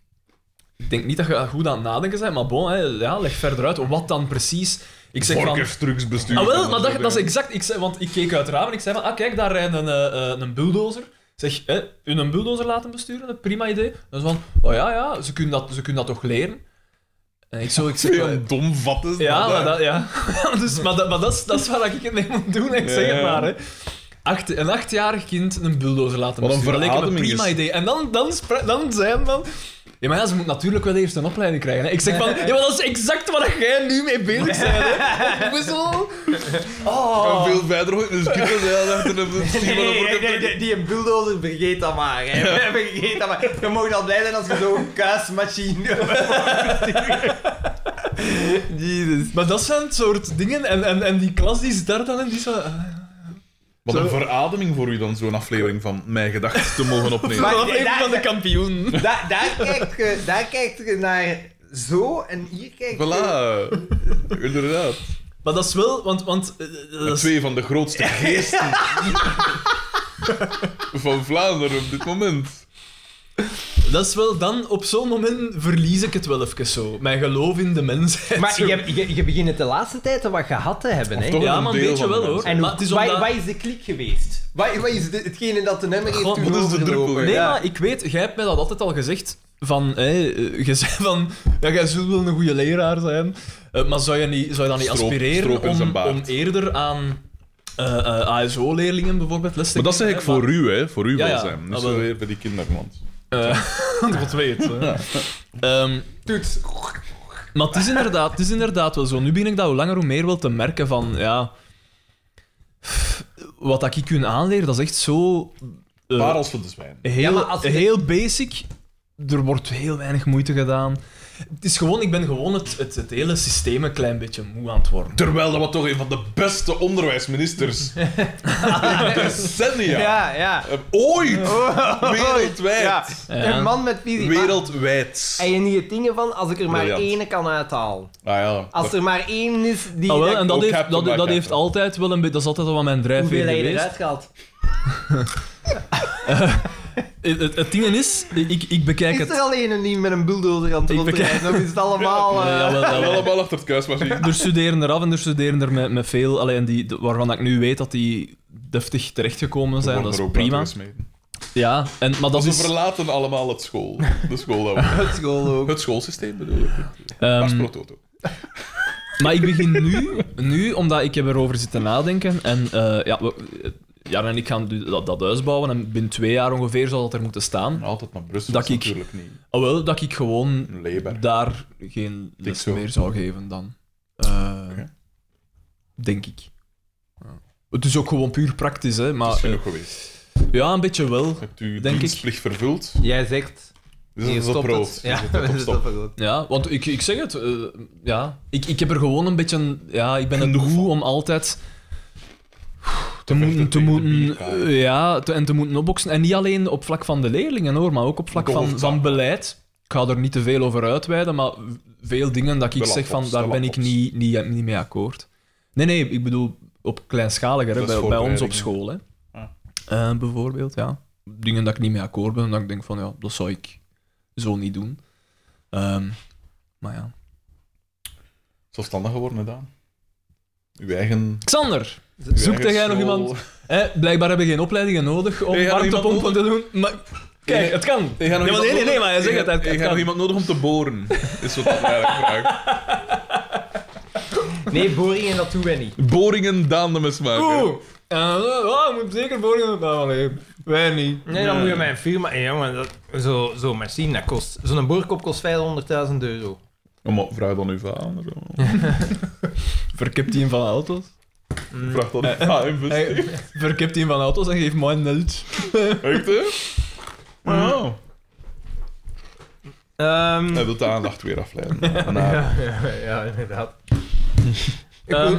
Speaker 4: ik denk niet dat je goed aan het nadenken bent, maar bon, hè, ja, leg verder uit. Wat dan precies? Ik zeg van...
Speaker 2: Vorkerstrucks besturen.
Speaker 4: Ah, wel, maar dat, dat is
Speaker 2: eh,
Speaker 4: exact. Ik zei, want ik keek uit het raam en ik zei van, ah kijk, daar rijdt een, eh, eh, een bulldozer. Zeg, hè, hun een bulldozer laten besturen, een prima idee. En ze van, oh ja, ja, ze kunnen dat, ze kunnen dat toch leren? En ik zo, ik zeg,
Speaker 2: Veel een dom vat is
Speaker 4: ja,
Speaker 2: dat,
Speaker 4: maar
Speaker 2: hè.
Speaker 4: dat, ja. dus, maar dat, maar dat, is, dat is wat ik het mee moet doen, ik zeg
Speaker 2: Ja,
Speaker 4: het
Speaker 2: ja.
Speaker 4: maar. Hè. Acht, een achtjarig kind een bulldozer laten
Speaker 2: Wat een
Speaker 4: besturen. Dat lijkt me een
Speaker 2: verademing
Speaker 4: prima
Speaker 2: is.
Speaker 4: idee. En dan, dan, spra- dan zijn dan... Ja, maar ja, ze moet natuurlijk wel eerst een opleiding krijgen. Hè. Ik zeg van, ja, maar dat is exact waar jij nu mee bezig bent. Hè. Wissel.
Speaker 2: Kan
Speaker 4: Oh.
Speaker 2: veel verder gooien. Dus kinderen zijn achter de
Speaker 3: Ah, Nee,
Speaker 2: bestuur
Speaker 3: nee, nee,
Speaker 2: van
Speaker 3: nee,
Speaker 2: een
Speaker 3: nee, die een bulldozer, vergeet dat maar. Hè. Vergeet dat maar. Je mag al blij zijn als je zo'n kaasmachine... Jezus.
Speaker 4: Maar dat zijn het soort dingen. En, en, en die klas die zit daar dan en die zo... ah.
Speaker 2: Wat een verademing voor u dan, zo'n aflevering van Mijn Gedachten te mogen opnemen.
Speaker 3: Maar-
Speaker 4: Dat is een
Speaker 3: daar-
Speaker 4: van de kampioenen.
Speaker 3: Da- daar, kijkt je, daar kijkt je naar zo en hier kijkt je...
Speaker 2: Voilà, inderdaad.
Speaker 4: Maar dat is wel... Want, want eh, eh, dat is-
Speaker 2: Twee van de grootste geesten van Vlaanderen op dit moment.
Speaker 4: Dat is wel dan, op zo'n moment verlies ik het wel even zo. Mijn geloof in de mensheid.
Speaker 3: Maar
Speaker 4: zo.
Speaker 3: je, je, je begint het de laatste tijd wat gehad te hebben, hè?
Speaker 2: Toch
Speaker 4: Ja,
Speaker 2: een
Speaker 4: maar een
Speaker 2: deel
Speaker 4: beetje
Speaker 2: van de
Speaker 4: wel hoor.
Speaker 2: mensen.
Speaker 3: En
Speaker 4: maar
Speaker 3: wat
Speaker 4: het is
Speaker 3: waar,
Speaker 4: omdat-
Speaker 3: waar is de klik geweest? Waar, waar is de, hetgene dat de nummer heeft
Speaker 4: God,
Speaker 3: toen
Speaker 2: wat is de druppel,
Speaker 3: overlopen?
Speaker 2: hè?
Speaker 4: Nee,
Speaker 3: Ja.
Speaker 4: maar ik weet, jij hebt mij dat altijd al gezegd. Van, hé, eh, je zei van, ja, jij zult wel een goede leraar zijn. Eh, maar zou je, niet, zou je dan niet
Speaker 2: Stroop-
Speaker 4: aspireren
Speaker 2: stroop in zijn
Speaker 4: om,
Speaker 2: baard.
Speaker 4: om eerder aan eh, eh, ASO-leerlingen bijvoorbeeld les te
Speaker 2: Maar dat
Speaker 4: geven,
Speaker 2: zeg ik
Speaker 4: hè,
Speaker 2: voor u, hè. Voor u
Speaker 4: Ja, ja.
Speaker 2: welzijn.
Speaker 4: Ah,
Speaker 2: Niet
Speaker 4: wel.
Speaker 2: zo weer bij die kindermans.
Speaker 4: Eh, God weet. hè. Ehm,
Speaker 3: Toets.
Speaker 4: maar het is, inderdaad, het is inderdaad wel zo. Nu begin ik dat hoe langer hoe meer wel te merken van, ja... Wat dat ik kun aanleren, dat is echt zo... eh,
Speaker 2: Parels van de zwijn.
Speaker 4: heel,
Speaker 3: Ja, maar als je-
Speaker 4: heel basic. Er wordt heel weinig moeite gedaan. Het is gewoon, ik ben gewoon het, het, het hele systeem een klein beetje moe aan het worden.
Speaker 2: Terwijl dat was toch een van de beste onderwijsministers decennia
Speaker 3: Ja, ja.
Speaker 2: Eh, ooit wereldwijd.
Speaker 3: Ja.
Speaker 4: Oh. Ja.
Speaker 3: Een man met visie. maar-
Speaker 2: Wereldwijd.
Speaker 3: En je niet het dingen van, als ik er maar
Speaker 2: Briljant.
Speaker 3: één kan uithalen.
Speaker 2: Ah ja.
Speaker 3: Als er maar één is die...
Speaker 4: Ah, wel,
Speaker 3: dat-
Speaker 4: en dat
Speaker 2: ook
Speaker 4: heeft,
Speaker 2: heb,
Speaker 4: dat,
Speaker 2: maar
Speaker 4: dat
Speaker 2: ik
Speaker 4: heeft
Speaker 2: heb.
Speaker 4: altijd wel een beetje... Dat is altijd wel mijn drijfveer
Speaker 3: Hoeveel heb je
Speaker 4: geweest.
Speaker 3: eruit gehaald?
Speaker 4: Het, Eh, het, het ding is, ik, ik bekijk
Speaker 3: Is
Speaker 4: het...
Speaker 3: er alleen een niet met een bulldozer aan het
Speaker 4: Ik
Speaker 3: rondrijden? Of is het allemaal... eh,
Speaker 4: Nee, jawel, jawel.
Speaker 2: Wel allemaal achter het kruismachine.
Speaker 4: Er studeren er af en er studeren er met, met veel, alleen die, de- waarvan ik nu weet dat die deftig terechtgekomen zijn. Dat is prima.
Speaker 2: dus.
Speaker 4: Ja, en, maar dat
Speaker 2: Ze
Speaker 4: is...
Speaker 2: verlaten allemaal het school. De school dat we-
Speaker 3: Het school eh, ook.
Speaker 2: Het schoolsysteem bedoel ik.
Speaker 4: ehm,
Speaker 2: Ars pro toto.
Speaker 4: Maar ik begin nu, nu omdat ik heb erover zitten nadenken. En eh, ja, we, Jan en ik gaan du- dat, dat huis bouwen. En binnen twee jaar ongeveer zal dat er moeten staan.
Speaker 2: Altijd naar Brussel
Speaker 4: Dat
Speaker 2: is
Speaker 4: ik-
Speaker 2: natuurlijk niet.
Speaker 4: Alhoewel dat ik gewoon
Speaker 2: Een Leber.
Speaker 4: daar geen les
Speaker 2: zo.
Speaker 4: meer zou geven dan. Eh,
Speaker 2: Oké.
Speaker 4: Denk ik. Het is ook gewoon puur praktisch, hè.
Speaker 2: Dat is
Speaker 4: Maar eh,
Speaker 2: genoeg geweest.
Speaker 4: ja, een beetje wel.
Speaker 2: Hebt u
Speaker 4: denk ik.
Speaker 2: dienstplicht vervuld?
Speaker 3: Jij zegt...
Speaker 2: Dus
Speaker 3: hier
Speaker 2: dat is op
Speaker 3: stopt
Speaker 2: rood.
Speaker 3: het. Ja,
Speaker 2: Dus dat is op
Speaker 3: dat
Speaker 2: stop.
Speaker 3: is op rood.
Speaker 4: Ja, want ik, ik zeg het. eh, ja. ik, ik heb er gewoon een beetje... Ja, ik ben er moe om altijd... Te moeten, te
Speaker 2: tegen de
Speaker 4: moeten,
Speaker 2: bierkaai.
Speaker 4: eh, ja, te- en te moeten opboksen. En niet alleen op vlak van de leerlingen hoor, maar ook op vlak van,
Speaker 2: Golfbaan.
Speaker 4: van beleid. Ik ga er niet te veel over uitweiden, maar veel dingen dat ik
Speaker 2: De
Speaker 4: zeg van
Speaker 2: laptops,
Speaker 4: daar
Speaker 2: de
Speaker 4: ben ik
Speaker 2: laptops.
Speaker 4: niet, niet, niet mee akkoord. Nee, nee, ik bedoel op kleinschaliger, hè,
Speaker 2: Dat is
Speaker 4: bij, bij ons op
Speaker 2: voorbereiding,
Speaker 4: school. Hè.
Speaker 5: Ah.
Speaker 4: Eh, bijvoorbeeld, ja. Dingen dat ik niet mee akkoord ben, dat ik denk van ja, dat zou ik zo niet doen. Ehm, maar ja.
Speaker 2: Zelfstandig geworden, hè, Daan. Uw eigen...
Speaker 4: Xander,
Speaker 2: uw
Speaker 4: zoek
Speaker 2: eigen
Speaker 4: jij nog
Speaker 2: school.
Speaker 4: iemand? hè, blijkbaar hebben we geen opleidingen nodig om
Speaker 2: Heb jij nog
Speaker 4: warmtepompen
Speaker 2: iemand
Speaker 4: te doen. Maar kijk,
Speaker 2: Heb-
Speaker 4: het kan.
Speaker 2: Heb jij nog
Speaker 4: Nee, maar
Speaker 2: iemand
Speaker 4: nee, nee, nee,
Speaker 2: nodig?
Speaker 4: maar hij zegt
Speaker 2: Heb-
Speaker 4: het, het
Speaker 2: heb jij
Speaker 4: kan.
Speaker 2: nog iemand nodig om te boren? Is wat ik eigenlijk vraag.
Speaker 3: Nee, boringen, dat doen wij niet.
Speaker 2: Boringen, Daan de mesmaker.
Speaker 4: Oeh! Eh, oh, ik moet zeker voor. Nou, nee, wij niet.
Speaker 3: Nee, dan moet je mijn firma... Hey, jongen, dat, zo, zo machine, dat kost... Zo'n boorkop kost 500.000 euro.
Speaker 2: Ja, Oh, maar vraag dan uw vader.
Speaker 4: Verkipt die van auto's.
Speaker 2: Vraag dan uw vader.
Speaker 4: Hey, verkipt die van auto's en geef mij een nut.
Speaker 2: Echt, hè? Nou,
Speaker 3: Ehm,
Speaker 2: Hij wil de aandacht weer afleiden.
Speaker 3: ja, ja, ja, inderdaad. ik wil...
Speaker 4: Ehm,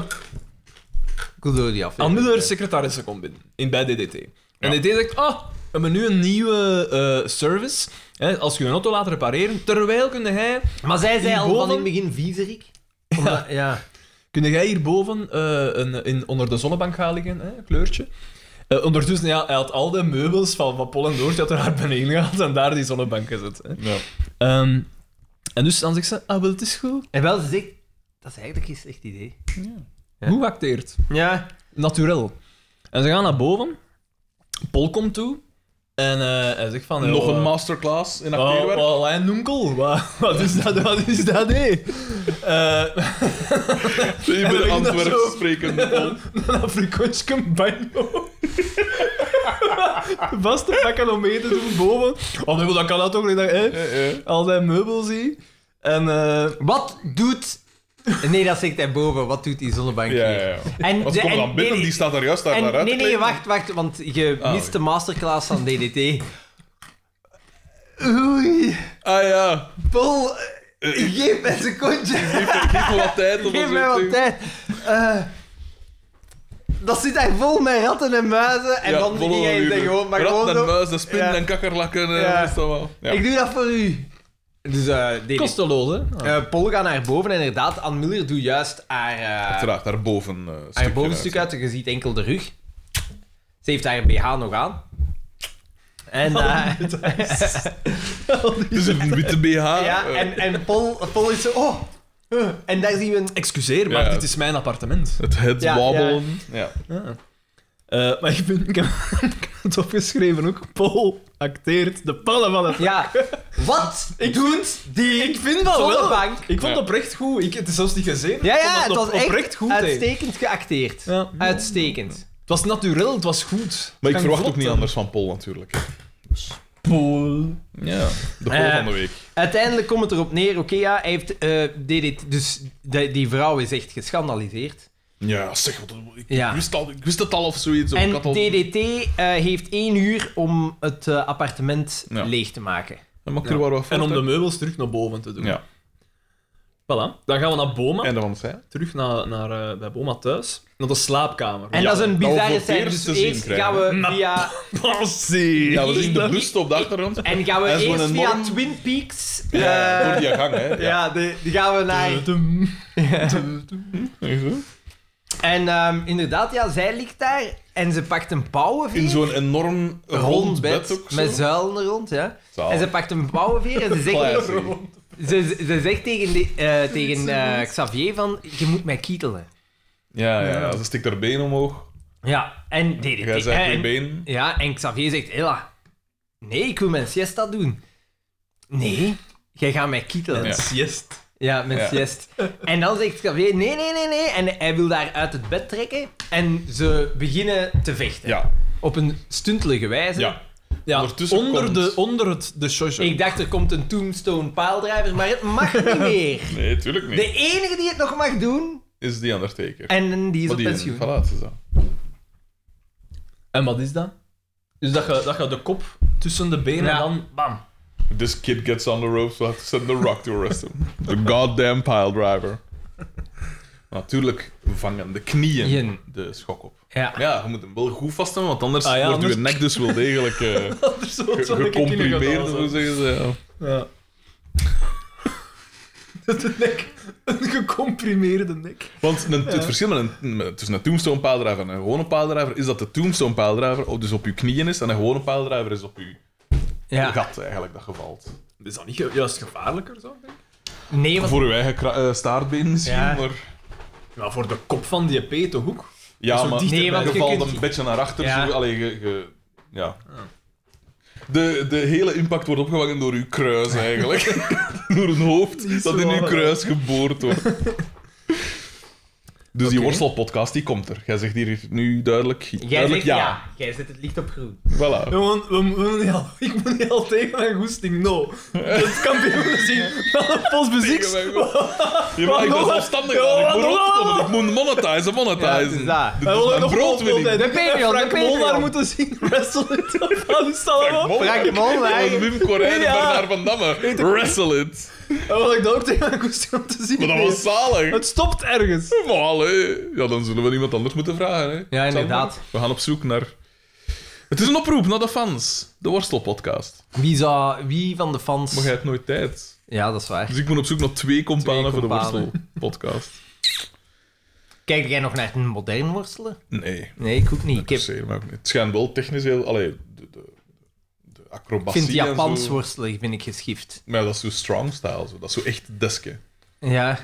Speaker 3: ik wil door die aflevering.
Speaker 4: Anmuller secretaresse komt binnen in, bij DDT. En DDT zegt: Oh, we hebben nu een nieuwe eh, service. Hè, als je een auto laat repareren, terwijl kun jij,
Speaker 3: Maar zij zei al van in
Speaker 4: Hierboven-
Speaker 3: het begin viezerik. Omdat, ja.
Speaker 4: kun jij hierboven eh een, in, onder de zonnebank gaan liggen, hè, kleurtje. Eh, ondertussen, ja, hij had al de meubels van, van Pol en Doortje uit haar beneden gehaald en daar die zonnebank gezet. Hè.
Speaker 2: Ja.
Speaker 4: Ehm, en dus dan zegt ze: Ah, wel, het is goed.
Speaker 3: En wel, ze zegt... Dat is eigenlijk geen slecht idee. Ja.
Speaker 4: Hoe acteert?
Speaker 3: Ja.
Speaker 4: Naturel. En ze gaan naar boven. Pol komt toe. En eh, hij zegt van...
Speaker 2: Nog
Speaker 4: "Oh,
Speaker 2: een masterclass in
Speaker 4: Oh,
Speaker 2: acteerwerk.
Speaker 4: oh, lijn onkel. Wat, wat is dat? Wat is dat, hé? Eh,
Speaker 2: Ik ben
Speaker 4: En dan
Speaker 2: Antwerps
Speaker 4: zo-
Speaker 2: spreken.
Speaker 4: een Afrikaanse banjo. Vaste pakken om mee te doen boven. Oh nee, maar dat kan dat toch niet. dat- Hè?
Speaker 2: Eh, eh.
Speaker 4: Al zijn meubels hier. En eh
Speaker 3: Wat doet... Nee, dat zegt hij boven. Wat doet die zonnebank
Speaker 2: Ja,
Speaker 3: hier?
Speaker 2: ja, ja.
Speaker 3: En,
Speaker 2: Als
Speaker 3: ze-
Speaker 2: komt
Speaker 3: en-
Speaker 2: dan binnen,
Speaker 3: nee,
Speaker 2: die staat daar juist daar
Speaker 3: en-
Speaker 2: naar uit te
Speaker 3: nee, nee,
Speaker 2: kleden.
Speaker 3: wacht, wacht, want je
Speaker 2: Ah,
Speaker 3: mist
Speaker 2: oei.
Speaker 3: de masterclass van DDT.
Speaker 2: Ah ja,
Speaker 3: Paul, geef mij een secondje.
Speaker 2: Eh. geef, geef me wat tijd. om
Speaker 3: Geef
Speaker 2: het
Speaker 3: mij
Speaker 2: zo
Speaker 3: wat
Speaker 2: te-
Speaker 3: tijd. Eh, dat zit daar vol met ratten en muizen. En
Speaker 2: Ja,
Speaker 3: dan
Speaker 2: volle
Speaker 3: ging hij
Speaker 2: uren.
Speaker 3: zeggen gewoon, maar
Speaker 2: Rat
Speaker 3: gewoon
Speaker 2: en
Speaker 3: zo,
Speaker 2: muis, en spin
Speaker 3: Ja.
Speaker 2: en kakkerlakken. eh,
Speaker 3: Ja.
Speaker 2: is dat wel. Ja.
Speaker 3: Ik doe dat voor u. Dus eh DDT.
Speaker 4: kosteloos, hè? Ah.
Speaker 3: Eh, Paul gaat naar boven en inderdaad, Ann Muller doet juist haar, eh,
Speaker 2: Uiteraard, daarboven. eh
Speaker 3: haar
Speaker 2: stukje
Speaker 3: bovenstuk
Speaker 2: uit.
Speaker 3: uit. Je ziet enkel de rug. Ze heeft haar BH nog aan. En, eh,
Speaker 2: Het
Speaker 4: Dus,
Speaker 2: is Dus een witte BH.
Speaker 3: ja,
Speaker 2: eh,
Speaker 3: en, en Paul, Paul is zo... Oh, eh, en daar zien we een...
Speaker 4: Excuseer, maar
Speaker 2: Ja.
Speaker 4: dit is mijn appartement.
Speaker 2: Het head
Speaker 3: Ja,
Speaker 2: wobbelen. Ja.
Speaker 4: Ah. Eh, maar ik, vind, ik, heb, ik heb het opgeschreven ook. Paul acteert de pannen van het
Speaker 3: Ja, wat doet die
Speaker 4: Ik vind dat wel.
Speaker 3: zonnebank?
Speaker 4: Ik vond
Speaker 2: Ja.
Speaker 4: het oprecht goed. Ik, het is zelfs niet gezien.
Speaker 3: Ja, ja,
Speaker 4: ik
Speaker 3: het
Speaker 4: vond
Speaker 3: was
Speaker 4: op-
Speaker 3: echt
Speaker 4: oprecht goed. hè.
Speaker 3: uitstekend geacteerd.
Speaker 4: Ja.
Speaker 3: Uitstekend.
Speaker 4: Het was natuurlijk, het was goed.
Speaker 2: Maar ik
Speaker 4: Kan
Speaker 2: verwacht
Speaker 4: vlot,
Speaker 2: ook niet
Speaker 4: hè.
Speaker 2: anders van Paul, natuurlijk.
Speaker 4: Poel.
Speaker 2: Ja. De Paul
Speaker 3: Eh,
Speaker 2: van de week.
Speaker 3: Uiteindelijk komt het erop neer, oké, ja, hij heeft... eh, deed dit, dus die, die vrouw is echt geschandaliseerd.
Speaker 2: Ja, zeg, wat- ik,
Speaker 3: Ja.
Speaker 2: wist al, ik wist het al of zoiets. of ik
Speaker 3: En
Speaker 2: had al-
Speaker 3: DDT eh, heeft één uur om het eh, appartement
Speaker 2: Ja.
Speaker 3: leeg te maken.
Speaker 2: Dan maakt er wel wat
Speaker 4: En om de
Speaker 2: fouten.
Speaker 4: meubels terug naar boven te doen.
Speaker 2: Ja,
Speaker 4: Voilà. Dan gaan we naar Boma.
Speaker 2: en dan zijn.
Speaker 4: Terug naar, naar, eh, bij Boma thuis. Naar de slaapkamer.
Speaker 3: En
Speaker 2: Ja,
Speaker 3: dat is een
Speaker 2: dat we voor
Speaker 3: bizarre
Speaker 2: het
Speaker 3: scène.
Speaker 2: eerst
Speaker 3: Dus
Speaker 2: te zien
Speaker 3: eerst
Speaker 2: krijgen.
Speaker 3: gaan we via...
Speaker 4: passie.
Speaker 2: Ja, we zien de bus op de achtergrond.
Speaker 3: En gaan we
Speaker 2: Dat is gewoon
Speaker 3: eerst
Speaker 2: een
Speaker 3: via
Speaker 2: norm.
Speaker 3: Twin Peaks... eh,
Speaker 2: Ja, door die gang, hè. Ja.
Speaker 3: ja, de- die gaan we naar... En ehm, inderdaad, ja, zij ligt daar en ze pakt een pauwenveer.
Speaker 2: In zo'n enorm rond bed ook. zo.
Speaker 3: met zuilen er rond, ja.
Speaker 2: Zalig.
Speaker 3: En ze pakt een pauwenveer en ze zegt,
Speaker 2: Classy.
Speaker 3: ze, ze zegt tegen, de- eh, tegen eh, Xavier van, je moet mij kietelen.
Speaker 2: Ja, ja, ja, ze stikt haar been omhoog.
Speaker 3: Ja, en deed
Speaker 2: Jij
Speaker 3: het.
Speaker 2: zegt
Speaker 3: en,
Speaker 2: mijn been.
Speaker 3: Ja, en Xavier zegt, Ella, nee, ik wil mijn siesta doen. Nee, jij gaat mij kietelen.
Speaker 2: Ja.
Speaker 3: Ja,
Speaker 4: Siest.
Speaker 3: mijn
Speaker 2: Ja.
Speaker 3: siest. En dan zegt Xavier, nee, nee, nee, nee. En hij wil haar uit het bed trekken en ze beginnen te vechten.
Speaker 2: Ja,
Speaker 3: Op een stuntelige wijze.
Speaker 2: ja.
Speaker 4: Ja,
Speaker 2: Ondertussen
Speaker 4: onder,
Speaker 2: komt-
Speaker 4: de, onder het, de shosho.
Speaker 3: Ik dacht, er komt een Tombstone paaldrijver, maar het mag niet meer.
Speaker 2: Nee, tuurlijk niet.
Speaker 3: De enige die het nog mag doen,
Speaker 2: is die Undertaker.
Speaker 3: En die is
Speaker 2: Maar
Speaker 3: op
Speaker 2: die-
Speaker 3: pensioen.
Speaker 2: Voilà, het is dat.
Speaker 4: En wat is dat? Dus dat je, dat je de kop tussen de benen
Speaker 3: Ja.
Speaker 4: en dan... Bam.
Speaker 2: This kid gets on the ropes, we have to send the rock to arrest him. The goddamn pile driver. Natuurlijk vangen de knieën
Speaker 3: Jen.
Speaker 2: de schok op.
Speaker 3: Ja.
Speaker 2: Ja, je moet hem wel goed vasthouden, want anders
Speaker 4: Ah ja,
Speaker 2: wordt je
Speaker 4: anders-
Speaker 2: nek dus wel degelijk eh,
Speaker 4: Anders wordt het wel een keer
Speaker 2: gecomprimeerd,
Speaker 4: kilogram,
Speaker 2: hoe
Speaker 4: zo.
Speaker 2: zeggen ze. Ja.
Speaker 4: Ja. De nek. Een gecomprimeerde nek.
Speaker 2: Want een- het verschil met een, met- tussen een tombstone paaldrijver en een gewone paaldrijver is dat de tombstone paaldrijver op- dus op je knieën is en een gewone paaldrijver is op je
Speaker 3: Ja.
Speaker 2: gat eigenlijk dat gevalt.
Speaker 4: Is dat niet juist gevaarlijker zo?
Speaker 3: Nee, want
Speaker 2: Voor je eigen kra- eh, staartbeen misschien,
Speaker 3: Ja.
Speaker 2: maar...
Speaker 4: Maar voor de kop van die pete hoek.
Speaker 2: Ja,
Speaker 4: Zo
Speaker 2: maar
Speaker 4: dichterbij.
Speaker 3: Nee, want
Speaker 2: je
Speaker 3: je
Speaker 2: valt
Speaker 3: kunt-
Speaker 2: een beetje naar achter.
Speaker 3: Ja. Ah.
Speaker 2: Zo, allee, je, je- ja. De, de hele impact wordt opgevangen door uw kruis eigenlijk. door een hoofd dat in uw
Speaker 4: zo, hè.
Speaker 2: kruis geboord wordt. Dus die
Speaker 4: Oké.
Speaker 2: worstelpodcast, die komt er. Jij zegt hier nu duidelijk,
Speaker 3: jij
Speaker 2: duidelijk
Speaker 3: zegt
Speaker 2: ja.
Speaker 3: ja. Jij zet het licht op groen.
Speaker 2: Voilà.
Speaker 4: Gewoon, we, we, moeten niet al- ik moet niet al tegen mijn goesting, no. Dat kampioen zien van een post muziek.
Speaker 2: Tegen mij goed. Ja, maar ik ben
Speaker 4: Wat?
Speaker 2: zelfstandig.
Speaker 4: Ja,
Speaker 2: man. Ik moet
Speaker 4: wat?
Speaker 2: opkomen. Ik moet monetizen,
Speaker 3: Ja, het
Speaker 2: monetizen.
Speaker 3: is dat.
Speaker 2: Dit is mijn broodwinning.
Speaker 4: De
Speaker 3: Patreon, de
Speaker 4: Frank
Speaker 3: Patreon.
Speaker 4: Molnar moeten zien. Wrestle it op aan allemaal.
Speaker 3: Frank Mol,
Speaker 2: En
Speaker 3: hè?
Speaker 2: Wim Corijn en
Speaker 4: Ja.
Speaker 2: Bernard van Damme. Wrestle it.
Speaker 4: En wat ik dat ook tegen mijn goesting om te zien.
Speaker 2: Maar dat was
Speaker 4: deed.
Speaker 2: zalig.
Speaker 4: Het stopt ergens.
Speaker 2: Maar allee, ja, dan zullen we iemand anders moeten vragen. Hè.
Speaker 3: Ja, inderdaad.
Speaker 2: We gaan op zoek naar. Het is een oproep naar de fans. De Worstelpodcast.
Speaker 3: Wie, zou, wie van de fans...
Speaker 2: Maar jij hebt nooit tijd.
Speaker 3: Ja, dat is waar.
Speaker 2: Dus ik moet op zoek naar twee companen
Speaker 3: Twee
Speaker 2: voor de
Speaker 3: companen.
Speaker 2: Worstelpodcast.
Speaker 3: Kijk jij nog naar een modern worstelen?
Speaker 2: Nee,
Speaker 3: Nee, ik ook niet. Ik
Speaker 2: per
Speaker 3: heb-
Speaker 2: se, maar ook niet. Het schijnt wel technisch heel. Allee, de, de, de acrobatie.
Speaker 3: vind
Speaker 2: en
Speaker 3: Japans
Speaker 2: zo.
Speaker 3: worstelen vind ik geschift.
Speaker 2: Maar ja, dat is zo strong style. Zo. Dat is zo echt deske.
Speaker 3: Ja.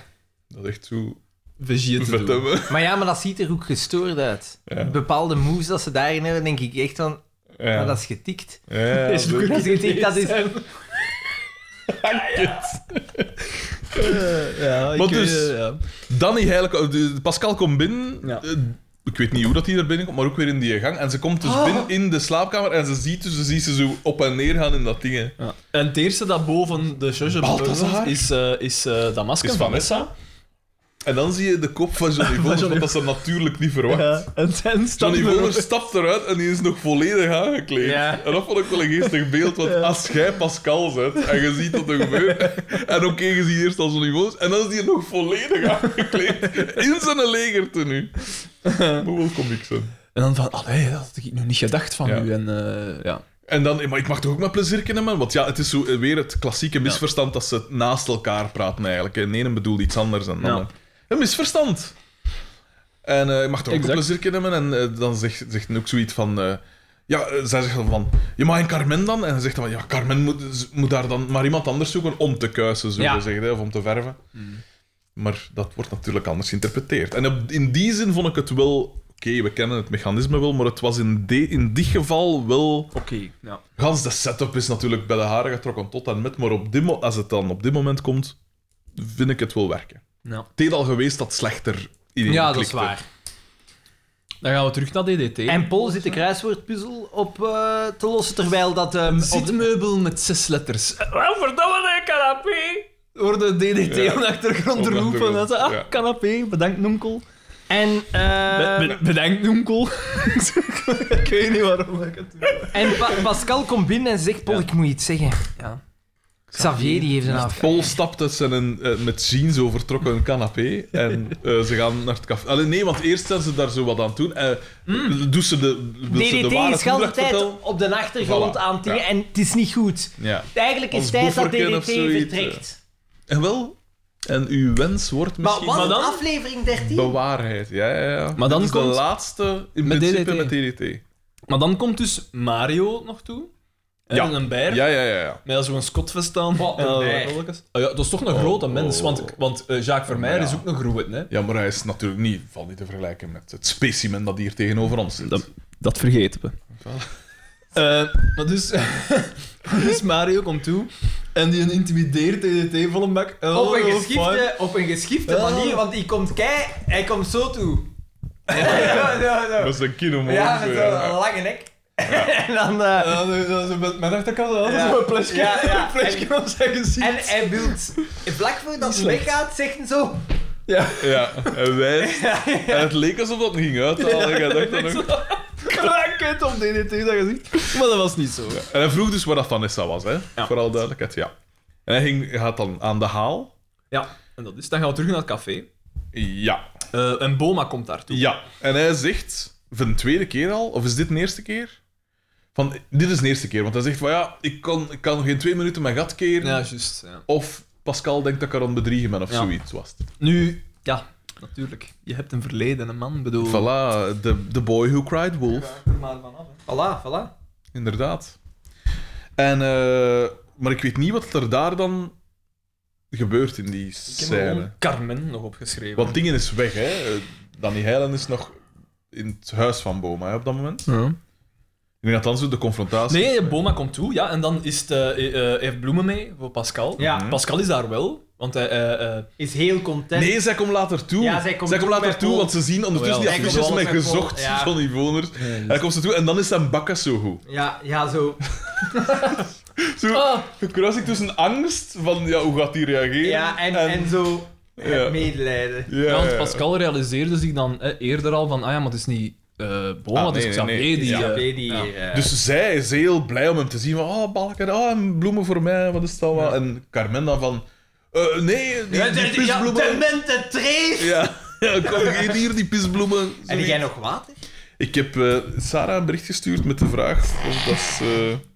Speaker 2: Dat is echt zo.
Speaker 4: Vegier
Speaker 2: Vet hebben.
Speaker 3: Maar ja, maar dat ziet er ook gestoord uit.
Speaker 2: Ja.
Speaker 3: Bepaalde moves dat ze daarin hebben, denk ik echt van...
Speaker 2: Ja.
Speaker 3: Maar Ah, dat is getikt.
Speaker 2: Ja,
Speaker 4: Is
Speaker 2: zo.
Speaker 3: Dat is getikt, dat is...
Speaker 4: Ja, ik
Speaker 2: Maar dus-
Speaker 4: eh, ja.
Speaker 2: Danny Heilig, de- Pascal komt binnen.
Speaker 4: Ja.
Speaker 2: Eh, Ik weet niet hoe dat hij er binnenkomt, maar ook weer in die gang. En ze komt dus
Speaker 4: Ah.
Speaker 2: binnen in de slaapkamer en ze ziet, dus, ze, ziet ze zo op en neer gaan in dat ding. hè.
Speaker 4: En het eerste dat boven de Judge
Speaker 2: Balthazar?
Speaker 4: Balthazar is, eh is eh dat masker
Speaker 2: Is
Speaker 4: van
Speaker 2: Vanessa.
Speaker 4: Vanessa.
Speaker 2: En dan zie je de kop van Johnny Voners,
Speaker 4: Johnny
Speaker 2: want dat ze natuurlijk niet verwacht.
Speaker 4: Ja, en dan stapt
Speaker 2: Johnny
Speaker 4: er-
Speaker 2: Voners stapt eruit en die is nog volledig aangekleed.
Speaker 3: Ja.
Speaker 2: En dat vond ik wel een geestig beeld, want als jij Pascal zet en je ziet dat er gebeurt, en oké, je ziet eerst al Johnny Voners, en dan is hij nog volledig aangekleed in zijn legertenu. Moet wel komiek zijn.
Speaker 4: En dan van, allee, dat had ik nu niet gedacht van
Speaker 2: Ja.
Speaker 4: u. En eh, ja.
Speaker 2: En dan, maar ik mag toch ook met plezier kennen, man? Want ja, het is zo eh, weer het klassieke misverstand dat ze naast elkaar praten eigenlijk. En de ene bedoelt iets anders dan de
Speaker 4: Ja.
Speaker 2: ander. Een misverstand. En eh, ik mag toch ook met
Speaker 4: Exact.
Speaker 2: plezier kennen, En eh, dan zegt, zegt hij ook zoiets van... eh, ja, eh, zij zegt dan van... Je mag in Carmen dan? En hij zegt dan van... Ja, Carmen moet, z- moet daar dan maar iemand anders zoeken om te kuisen, zullen
Speaker 3: Ja.
Speaker 2: we zeggen. hè, Of om te verven.
Speaker 4: Mm.
Speaker 2: Maar dat wordt natuurlijk anders geïnterpreteerd. En op- in die zin vond ik het wel... Oké, we kennen het mechanisme wel, maar het was in, de, in dit geval wel...
Speaker 4: Oké, ja.
Speaker 2: Gans de setup is natuurlijk bij de haren getrokken tot en met, maar op dit mo- als het dan op dit moment komt, vind ik het wel werken.
Speaker 4: Ja.
Speaker 2: Het is al geweest dat slechter iedereen
Speaker 3: Ja, dat is
Speaker 2: klikte.
Speaker 3: waar.
Speaker 4: Dan gaan we terug naar DDT.
Speaker 3: En Paul zit de kruiswoordpuzzel op eh, te lossen, terwijl dat... ehm,
Speaker 4: Een
Speaker 3: op de-
Speaker 4: zitmeubel met zes letters. Eh, Wel, verdomme, een canapé! Hoor de DDT
Speaker 2: Ja.
Speaker 4: aan de achtergrond
Speaker 2: Op de
Speaker 4: roepen. En dan
Speaker 2: achtergrond,
Speaker 4: zei, ah,
Speaker 2: ja.
Speaker 4: canapé, bedankt, onkel.
Speaker 3: En, eh,
Speaker 4: Be- be- bedankt, onkel. ik weet niet waarom ik het doe.
Speaker 3: en Pa- Pascal komt binnen en zegt, Paul, ik moet iets zeggen.
Speaker 4: Ja.
Speaker 3: Xavier, die heeft een af.
Speaker 2: Paul stapt uit zijn eh, met jeans overtrokken canapé en eh, ze gaan naar het café. Allee, nee, want eerst zijn ze daar zo wat aan het doen. Eh
Speaker 3: Mm.
Speaker 2: Doet ze de, wil ze de
Speaker 3: DDT
Speaker 2: ware
Speaker 3: is de hele
Speaker 2: toedracht
Speaker 3: tijd
Speaker 2: vertellen?
Speaker 3: op de achtergrond
Speaker 2: Voilà,
Speaker 3: aan het dingen
Speaker 2: ja.
Speaker 3: en het is niet goed.
Speaker 2: Ja.
Speaker 3: Eigenlijk is
Speaker 2: Als
Speaker 3: tijd dat
Speaker 2: boeverken
Speaker 3: DDT
Speaker 2: of zoiets,
Speaker 3: vertrekt.
Speaker 2: En wel, en uw wens wordt
Speaker 3: Maar
Speaker 2: misschien
Speaker 3: wat
Speaker 4: Maar dan-
Speaker 3: aflevering 13?
Speaker 2: bewaarheid. Ja, ja, ja.
Speaker 4: Maar dan
Speaker 2: Dit is
Speaker 4: komt-
Speaker 2: de laatste in
Speaker 4: Met
Speaker 2: principe
Speaker 4: DDT.
Speaker 2: met DDT.
Speaker 4: Maar dan komt dus Mario nog toe. En
Speaker 2: Ja.
Speaker 4: een berg.
Speaker 2: Ja, ja, ja. ja.
Speaker 4: Met zo'n skotvest aan.
Speaker 3: Wat een
Speaker 4: Ja,
Speaker 3: berg.
Speaker 4: welke is- Ah ja, dat is toch een
Speaker 2: Oh.
Speaker 4: grote mens. Want, want eh, Jacques Vermeer
Speaker 2: Ja.
Speaker 4: is ook een groeit, hè.
Speaker 2: Ja, maar hij is natuurlijk niet, valt niet te vergelijken met het specimen dat hier tegenover ons zit.
Speaker 4: Dat- Dat vergeten we. Eh, maar dus, dus Mario komt toe en die intimideert DDT vol een bak. Oh,
Speaker 3: Op een
Speaker 4: fuck.
Speaker 3: geschifte, op een geschifte
Speaker 4: Ja.
Speaker 3: manier, want die komt kei, hij komt zo toe. Ja, ja, ja.
Speaker 2: Dat is een kilo mooi.
Speaker 3: Ja, met zo'n lange nek. en dan... eh,
Speaker 4: Ja, dat- dat is met mijn achterkant dat is
Speaker 3: Ja.
Speaker 4: zo'n plesje,
Speaker 3: Ja, ja.
Speaker 4: een plesje op zijn gezicht.
Speaker 3: en hij wil vlak voordat
Speaker 4: Niet
Speaker 3: hij
Speaker 4: slecht.
Speaker 3: weggaat, zegt hij zo...
Speaker 6: Ja.
Speaker 2: Ja, en wijst. En het leek alsof dat niet ging uithalen. en jij dacht dan ook-
Speaker 6: Krankheid op DDT, dat gezicht. Maar dat was niet zo.
Speaker 2: En hij vroeg dus waar dat Vanessa was, hè? Vooral duidelijkheid, ja. En hij ging, gaat dan aan de haal.
Speaker 4: Ja, en dat is. Dan gaan we terug naar het café.
Speaker 2: Ja.
Speaker 4: Eh, en Boma komt daartoe.
Speaker 2: Ja. En hij zegt, voor de tweede keer al, of is dit de eerste keer? Van, dit is de eerste keer, want hij zegt van ja, ik kan, ik kan geen twee minuten mijn gat keren.
Speaker 4: Ja, juist. Ja.
Speaker 2: Of Pascal denkt dat ik haar aan het bedriegen ben of
Speaker 4: Ja.
Speaker 2: zoiets was het.
Speaker 4: Nu, ja, natuurlijk. Je hebt een verleden, een man, bedoel.
Speaker 2: Voilà, the, the boy who cried wolf.
Speaker 4: er maar vanaf.
Speaker 3: Voilà, voilà.
Speaker 2: Inderdaad. En, eh, maar ik weet niet wat er daar dan gebeurt in die scène.
Speaker 4: Carmen nog opgeschreven.
Speaker 2: Want dingen is weg, hè? Danny Heilen is nog in het huis van Boma hè, op dat moment. Ik denk dat dan zo de confrontatie.
Speaker 4: Nee, Boma komt toe, ja. En dan is het, eh, eh, eh, heeft Bloemen mee voor Pascal.
Speaker 3: Ja.
Speaker 2: Mhm.
Speaker 4: Pascal is daar wel, want hij... eh, eh,
Speaker 3: Is heel content.
Speaker 2: Nee, zij komt later toe.
Speaker 3: Ja, zij komt toe
Speaker 2: later
Speaker 3: met
Speaker 2: toe,
Speaker 3: Paul.
Speaker 2: want ze zien ondertussen
Speaker 4: Oh, ja,
Speaker 2: die
Speaker 4: zij komt
Speaker 2: affiches
Speaker 3: wel
Speaker 2: met
Speaker 3: met Paul,
Speaker 2: gezocht
Speaker 3: ja.
Speaker 2: Johnny Voners. En
Speaker 4: Ah!
Speaker 2: dan komt ze toe en dan is zijn bakken zo goed.
Speaker 3: Ja, ja, zo.
Speaker 2: Zo,
Speaker 3: Oh.
Speaker 4: ah,
Speaker 2: gekruising tussen angst van ja, hoe gaat hij reageren?
Speaker 3: Ja, en, en, zo.
Speaker 2: Ja.
Speaker 3: Medelijden.
Speaker 2: Ja,
Speaker 4: ja, want
Speaker 2: ja.
Speaker 4: Pascal realiseerde zich dan eh, eerder al van, ah ja, maar het is niet eh Boma,
Speaker 2: Ah,
Speaker 4: het is
Speaker 2: nee, nee,
Speaker 4: Xavier
Speaker 2: nee.
Speaker 4: die...
Speaker 3: Ja.
Speaker 4: eh,
Speaker 3: weet die
Speaker 4: ja.
Speaker 3: hier, eh,
Speaker 2: Dus zij is heel blij om hem te zien. Van, oh, balken, oh, en bloemen voor mij, wat is dat wel? En Carmen dan van... eh, nee, die,
Speaker 3: Ja,
Speaker 2: die
Speaker 3: de- ja,
Speaker 2: pisbloemen...
Speaker 3: de mente treef!
Speaker 2: Ja, ja, kom, geef hier die pisbloemen.
Speaker 3: En heb jij nog water?
Speaker 2: Ik heb eh, Sarah een bericht gestuurd met de vraag of dat ze... eh,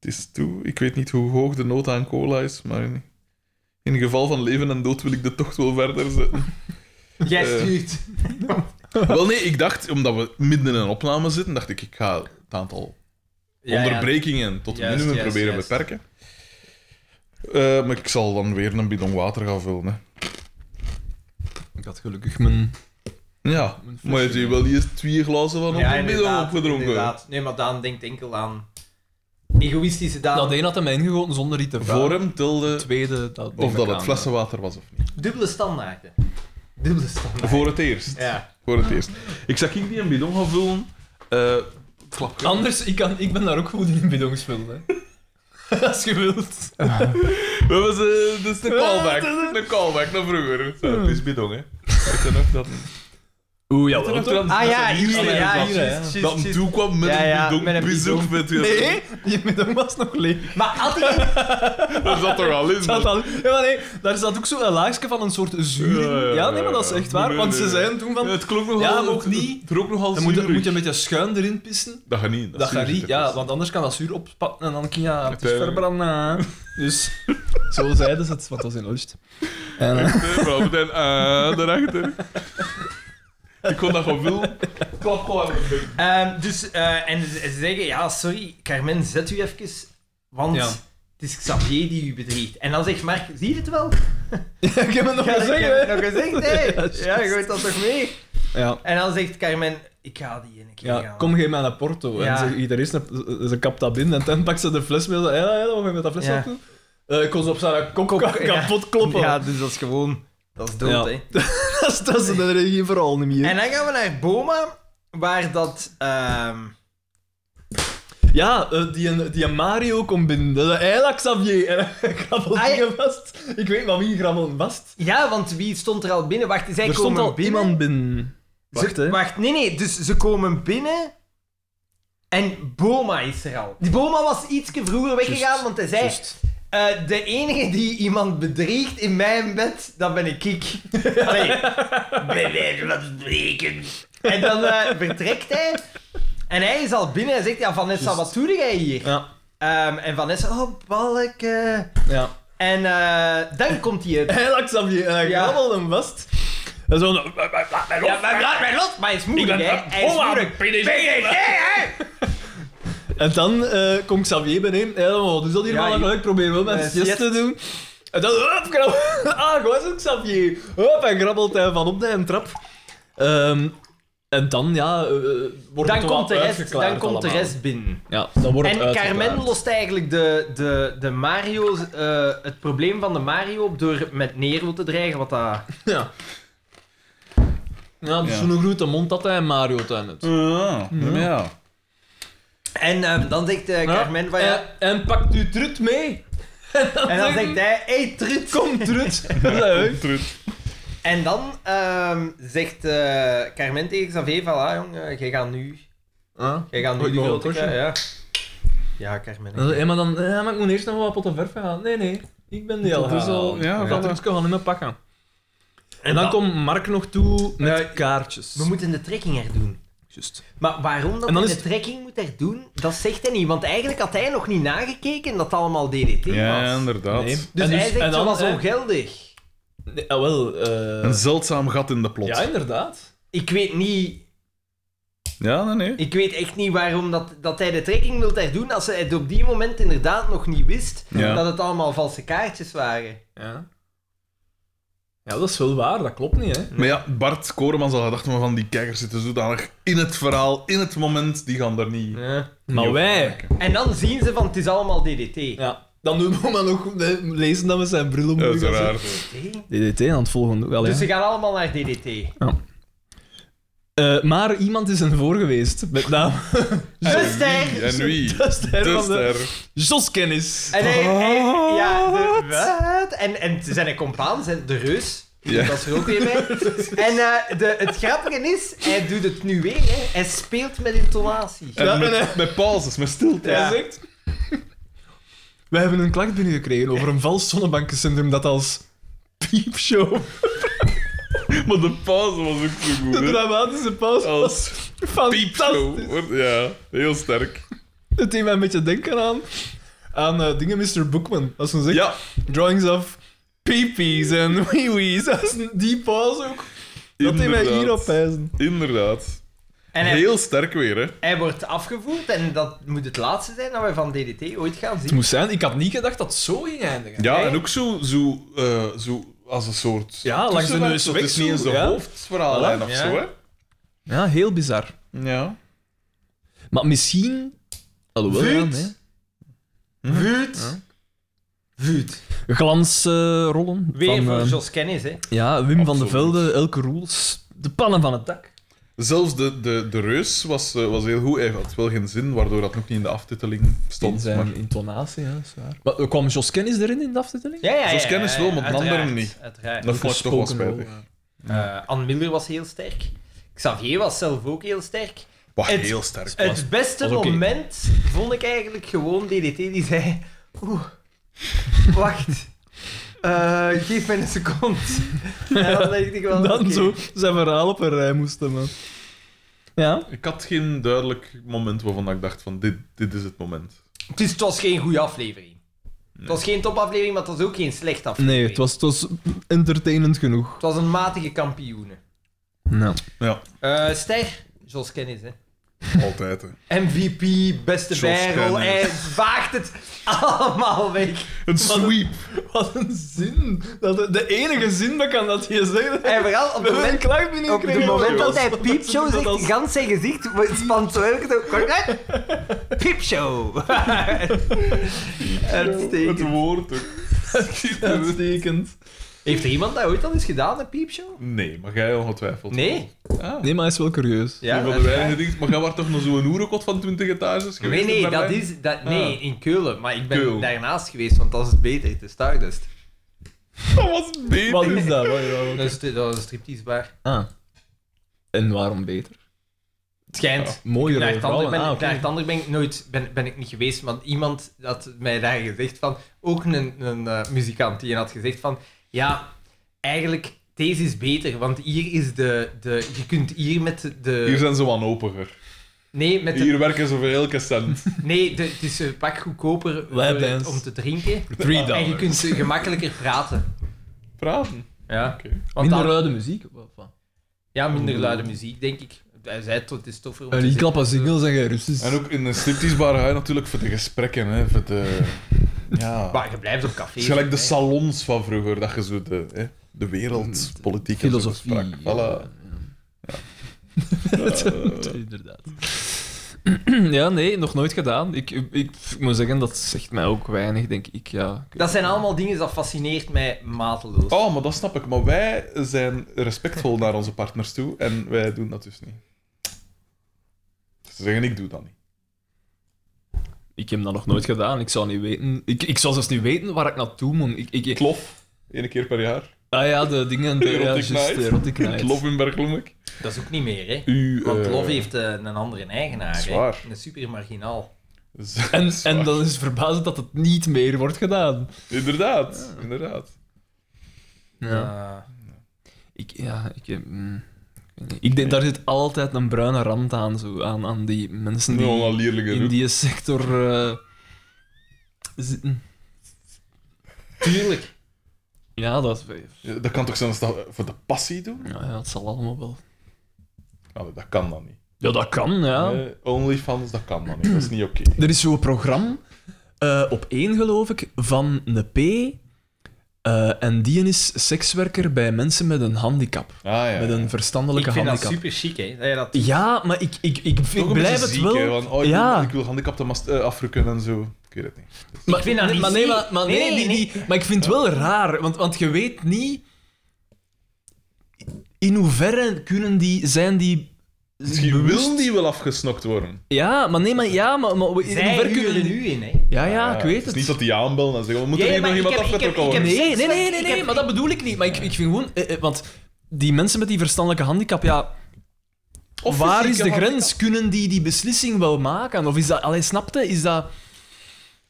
Speaker 2: het is toe. Ik weet niet hoe hoog de nood aan cola is, maar... In, in geval van leven en dood wil ik de tocht wel verder zetten.
Speaker 3: Jij
Speaker 2: Eh.
Speaker 3: stuurt.
Speaker 2: wel nee, ik dacht, omdat we midden in een opname zitten, dacht ik, ik ga het aantal onderbrekingen tot het
Speaker 3: Juist,
Speaker 2: minimum
Speaker 3: juist,
Speaker 2: proberen
Speaker 3: juist.
Speaker 2: beperken. Eh, maar ik zal dan weer een bidon water gaan vullen. Hè.
Speaker 4: Ik had gelukkig mijn...
Speaker 2: Ja,
Speaker 4: Een flesje
Speaker 2: maar je hebt wel eerst twee glazen van op
Speaker 3: Ja,
Speaker 2: een bidon
Speaker 3: inderdaad,
Speaker 2: opgedronken.
Speaker 3: inderdaad. Nee, maar Daan denkt enkel aan egoïstische Daan.
Speaker 4: Dat één had hem ingegoten zonder iets te vragen.
Speaker 2: Voor hem tilde
Speaker 4: tweede... Dat
Speaker 2: of dat het flessenwater was of niet.
Speaker 3: Dubbele standaarden. Dubbele standaarden.
Speaker 2: Voor het eerst.
Speaker 3: Ja.
Speaker 2: Voor het eerst. Ik zag ik die een bidon gaan vullen. Eh klap.
Speaker 4: Anders, ik, kan, ik ben daar ook goed in bidons vullen, hè. Als je wilt.
Speaker 2: Dat was eh, dat is de callback. De callback naar vroeger. Zo, het is bidon, hè. Weet je nog dat-
Speaker 4: Oeh,
Speaker 2: weet je nog
Speaker 4: jawel, toch?
Speaker 2: dat-
Speaker 3: Ah ja,
Speaker 2: dat-
Speaker 3: hier,
Speaker 4: hier,
Speaker 3: ja,
Speaker 4: ja,
Speaker 3: juist,
Speaker 4: hier,
Speaker 3: juist,
Speaker 2: Dat hem
Speaker 3: juist.
Speaker 2: toekwam met
Speaker 3: Ja, ja,
Speaker 2: een bidon.
Speaker 3: met een
Speaker 2: bezoek
Speaker 3: bidon.
Speaker 2: met
Speaker 6: Nee, je middag was nog leeg.
Speaker 3: Maar had ik...
Speaker 2: Dat zat er al in.
Speaker 6: Dat al-
Speaker 4: Ja, maar nee, daar zat ook zo een laagje van een soort zuur
Speaker 2: Ja, ja,
Speaker 4: in. Ja, nee, maar dat is
Speaker 2: ja,
Speaker 4: echt
Speaker 2: ja.
Speaker 4: waar.
Speaker 2: Nee,
Speaker 4: Want
Speaker 2: nee,
Speaker 4: ze
Speaker 2: nee.
Speaker 4: zeiden toen van...
Speaker 2: het klonk nogal...
Speaker 4: Ja, maar ook niet.
Speaker 2: Het rook nogal
Speaker 4: Dan moet je,
Speaker 2: zuurig.
Speaker 4: moet je een beetje schuin erin pissen.
Speaker 2: Dat gaat niet.
Speaker 4: Dat gaat
Speaker 2: zuurig
Speaker 4: niet, ja,
Speaker 2: is.
Speaker 4: want anders kan dat zuur oppakken en dan kan je het is
Speaker 2: Uiteindelijk.
Speaker 4: verbranden. hè. Dus zo zeiden ze het, want dat was in Oost. En, eh,
Speaker 2: Nee, maar meteen aan daarachter. Ik kon dat gewoon wil. Klap gewoon.
Speaker 3: Ehm, dus, eh, en ze ze zeggen, ja, sorry, Carmen, zet u even, want
Speaker 4: Ja.
Speaker 3: het is Xavier die u bedriegt. En dan zegt Mark, zie je het wel?
Speaker 4: ik heb het nog
Speaker 3: Ja,
Speaker 4: gezegd,
Speaker 3: ik heb
Speaker 4: hè.
Speaker 3: het nog gezegd, hè?
Speaker 4: Ja, juist.
Speaker 3: Ja, je gooit dat toch mee?
Speaker 4: Ja.
Speaker 3: En dan zegt Carmen, ik ga die ene keer
Speaker 4: Ja,
Speaker 3: gaan.
Speaker 4: kom, geef mij een porto.
Speaker 3: Ja.
Speaker 4: En ze, iedereen snap- ze kapt dat binnen en dan pakt ze de fles mee. Ja, ja, wat gaan we met dat fles
Speaker 3: Ja.
Speaker 4: naartoe? Eh, ik kon ze op zijn kop
Speaker 3: Kop,
Speaker 4: ka-
Speaker 3: ja.
Speaker 4: kapot kloppen.
Speaker 3: Ja, dus dat is gewoon... Dat is dood,
Speaker 4: Ja.
Speaker 3: hè?
Speaker 4: dat is- dat is de regie vooral niet meer.
Speaker 3: En dan gaan we naar Boma, waar dat... ehm,
Speaker 4: Ja, eh, die, een- die een Mario komt binnen. Dat is eigenlijk Xavier. En hij grabbelt
Speaker 3: Ah, ja.
Speaker 4: dingen vast. Ik weet maar wie grabbelt vast.
Speaker 3: Ja, want wie stond er al binnen? Wacht, zij komen
Speaker 4: er stond al
Speaker 3: binnen.
Speaker 4: iemand binnen.
Speaker 3: Ze-
Speaker 4: Wacht, hè.
Speaker 3: Wacht, nee, nee. Dus ze komen binnen en Boma is er al. Die Boma was ietsje vroeger weggegaan, want hij zei...
Speaker 4: Juist.
Speaker 3: eh, de enige die iemand bedriegt in mijn bed, dat ben ik ik. Allee.
Speaker 5: Bij wijze van spreken.
Speaker 3: En dan eh, vertrekt hij. En hij is al binnen en zegt, ja, Vanessa, wat doe jij hier?
Speaker 4: Ja,
Speaker 3: Ehm, en Vanessa, oh, balk. eh.
Speaker 4: ja.
Speaker 3: En eh, dan komt hij... het-
Speaker 4: Eigenlijk Xavier. En hij
Speaker 3: Ja.
Speaker 4: grabbelt hem vast. En zo...
Speaker 3: Ja, maar laat mij los, maar hij is moeilijk, hè. Hij is moeilijk.
Speaker 4: En dan eh komt Xavier beneden. Hé, wat is dat hier
Speaker 3: Ja,
Speaker 4: wel
Speaker 3: hier-
Speaker 4: gelijk? Probeer wel met
Speaker 3: Eh,
Speaker 4: siest te
Speaker 3: siest.
Speaker 4: doen. En dan... Hup, grabbelt... Ah, gewoon zo'n Xavier. Hup, en grabbelt hij van op de trap. Ehm, en dan, ja... eh, wordt
Speaker 3: Dan
Speaker 4: het wel
Speaker 3: komt de rest,
Speaker 4: uitgeklaard
Speaker 3: dan komt de
Speaker 4: allemaal.
Speaker 3: rest binnen.
Speaker 4: Ja, dan wordt
Speaker 3: En
Speaker 4: het
Speaker 3: Carmen
Speaker 4: uitgeklaard.
Speaker 3: lost eigenlijk de, de, de Mario, eh, het probleem van de Mario op door met Nero te dreigen. Wat dat...
Speaker 4: Ja. Ja, dus
Speaker 2: Ja.
Speaker 4: zo'n grote mond had hij en Mario uiteindelijk.
Speaker 2: Ja, ja.
Speaker 3: En ehm, dan zegt eh, Carmen van ja.
Speaker 4: En, en pakt u trut mee.
Speaker 3: En dan zegt hij: Hey, Trut,
Speaker 4: Kom, trut. Dat is leuk.
Speaker 2: Trut.
Speaker 3: En dan ehm, zegt eh, Carmen tegen Xavier van, ah jong, eh, jij gaat nu,
Speaker 4: Ah.
Speaker 3: jij gaat nu
Speaker 4: Ooit
Speaker 3: de
Speaker 4: nog een
Speaker 3: grote
Speaker 4: kostje?
Speaker 3: krijgen, ja. Ja, Carmen.
Speaker 4: Dan zo, hé, maar dan, ja, maar ik moet eerst nog wat potten verf gaan. Nee, nee, ik ben die al.
Speaker 2: Dat is
Speaker 4: gaan.
Speaker 2: al- ja,
Speaker 4: dat
Speaker 2: voilà.
Speaker 4: trucje gaan niet meer pakken. En dan komt Mark nog toe met
Speaker 3: Ja,
Speaker 4: kaartjes.
Speaker 3: We moeten de trekking er doen.
Speaker 4: Juist.
Speaker 3: Maar waarom dat
Speaker 4: En dan
Speaker 3: hij
Speaker 4: is
Speaker 3: de trekking moet er doen, dat zegt hij niet. Want eigenlijk had hij nog niet nagekeken dat het allemaal DDT was.
Speaker 2: Ja, inderdaad.
Speaker 4: Nee.
Speaker 3: Dus
Speaker 4: En
Speaker 3: hij
Speaker 4: dus-
Speaker 3: zegt,
Speaker 4: en
Speaker 3: zo
Speaker 4: dan,
Speaker 3: was
Speaker 4: hè?
Speaker 3: ongeldig.
Speaker 4: Nee, ah, wel, eh,
Speaker 2: Een zeldzaam gat in de plot.
Speaker 4: ja,
Speaker 2: Ja,
Speaker 4: inderdaad.
Speaker 3: Ik weet niet...
Speaker 2: nee, nee.
Speaker 3: Ik weet echt niet waarom dat, dat hij de trekking wil er doen als hij het op die moment inderdaad nog niet wist
Speaker 2: Ja.
Speaker 3: dat het allemaal valse kaartjes waren.
Speaker 4: Ja. ja, dat is wel waar, dat klopt niet, hè.
Speaker 2: Maar ja, Bart Koremans had gedacht, maar van die kijkers zitten zodanig in het verhaal, in het moment, die gaan daar niet...
Speaker 4: Maar
Speaker 2: niet
Speaker 4: wij...
Speaker 2: op
Speaker 3: En dan zien ze van het is allemaal DDT.
Speaker 4: Ja. Dan doen we maar nog eh, lezen dat we zijn bril op moeten gaan
Speaker 2: Uiteraard.
Speaker 3: DDT?
Speaker 4: zetten. DDT aan het volgende. Wel,
Speaker 3: Dus
Speaker 4: ja.
Speaker 3: ze gaan allemaal naar DDT.
Speaker 4: Eh, maar iemand is ervoor geweest, met name.
Speaker 3: De
Speaker 2: Wie?
Speaker 3: ster!
Speaker 2: En wie?
Speaker 4: Dat is de her
Speaker 2: De
Speaker 4: van de
Speaker 2: ster.
Speaker 4: Joskennis.
Speaker 3: En hij, hij- ja, de, wat? En, en zijn compaan, zijn de reus,
Speaker 2: Ja.
Speaker 3: dat is er ook weer bij. En eh, de, het grappige is, hij doet het nu weer, hè. hij speelt met intonatie.
Speaker 4: Ja,
Speaker 2: En
Speaker 4: en
Speaker 2: met,
Speaker 4: hij-
Speaker 2: met pauzes, met stilte.
Speaker 3: Ja.
Speaker 4: Hij zegt... We hebben een klacht binnengekregen over een vals zonnebankencentrum dat als piepshow,
Speaker 2: Maar de pauze was ook zo goed,
Speaker 4: de
Speaker 2: hè.
Speaker 4: dramatische pauze, was
Speaker 2: Als
Speaker 4: fantastisch.
Speaker 2: Oh, piepshow. Ja, heel sterk.
Speaker 4: Het deed mij een beetje denken aan, aan eh, dingen Mr. Bookman. Als ze zegt,
Speaker 2: Ja,
Speaker 4: drawings of peepees en wee-wees. Dat is een- Die pauze ook. Dat deed mij
Speaker 2: Inderdaad.
Speaker 4: hier op wijzen.
Speaker 2: inderdaad.
Speaker 3: En hij,
Speaker 2: Heel sterk weer, hè.
Speaker 3: hij wordt afgevoerd en dat moet het laatste zijn dat we van DDT ooit gaan zien.
Speaker 4: moest zijn, ik had niet gedacht dat het zo ging eindigen.
Speaker 2: Ja,
Speaker 3: Nee.
Speaker 2: en ook zo, zo, eh, zo als een soort...
Speaker 4: Ja, langs de
Speaker 2: tussenwerk,
Speaker 4: neus
Speaker 2: zo.
Speaker 4: weg
Speaker 2: Het is niet
Speaker 4: zo,
Speaker 2: eens een
Speaker 4: ja.
Speaker 2: hoofdverhaallijn
Speaker 4: Voilà.
Speaker 2: of
Speaker 3: Ja.
Speaker 2: zo, hè.
Speaker 4: Ja, heel bizar.
Speaker 2: Ja.
Speaker 4: Maar misschien... Alhoewel,
Speaker 3: Vuut.
Speaker 4: ja, nee.
Speaker 2: Hm?
Speaker 3: Vuut. Vuut.
Speaker 4: Glansrollen.
Speaker 3: Weer
Speaker 4: van,
Speaker 3: voor
Speaker 4: eh,
Speaker 3: Jos Kennis, hè.
Speaker 4: Ja, Wim van de
Speaker 2: Absoluut.
Speaker 4: Velde, Elke Roels. De pannen van het dak.
Speaker 2: Zelfs de, de, de reus was, eh, was heel goed. Hij had wel geen zin, waardoor dat nog niet in de aftiteling
Speaker 4: in
Speaker 2: stond.
Speaker 4: zijn
Speaker 2: Maar
Speaker 4: intonatie, ja, dat is waar. Maar, eh, kwam Jos Kennis erin in de aftiteling?
Speaker 3: Ja, ja, ja.
Speaker 2: Jos Kennis wel, maar de
Speaker 3: uiteraard,
Speaker 2: anderen niet.
Speaker 3: Uiteraard.
Speaker 2: dat vond ik toch wel
Speaker 4: Gesproken
Speaker 2: spijtig.
Speaker 4: rol,
Speaker 3: Eh, Ann Miller was heel sterk. Xavier was zelf ook heel sterk.
Speaker 2: Wacht,
Speaker 3: Het-
Speaker 2: heel sterk.
Speaker 3: Het beste
Speaker 4: was oké.
Speaker 3: moment vond ik eigenlijk gewoon DDT die zei... Oeh, wacht. Eh, geef mij een seconde. En dan dacht ik wel...
Speaker 4: ja. Dan
Speaker 3: oké.
Speaker 4: zo zijn verhaal op een rij moesten, man. Ja.
Speaker 2: Ik had geen duidelijk moment waarvan ik dacht van dit, dit is het moment.
Speaker 3: Het, is, het was geen goede aflevering. Het was geen topaflevering, maar het was ook geen slechte aflevering.
Speaker 4: Nee, het was, het was entertainend genoeg.
Speaker 3: Het was een matige kampioene.
Speaker 4: Nou.
Speaker 2: Ja,
Speaker 3: Eh, ster, Jos Kennis, hè.
Speaker 2: altijd. Hè.
Speaker 3: MVP, beste
Speaker 2: Jos
Speaker 3: bijrol,
Speaker 2: Kennis.
Speaker 3: hij vaagt het allemaal weg.
Speaker 2: Een sweep.
Speaker 4: Wat een zin. Dat, de- de enige zin dat kan dat je zegt.
Speaker 3: En vooral op het
Speaker 4: We hebben een
Speaker 3: moment,
Speaker 4: klacht
Speaker 3: op
Speaker 4: binnengekregen.
Speaker 3: het moment dat hij
Speaker 4: Als-
Speaker 3: piepshow
Speaker 4: als-
Speaker 3: zegt,
Speaker 4: als-
Speaker 3: gans zijn gezicht wordt- spant zo elke dag. Correct? Piepshow.
Speaker 2: Het
Speaker 3: Uitstekend.
Speaker 2: woord. ook.
Speaker 4: Uitstekend.
Speaker 3: Heeft er iemand dat ooit al eens gedaan, een piepshow?
Speaker 2: Nee, maar jij ongetwijfeld.
Speaker 3: Nee. eh,
Speaker 2: Ah,
Speaker 4: Nee, maar hij is wel curieus.
Speaker 2: een van de weinige dingen. Maar jij was toch nog zo'n oerenkot van 20 etages geweest?
Speaker 3: Nee, nee, dat
Speaker 2: in Berlijn?
Speaker 3: is... Dat, nee, in Keulen. Maar ik ben
Speaker 2: Keulen.
Speaker 3: daarnaast geweest, want dat is het beter, de Stardust.
Speaker 2: Dat was beter.
Speaker 4: Wat is dat? Wat-
Speaker 3: Dat
Speaker 4: wat-
Speaker 3: is, dat was een stripteasebar.
Speaker 4: Ah. En waarom beter?
Speaker 3: Het schijnt...
Speaker 4: Mooier
Speaker 3: Naar het ander ben,
Speaker 4: Ah, oké.
Speaker 3: naar het ander ben ik nooit ben, ben ik niet geweest, want iemand had mij daar gezegd van, ook een, een eh, muzikant die had gezegd van, ja, eigenlijk deze is beter, want hier is de, de je kunt hier met de
Speaker 2: Hier zijn ze wanhopiger.
Speaker 3: nee met de,
Speaker 2: Hier werken ze voor elke cent.
Speaker 3: nee de, het is een pak goedkoper voor het-
Speaker 4: Lapdance.
Speaker 3: om te drinken
Speaker 4: Three
Speaker 3: en je
Speaker 4: dollars.
Speaker 3: kunt eh, gemakkelijker praten.
Speaker 2: Praten.
Speaker 3: Ja,
Speaker 2: Oké.
Speaker 3: want
Speaker 4: Minder
Speaker 3: dan-
Speaker 4: luide muziek? of wat?
Speaker 3: ja minder luide muziek denk ik. Hij zei het, het is toffer om
Speaker 4: En
Speaker 3: te
Speaker 4: die
Speaker 3: zitten.
Speaker 4: klappen singles en geen Russisch.
Speaker 2: En ook in een stripteasebar ga je natuurlijk voor de gesprekken, hè, voor de... Ja.
Speaker 3: Maar je blijft op café.
Speaker 2: het is gelijk de
Speaker 3: hè.
Speaker 2: salons van vroeger, dat je zo de, hè, de wereldpolitiek en zo
Speaker 4: filosofie.
Speaker 2: besprak. Voilà. Eh.
Speaker 4: Ja, Inderdaad. Ja, nee, nog nooit gedaan. Ik, ik, ik moet zeggen, dat zegt mij ook weinig, denk ik. Ja, ik-
Speaker 3: Dat zijn allemaal dingen dat fascineert mij mateloos.
Speaker 2: Oh, maar dat snap ik. Maar wij zijn respectvol naar onze partners toe en wij doen dat dus niet. Ze zeggen, ik doe dat niet.
Speaker 4: Ik heb dat nog nooit gedaan. Ik zou niet weten... Ik, ik zou zelfs niet weten waar ik naartoe moet. Ik, ik,
Speaker 2: Klof, één keer per jaar.
Speaker 4: Ah ja, de dingen. De, ja,
Speaker 2: Erotic
Speaker 4: juist,
Speaker 2: Night.
Speaker 4: Erotic
Speaker 2: In het
Speaker 4: Night.
Speaker 2: lof in Bergloemek.
Speaker 3: Dat is ook niet meer, hè?
Speaker 2: U,
Speaker 3: Want
Speaker 2: eh,
Speaker 3: Love heeft eh, een andere eigenaar.
Speaker 2: dat is
Speaker 3: hè.
Speaker 2: waar.
Speaker 3: Een super marginaal.
Speaker 2: z-
Speaker 4: En,
Speaker 2: zwaar.
Speaker 4: en dan is het verbazend dat het niet meer wordt gedaan.
Speaker 2: Inderdaad, inderdaad.
Speaker 4: Ja.
Speaker 3: Eh,
Speaker 4: Ik, ja, ik, eh, mm, ik weet niet. ik denk, daar zit altijd een bruine rand aan, zo, aan, aan die mensen die
Speaker 2: Gewoon al lierlijke
Speaker 4: in
Speaker 2: roep.
Speaker 4: die sector eh, zitten.
Speaker 3: tuurlijk.
Speaker 4: Ja, dat, is-
Speaker 2: Ja, Dat kan toch zijn dat ze dat voor de passie doen?
Speaker 4: ja, ja, het zal allemaal wel.
Speaker 2: Ah, nee, dat kan dan niet.
Speaker 4: Ja, dat kan, ja.
Speaker 2: Eh, Onlyfans, dat kan dan niet. Dat is niet oké.
Speaker 4: Er is zo'n programma, eh, op één geloof ik, van een P. eh, en die is sekswerker bij mensen met een handicap.
Speaker 2: Ah ja.
Speaker 4: Met een
Speaker 3: Ik
Speaker 4: verstandelijke
Speaker 3: vind dat
Speaker 4: handicap.
Speaker 3: super chic, hè? Dat je dat...
Speaker 4: Ja, maar ik, ik, ik, vind-
Speaker 2: Toch een
Speaker 4: blijf
Speaker 2: beetje
Speaker 4: het
Speaker 2: ziek,
Speaker 4: wel.
Speaker 2: hè, van, oh, ik,
Speaker 4: ja.
Speaker 2: wil, ik wil gehandicapten mas- eh, afrukken en zo. Ik weet het niet.
Speaker 4: Maar,
Speaker 3: Ik vind dat
Speaker 4: nee,
Speaker 3: niet
Speaker 4: maar nee,
Speaker 3: ziek.
Speaker 4: maar, maar nee,
Speaker 3: Nee,
Speaker 4: die-
Speaker 3: nee.
Speaker 4: die- maar ik vind het wel raar, want, want je weet niet in hoeverre kunnen die, zijn die
Speaker 2: Misschien
Speaker 4: bewust-
Speaker 2: Dus wil die wel afgesnokt worden.
Speaker 4: Ja, maar nee, maar ja, maar, maar in
Speaker 3: Zij
Speaker 4: hoeverre
Speaker 3: huren
Speaker 4: kunnen
Speaker 3: nu in, hè?
Speaker 4: Ja, ja, ik weet
Speaker 2: Eh, Het is
Speaker 4: het.
Speaker 2: niet dat die aanbellen en zeggen, we moeten
Speaker 3: Ja,
Speaker 2: hier
Speaker 3: maar
Speaker 2: nog
Speaker 3: ik
Speaker 2: iemand
Speaker 3: heb- ik heb-
Speaker 2: afgetrokken worden.
Speaker 3: ik
Speaker 4: Nee, nee, nee, nee,
Speaker 3: Ik
Speaker 4: nee,
Speaker 3: heb-
Speaker 4: maar dat bedoel ik niet. Maar ik, ik vind gewoon, eh, eh, want die mensen met die verstandelijke handicap, ja,
Speaker 2: Of
Speaker 4: waar is
Speaker 2: fysieke
Speaker 4: de grens? Kunnen die die beslissing wel maken? Of is dat, allee, snapte, is dat.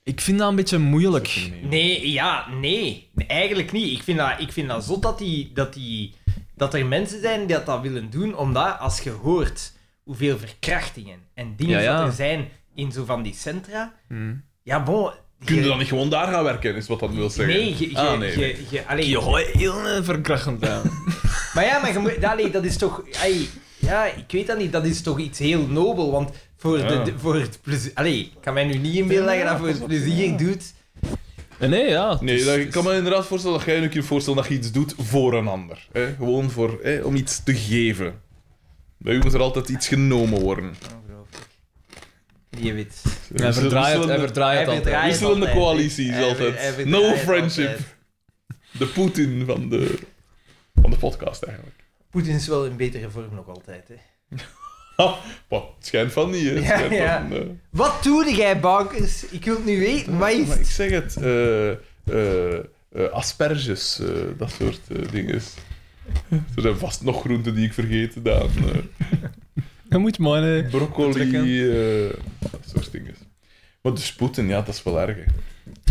Speaker 4: Ik vind dat een beetje moeilijk.
Speaker 3: Nee, ja, nee. Eigenlijk niet. Ik vind dat, ik vind dat zot dat, die, dat, die, dat er mensen zijn die dat, dat willen doen, omdat als je hoort hoeveel verkrachtingen en dingen
Speaker 4: Ja, ja. Hmm.
Speaker 3: dat er zijn in zo van die centra, ja, bon...
Speaker 2: Kun je
Speaker 3: je-
Speaker 2: dan niet gewoon daar gaan werken, is wat dat wil zeggen.
Speaker 3: Nee, je... je,
Speaker 2: Ah, nee.
Speaker 3: je, je- allee,
Speaker 4: Je hoort heel eh, verkrachtend aan.
Speaker 3: Maar ja, maar je moet, allee, dat is toch... ai, ja, ik weet dat niet. Dat is toch iets heel nobel, want voor,
Speaker 2: Ja.
Speaker 3: de, de- voor het plezier... Allee, ik kan mij nu niet inbeelden dat je dat voor het plezier doet.
Speaker 4: Nee, Eh, nee, ja. het
Speaker 2: Nee,
Speaker 4: is-
Speaker 2: dat-
Speaker 4: het
Speaker 2: ik
Speaker 4: is-
Speaker 2: kan me inderdaad voorstellen dat jij je keer voorstelt dat je iets doet voor een ander. Hè? Gewoon voor, hè, om iets te geven. Bij u moet er altijd iets genomen worden.
Speaker 3: Ongelooflijk. Die weet...
Speaker 4: Hij verdraait, hij
Speaker 2: Wisselende-
Speaker 4: verdraait
Speaker 3: Hij
Speaker 4: altijd.
Speaker 3: verdraait
Speaker 2: Wisselende
Speaker 3: altijd.
Speaker 2: coalities
Speaker 3: Hij-
Speaker 2: altijd.
Speaker 3: hij verdraait
Speaker 2: No friendship.
Speaker 3: altijd.
Speaker 2: De Poetin van de, van de podcast eigenlijk.
Speaker 3: Poetin is wel in betere vorm nog altijd. Hè.
Speaker 2: Ha, wat, het schijnt van niet, hè? Het
Speaker 3: Ja,
Speaker 2: schijnt
Speaker 3: ja.
Speaker 2: van, eh.
Speaker 3: Wat doe jij, bankers? Ik wil het nu weten, maar is
Speaker 2: Maar ik
Speaker 3: het?
Speaker 2: zeg het, eh, eh, eh, asperges, eh, dat soort eh, dingen. Er zijn vast nog groenten die ik vergeten heb. eh
Speaker 4: Je moet maar. eh,
Speaker 2: broccoli,
Speaker 4: Betrekken.
Speaker 2: eh, dat soort dingen. Maar de spoeten, ja, dat is wel erg. hè.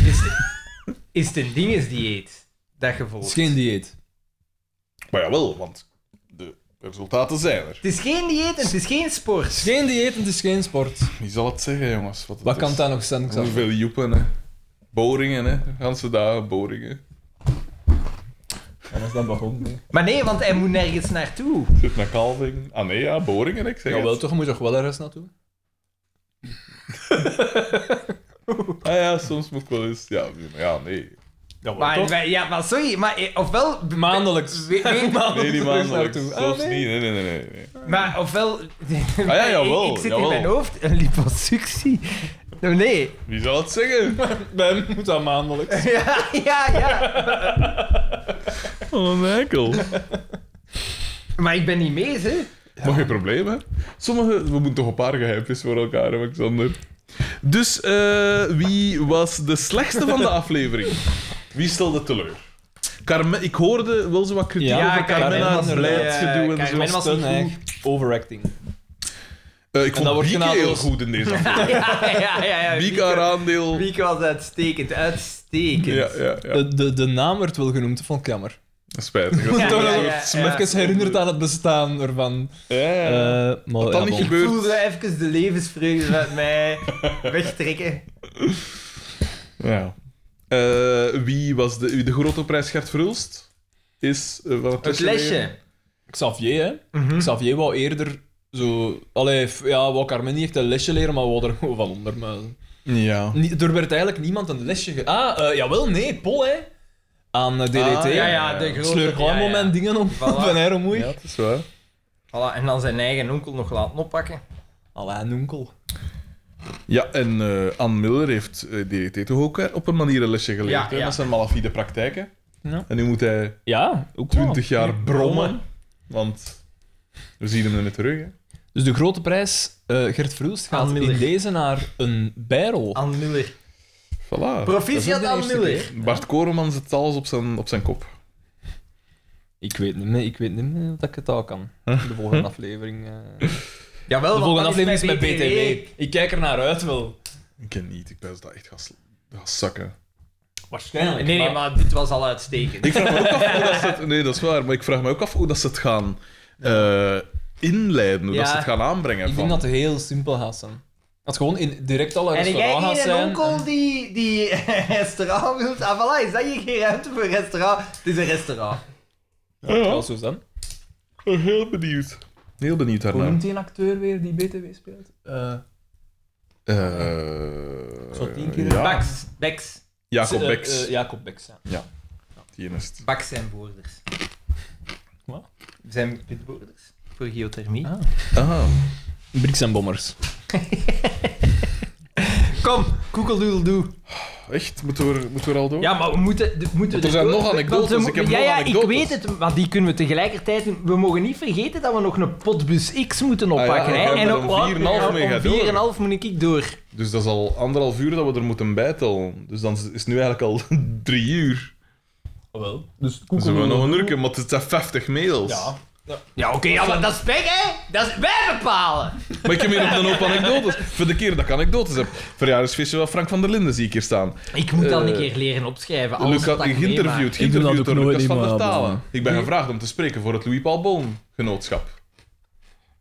Speaker 3: Is het, is het een dingesdieet dat je volgt?
Speaker 4: Het is geen dieet.
Speaker 2: Maar jawel, want de resultaten zijn er.
Speaker 3: Het is geen dieet en het is geen
Speaker 4: Het
Speaker 3: sport.
Speaker 4: is geen dieet en het is geen sport.
Speaker 2: Wie zal het zeggen, jongens? Wat, het
Speaker 4: Wat kan
Speaker 2: is.
Speaker 4: daar nog zijn? Ik zou-
Speaker 2: Hoeveel joepen, hè? Boringen, hè? De ganse dagen boringen.
Speaker 4: Anders dan begon. nee.
Speaker 3: Maar nee, want hij moet nergens naartoe.
Speaker 2: Zit naar Kalving. Ah nee, ja, boringen, ik zeg
Speaker 4: Jawel,
Speaker 2: het.
Speaker 4: toch moet je toch wel ergens naartoe?
Speaker 2: Ah ja, soms moet ik wel eens... Ja, maar ja nee.
Speaker 3: Maar, wij- ja, maar sorry, maar, eh, ofwel, We-
Speaker 4: Maandelijks.
Speaker 3: we-
Speaker 2: Nee, niet maandelijk.
Speaker 4: Ergens naartoe.
Speaker 2: Zelfs
Speaker 4: Ah, nee.
Speaker 2: niet. Nee, nee, nee. nee, nee.
Speaker 3: maar ofwel...
Speaker 2: Ah ja, jawel,
Speaker 3: Ik, ik zit
Speaker 2: jawel.
Speaker 3: in mijn hoofd, een liposuctie. Nee,
Speaker 2: Wie zal het zeggen?
Speaker 4: Bij hem moet dat maandelijks.
Speaker 3: ja, ja, ja.
Speaker 2: Oh, een eikel.
Speaker 3: Maar ik ben niet mee, hè.
Speaker 2: Maar geen probleem, hè. Sommige... We moeten toch een paar geheimpjes voor elkaar hebben, Xander. Dus, eh, wie was de slechtste van de aflevering? Wie stelde teleur? Carmen, ik hoorde wel zo wat kritiek
Speaker 4: Ja,
Speaker 2: over
Speaker 4: Carmen
Speaker 2: Carmena's
Speaker 4: was er-
Speaker 2: beleidsgedoe en
Speaker 3: ja,
Speaker 2: zo.
Speaker 3: Carmen was niet goed.
Speaker 4: Overacting.
Speaker 2: Eh, ik
Speaker 4: En dat
Speaker 2: vond
Speaker 4: wordt
Speaker 2: Bieke
Speaker 4: genadeloos.
Speaker 2: heel goed in deze aflevering.
Speaker 3: ja, ja, ja. ja.
Speaker 2: Bieke haar aandeel.
Speaker 3: Wieke was uitstekend, uitstekend.
Speaker 2: Ja, ja, ja.
Speaker 4: De, de, de naam werd wel genoemd, dat vond ik jammer.
Speaker 2: Spijtig. Dat is
Speaker 3: Ja,
Speaker 4: Toch
Speaker 3: ja,
Speaker 4: nog
Speaker 3: ja,
Speaker 4: me
Speaker 3: ja.
Speaker 4: even herinnerd aan het bestaan ervan.
Speaker 2: Ja,
Speaker 4: Eh
Speaker 2: ja.
Speaker 4: maar,
Speaker 2: Wat
Speaker 4: ja,
Speaker 2: dan niet
Speaker 4: bon.
Speaker 3: Ik
Speaker 2: gebeurt.
Speaker 3: voelde even de levensvreugde uit mij wegtrekken.
Speaker 2: Ja. Eh, wie was de, de grote prijs Gert Verhulst? Is eh, van het,
Speaker 3: Het lesje.
Speaker 4: Xavier, hè?
Speaker 3: Mhm.
Speaker 4: Xavier wou eerder zo. Allee, f- ja, wou Carmen niet echt een lesje leren, maar wou er gewoon van ondermuizen.
Speaker 2: Ja.
Speaker 4: Nie- Er werd eigenlijk niemand een lesje ge... Ah, eh, jawel, nee, Pol, hè? Aan eh, DDT.
Speaker 2: Ah,
Speaker 3: Ja, ja, de grote...
Speaker 4: Sleur gewoon
Speaker 3: ja, ja.
Speaker 4: mijn dingen om
Speaker 3: Voilà.
Speaker 4: van haar omhoog.
Speaker 2: Ja, het is waar.
Speaker 3: Voilà, en dan zijn eigen onkel nog laten oppakken.
Speaker 4: Alain Onkel.
Speaker 2: Ja, en eh Anne Miller heeft eh, DDT toch ook eh, op een manier een lesje geleerd.
Speaker 3: Ja,
Speaker 2: hè?
Speaker 3: ja.
Speaker 2: Dat zijn malafide praktijken.
Speaker 4: Ja.
Speaker 2: En nu moet hij
Speaker 4: Ja, ook wel.
Speaker 2: 20 jaar Oh, brommen, want we zien hem er niet terug. Hè.
Speaker 4: Dus de grote prijs, eh, Gert Verhulst, gaat
Speaker 3: Ann Miller.
Speaker 4: in deze naar een bijrol.
Speaker 3: Anne Muller.
Speaker 2: Voilà.
Speaker 3: Proficiat
Speaker 4: Dat is ook de
Speaker 3: Anne
Speaker 4: eerste
Speaker 3: Muller.
Speaker 4: keer.
Speaker 2: Bart Koreman zet alles op zijn, op zijn kop.
Speaker 4: Ik weet niet meer, ik weet niet meer of dat ik het al kan. De volgende aflevering. eh.
Speaker 3: Jawel,
Speaker 4: De
Speaker 3: want
Speaker 4: volgende
Speaker 3: dat
Speaker 4: aflevering is met BTW. Ik kijk er naar uit wel.
Speaker 2: Ik ken niet, ik ben dat echt gaan, zakken.
Speaker 4: Waarschijnlijk.
Speaker 3: Nee, nee, maar dit was al uitstekend.
Speaker 2: Ik vraag me ook af hoe dat ze het... Nee, dat is waar, maar ik vraag me ook af hoe dat ze het gaan eh, inleiden, hoe dat
Speaker 4: Ja.
Speaker 2: ze het gaan aanbrengen.
Speaker 4: Ik
Speaker 2: van.
Speaker 4: denk dat het heel simpel gaat zijn. Dat het gewoon in, direct al een
Speaker 3: En jij
Speaker 4: restaurant gaat
Speaker 3: niet een
Speaker 4: zijn.
Speaker 3: onkel die, die restaurant wilt? Ah, voilà, is dat hier geen ruimte voor een restaurant? Het is een restaurant.
Speaker 4: en- Ja, zo zijn.
Speaker 2: Ik ben heel benieuwd. Heel benieuwd
Speaker 4: Hoe
Speaker 2: daarnaar.
Speaker 4: noemt die een acteur weer die BTW speelt?
Speaker 6: Eh,
Speaker 2: Eh,
Speaker 4: Zo tien keer.
Speaker 2: ja.
Speaker 3: Baks, Beks,
Speaker 2: Jacob
Speaker 4: Eh,
Speaker 2: Beks.
Speaker 4: eh, Jacob Beks, ja.
Speaker 2: Die is het.
Speaker 3: Baks zijn woorders.
Speaker 4: Wat?
Speaker 3: Zijn pitwoorders voor geothermie.
Speaker 4: Ah.
Speaker 2: Ah.
Speaker 4: Bricks en Bommers.
Speaker 3: Kom, koekeldoedeldoe.
Speaker 2: Echt? Moeten we, er- moeten we er al door?
Speaker 3: Ja, maar we moeten... de- moeten
Speaker 2: Want er zijn
Speaker 3: de-
Speaker 2: nog
Speaker 3: want we
Speaker 2: anekdotes, dus
Speaker 3: moeten-
Speaker 2: ik
Speaker 3: ja,
Speaker 2: heb nog
Speaker 3: ja,
Speaker 2: anekdotes.
Speaker 3: ik weet het, maar die kunnen we tegelijkertijd... doen. We mogen niet vergeten dat we nog een potbus X moeten
Speaker 2: Ah ja,
Speaker 3: oppakken.
Speaker 2: we
Speaker 3: hè.
Speaker 2: gaan
Speaker 3: En
Speaker 2: er
Speaker 3: op-
Speaker 2: om 4,5 mee
Speaker 3: om
Speaker 2: gaan door.
Speaker 3: 4,5 moet ik door.
Speaker 2: Dus dat is al anderhalf uur dat we er moeten bijtellen. Dus dan is het nu eigenlijk al drie uur.
Speaker 4: Wel.
Speaker 2: Dan zullen we nog een uur, maar het zijn 50 mails.
Speaker 4: Ja.
Speaker 3: Ja, oké, ja, maar dat is pech, hè? Dat is wij bepalen.
Speaker 2: Maar ik heb hier op een hoop anekdotes. Voor de keer dat ik anekdotes heb. Verjaardagsfeestje van Frank van der Linden zie ik hier staan.
Speaker 3: Ik moet dat
Speaker 2: Eh,
Speaker 3: een keer leren opschrijven. Alles
Speaker 2: Luca,
Speaker 3: wat ik
Speaker 2: geïnterviewd,
Speaker 4: Ik doe dat
Speaker 2: geïnterviewd
Speaker 4: ook
Speaker 2: door
Speaker 4: nooit,
Speaker 2: Lucas van
Speaker 4: maar-
Speaker 2: der Talen.
Speaker 4: maar-
Speaker 2: Ik ben gevraagd om te spreken voor het Louis Paul Boon genootschap.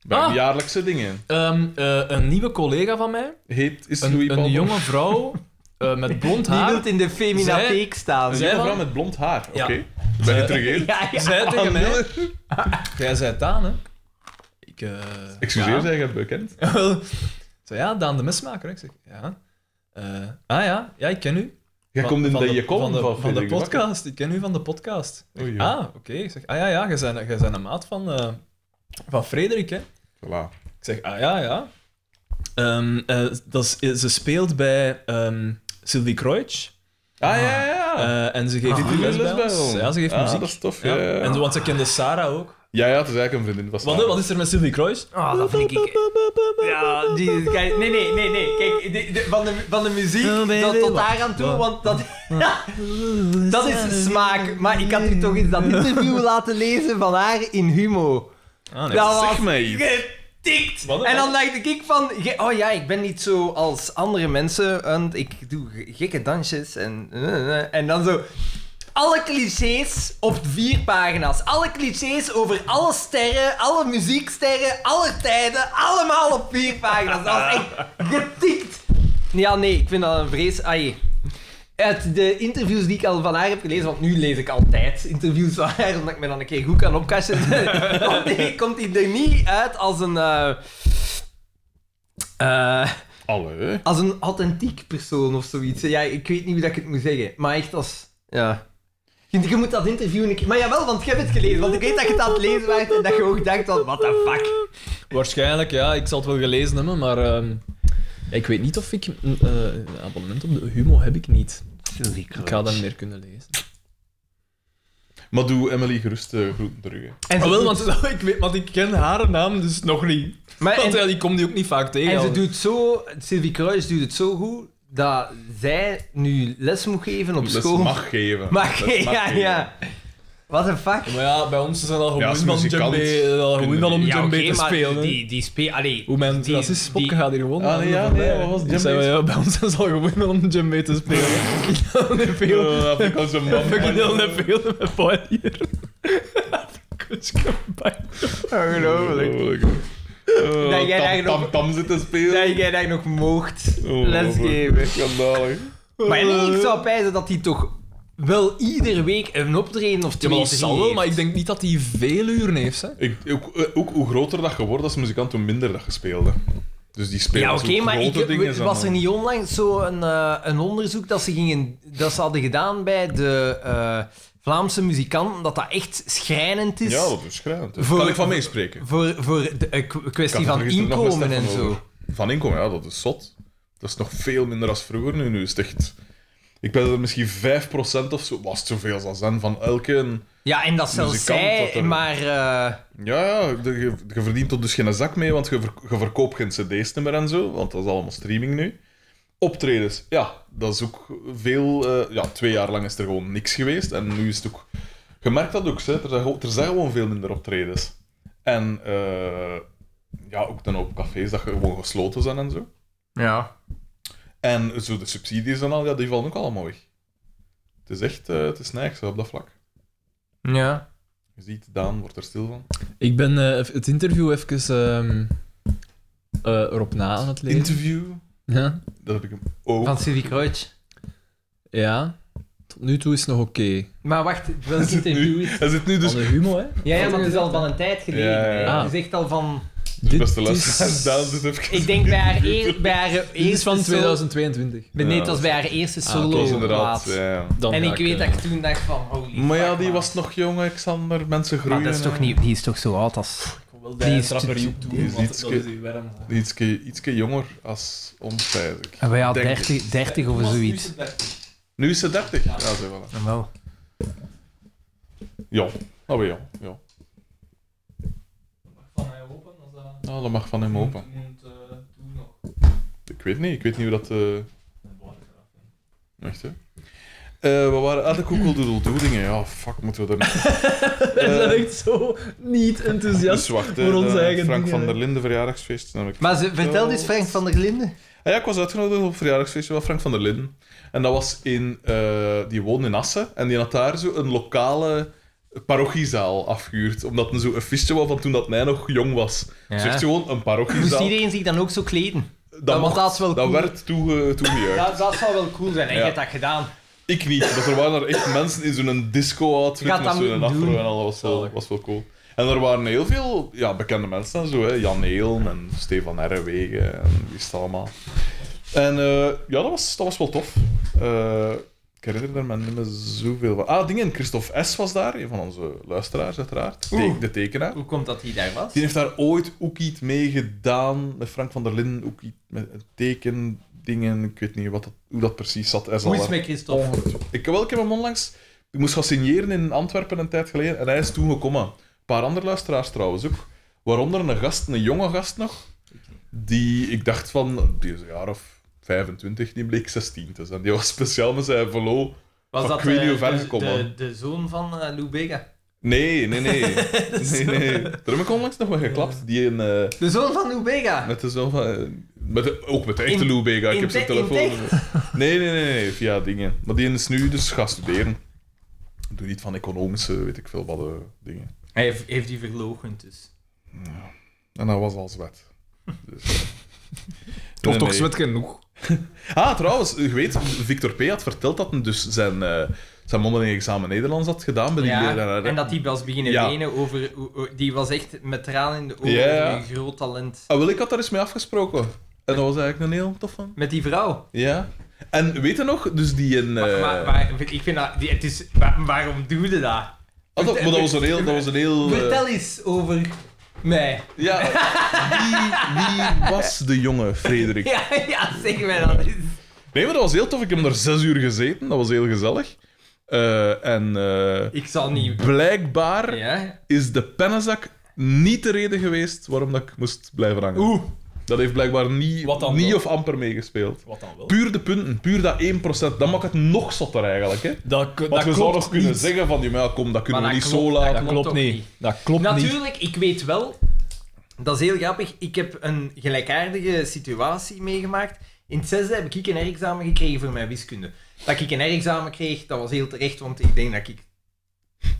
Speaker 2: Bij
Speaker 4: Ah.
Speaker 2: jaarlijkse dingen.
Speaker 4: Ehm, eh, een nieuwe collega van mij,
Speaker 2: Heet, is Louis
Speaker 4: een,
Speaker 2: Paul
Speaker 4: een
Speaker 2: Boon.
Speaker 4: jonge vrouw eh, met blond
Speaker 3: Die
Speaker 4: haar,
Speaker 3: wilt in de feminatheek staan.
Speaker 2: Een
Speaker 4: Zij
Speaker 2: jonge
Speaker 4: van-
Speaker 2: vrouw met blond haar. Oké.
Speaker 4: Ja.
Speaker 2: Ben je terug
Speaker 3: Ja, ja.
Speaker 4: zei tegen mij... Jij zei Daan, hè?
Speaker 6: ik, eh,
Speaker 2: Excuseer,
Speaker 4: Ja.
Speaker 2: zij gaat bekend.
Speaker 4: Wel, Zo ja, Daan de Mesmaker. hè? Ik zeg, ja. Eh, ah ja, ja, ik ken u.
Speaker 2: Jij
Speaker 4: Van-
Speaker 2: komt in
Speaker 4: van
Speaker 2: de je
Speaker 4: van
Speaker 2: komt
Speaker 4: de,
Speaker 2: van
Speaker 4: van de
Speaker 2: Frederik de Bakker.
Speaker 4: podcast. Ik ken u van de podcast. Ik zeg,
Speaker 2: Oei, oei.
Speaker 4: ah, oké. Ik zeg, ah ja, ja, jij bent, jij bent een maat van, eh, van Frederik, hè?
Speaker 2: Voilà.
Speaker 4: Ik zeg, ah ja, ja. Ehm, eh, dat is, ze speelt bij ehm, Sylvie Kreutsch.
Speaker 2: Ah ja, ja.
Speaker 4: Eh, en ze geeft
Speaker 2: Ah, die
Speaker 4: les bij
Speaker 2: lesbel.
Speaker 4: ons. Ja, ze geeft
Speaker 2: Ah,
Speaker 4: muziek.
Speaker 2: dat is tof,
Speaker 4: Ja.
Speaker 2: ja, ja.
Speaker 4: En, zo, want ze kende Sarah ook.
Speaker 2: ja, ja, het is eigenlijk een vriendin. Dat is
Speaker 4: Wat,
Speaker 2: waar.
Speaker 4: wat is er met Sylvie Kreutsch?
Speaker 3: Oh, dat vind ik... Ja, die, kijk, nee, nee, nee, nee. Kijk, de- de- van, de, van de muziek
Speaker 4: Oh, baby,
Speaker 3: tot, tot
Speaker 4: wat?
Speaker 3: daar aan toe, want dat, dat is smaak. Maar ik had u toch eens dat interview laten lezen van haar in Humo.
Speaker 4: Ah, nee.
Speaker 3: Dat was
Speaker 2: Zeg mij iets.
Speaker 3: getikt.
Speaker 4: Wat een-
Speaker 3: En dan dacht ik van... ge- Oh ja, ik ben niet zo als andere mensen, want ik doe ge- gekke dansjes en... eh, eh, En dan zo... Alle clichés op vier pagina's. Alle clichés over alle sterren, alle muzieksterren, alle tijden. Allemaal op vier pagina's. Dat was echt getikt. Ja, nee, ik vind dat een vrees. Ai. Uit de interviews die ik al van haar heb gelezen, want nu lees ik altijd interviews van haar, omdat ik me dan een keer goed kan opkassen, komt die- komt hij er niet uit als een, eh, eh,
Speaker 2: Allee.
Speaker 3: als een authentiek persoon of zoiets. Ja, ik weet niet hoe dat ik het moet zeggen, maar echt als... Ja. Je, je moet dat interview... een keer- Maar jawel, want jij hebt het gelezen, want ik weet dat je het aan het lezen bent en dat je ook denkt van, what the fuck.
Speaker 4: Waarschijnlijk, ja. Ik zal het wel gelezen hebben, maar... ehm, ja, ik weet niet of ik... Een eh, abonnement op de Humo heb ik niet. Ik ga dat niet meer kunnen lezen.
Speaker 2: Maar doe Emily gerust eh, groeten terug. hè.
Speaker 3: En ze
Speaker 4: Ah, wel,
Speaker 3: doet-
Speaker 4: want, ik weet, want ik ken haar naam dus nog niet.
Speaker 3: maar, en-
Speaker 4: Want ja, die komt die ook niet vaak tegen.
Speaker 3: En ze doet zo, Sylvie Kruis doet het zo goed dat zij nu les moet geven op
Speaker 2: Les
Speaker 3: school.
Speaker 2: mag geven.
Speaker 3: Mag,
Speaker 2: Les mag
Speaker 3: ja,
Speaker 2: geven.
Speaker 3: ja. Wat een fuck.
Speaker 4: Ja, Maar ja, bij ons zijn al
Speaker 2: Ja,
Speaker 4: gewoon
Speaker 2: als
Speaker 4: van
Speaker 2: muzikant
Speaker 4: djembe, eh, al gewoon
Speaker 2: kunnen
Speaker 4: al om
Speaker 2: die-
Speaker 4: djembe te spelen. hè.
Speaker 3: die speelt. Allee,
Speaker 4: Hoe mijn
Speaker 3: die-
Speaker 4: racistisch
Speaker 3: die-
Speaker 4: popke gaat hier gewoon.
Speaker 2: Ah,
Speaker 4: aan
Speaker 2: nee,
Speaker 4: de
Speaker 2: ja,
Speaker 4: voorbij.
Speaker 2: nee, wat was
Speaker 4: Ik
Speaker 2: djembe?
Speaker 4: zei, ja, bij ons is al gewoon al om djembe te spelen. Ik kan niet
Speaker 2: Eh,
Speaker 4: veel.
Speaker 2: dat vind ik als een man.
Speaker 4: Ik kan heel veel met boy hier. Kuscombine.
Speaker 3: Ongelooflijk.
Speaker 2: Ongelooflijk. Eh,
Speaker 3: Dat jij daar
Speaker 2: tam,
Speaker 3: nog-
Speaker 2: tam, tam zitten spelen.
Speaker 3: Dat jij daar nog moogt les
Speaker 2: Ongelooflijk.
Speaker 3: geven.
Speaker 2: Schandalig.
Speaker 3: Maar nee, ik
Speaker 2: Eh.
Speaker 3: zou pijzen dat hij toch wel iedere week een optreden of
Speaker 4: Ja,
Speaker 3: twee,
Speaker 4: maar dat
Speaker 3: drie
Speaker 4: zal wel,
Speaker 3: heeft.
Speaker 4: maar ik denk niet dat hij veel uren heeft. Hè.
Speaker 2: Ik, ook, eh, ook hoe groter dat je wordt als muzikant, hoe minder dat je speelde. Dus die spelen
Speaker 3: Ja,
Speaker 2: als
Speaker 3: oké,
Speaker 2: ook
Speaker 3: maar
Speaker 2: grote
Speaker 3: ik,
Speaker 2: dingen
Speaker 3: we-
Speaker 2: zijn
Speaker 3: was er
Speaker 2: dan-
Speaker 3: niet onlangs zo'n eh, een onderzoek dat ze, gingen, dat ze hadden gedaan bij de eh, Vlaamse muzikanten, dat dat echt schrijnend is
Speaker 2: Ja, dat is schrijnend. hè.
Speaker 3: Voor-
Speaker 2: Kan ik van meespreken?
Speaker 3: voor, voor de eh, k-
Speaker 2: Ik had
Speaker 3: kwestie
Speaker 2: er
Speaker 3: van
Speaker 2: gisteren nog met
Speaker 3: inkomen en
Speaker 2: Stefan over.
Speaker 3: zo.
Speaker 2: Van inkomen, ja, dat is zot. Dat is nog veel minder als vroeger nu. Nu is het echt... Ik ben er misschien 5% of zo, was het zoveel als zijn, van elke...
Speaker 3: Ja, en dat zelfs
Speaker 2: Muzikant
Speaker 3: zij,
Speaker 2: dat er-
Speaker 3: maar... eh,
Speaker 2: Ja, ja, de- je, je verdient er dus geen zak mee, want je, ver- je verkoopt geen cd's meer en zo, want dat is allemaal streaming nu. Optredens, ja, dat is ook veel... eh, ja, twee jaar lang is er gewoon niks geweest en nu is het ook... Je merkt dat ook, hè. Er, zijn, gewoon- er zijn gewoon veel minder optredens. En eh, ja, ook dan op cafés dat je gewoon gesloten zijn en zo.
Speaker 3: Ja.
Speaker 2: En zo de subsidies en al, ja, die vallen ook allemaal weg. Het is echt, eh, het is nergens hè, op dat vlak.
Speaker 3: Ja.
Speaker 2: Je ziet, Daan wordt er stil van.
Speaker 4: Ik ben eh, ev- het interview even ehm, eh, erop na aan het lezen.
Speaker 2: Interview,
Speaker 4: ja.
Speaker 2: dat heb ik hem ook.
Speaker 3: Van Silly Kreutz.
Speaker 4: ja. Tot nu toe is het nog oké.
Speaker 3: Maar wacht,
Speaker 2: Hij
Speaker 3: welk
Speaker 2: zit
Speaker 3: interview
Speaker 2: nu,
Speaker 3: is
Speaker 2: hij zit nu dus...
Speaker 4: Van de humo, hè?
Speaker 3: Ja, ja, maar het is al van een tijd geleden.
Speaker 2: Ja, ja,
Speaker 3: hè.
Speaker 4: ja.
Speaker 3: Het is echt al van...
Speaker 4: Dit
Speaker 2: Beste
Speaker 4: is-
Speaker 2: luisteraars, Daan zit even...
Speaker 3: Ik denk bij haar, eer, bij haar
Speaker 4: Dit is
Speaker 3: eerste
Speaker 4: van
Speaker 3: solo-
Speaker 4: 2022.
Speaker 3: Nee, het
Speaker 2: Ja.
Speaker 3: was bij haar eerste
Speaker 4: Ah, oké,
Speaker 2: Dat
Speaker 3: solo
Speaker 2: was
Speaker 3: plaat.
Speaker 2: inderdaad, eh, ja, ja.
Speaker 4: Dan
Speaker 3: En
Speaker 4: ga
Speaker 3: ik weet
Speaker 4: eh,
Speaker 3: dat ik toen dacht van... Holy
Speaker 2: Maar ja,
Speaker 3: fuck,
Speaker 2: die
Speaker 3: man.
Speaker 2: was nog jong, Alexander. Mensen groeien.
Speaker 3: Maar dat is toch
Speaker 2: en-
Speaker 3: niet... Die is toch zo oud als...
Speaker 6: Ik wil
Speaker 3: Die
Speaker 6: bij
Speaker 3: is-
Speaker 6: Trapper ook
Speaker 2: die
Speaker 6: doen,
Speaker 2: is
Speaker 6: want
Speaker 2: iets
Speaker 6: dat
Speaker 2: ge-
Speaker 6: is die warm.
Speaker 2: Ietske, ietske jonger als ons, eigenlijk.
Speaker 3: En wij hadden
Speaker 2: Denk
Speaker 3: 30, 30 of zoiets.
Speaker 6: Dus
Speaker 2: Nu is ze 30. Ja, ze wel.
Speaker 3: En wel.
Speaker 2: Ja, dat ben jong. Ja. Nou, dat eh, mag van hem open. Ik weet niet, ik weet niet hoe dat. eh Echt, hè? Eh, we waren aan de koekeldoedeldoe dingen. Ja, fuck, moeten we daar nog...
Speaker 4: We zijn
Speaker 2: Eh,
Speaker 4: echt zo niet enthousiast.
Speaker 2: Dus wacht, hè,
Speaker 4: voor ons
Speaker 2: de
Speaker 4: eigen
Speaker 2: Frank
Speaker 4: dingen,
Speaker 2: van
Speaker 4: hè.
Speaker 2: der Linden verjaardagsfeest. Dan heb ik-
Speaker 3: Maar ze, vertel eens Frank van der Linden.
Speaker 2: Ah ja, ik was uitgenodigd op het verjaardagsfeestje van Frank van der Linden. En dat was in... eh, die woonde in Assen. En die had daar zo een lokale parochiezaal afgehuurd. Omdat het zo een feestje was van toen dat hij nog jong was. Dus echt gewoon een
Speaker 3: Moest
Speaker 2: parochiezaal.
Speaker 3: iedereen zich dan ook zo kleden?
Speaker 2: Dat,
Speaker 3: want
Speaker 2: mocht-
Speaker 3: dat is wel cool.
Speaker 2: werd toege, toegejuicht.
Speaker 3: dat zou wel cool zijn. En
Speaker 2: je Ja. hebt
Speaker 3: dat gedaan.
Speaker 2: Ik niet, maar er waren er echt mensen in zo'n disco-outfit
Speaker 3: Gaat
Speaker 2: met
Speaker 3: dat
Speaker 2: zo'n
Speaker 3: moeten
Speaker 2: afro
Speaker 3: doen.
Speaker 2: en al, dat was wel,
Speaker 4: Zalig.
Speaker 2: was wel cool. En er waren heel veel ja, bekende mensen en zo, hè. Jan Heelen en Stefan Herrewegen en wie is het allemaal. En eh, ja, dat was, dat was wel tof. Eh, ik herinner me niet meer zoveel van. Ah, dingen, Christophe S. was daar, een van onze luisteraars uiteraard, Te-
Speaker 3: Oeh.
Speaker 2: de tekenaar.
Speaker 3: Hoe komt dat hij daar was?
Speaker 2: Die heeft daar ooit ook iets mee gedaan met Frank van der Linden, ook iets met tekendingen, ik weet niet wat dat, hoe dat precies zat. Hij zal
Speaker 3: Hoe is
Speaker 2: daar-
Speaker 3: het met Christophe?
Speaker 2: ik, wel, ik heb hem onlangs... Ik moest gaan signeren in Antwerpen een tijd geleden en hij is toen gekomen. Een paar andere luisteraars trouwens ook. Waaronder een gast, een jonge gast nog, die ik dacht van, die is een jaar of 25, die bleek 16 te zijn. Die was speciaal met zijn velo.
Speaker 3: Was
Speaker 2: Fuck,
Speaker 3: dat
Speaker 2: ik weet
Speaker 3: eh,
Speaker 2: niet hoe ver
Speaker 3: de-
Speaker 2: ze komen.
Speaker 3: de- De zoon van eh, Lou Bega.
Speaker 2: Nee, nee, nee. nee, nee. Daar heb ik onlangs nog mee geklapt. Die een, eh,
Speaker 3: De zoon van Lou Bega?
Speaker 2: met de zoon van... eh, met de- ook met de echte
Speaker 3: In-
Speaker 2: Lou Bega. Ik
Speaker 3: in
Speaker 2: heb zijn
Speaker 3: te- in
Speaker 2: telefoon. Nee, nee, nee, nee. Via dingen. Maar die is nu dus gaan studeren. Doe niet van economische, weet ik veel wat, eh, dingen.
Speaker 3: Hij heeft, heeft die verlogend dus.
Speaker 2: En dat was al zwet. Dus, eh.
Speaker 6: Toch
Speaker 2: Nee,
Speaker 6: toch
Speaker 2: nee.
Speaker 6: zwet genoeg.
Speaker 2: Ah, trouwens, je weet, Victor P. had verteld dat hij dus zijn, eh zijn mondeling examen Nederlands had gedaan bij die
Speaker 3: Ja,
Speaker 2: leraar, hè.
Speaker 3: en dat hij was beginnen
Speaker 2: Ja.
Speaker 3: wenen over... hoe- hoe- Die was echt met tranen in de ogen
Speaker 2: Ja, ja.
Speaker 3: over een groot talent.
Speaker 2: Ah, wel, ik had daar eens mee afgesproken. En dat was eigenlijk een heel tof van.
Speaker 3: Met die vrouw.
Speaker 2: Ja. En weet je nog, dus die een...
Speaker 3: Maar,
Speaker 2: eh,
Speaker 3: maar, maar ik vind dat... die- Het is, waar- waarom doe je dat?
Speaker 2: ah, dat, maar dat was een heel... Dat was een heel eh,
Speaker 3: Vertel eens over mij.
Speaker 2: ja. Wie, wie was de jonge Frederik?
Speaker 3: Ja, ja zeg mij dat eens.
Speaker 2: Nee, maar dat was heel tof. Ik heb daar zes uur gezeten. Dat was heel gezellig. Eh, en eh,
Speaker 3: Ik zal niet...
Speaker 2: blijkbaar...
Speaker 3: Ja?
Speaker 2: is de pennenzak niet de reden geweest waarom dat ik moest blijven hangen.
Speaker 6: Oeh.
Speaker 2: Dat heeft blijkbaar niet,
Speaker 6: Wat dan
Speaker 2: niet
Speaker 6: wel?
Speaker 2: of amper meegespeeld.
Speaker 6: Wat dan wel?
Speaker 2: Puur de punten, puur dat 1%, dat maakt het nog zotter eigenlijk. Hè?
Speaker 6: Dat, k-
Speaker 2: Want
Speaker 6: dat
Speaker 2: we
Speaker 6: klopt
Speaker 2: zouden nog kunnen
Speaker 6: niet.
Speaker 2: zeggen van, ja, maar ja, kom, dat kunnen
Speaker 3: Maar
Speaker 2: we
Speaker 3: dat
Speaker 2: niet
Speaker 3: klopt,
Speaker 2: zo
Speaker 3: dat
Speaker 2: laten.
Speaker 6: Dat
Speaker 3: Klopt
Speaker 6: klopt
Speaker 3: ook
Speaker 6: niet.
Speaker 3: niet.
Speaker 6: Dat klopt niet.
Speaker 3: Natuurlijk, ik weet wel... Dat is heel grappig. Ik heb een gelijkaardige situatie meegemaakt. In het zesde heb ik een herexamen gekregen voor mijn wiskunde. Dat ik een herexamen kreeg, dat was heel terecht, want ik denk dat ik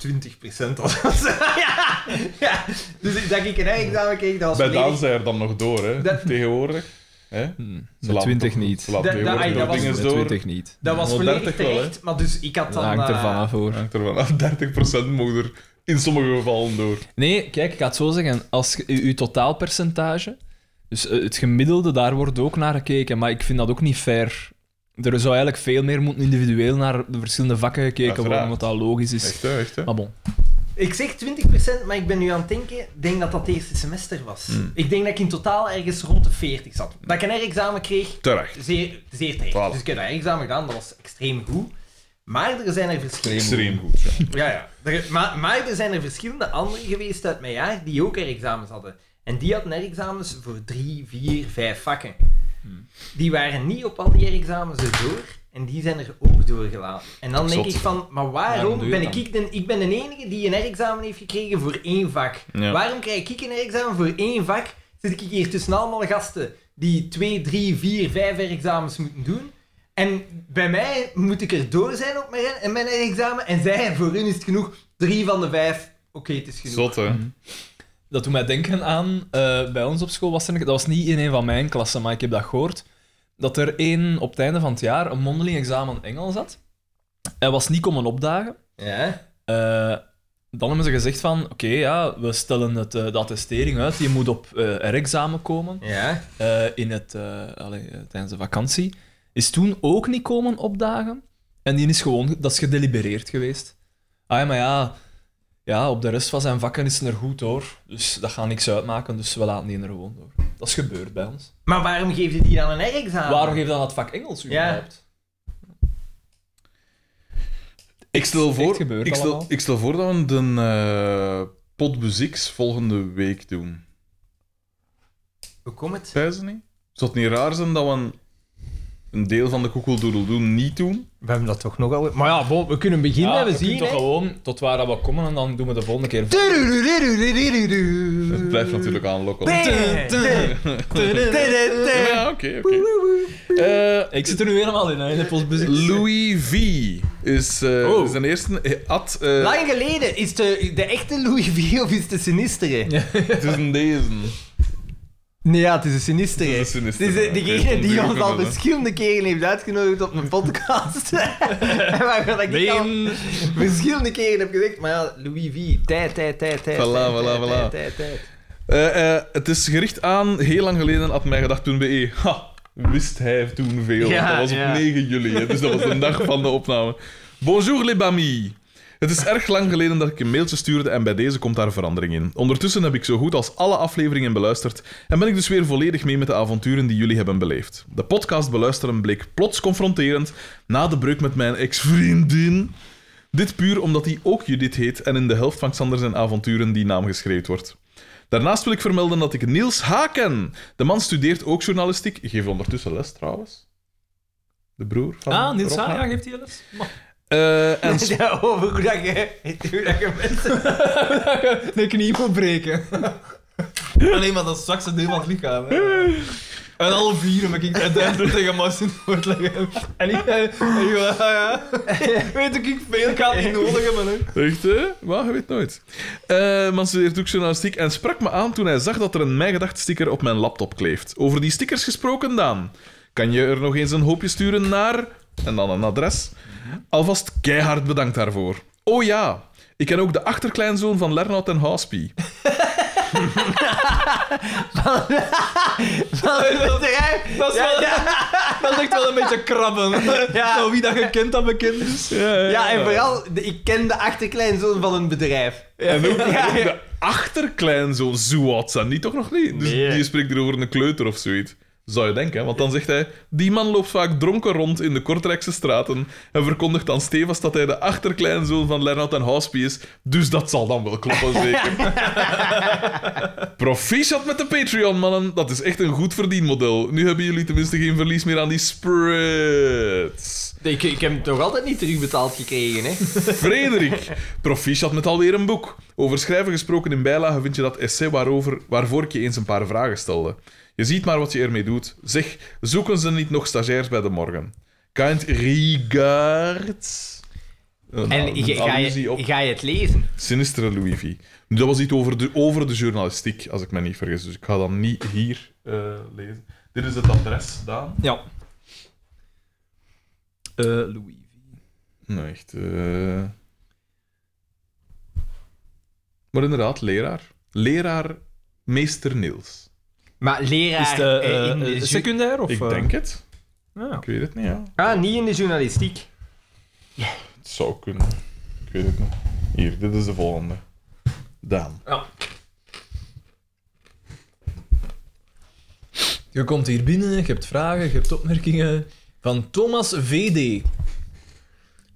Speaker 3: 20% was. ja, ja. Dus dat ik een herexamen kreeg, dat was
Speaker 2: Bij
Speaker 3: volledig-
Speaker 2: Daan zijn er dan nog door, hè?
Speaker 3: Dat-
Speaker 2: tegenwoordig. Hè? Ze
Speaker 6: Met
Speaker 2: laten
Speaker 6: 20
Speaker 2: toch-
Speaker 6: niet.
Speaker 2: Ze laten
Speaker 3: Dat-
Speaker 2: tegenwoordig
Speaker 3: dat-
Speaker 2: nog
Speaker 3: ah, dat was-
Speaker 2: dingen
Speaker 6: Met
Speaker 2: door.
Speaker 6: 20 niet.
Speaker 3: Dat was
Speaker 2: Wel,
Speaker 3: volledig
Speaker 2: 30 wel, hè?
Speaker 3: terecht, maar dus ik had
Speaker 6: Dat
Speaker 3: dan...
Speaker 6: hangt er
Speaker 3: eh,
Speaker 6: vanaf hoor.
Speaker 2: Hangt er vanaf. 30% mogen er in sommige gevallen door.
Speaker 4: Nee, kijk, ik ga het zo zeggen. Als je je totaalpercentage, dus eh, het gemiddelde, daar wordt ook naar gekeken. Maar ik vind dat ook niet fair. Er zou eigenlijk veel meer moeten individueel naar de verschillende vakken gekeken worden,
Speaker 2: Uiteraard.
Speaker 4: wat dat logisch is.
Speaker 2: Echt, hè? Echt, hè?
Speaker 4: Maar bon.
Speaker 3: Ik zeg 20%, maar ik ben nu aan het denken, ik denk dat dat het eerste semester was.
Speaker 2: Hmm.
Speaker 3: Ik denk dat ik in totaal ergens rond de 40 zat. Dat ik een R-examen kreeg,
Speaker 2: Terecht.
Speaker 3: zeer, zeer terecht.
Speaker 2: Voilà.
Speaker 3: Dus ik heb dat R-examen gedaan, dat was extreem goed. Maar er zijn er verschillende...
Speaker 2: Extreem goed. ja.
Speaker 3: Ja, ja. Er- maar, maar er zijn er verschillende anderen geweest uit mijn jaar die ook R-examens hadden. En die hadden R-examens voor drie, vier, vijf vakken. Die waren niet op al die R-examens erdoor. En die zijn er ook doorgelaten. En dan denk
Speaker 2: Zot.
Speaker 3: ik van, maar
Speaker 4: Waarom
Speaker 3: waarom
Speaker 4: doe je
Speaker 3: ben
Speaker 4: dat
Speaker 3: ik, ik, de, ik ben de enige die een herexamen heeft gekregen voor één vak.
Speaker 6: Ja.
Speaker 3: Waarom krijg ik een herexamen voor één vak? Zit ik hier tussen allemaal gasten die twee, drie, vier, vijf herexamens moeten doen? En bij mij moet ik er door zijn op mijn, en mijn herexamen. En zij, voor hun is het genoeg. Drie van de vijf, oké, het is genoeg.
Speaker 2: Zot, hè?
Speaker 4: Dat doet mij denken aan, eh, bij ons op school was er, een- dat was niet in een van mijn klassen, maar ik heb dat gehoord, dat er één op het einde van het jaar een mondeling examen Engels had. Hij was niet komen opdagen.
Speaker 3: Ja.
Speaker 4: Eh, dan hebben ze gezegd van, oké, ja, we stellen het, eh, de attestering uit, je moet op eh R-examen komen
Speaker 3: Ja.
Speaker 4: eh, in het, eh, allee, eh, tijdens de vakantie. Is toen ook niet komen opdagen en die is gewoon, dat is gedelibereerd geweest. Ah ja, maar ja, ja, op de rest van zijn vakken is hij er goed door, dus dat gaat niks uitmaken, dus we laten die er gewoon door. Dat is gebeurd bij ons.
Speaker 3: Maar waarom geeft je die dan een herexamen?
Speaker 4: Waarom geef je dan het vak Engels überhaupt?
Speaker 2: Ik stel,
Speaker 4: Echt
Speaker 2: voor,
Speaker 4: gebeurd
Speaker 2: ik, stel,
Speaker 4: allemaal.
Speaker 2: ik stel voor dat we de eh pot muzieks volgende week doen.
Speaker 3: Hoe komt het?
Speaker 2: Zijn ze niet? Zou het niet raar zijn dat we een, een deel van de koekeldoedeldoe niet doen?
Speaker 3: We hebben dat toch nogal... Maar ja, bon, we kunnen beginnen,
Speaker 4: Ja,
Speaker 3: we
Speaker 4: je kunt
Speaker 3: zien,
Speaker 4: toch
Speaker 3: hè.
Speaker 4: gewoon tot waar dat we komen en dan doen we de volgende keer.
Speaker 2: Het blijft
Speaker 3: Mm.
Speaker 2: natuurlijk aanlokken.
Speaker 3: Bam!
Speaker 2: Ja, oké, oké. Eh,
Speaker 4: Ik zit er nu helemaal in, hè, in de postbus.
Speaker 2: Louis V. is eh,
Speaker 4: Oh.
Speaker 2: zijn eerste... eh, Ad, eh,
Speaker 3: Lang geleden. Is de, de echte Louis V of is de sinistere?
Speaker 2: het is een deze.
Speaker 3: Nee, ja, het is de sinistere.
Speaker 2: Het is de sinistere,
Speaker 3: Het is de-
Speaker 2: oké,
Speaker 3: degene die
Speaker 2: onduidelijk
Speaker 3: ons al
Speaker 2: wel, hè.
Speaker 3: verschillende keren heeft uitgenodigd op een podcast. en waarvan ik al
Speaker 4: Been.
Speaker 3: verschillende keren heb gezegd, maar ja, Louis V, tijd, tijd, tijd, tijd.
Speaker 2: Voilà,
Speaker 3: tijd,
Speaker 2: voilà,
Speaker 3: tijd, tijd,
Speaker 2: voilà.
Speaker 3: tijd, tijd.
Speaker 2: Eh, eh, het is gericht aan, heel lang geleden had mij gedacht toen BE. Ha, wist hij toen veel.
Speaker 3: Ja,
Speaker 2: dat was op
Speaker 3: ja.
Speaker 2: 9 juli, hè, dus dat was de dag van de opname. Bonjour les bamis. Het is erg lang geleden dat ik een mailtje stuurde en bij deze komt daar verandering in. Ondertussen heb ik zo goed als alle afleveringen beluisterd en ben ik dus weer volledig mee met de avonturen die jullie hebben beleefd. De podcast beluisteren bleek plots confronterend na de breuk met mijn ex-vriendin. Dit puur omdat hij ook Judith heet en in de helft van Xander zijn avonturen die naam geschreven wordt. Daarnaast wil ik vermelden dat ik Niels Haken. De man studeert ook journalistiek. Geeft ondertussen les trouwens. De broer van.
Speaker 4: Ah, Niels
Speaker 2: Rob
Speaker 4: Haar,
Speaker 2: Haken.
Speaker 4: ja, geeft hij les?
Speaker 2: Eh, en
Speaker 3: Ja, over hoe dat je, hoe dat je mensen...
Speaker 6: De knie moet breken. Alleen maar dat is straks een deel van het lichaam. Hè. En alle vier heb ik uiteindelijk tegen Marcin voortleggen. En ik, eh, en ik ja, ja. Weet ik, ik veel, ik ga het niet nodig hebben. Hè.
Speaker 2: Echt, hè? Maar je weet nooit. Eh man studeert ook journalistiek en sprak me aan toen hij zag dat er een Mijn Gedacht sticker op mijn laptop kleeft. Over die stickers gesproken, Daan. Kan je er nog eens een hoopje sturen naar... En dan een adres. Alvast keihard bedankt daarvoor. Oh ja, ik ken ook de achterkleinzoon van Lernout en Haaspie.
Speaker 6: Dat is, wel, dat is echt wel een beetje krabben.
Speaker 3: Ja.
Speaker 6: Nou, wie dat je kent, dat bekend is.
Speaker 3: Ja, en vooral, de- ik ken de achterkleinzoon van een bedrijf.
Speaker 2: En ook,
Speaker 3: Ja,
Speaker 2: ook de achterkleinzoon, zo oud zijn die toch nog niet? Dus
Speaker 3: Nee.
Speaker 2: die spreekt hier over een kleuter of zoiets. Zou je denken, hè? want dan zegt hij... Die man loopt vaak dronken rond in de Kortrijkse straten en verkondigt dan stevast dat hij de achterkleinzoon van Lernat en Houspie is, dus dat zal dan wel kloppen, zeker. Proficiat met de Patreon, mannen. Dat is echt een goed verdienmodel. Nu hebben jullie tenminste geen verlies meer aan die spreads.
Speaker 3: Ik, ik heb hem toch altijd niet terugbetaald gekregen, hè?
Speaker 2: Frederik, proficiat met alweer een boek. Over schrijven gesproken in bijlage vind je dat essay waarover, waarvoor ik je eens een paar vragen stelde. Je ziet maar wat je ermee doet. Zeg, zoeken ze niet nog stagiairs bij de morgen? Kind regards. Een-
Speaker 3: En
Speaker 2: een
Speaker 3: ga- ga,
Speaker 2: allusie
Speaker 3: je,
Speaker 2: op
Speaker 3: ga je het lezen?
Speaker 2: Sinistere Louis V. Nu, Dat was iets over de, over de journalistiek, als ik me niet vergis. Dus ik ga dat niet hier eh, lezen. Dit is het adres, Daan.
Speaker 4: Ja. Eh, Louis.
Speaker 2: Nee, echt. eh. Maar inderdaad, leraar. Leraar meester Niels.
Speaker 3: Maar leraar
Speaker 4: Is het
Speaker 3: eh,
Speaker 4: eh,
Speaker 3: in de
Speaker 4: eh,
Speaker 3: ju-
Speaker 4: secundair of...
Speaker 2: ik
Speaker 4: eh,
Speaker 2: denk het.
Speaker 4: ja.
Speaker 2: Ik weet het niet, ja.
Speaker 3: Ah, niet in de journalistiek.
Speaker 2: Het zou kunnen. Ik weet het niet. Hier, dit is de volgende. Daan.
Speaker 4: Je komt hier binnen, je hebt vragen, je hebt opmerkingen van Thomas VD.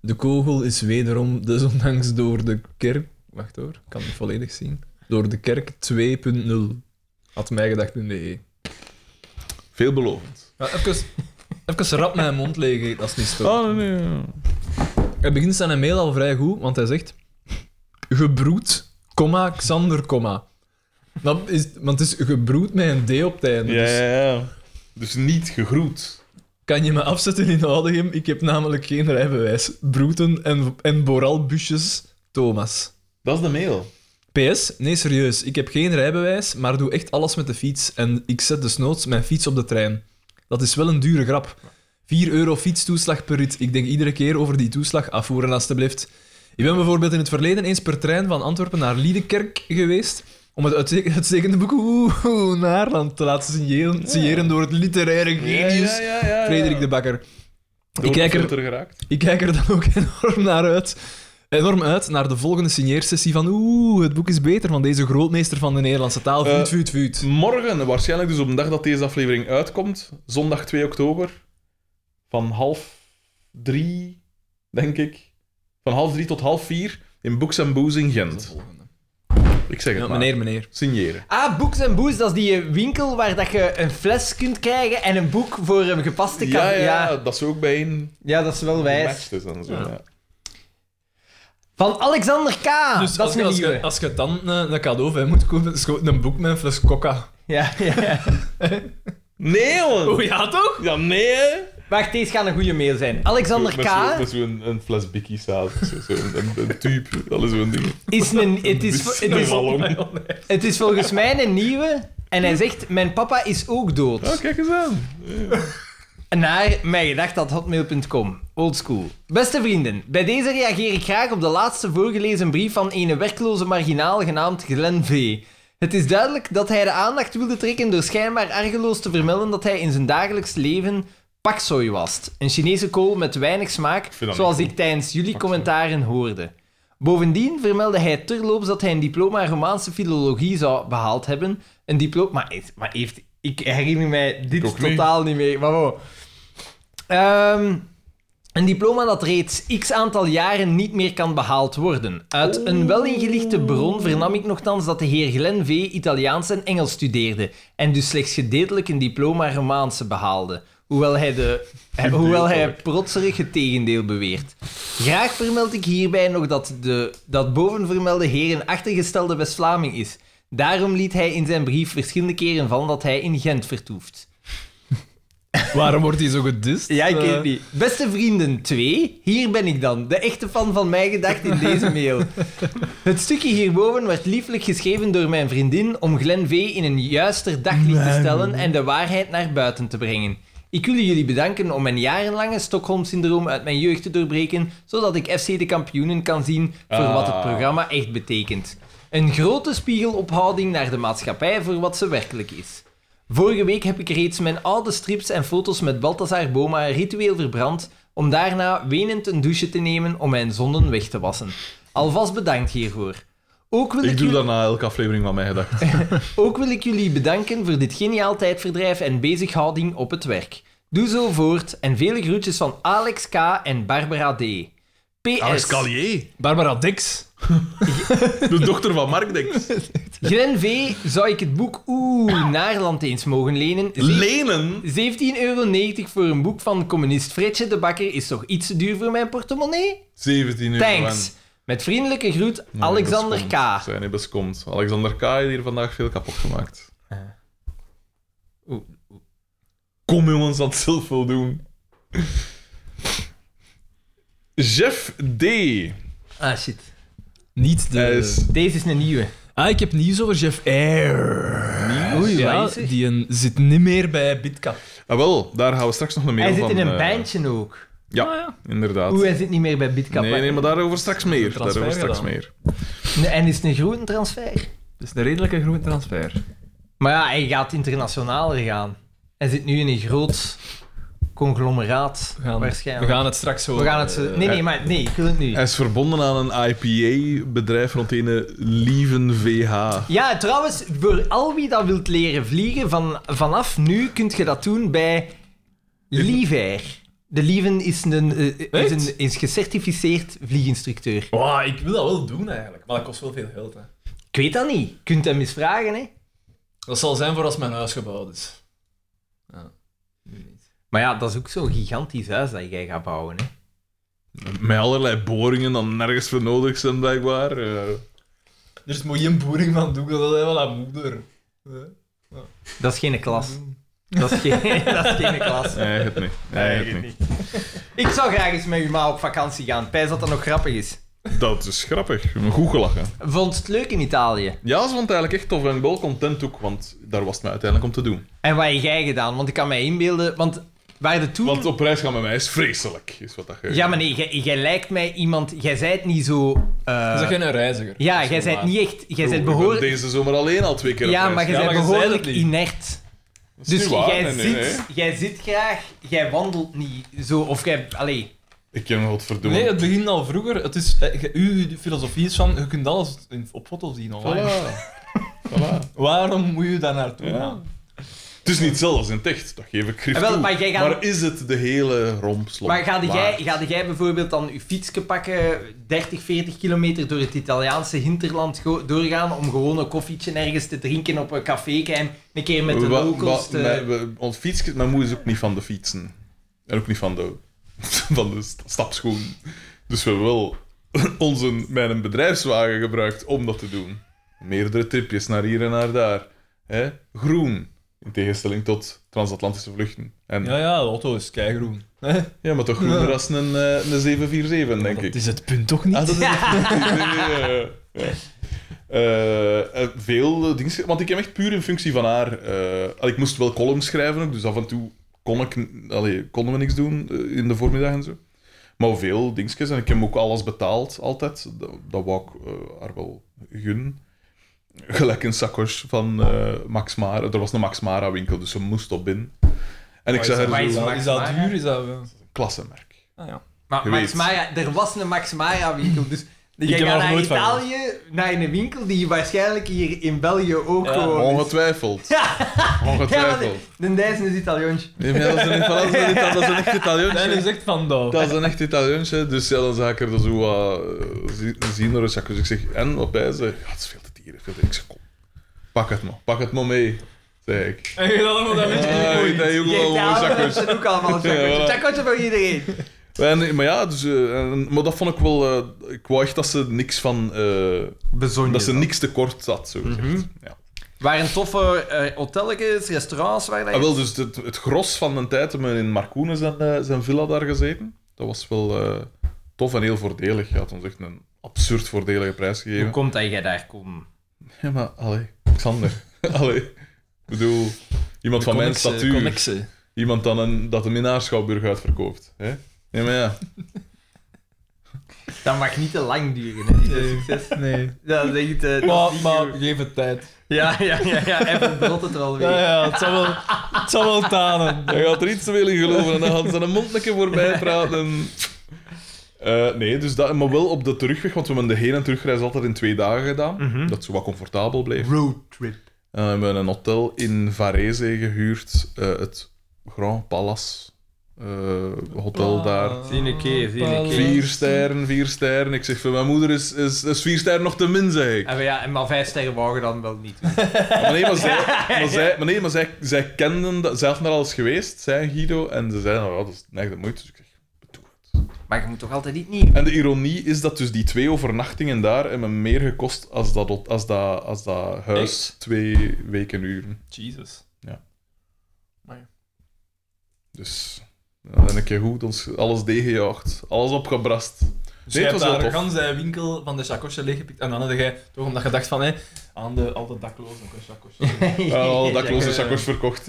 Speaker 4: De kogel is wederom, desondanks door de kerk... Wacht hoor, ik kan het volledig zien. Door de kerk 2.0. Had mijgedacht.be.
Speaker 2: Veelbelovend.
Speaker 4: Ja, E. even... Even rap mijn mond leeg eten, als het niet stoort.
Speaker 6: Oh, nee, nee.
Speaker 4: Hij begint zijn mail al vrij goed, want hij zegt... Gebroed, comma, Xander, comma. Dat is, want het is gebroed met een D op het einde.
Speaker 6: Ja,
Speaker 4: dus
Speaker 6: ja, ja.
Speaker 2: Dus niet gegroet.
Speaker 4: kan je me afzetten in Oudegem? Ik heb namelijk geen rijbewijs. Broeten en, en boralbusjes, Thomas.
Speaker 2: Dat is de mail.
Speaker 4: PS, nee serieus, ik heb geen rijbewijs, maar doe echt alles met de fiets. En ik zet desnoods mijn fiets op de trein. Dat is wel een dure grap. 4 euro fietstoeslag per rit. Ik denk iedere keer over die toeslag afvoeren, alstublieft. Ik ben bijvoorbeeld in het verleden eens per trein van Antwerpen naar Liedekerk geweest. om het uitste- uitstekende boek Oeh, naar land te laten signeren, signeren door het literaire genius
Speaker 2: ja, ja.
Speaker 4: Frederik de Bakker. Ik kijk er
Speaker 2: er geraakt.
Speaker 4: ik kijk er dan ook enorm naar uit. Enorm uit naar de volgende signeersessie van oeh, het boek is beter van deze grootmeester van de Nederlandse taal.
Speaker 2: Eh,
Speaker 4: Vuut, vuut, vuut.
Speaker 2: Morgen, waarschijnlijk dus op de dag dat deze aflevering uitkomt, zondag 2 oktober, van half drie, denk ik, van half drie tot half vier, in Books and Booze in Gent. Ik zeg het
Speaker 4: Ja,
Speaker 2: maar.
Speaker 4: meneer, meneer.
Speaker 2: Signeren.
Speaker 3: Ah, Books and Booze, dat is die winkel waar dat je een fles kunt krijgen en een boek voor een gepaste kan.
Speaker 2: Ja, ja,
Speaker 3: ja.
Speaker 2: dat ze ook bij een
Speaker 3: Ja, dat is wel wijs.
Speaker 2: match dus is en zo.
Speaker 4: Ja.
Speaker 2: ja.
Speaker 3: Van Alexander K.
Speaker 4: dus
Speaker 3: Ah, dat
Speaker 4: als,
Speaker 3: is een
Speaker 4: als,
Speaker 3: nieuwe.
Speaker 4: je, als je dan eh, een cadeau bij moet kopen, is gewoon een boek met een fles coca.
Speaker 3: Ja, ja.
Speaker 2: Nee, jongen.
Speaker 4: Oh ja, toch?
Speaker 2: Ja, nee, hè.
Speaker 3: Wacht, deze gaat een goede mail zijn. Alexander
Speaker 2: Met zo-
Speaker 3: K.
Speaker 2: Met zo'n een fles bikkie saus. Zo, zo, een, een, een tube, dat is zo'n ding. Dus
Speaker 3: Is een, het, is, vo- het,
Speaker 2: Een
Speaker 3: is,
Speaker 2: ballon.
Speaker 3: het is volgens mij een nieuwe. En hij zegt, mijn papa is ook dood.
Speaker 2: Oh, kijk eens aan.
Speaker 3: naar mijngedacht.hotmail.com. Oldschool. Beste vrienden, bij deze reageer ik graag op de laatste voorgelezen brief van een werkloze marginaal genaamd Glenn V. Het is duidelijk dat hij de aandacht wilde trekken door schijnbaar argeloos te vermelden dat hij in zijn dagelijks leven paksoi was. Een Chinese kool met weinig smaak,
Speaker 2: vind dat
Speaker 3: zoals
Speaker 2: niet
Speaker 3: ik tijdens jullie commentaren hoorde. Bovendien vermeldde hij terloops dat hij een diploma Romaanse filologie zou behaald hebben. Een diploma... Maar, is- maar heeft... Ik herinner mij dit
Speaker 2: ook niet.
Speaker 3: totaal niet meer. Maar wow. Ehm, een diploma dat reeds x aantal jaren niet meer kan behaald worden. Uit een welingelichte bron vernam ik nogthans dat de heer Glenn V. Italiaans en Engels studeerde en dus slechts gedeeltelijk een diploma Romaanse behaalde, hoewel hij, de, eh, hoewel hij protserig het tegendeel beweert. Graag vermeld ik hierbij nog dat de dat bovenvermelde heer een achtergestelde West-Vlaming is. Daarom liet hij in zijn brief verschillende keren van dat hij in Gent vertoeft.
Speaker 4: Waarom wordt hij zo gedist?
Speaker 3: Ja, ik weet
Speaker 4: Eh,
Speaker 3: het niet. Beste vrienden 2, hier ben ik dan. De echte fan van mij gedacht in deze mail. Het stukje hierboven werd lieflijk geschreven door mijn vriendin om Glen V in een juister daglicht te stellen en de waarheid naar buiten te brengen. Ik wil jullie bedanken om mijn jarenlange Stockholm-syndroom uit mijn jeugd te doorbreken, zodat ik FC de kampioenen kan zien voor wat het
Speaker 2: Ah.
Speaker 3: programma echt betekent. Een grote spiegelophouding naar de maatschappij voor wat ze werkelijk is. Vorige week heb ik reeds mijn oude strips en foto's met Balthazar Boma ritueel verbrand, om daarna wenend een douche te nemen om mijn zonden weg te wassen. Alvast bedankt hiervoor. Ook wil ik,
Speaker 2: Ik doe
Speaker 3: jullie-
Speaker 2: dat na elke aflevering van mijn gedachten.
Speaker 3: ook wil ik jullie bedanken voor dit geniaal tijdverdrijf en bezighouding op het werk. Doe zo voort en vele groetjes van Alex K. en Barbara D. PS.
Speaker 2: Escalier.
Speaker 4: Barbara Dix.
Speaker 2: De dochter van Mark Dix.
Speaker 3: Glen V. zou ik het boek Oeh, Naarland eens mogen lenen? Zeker-
Speaker 2: Lenen.
Speaker 3: 17,90 euro voor een boek van communist Fritje de Bakker is toch iets te duur voor mijn portemonnee?
Speaker 2: 17 uur.
Speaker 3: Thanks. Met vriendelijke groet, Alexander K.
Speaker 2: Zijn hij beskomt. Alexander K. heeft hier vandaag veel kapot gemaakt.
Speaker 3: Eh. Oeh.
Speaker 2: Kom jongens, dat zelf wel doen. Jeff D.
Speaker 3: Ah shit.
Speaker 4: Niet de...
Speaker 2: Hij is...
Speaker 3: Deze is een nieuwe.
Speaker 4: Ah, ik heb nieuws over Jeff Air. Oei, ja,
Speaker 3: Jezus.
Speaker 4: die een, zit niet meer bij Bitcap.
Speaker 2: Ah, wel, daar gaan we straks nog een mail
Speaker 3: Hij
Speaker 2: van...
Speaker 3: zit in een
Speaker 2: eh,
Speaker 3: bandje Oh, ook.
Speaker 2: Ja,
Speaker 4: Ah, ja.
Speaker 2: inderdaad.
Speaker 3: Oeh, hij zit niet meer bij Bitcap.
Speaker 2: nee, nee, maar daarover straks meer.
Speaker 4: Transfer
Speaker 2: Daarover straks
Speaker 4: gedaan.
Speaker 2: meer.
Speaker 3: En is het een groene transfer?
Speaker 4: Dat is een redelijke groene transfer.
Speaker 3: Maar ja, hij gaat internationaler gaan. Hij zit nu in een groot conglomeraat,
Speaker 4: We gaan, we
Speaker 3: waarschijnlijk.
Speaker 4: gaan het straks horen.
Speaker 3: We gaan het... zo- Nee,
Speaker 2: eh,
Speaker 3: nee, maar nee, ik wil het nu.
Speaker 2: Hij is verbonden aan een IPA-bedrijf rond ene Lieven VH.
Speaker 3: Ja, trouwens, voor al wie dat wilt leren vliegen, van, vanaf nu kunt je dat doen bij Liever. De Lieven is een, eh, is
Speaker 4: Echt?
Speaker 3: een is gecertificeerd vlieginstructeur.
Speaker 4: Wow, ik wil dat wel doen eigenlijk, maar dat kost wel veel geld. Hè.
Speaker 3: Ik weet dat niet. Je kunt hem eens vragen, hè.
Speaker 4: Dat zal zijn voor als mijn huis gebouwd is. Ja, nu niet.
Speaker 3: Maar ja, dat is ook zo'n gigantisch huis dat jij gaat bouwen. Hè?
Speaker 2: Met allerlei boringen dan nergens voor nodig zijn, blijkbaar. eh.
Speaker 6: Er is mooi een boering van doen, dat is wel haar moeder.
Speaker 3: Dat is geen klas. Dat is geen, dat is geen klas.
Speaker 2: Nee, het niet. Nee, het niet.
Speaker 3: Ik zou graag eens met uw ma op vakantie gaan. Pijs dat dat nog grappig is.
Speaker 2: Dat is grappig. Ik heb Goed gelachen.
Speaker 3: Vond het leuk in Italië?
Speaker 2: Ja, ze vond het eigenlijk echt tof en wel content ook, want daar was het mij uiteindelijk om te doen.
Speaker 3: En wat heb jij gedaan? Want ik kan mij inbeelden... Want waar de toen...
Speaker 2: Want op reis gaan met mij is vreselijk, is wat dat geeft.
Speaker 3: Ja, maar nee, jij- jij lijkt mij iemand... Jij zijt niet zo... eh,
Speaker 4: Zeg jij een reiziger?
Speaker 3: ja, jij
Speaker 4: bent
Speaker 3: zijt niet echt... Jij
Speaker 2: Ik
Speaker 3: zijt
Speaker 2: ben
Speaker 3: behoorlijk...
Speaker 2: deze zomer alleen al twee keer op
Speaker 3: Ja,
Speaker 2: reis
Speaker 3: maar jij
Speaker 4: Ja,
Speaker 3: bent
Speaker 4: maar jij zei
Speaker 3: behoorlijk
Speaker 4: dat niet.
Speaker 3: inert.
Speaker 2: Dat is
Speaker 3: Dus
Speaker 2: niet waar,
Speaker 3: jij,
Speaker 2: nee, nee,
Speaker 3: zit,
Speaker 2: nee.
Speaker 3: jij zit graag, jij wandelt niet zo. Of jij. Allee.
Speaker 2: Ik ken wat verdoen.
Speaker 6: Nee, het begint al vroeger. Het is, eh, ge- uw filosofie is van, je kunt alles in- op foto zien online.
Speaker 2: Voilà. Voilà.
Speaker 6: Waarom moet je daar naartoe
Speaker 2: Ja.
Speaker 6: gaan?
Speaker 2: Het is niet zelfs in ticht, dat geef ik grif
Speaker 3: Ah, wel,
Speaker 2: toe.
Speaker 3: maar jij gaat-
Speaker 2: Maar is het de hele rompslomp?
Speaker 3: Maar ga
Speaker 2: waard?
Speaker 3: jij, ga jij bijvoorbeeld dan je fietsje pakken, 30, 40 kilometer door het Italiaanse hinterland go- doorgaan om gewoon een koffietje ergens te drinken op een café en een keer met de
Speaker 2: Wa- wa-
Speaker 3: locals te...
Speaker 2: mijn- we- Ons fietsje, mijn moeder is dus ook niet van de fietsen. En ook niet van de, van de st- stapschoen. Dus we hebben wel onze, mijn bedrijfswagen gebruikt om dat te doen. Meerdere tripjes naar hier en naar daar. hè? Groen. In tegenstelling tot transatlantische vluchten. En, ja.
Speaker 6: Ja, ja, de auto is keigroen.
Speaker 2: maar toch groener als een, eh, een 747, denk ik.
Speaker 6: Dat is het punt toch niet?
Speaker 2: Ah, dat is ja. Ja. Eh, eh, veel eh, dingen. schrijven, Want ik heb echt puur in functie van haar. eh, al, ik moest wel columns schrijven ook, dus af en toe kon ik, n- allee, konden we niks doen eh, in de voormiddag en zo. Maar veel dingetjes. En ik heb ook alles betaald, altijd. Dat, dat wou ik eh, haar wel gunnen. Gelijk een sakkos van eh, Max Mara. Er was een Max Mara winkel, dus ze moest op binnen. En
Speaker 3: Oh,
Speaker 2: ik
Speaker 6: Is dat-
Speaker 2: zei haar
Speaker 3: waar
Speaker 2: zo,
Speaker 6: is dat- Is dat
Speaker 3: Max
Speaker 6: duur? Is dat... wel-
Speaker 2: klassenmerk.
Speaker 6: Ah, ja.
Speaker 3: maar
Speaker 2: je
Speaker 3: Max
Speaker 2: weet.
Speaker 3: Mara, er was een Max Mara winkel, dus jij
Speaker 6: heb er
Speaker 3: gaat
Speaker 6: nog
Speaker 3: naar
Speaker 6: nooit van
Speaker 3: Italië, naar een winkel die waarschijnlijk hier in België ook
Speaker 6: Ja.
Speaker 3: gewoon... Oh, is.
Speaker 2: Ongetwijfeld.
Speaker 3: Ja, maar
Speaker 2: Ongetwijfeld.
Speaker 3: de, de Dijs is Italiaans.
Speaker 2: Nee, maar dat is een, dat is een, dat is een echt Italiaans.
Speaker 6: En is echt van dat.
Speaker 2: Dat is een echt Italiaans, hè. dus ja, dan zou ik er zo wat eh, zi- zien door een zak. Dus ik zeg, en wat bij ze? Ja, het is veel te dieren. Veel te... Ik zeg, kom, pak het maar, pak het maar mee, zeg ik.
Speaker 6: En je dan nog dat weet je niet
Speaker 2: Ah,
Speaker 6: ooit.
Speaker 2: ik denk, jongen,
Speaker 3: Geeft
Speaker 2: gewoon
Speaker 3: aan,
Speaker 2: zakjes.
Speaker 3: mensen ook allemaal een zakkootje.
Speaker 2: Ja, voilà.
Speaker 3: Zakkootje voor iedereen.
Speaker 2: En, maar ja, dus, eh, en- maar dat vond ik wel... eh, ik wou echt dat ze niks van... eh, dat ze niks tekort zat, zo gezegd. ja.
Speaker 3: Waren toffe eh hotelletjes, restaurants waar dat
Speaker 2: Ah, wel, dus het, het gros van mijn tijd hebben we in Marcoene zijn, eh, zijn villa daar gezeten. Dat was wel eh, tof en heel voordelig. Je had ons echt een absurd voordelige prijs gegeven.
Speaker 3: Hoe komt dat jij daar komt?
Speaker 2: Ja, maar allee, Xander. allee. Ik bedoel, iemand van mijn statuur.
Speaker 4: Connexen.
Speaker 2: Iemand dan een, dat hem in haar schouwburg uitverkoopt. Hè? Ja, maar ja.
Speaker 3: Dat mag niet te lang duren, hè, dit succes.
Speaker 6: Nee.
Speaker 3: Ja, dat is echt, eh, dat is
Speaker 6: Maar,
Speaker 3: niet
Speaker 6: maar
Speaker 3: goed.
Speaker 6: geef het tijd.
Speaker 3: Ja, ja, ja, ja, even brot het er alweer.
Speaker 6: Ja, ja, het zal wel, het zal wel tanen.
Speaker 2: Hij gaat er iets te veel in geloven en dan gaat zijn mond een keer voorbij praten. Eh, nee, dus dat, maar wel op de terugweg, want we hebben de heen- en terugreis altijd in twee dagen gedaan. Dat zo wat comfortabel bleef.
Speaker 3: Roadtrip.
Speaker 2: En we hebben een hotel in Varese gehuurd, eh, het Grand Palace eh, Hotel daar.
Speaker 3: Zie een keer, zie een keer.
Speaker 2: Vier sterren, vier sterren. Ik zeg van mijn moeder is, is, is vier sterren nog te min, zeg ik.
Speaker 3: En Ah, maar ja, en maar vijf sterren wouden dan wel niet.
Speaker 2: Maar nee, maar, zij, maar, zij, maar, nee, maar zij, zij kenden dat, zij hadden daar al eens geweest, zij en Guido, en ze zeiden, oh, dat is echt de moeite. Dus ik zeg, doe het.
Speaker 3: Maar je moet toch altijd iets nieuw.
Speaker 2: En de ironie is dat dus die twee overnachtingen daar hebben me meer gekost als dat, hot- als dat, als dat huis
Speaker 6: Echt?
Speaker 2: twee weken uren.
Speaker 6: Jesus.
Speaker 2: Dus dan ben ik je goed, ons alles deeggejaagd, alles opgebrast.
Speaker 6: Dus jij
Speaker 2: Nee, het
Speaker 6: hebt
Speaker 2: was wel
Speaker 6: daar gans
Speaker 2: tof.
Speaker 6: de winkel van de chacosje leeggepikt. En dan had jij toch omdat je dacht van, hé, aan de, al de daklozen ook een chacosje.
Speaker 2: Ja, al dakloze zakkers verkocht.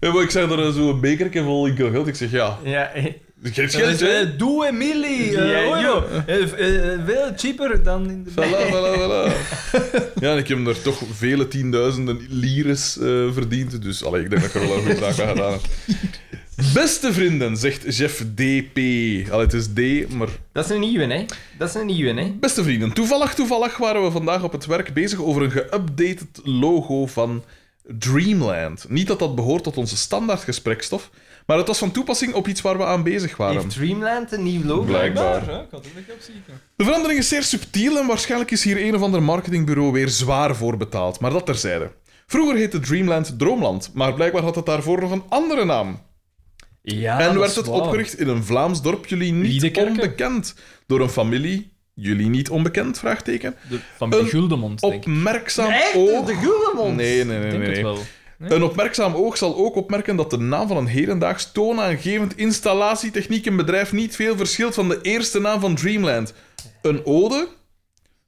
Speaker 2: Ja, maar ik zeg er zo'n bekertje vol enkel geld. Ik zeg, ja,
Speaker 3: Ja, eh,
Speaker 2: geef
Speaker 6: Dat
Speaker 2: geld,
Speaker 6: is,
Speaker 2: hè.
Speaker 6: eh, Doe Emily! eh,
Speaker 3: Ja,
Speaker 6: oh,
Speaker 3: ja.
Speaker 6: joh. Eh, eh, eh, Veel cheaper dan in de...
Speaker 2: Voilà, voilà, voilà. Ja, en ik heb er toch vele tienduizenden lires eh, verdiend. Dus allee, ik denk dat ik er wel een goede zaak aan gedaan heb. Beste vrienden, zegt Jeff DP. Allee, het is D, maar
Speaker 3: dat is een nieuwe, hè? Dat is een nieuwe, hè?
Speaker 2: Beste vrienden, toevallig, toevallig waren we vandaag op het werk bezig over een geüpdatet logo van Dreamland. Niet dat dat behoort tot onze standaard gesprekstof, maar het was van toepassing op iets waar we aan bezig waren.
Speaker 3: Heeft Dreamland een nieuw logo?
Speaker 2: Blijkbaar.
Speaker 6: hè? Ik had het niet opzien.
Speaker 2: De verandering is zeer subtiel en waarschijnlijk is hier een of ander marketingbureau weer zwaar voor betaald, maar dat terzijde. Vroeger heette Dreamland Droomland, maar blijkbaar had het daarvoor nog een andere naam.
Speaker 4: Ja,
Speaker 2: en
Speaker 4: Ah, dat
Speaker 2: werd
Speaker 4: is
Speaker 2: het
Speaker 4: waar.
Speaker 2: opgericht in een Vlaams dorp, jullie niet
Speaker 4: Liedekerke?
Speaker 2: onbekend. Door een familie, jullie niet onbekend, vraagteken.
Speaker 4: De familie
Speaker 2: Een
Speaker 4: Guldemond, denk ik.
Speaker 2: Opmerkzaam
Speaker 3: Echt?
Speaker 2: oog...
Speaker 3: De Goelemond?
Speaker 2: Oh. Nee, nee,
Speaker 4: Ik
Speaker 2: nee.
Speaker 4: denk
Speaker 2: nee, nee.
Speaker 4: het wel.
Speaker 2: Een opmerkzaam oog zal ook opmerken dat de naam van een hedendaags toonaangevend installatietechniek en bedrijf niet veel verschilt van de eerste naam van Dreamland. Een ode?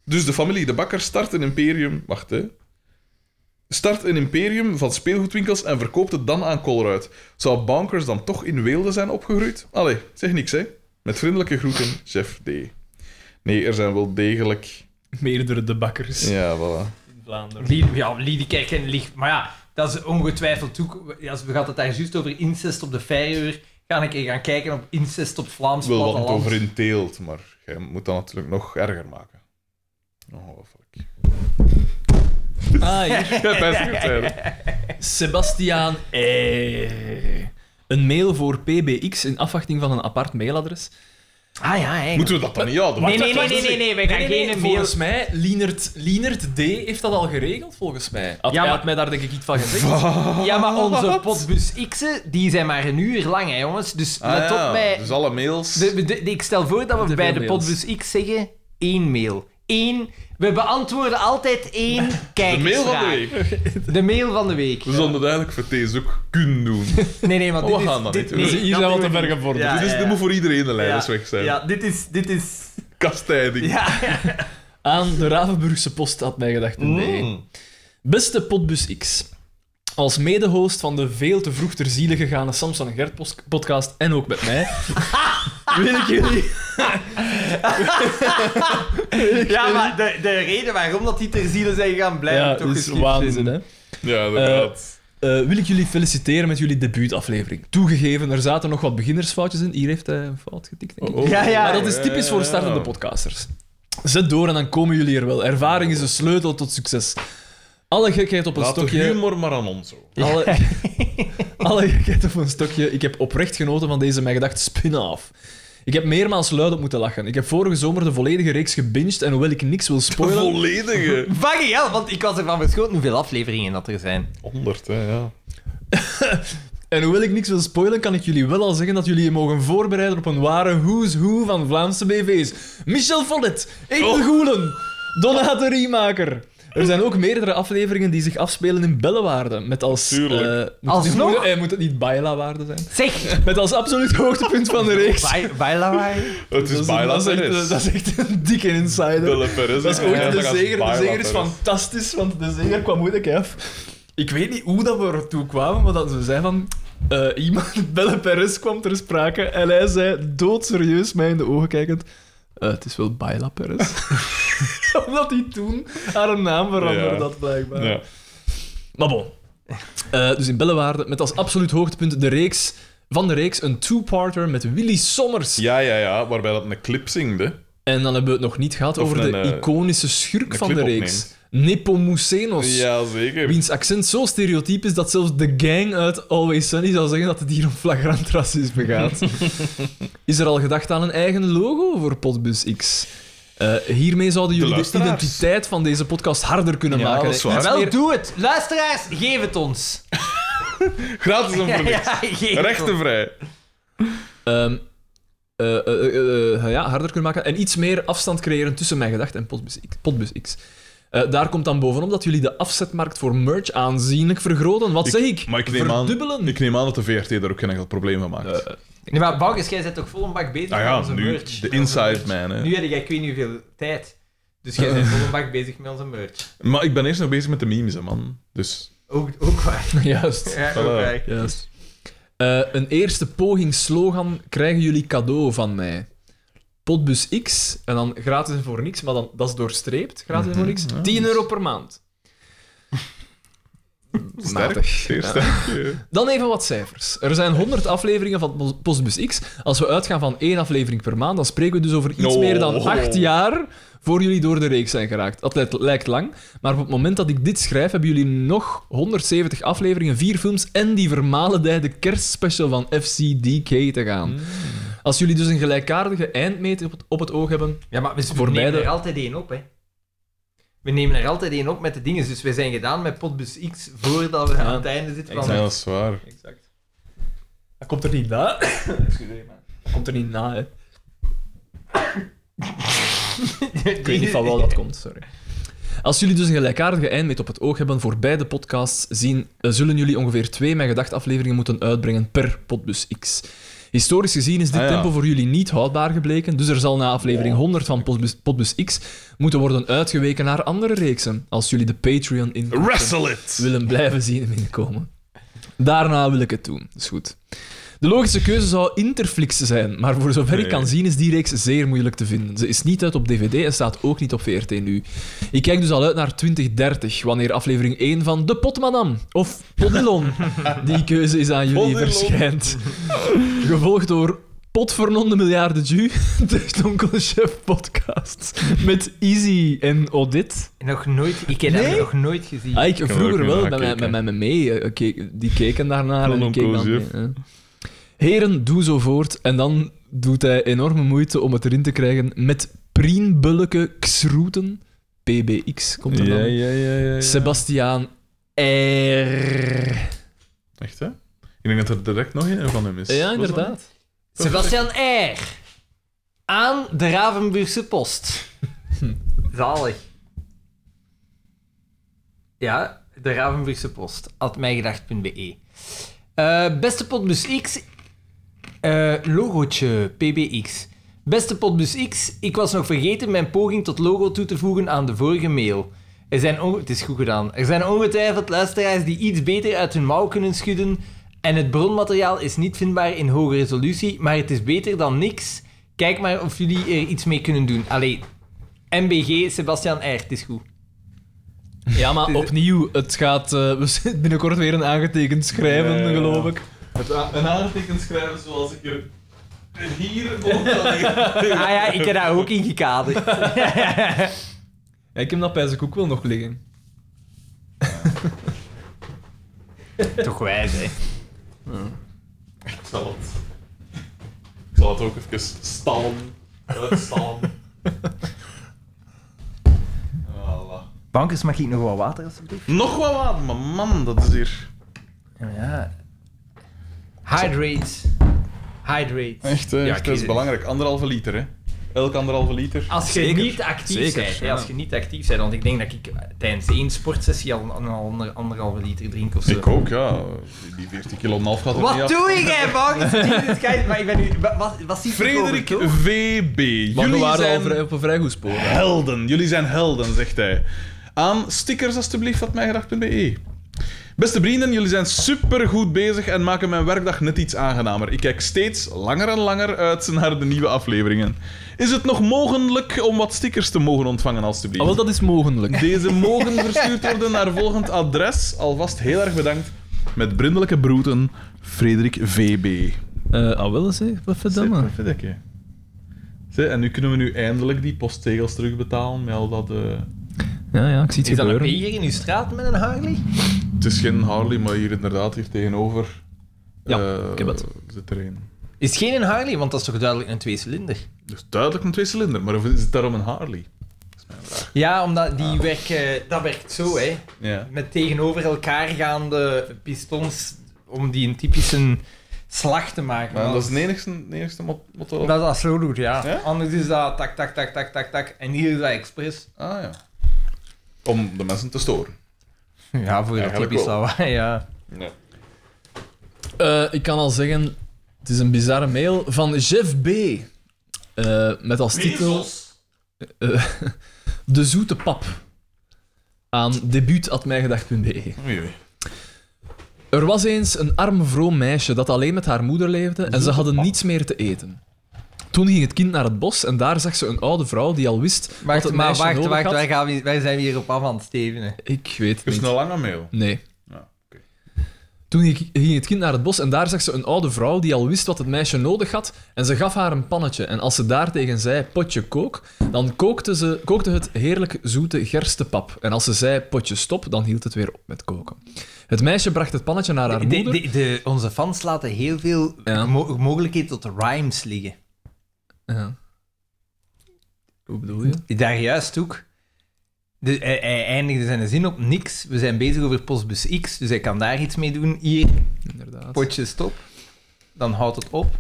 Speaker 2: Dus de familie De Bakker start een imperium... Wacht, hè. Start een imperium van speelgoedwinkels en verkoopt het dan aan Colruyt. Zou Bonkers dan toch in Weelde zijn opgegroeid? Allee, zeg niks, hè. Met vriendelijke groeten, chef D. Nee, er zijn wel degelijk...
Speaker 4: Meerdere debakkers
Speaker 2: Ja, voilà.
Speaker 4: in Vlaanderen.
Speaker 3: Lie- ja, Liedekerk en Licht. Maar ja, dat is ongetwijfeld ook... Als we gaan het daar juist over incest op de Feier. Ga ik gaan kijken op incest op het Vlaams
Speaker 2: Ik wil wat het
Speaker 3: platteland.
Speaker 2: over in teelt, maar je moet dat natuurlijk nog erger maken. Ongelooflijk.
Speaker 4: Ah, hier.
Speaker 2: Ja, best goed zijn.
Speaker 4: Sebastiaan E. Een mail voor PBX in afwachting van een apart mailadres.
Speaker 3: Ah ja, hè.
Speaker 2: Moeten we dat dan niet houden?
Speaker 3: Nee, nee,
Speaker 2: Wacht,
Speaker 3: nee, nee, nee, nee, wij gaan geen mail...
Speaker 4: Volgens mij, Lienert, Lienert D. heeft dat al geregeld, volgens mij. Had,
Speaker 3: Ja,
Speaker 4: hij
Speaker 3: maar-
Speaker 4: had mij daar denk ik iets van gezegd.
Speaker 3: Ja, maar
Speaker 2: Ah,
Speaker 3: onze potbus X'en, die zijn maar een uur lang, hè, jongens. Dus
Speaker 2: Ah,
Speaker 3: let
Speaker 2: ja,
Speaker 3: op bij...
Speaker 2: Dus alle mails.
Speaker 3: De- de- de- ik stel voor dat we
Speaker 4: Te
Speaker 3: bij
Speaker 4: veel
Speaker 3: de
Speaker 4: mails.
Speaker 3: potbus X zeggen één mail. Eén. We beantwoorden altijd één
Speaker 2: de
Speaker 3: kijkersvraag.
Speaker 2: mail van de week.
Speaker 3: De mail van de week.
Speaker 2: We zouden het eigenlijk voor deze ook kunnen doen.
Speaker 3: Nee, nee, want
Speaker 2: Oh,
Speaker 3: dit
Speaker 2: we
Speaker 3: is...
Speaker 2: gaan dat
Speaker 3: dit,
Speaker 2: niet doen.
Speaker 3: nee,
Speaker 4: Hier zijn we
Speaker 3: dat
Speaker 4: al te
Speaker 3: doen
Speaker 4: ver
Speaker 3: niet.
Speaker 4: gevorderd.
Speaker 3: Ja,
Speaker 2: dus dit
Speaker 3: ja,
Speaker 2: moet voor iedereen de leiders
Speaker 3: ja.
Speaker 2: weg zijn.
Speaker 3: Ja, dit is... Dit is...
Speaker 2: Kastijding.
Speaker 3: Ja.
Speaker 4: Aan de Ravenburgse post had mij gedacht. Nee.
Speaker 2: Mm.
Speaker 4: Beste Potbus X. Als mede-host van de veel te vroeg ter ziele gegane Samson en Gert pos- podcast en ook met mij, wil ik jullie
Speaker 3: Ja, maar de, de reden waarom dat die ter ziele zijn gaan blijven
Speaker 4: Ja,
Speaker 3: toch
Speaker 4: dat is
Speaker 3: geschikt
Speaker 4: waanzin,
Speaker 3: vinden.
Speaker 4: hè?
Speaker 2: Ja, inderdaad.
Speaker 4: Eh, wil ik jullie feliciteren met jullie debuutaflevering. Toegegeven, er zaten nog wat beginnersfoutjes in. Hier heeft hij een fout getikt, denk ik.
Speaker 2: Oh, oh.
Speaker 3: Ja, ja.
Speaker 4: Maar dat is typisch voor
Speaker 2: Ja.
Speaker 4: startende podcasters. Zet door en dan komen jullie er wel. Ervaring is de sleutel tot succes. Alle gekheid op een
Speaker 2: Laat de
Speaker 4: stokje.
Speaker 2: humor maar aan ons over.
Speaker 4: Alle, alle gekheid op een stokje. Ik heb oprecht genoten van deze mijn gedachte spin-off. Ik heb meermaals luidop moeten lachen. Ik heb vorige zomer de volledige reeks gebinged en hoewel ik niks wil
Speaker 2: De
Speaker 4: spoilen...
Speaker 2: volledige.
Speaker 3: Fucking hell, want ik was ervan verschoten hoeveel afleveringen dat er zijn.
Speaker 2: 100, hè, ja.
Speaker 4: En hoewel ik niks wil spoilen, kan ik jullie wel al zeggen dat jullie je mogen voorbereiden op een ware who's who van Vlaamse BV's. Michel Vollet, Edel
Speaker 2: Oh.
Speaker 4: Goelen, Donna de Riemaker. Er zijn ook meerdere afleveringen die zich afspelen in Bellewaarde, met als...
Speaker 2: Tuurlijk.
Speaker 4: eh, moet het-
Speaker 3: Alsnog?
Speaker 4: Moet, eh, moet het niet Baila-waarde zijn?
Speaker 3: Zeg!
Speaker 4: Met als absoluut hoogtepunt van de reeks.
Speaker 3: Bij, bijlawaai.
Speaker 2: Het is Baila
Speaker 4: dat, is echt, eh, dat
Speaker 2: Perez.
Speaker 4: is echt een dikke insider.
Speaker 2: De Le Perez.
Speaker 4: Dat is
Speaker 2: hè.
Speaker 4: ooit
Speaker 2: Ja,
Speaker 4: de
Speaker 2: dat is
Speaker 4: zeger. De
Speaker 2: Baila
Speaker 4: zeger is
Speaker 2: Perez.
Speaker 4: fantastisch, want de zeger kwam moeilijk af. Ik weet niet hoe dat we ertoe kwamen, maar dat ze zei van... eh, iemand, Belle Perez kwam ter sprake en hij zei doodserieus mij in de ogen kijkend... "Eh, het is wel Baila Perez. Omdat hij toen haar naam veranderde,
Speaker 2: Ja.
Speaker 4: dat blijkbaar.
Speaker 2: Ja.
Speaker 4: Maar bon. Eh, dus in Bellewaarde, met als absoluut hoogtepunt de reeks, van de reeks een two-parter met Willy Sommers.
Speaker 2: ja, ja, ja. Waarbij dat een clip zingde.
Speaker 4: En dan hebben we het nog niet gehad
Speaker 2: Of
Speaker 4: over de
Speaker 2: een, eh,
Speaker 4: iconische schurk
Speaker 2: een
Speaker 4: van de
Speaker 2: clip
Speaker 4: reeks. Nepomucenos.
Speaker 2: Ja, zeker.
Speaker 4: Wiens accent zo stereotyp is dat zelfs de gang uit Always Sunny zou zeggen dat het hier om flagrant racisme gaat. is er al gedacht aan een eigen logo voor Podbus X? Eh, hiermee zouden jullie de,
Speaker 2: luisteraars.
Speaker 4: identiteit van deze podcast harder kunnen
Speaker 2: Ja,
Speaker 4: maken.
Speaker 2: dat is
Speaker 4: hè.
Speaker 2: waar.
Speaker 4: Iets
Speaker 3: Wel,
Speaker 4: meer-
Speaker 3: doe het. Luisteraars, geef het ons.
Speaker 2: Gratis en voor niks.
Speaker 3: geef het ons.
Speaker 2: Rechtenvrij.
Speaker 4: Ehm, eh, eh, eh, eh, ja, harder kunnen maken en iets meer afstand creëren tussen mijn gedachten en Podbus X. Podbus X. Eh, daar komt dan bovenop dat jullie de afzetmarkt voor merch aanzienlijk vergroten. Wat
Speaker 2: Ik-
Speaker 4: zeg ik?
Speaker 2: Maar ik neem, aan,
Speaker 4: Verdubbelen.
Speaker 2: ik neem aan dat de VRT daar ook geen enkel probleem van maakt.
Speaker 4: Eh,
Speaker 3: Nee, maar Bouwkes, jij bent toch vol een bak bezig
Speaker 2: nou
Speaker 3: met
Speaker 2: ja,
Speaker 3: onze
Speaker 2: nu
Speaker 3: merch.
Speaker 2: de
Speaker 3: Met onze
Speaker 2: inside
Speaker 3: merch.
Speaker 2: man. Hè.
Speaker 3: Nu heb jij ik weet niet hoeveel tijd. Dus jij bent vol een bak bezig met onze merch.
Speaker 2: Maar ik ben eerst nog bezig met de memes, hè, man. Dus
Speaker 3: Ook, ook waar.
Speaker 4: Juist.
Speaker 3: Ja, ook
Speaker 2: Voilà.
Speaker 3: waar.
Speaker 4: Juist. Eh, een eerste poging slogan krijgen jullie cadeau van mij. Podbus X, en dan gratis en voor niks, maar dan, dat is doorstreept, gratis en voor niks. 10 euro per maand.
Speaker 2: sterk. Zeer sterk. ja.
Speaker 4: Dan even wat cijfers. Er zijn 100 afleveringen van Postbus X. Als we uitgaan van één aflevering per maand, dan spreken we dus over iets
Speaker 2: Oh.
Speaker 4: meer dan acht jaar voor jullie door de reeks zijn geraakt. Dat lijkt- lijkt lang, maar op het moment dat ik dit schrijf, hebben jullie nog 170 afleveringen, vier films en die vermalendijde kerstspecial van FCDK te gaan. Als jullie dus een gelijkaardige eindmeet op het, op het oog hebben,
Speaker 3: Ja, maar we
Speaker 4: Voor
Speaker 3: nemen
Speaker 4: beide-
Speaker 3: er altijd één op, hè. We We nemen er altijd één op met de dingen. Dus wij zijn gedaan met Potbus X voordat we
Speaker 4: Ja.
Speaker 3: aan het einde zitten van...
Speaker 2: Ja, dat is waar.
Speaker 6: Exact. Dat komt er niet na. Excuseer me.
Speaker 4: Dat komt er niet na, hè.
Speaker 3: Ik
Speaker 4: Ik weet niet van waar dat komt, sorry. Als jullie dus een gelijkaardige eindmeet op het oog hebben voor beide podcasts zien, eh, zullen jullie ongeveer twee Mijn Gedacht afleveringen moeten uitbrengen per Podbus X. Historisch gezien is dit
Speaker 2: Ah, ja.
Speaker 4: tempo voor jullie niet houdbaar gebleken, dus er zal na aflevering 100 van Podbus, Podbus X moeten worden uitgeweken naar andere reeksen, als jullie de Patreon in
Speaker 2: Wrestle it!
Speaker 4: willen blijven zien binnenkomen. Daarna wil ik het doen, is goed. De logische keuze zou Interflix zijn, maar voor zover ik kan zien is die reeks zeer moeilijk te vinden. Ze is niet uit op DVD en staat ook niet op VRT nu. Ik kijk dus al uit naar 2030, wanneer aflevering 1 van De Potmadam of Podilon, die keuze is aan jullie
Speaker 2: Podilon.
Speaker 4: verschijnt. Gevolgd door Potvernonde miljarden Jew, de Onkel Chef podcast, met Easy en Audit.
Speaker 3: Nog nooit... Ik heb
Speaker 4: Nee?
Speaker 3: dat nog nooit gezien.
Speaker 4: Ah, ik
Speaker 2: heb er
Speaker 4: vroeger
Speaker 2: ook niet
Speaker 4: wel,
Speaker 2: naar
Speaker 4: met mijn, met
Speaker 2: gekeken.
Speaker 4: mijn mee. eh, keek- die keken daarnaar
Speaker 2: Van
Speaker 4: en ik keek dan
Speaker 2: Onkel
Speaker 4: mee.
Speaker 2: Jef.
Speaker 4: hè. Heren, doe zo voort. En dan doet hij enorme moeite om het erin te krijgen met prienbulleke xroeten. PBX komt er dan.
Speaker 2: Ja, ja, ja, ja, ja.
Speaker 4: Sebastiaan R.
Speaker 2: Echt, hè? Ik denk dat er direct nog een van hem is.
Speaker 4: Ja,
Speaker 2: Was dat?
Speaker 4: inderdaad.
Speaker 3: Sebastian R. Aan de Ravenburgse Post. Zalig. Ja, de Ravenburgse Post. At mijgedacht.be. Eh, beste Potbus X. eh, logootje PBX. Beste Potbus X, ik was nog vergeten mijn poging tot logo toe te voegen aan de vorige mail. Er zijn onge- het is goed gedaan. Er zijn ongetwijfeld luisteraars die iets beter uit hun mouw kunnen schudden. En het bronmateriaal is niet vindbaar in hoge resolutie, maar het is beter dan niks. Kijk maar of jullie er iets mee kunnen doen. Allee, MBG Sebastian R, het is goed.
Speaker 4: Ja, maar opnieuw, het gaat eh, we zitten binnenkort weer een aangetekend schrijven,
Speaker 2: Ja, ja, ja.
Speaker 4: geloof ik.
Speaker 2: Het a- een aangetekend schrijven zoals ik er hier boven
Speaker 3: Ah ja, ik heb daar ook in gekaderd.
Speaker 4: Ja, ik heb dat bij zijn koek wel nog liggen.
Speaker 3: Toch wijs, hè?
Speaker 2: Ik zal het... Ik zal het ook even stallen. Uitstallen. Voilà.
Speaker 3: Bankers, mag ik nog wat water, alsjeblieft?
Speaker 2: Nog wat water, maar man, dat is hier...
Speaker 3: Nou Ja. Hydrate. Hydrate.
Speaker 2: Echt, hè,
Speaker 3: Ja,
Speaker 2: echt, dat
Speaker 3: ik-
Speaker 2: is belangrijk. Anderhalve liter, hè. Elk anderhalve liter.
Speaker 3: Als je
Speaker 4: Zeker.
Speaker 3: niet actief
Speaker 4: Zeker,
Speaker 3: bent, hè,
Speaker 4: ja.
Speaker 3: als je niet actief bent, want ik denk dat ik eh, tijdens één sportsessie al een, een ander, anderhalve liter drink of zo.
Speaker 2: Ik ook, ja. Die- Die 40 kilo en een half gaat er niet
Speaker 3: Wat
Speaker 2: af.
Speaker 3: doe ik, hè, Bankers? Jezus, kijk, maar ik ben nu... wa- Wat, wat zie ik
Speaker 2: Frederik
Speaker 3: hierover, toch?
Speaker 2: VB.
Speaker 4: Maar we
Speaker 2: Jullie
Speaker 4: waren
Speaker 2: zijn
Speaker 4: al vrij- op een vrij goed spoor.
Speaker 2: helden. Jullie zijn helden, zegt hij. Aan stickers alstublieft van mijgedacht.be. E. Beste vrienden, jullie zijn supergoed bezig en maken mijn werkdag net iets aangenamer. Ik kijk steeds langer en langer uit naar de nieuwe afleveringen. Is het nog mogelijk om wat stickers te mogen ontvangen, alstublieft?
Speaker 4: Ah, wel, dat is mogelijk.
Speaker 2: Deze mogen verstuurd worden naar volgend adres. Alvast heel erg bedankt. Met brindelijke broeten, Frederik VB.
Speaker 4: Eh ah, wel eens, hè. Wat verdamme.
Speaker 2: Zit, verdikke. Zit, en nu kunnen we nu eindelijk die posttegels terugbetalen met al dat... eh,
Speaker 4: Ja, ja, ik zie het
Speaker 3: Is dat een
Speaker 4: gebeuren.
Speaker 3: beer in uw straat met een Harley?
Speaker 2: Het is geen Harley, maar hier inderdaad, hier tegenover...
Speaker 4: Ja,
Speaker 2: eh,
Speaker 4: ik heb het.
Speaker 2: Zit er een.
Speaker 3: Is geen een Harley, want dat is toch duidelijk een tweecilinder?
Speaker 2: Dus duidelijk een tweecilinder, maar of is het daarom een Harley?
Speaker 3: Ja, omdat die werken... eh, Dat werkt zo, hè.
Speaker 2: Ja.
Speaker 3: met tegenover elkaar gaande pistons om die een typische slag te maken.
Speaker 2: Maar dat is
Speaker 3: Want-
Speaker 2: het enigste, de enigste mot motto.
Speaker 3: dat dat zo doet, ja.
Speaker 2: Ja?
Speaker 3: Anders is dat tak, tak, tak, tak, tak, tak. En hier is dat expres.
Speaker 2: Ah ja. Om de mensen te storen.
Speaker 3: Ja, voor dat
Speaker 2: Eigenlijk
Speaker 3: typisch
Speaker 2: wel.
Speaker 3: lawaai, ja.
Speaker 2: Ja.
Speaker 4: Eh, ik kan al zeggen, het is een bizarre mail van Jeff B. Eh, met als titel... eh, de zoete pap. Aan debuut.mijgedacht.be
Speaker 2: Oei, oei.
Speaker 4: E. Er was eens een arm vroom meisje dat alleen met haar moeder leefde en ze hadden niets meer te eten. Toen ging het kind naar het bos en daar zag ze een oude vrouw die al wist wat
Speaker 3: Wacht,
Speaker 4: het
Speaker 3: maar
Speaker 4: meisje
Speaker 3: wacht,
Speaker 4: nodig
Speaker 3: wacht.
Speaker 4: had.
Speaker 3: Wij, gaan, we- wij zijn weer op af aan het stevenen.
Speaker 4: Ik weet
Speaker 2: Het is
Speaker 4: het niet.
Speaker 2: een lange mail.
Speaker 4: Nee.
Speaker 3: Ah,
Speaker 2: Ja, oké.
Speaker 4: Toen ging- ging het kind naar het bos en daar zag ze een oude vrouw die al wist wat het meisje nodig had en ze gaf haar een pannetje. En als ze daartegen zei potje kook, dan kookte, ze, kookte het heerlijk zoete gerstepap. En als ze zei potje stop, dan hield het weer op met koken. Het meisje bracht het pannetje naar haar
Speaker 3: De,
Speaker 4: moeder.
Speaker 3: de, de- onze fans laten heel veel eh,
Speaker 4: Ja.
Speaker 3: mo- mogelijkheden tot rhymes liggen.
Speaker 4: Ja. Hoe bedoel je?
Speaker 3: Daar juist ook. De, hij, hij eindigde zijn zin op niks. We zijn bezig over postbus X, dus hij kan daar iets mee doen. Hier,
Speaker 4: Inderdaad.
Speaker 3: potje stop. Dan houdt het op.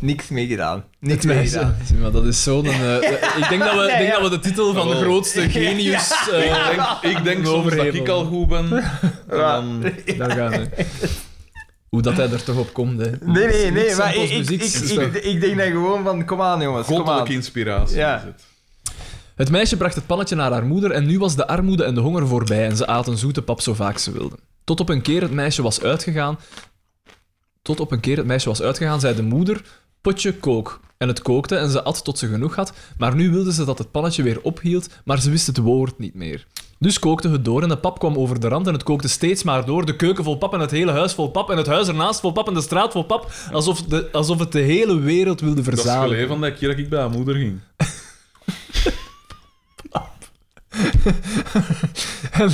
Speaker 3: Niks mee gedaan. Niks
Speaker 4: Het
Speaker 3: mee
Speaker 4: meisje.
Speaker 3: gedaan.
Speaker 4: Zie, maar dat is zo'n... eh, ik denk dat we, ik denk dat we de titel van de
Speaker 3: Oh.
Speaker 2: Jawel.
Speaker 4: grootste genius... eh
Speaker 2: Ik denk, ik denk soms dat
Speaker 4: Overhevelen.
Speaker 2: ik al goed ben. En dan,
Speaker 4: Daar gaan we. Hoe dat hij er toch op komt, hè.
Speaker 3: Nee, nee, nee.
Speaker 4: Niks aan
Speaker 3: Maar ik, ik,
Speaker 4: postmuziek,
Speaker 3: ik,
Speaker 4: is
Speaker 3: ik,
Speaker 4: dat-
Speaker 3: ik denk dan gewoon van, kom aan jongens, kom aan.
Speaker 2: goddelijke inspiratie.
Speaker 3: Ja.
Speaker 2: is het.
Speaker 4: Het meisje bracht het pannetje naar haar moeder en nu was de armoede en de honger voorbij en ze aten zoete pap zo vaak ze wilden. Tot op een keer het meisje was uitgegaan... Tot op een keer het meisje was uitgegaan, zei de moeder, potje kook. En het kookte en ze at tot ze genoeg had, maar nu wilde ze dat het pannetje weer ophield, maar ze wist het woord niet meer. Dus kookte het door en de pap kwam over de rand en het kookte steeds maar door. De keuken vol pap en het hele huis vol pap en het huis ernaast vol pap en de straat vol pap. Alsof, de, alsof het de hele wereld wilde
Speaker 2: Dat is
Speaker 4: verzamelen.
Speaker 2: geleden van de keer dat ik bij haar moeder ging.
Speaker 4: En,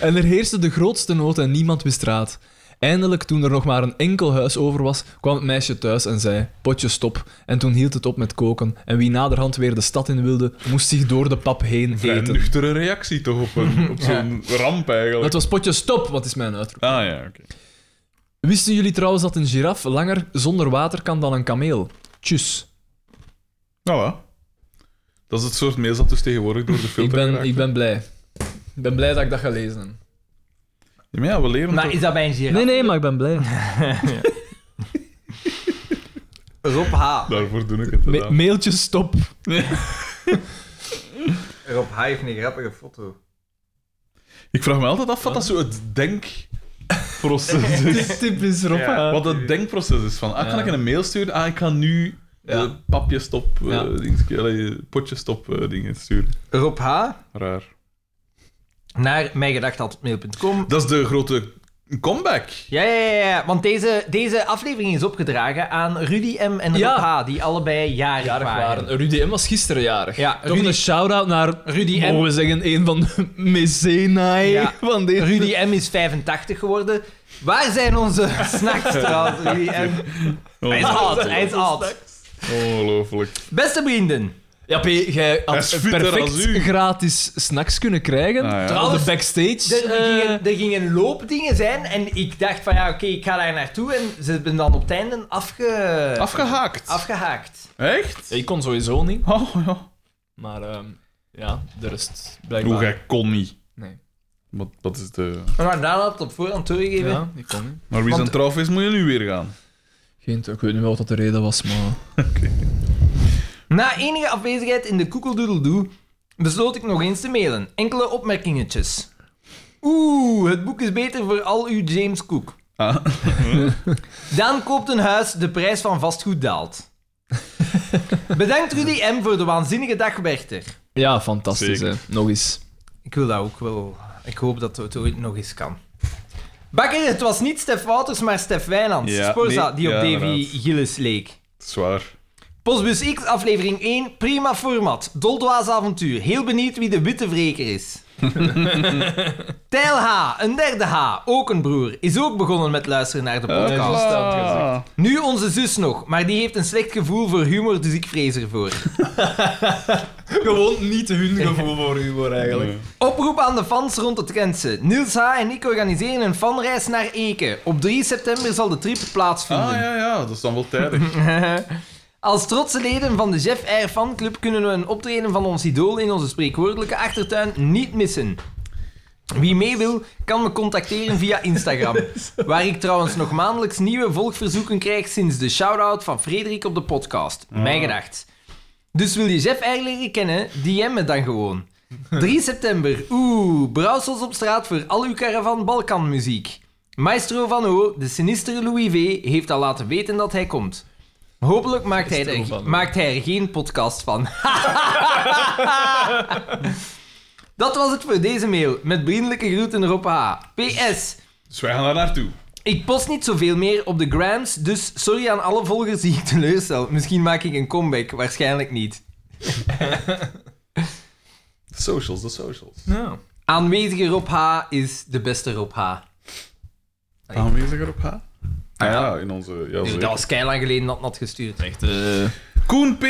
Speaker 4: en er heerste de grootste nood en niemand wist raad. Eindelijk, toen er nog maar een enkel huis over was, kwam het meisje thuis en zei: Potje stop. En toen hield het op met koken. En wie naderhand weer de stad in wilde, moest zich door de pap heen
Speaker 2: Vrij
Speaker 4: eten.
Speaker 2: nuchtere reactie toch op, een- op zo'n ramp
Speaker 4: Dat
Speaker 2: eigenlijk.
Speaker 4: was potje stop, wat is mijn uitroep?
Speaker 2: Ah ja, oké.
Speaker 4: Wisten jullie trouwens dat een giraf langer zonder water kan dan een kameel? Tjus.
Speaker 2: Nou ja. Dat is het soort mails dat dus tegenwoordig door de
Speaker 4: Ik
Speaker 2: filter
Speaker 4: ben,
Speaker 2: geraakt
Speaker 4: ik
Speaker 2: wordt.
Speaker 4: ben blij. Ik ben blij dat ik dat gelezen heb.
Speaker 2: Ja, maar ja, we leren
Speaker 3: Maar
Speaker 2: toch-
Speaker 3: is dat bij een giraf?
Speaker 4: Nee, nee, maar ik ben blij.
Speaker 3: Rob H.
Speaker 2: Daarvoor doe ik het
Speaker 4: Me-
Speaker 2: inderdaad.
Speaker 4: mailtje stop.
Speaker 3: Rob H heeft een grappige foto.
Speaker 2: Ik vraag me altijd af wat dat zo het denkproces is.
Speaker 4: Typisch Rob.
Speaker 3: Ja.
Speaker 4: hè.
Speaker 2: Wat het denkproces is van, ah, kan
Speaker 4: Ja.
Speaker 2: ik een mail sturen? Ah, ik kan nu
Speaker 4: Ja.
Speaker 2: de papje stop, eh,
Speaker 4: Ja.
Speaker 2: dingetje, allee, potje stop eh, dingen sturen.
Speaker 3: Rob H.
Speaker 2: Raar.
Speaker 3: naar mijngedacht.mail.com.
Speaker 2: Dat is de grote comeback.
Speaker 3: Ja, ja, ja, ja, want deze, deze aflevering is opgedragen aan Rudy M. en
Speaker 4: Ja.
Speaker 3: Rob H. Die allebei jarig,
Speaker 4: jarig
Speaker 3: waren.
Speaker 4: waren. Rudy M was gisteren jarig.
Speaker 3: Ja,
Speaker 4: Toch
Speaker 3: Rudy-
Speaker 4: een shout-out naar,
Speaker 3: Rudy
Speaker 4: mogen
Speaker 3: M.
Speaker 4: we zeggen, een van de mecenaai
Speaker 3: Ja.
Speaker 4: van deze...
Speaker 3: Rudy M. is 85 geworden. Waar zijn onze snacks trouwens, Rudy M? Hij is
Speaker 2: Oh.
Speaker 3: oud, hij is oud.
Speaker 2: Ongelooflijk.
Speaker 3: Beste vrienden.
Speaker 4: Ja, P, jij had
Speaker 2: is
Speaker 4: een
Speaker 2: fitter
Speaker 4: perfect
Speaker 2: als u.
Speaker 4: gratis snacks kunnen krijgen.
Speaker 2: Ah, ja.
Speaker 4: Trouwens,
Speaker 3: Trouwens,
Speaker 4: de backstage.
Speaker 3: Er, er
Speaker 4: eh,
Speaker 3: gingen, er gingen loopdingen zijn en ik dacht van ja, oké, ik ga daar naartoe. En ze hebben dan op het einde afge...
Speaker 2: Afgehaakt.
Speaker 3: afgehaakt.
Speaker 2: Echt?
Speaker 4: ja, ik kon sowieso niet,
Speaker 2: Oh, ja.
Speaker 4: maar ehm, ja, de rest
Speaker 2: Hoe,
Speaker 4: blijkbaar.
Speaker 2: jij kon niet.
Speaker 4: Nee.
Speaker 2: Wat, wat is de...
Speaker 3: Maar Daan had het op voorhand doorgegeven.
Speaker 4: Ja, ik kon niet.
Speaker 2: Maar wie
Speaker 3: Want-
Speaker 2: zijn trouw is, moet je nu weer gaan.
Speaker 4: Geen, ik weet niet wel wat de reden was, maar...
Speaker 3: Na enige afwezigheid in de koekeldoedeldoe besloot ik nog eens te mailen. Enkele opmerkingetjes. Oeh, het boek is beter voor al uw James Cook.
Speaker 2: Ah.
Speaker 3: Daan koopt een huis, de prijs van vastgoed daalt. Bedankt Rudy M. voor de waanzinnige dag, Werther.
Speaker 4: Ja, fantastisch,
Speaker 2: Zeker.
Speaker 4: hè. Nog eens.
Speaker 3: Ik wil dat ook wel. Ik hoop dat het ooit nog eens kan. Bakker, het was niet Stef Wouters, maar Stef Wijnands.
Speaker 2: Ja,
Speaker 3: Sporza,
Speaker 2: nee,
Speaker 3: die op
Speaker 2: ja,
Speaker 3: Davy
Speaker 2: inderdaad.
Speaker 3: Gillis leek.
Speaker 2: Zwaar.
Speaker 3: Postbus X, aflevering 1, prima format. Doldwaas avontuur. Heel benieuwd wie de witte wreker is. Tijl H, een derde H, ook een broer, is ook begonnen met luisteren naar de podcast. Nu onze zus nog, maar die heeft een slecht gevoel voor humor, dus ik vrees ervoor.
Speaker 4: Gewoon niet hun gevoel voor humor, eigenlijk.
Speaker 3: Oproep aan de fans rond het Gentse. Niels H. en ik organiseren een fanreis naar Eken. Op 3 september zal de trip plaatsvinden.
Speaker 2: Ah, ja, ja. Dat is dan wel tijdig.
Speaker 3: Als trotse leden van de Jeff Air Fanclub kunnen we een optreden van ons idool in onze spreekwoordelijke achtertuin niet missen. Wie mee wil, kan me contacteren via Instagram. Waar ik trouwens nog maandelijks nieuwe volgverzoeken krijg sinds de shout-out van Frederik op de podcast. Mijn gedacht. Dus wil je Jeff Air leren kennen, DM me dan gewoon. 3 september, oeh, brouwsels op straat voor al uw caravan Balkanmuziek. Maestro Van O, de sinistere Louis V, heeft al laten weten dat hij komt. Hopelijk maakt hij,
Speaker 4: Maestro
Speaker 3: er,
Speaker 4: Van O.
Speaker 3: maakt hij er geen podcast van. dat was het voor deze mail. Met vriendelijke groeten Rob H. PS.
Speaker 2: Dus wij gaan daar naartoe.
Speaker 3: Ik post niet zoveel meer op de grams, dus sorry aan alle volgers die ik teleurstel. Misschien maak ik een comeback, waarschijnlijk niet.
Speaker 2: De socials, de socials.
Speaker 4: Ja.
Speaker 3: Aanwezige Rob H. is de beste Rob H.
Speaker 2: Aanweziger op H? Ah ja, in onze... Ja,
Speaker 3: Dus
Speaker 2: zeker.
Speaker 3: dat was keilang geleden dat had gestuurd.
Speaker 6: Echt, eh,
Speaker 2: Koen P.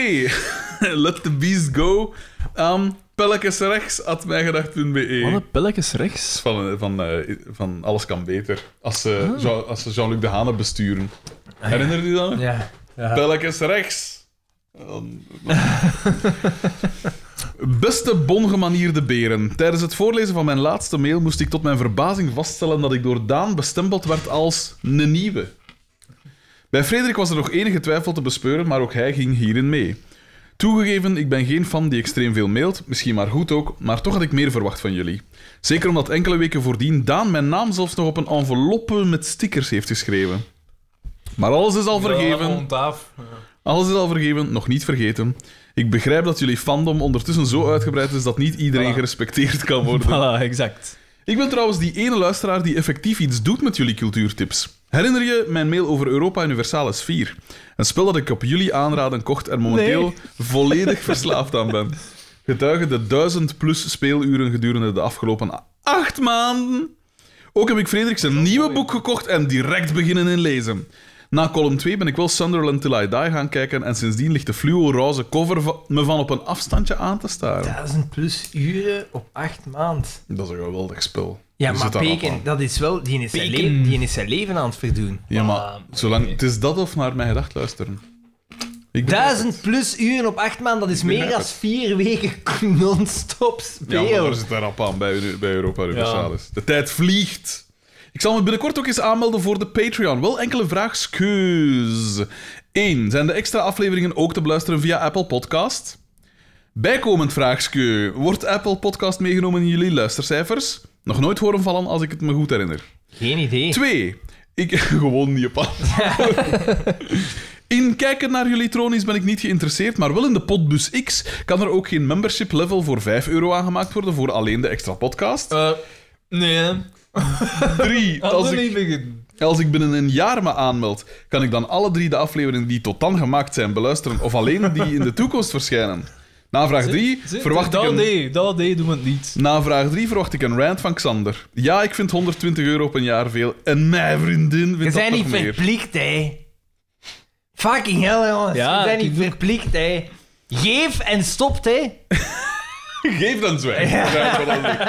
Speaker 2: Let the beast go. Ehm, aan pelletjesrechts.mijgedacht.be.
Speaker 6: Mannen, pelletjes rechts.
Speaker 2: van, van, eh, van Alles kan beter. Als ze, Jean- als ze Jean-Luc de Hane besturen. Herinner je dat? nog?
Speaker 3: Ja.
Speaker 2: Pelletjes rechts. En dan- Beste bongemanierde beren. Tijdens het voorlezen van mijn laatste mail moest ik tot mijn verbazing vaststellen dat ik door Daan bestempeld werd als een nieuwe. Bij Frederik was er nog enige twijfel te bespeuren, maar ook hij ging hierin mee. Toegegeven, ik ben geen fan die extreem veel mailt, misschien maar goed ook, maar toch had ik meer verwacht van jullie. Zeker omdat enkele weken voordien Daan mijn naam zelfs nog op een enveloppe met stickers heeft geschreven. Maar alles is al vergeven. Alles is al vergeven, nog niet vergeten. Ik begrijp dat jullie fandom ondertussen zo uitgebreid is dat niet iedereen gerespecteerd kan worden.
Speaker 6: Voilà, exact.
Speaker 2: Ik ben trouwens die ene luisteraar die effectief iets doet met jullie cultuurtips. Herinner je mijn mail over Europa Universalis 4? Een spel dat ik op jullie aanraden kocht en momenteel volledig verslaafd aan ben. Getuigen de 1000 plus speeluren gedurende de afgelopen acht maanden. Ook heb ik Frederik zijn nieuwe boek gekocht en direct beginnen in lezen. Na column 2 ben ik wel Sunderland Till I Die gaan kijken en sindsdien ligt de fluo-roze cover va- me van op een afstandje aan te staren.
Speaker 3: 1000 plus uren op 8 maand.
Speaker 2: Dat is een geweldig spel.
Speaker 3: Ja,
Speaker 2: Er
Speaker 3: maar
Speaker 2: zit daar wat aan.
Speaker 3: Peken, dat is wel... Die is, zijn
Speaker 4: Peken.
Speaker 3: le- die is zijn leven aan het verdoen.
Speaker 2: Ja, maar
Speaker 4: Ah,
Speaker 2: zolang, het is dat of naar mijn gedacht luisteren. Ik ben-
Speaker 3: 1000 plus uren op 8 maanden, dat is meer
Speaker 2: begrijp
Speaker 3: dan 4 weken non-stop
Speaker 2: Ja, maar
Speaker 3: speel.
Speaker 2: daar zit daar rap aan bij, Uni- bij Europa Universalis. De tijd vliegt. Ik zal me binnenkort ook eens aanmelden voor de Patreon. Wel enkele vraagskes. 1. Zijn de extra afleveringen ook te beluisteren via Apple Podcast? Bijkomend vraagsku. Wordt Apple Podcast meegenomen in jullie luistercijfers? Nog nooit horen vallen als ik het me goed herinner.
Speaker 3: Geen idee.
Speaker 2: Twee. Ik... Gewoon niet op antwoord. In kijken naar jullie tronies ben ik niet geïnteresseerd, maar wel in de Podbus X kan er ook geen membership level voor 5 euro aangemaakt worden voor alleen de extra podcast.
Speaker 6: Eh, nee, hè.
Speaker 2: Drie. Als
Speaker 6: Hadden
Speaker 2: ik,
Speaker 6: niet beginnen.
Speaker 2: als ik binnen een jaar me aanmeld, kan ik dan alle drie de afleveringen die tot dan gemaakt zijn beluisteren of alleen die in de toekomst verschijnen? Na vraag 3
Speaker 6: Zit-
Speaker 2: verwacht ik
Speaker 6: dat
Speaker 2: een...
Speaker 6: nee, dat nee, doen we het niet.
Speaker 2: Na vraag 3 verwacht ik een rant van Xander. Ja, ik vind 120 euro op een jaar veel. En mijn vriendin
Speaker 3: Je
Speaker 2: vindt dat
Speaker 3: zijn niet
Speaker 2: nog meer.
Speaker 3: verplicht, hè. Fucking hell, jongens.
Speaker 6: Ja,
Speaker 3: Je zijn
Speaker 6: ik
Speaker 3: niet verplicht, hè. Geef en stopt, hè.
Speaker 2: Geef dan zwijg. Zwijg van anderen.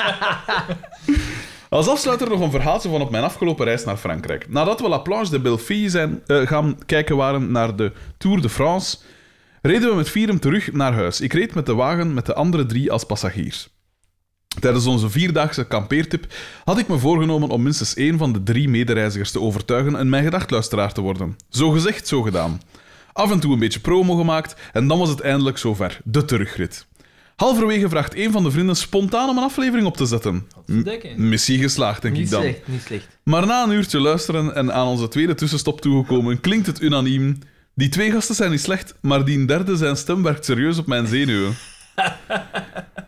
Speaker 2: Als afsluiter nog een verhaaltje van op mijn afgelopen reis naar Frankrijk. Nadat we La Planche de Belleville zijn eh, gaan kijken waren naar de Tour de France, reden we met Vierum terug naar huis. Ik reed met de wagen met de andere drie als passagiers. Tijdens onze vierdaagse kampeertip had ik me voorgenomen om minstens één van de drie medereizigers te overtuigen en mijn gedachtluisteraar te worden. Zo gezegd, zo gedaan. Af en toe een beetje promo gemaakt en dan was het eindelijk zover. De terugrit. Halverwege vraagt een van de vrienden spontaan om een aflevering op te zetten.
Speaker 4: Dikke.
Speaker 2: Missie geslaagd, denk ik
Speaker 3: Niet
Speaker 2: dan.
Speaker 3: slecht, niet slecht.
Speaker 2: Maar na een uurtje luisteren en aan onze tweede tussenstop toegekomen, klinkt het unaniem. Die twee gasten zijn niet slecht, maar die derde zijn stem werkt serieus op mijn zenuwen.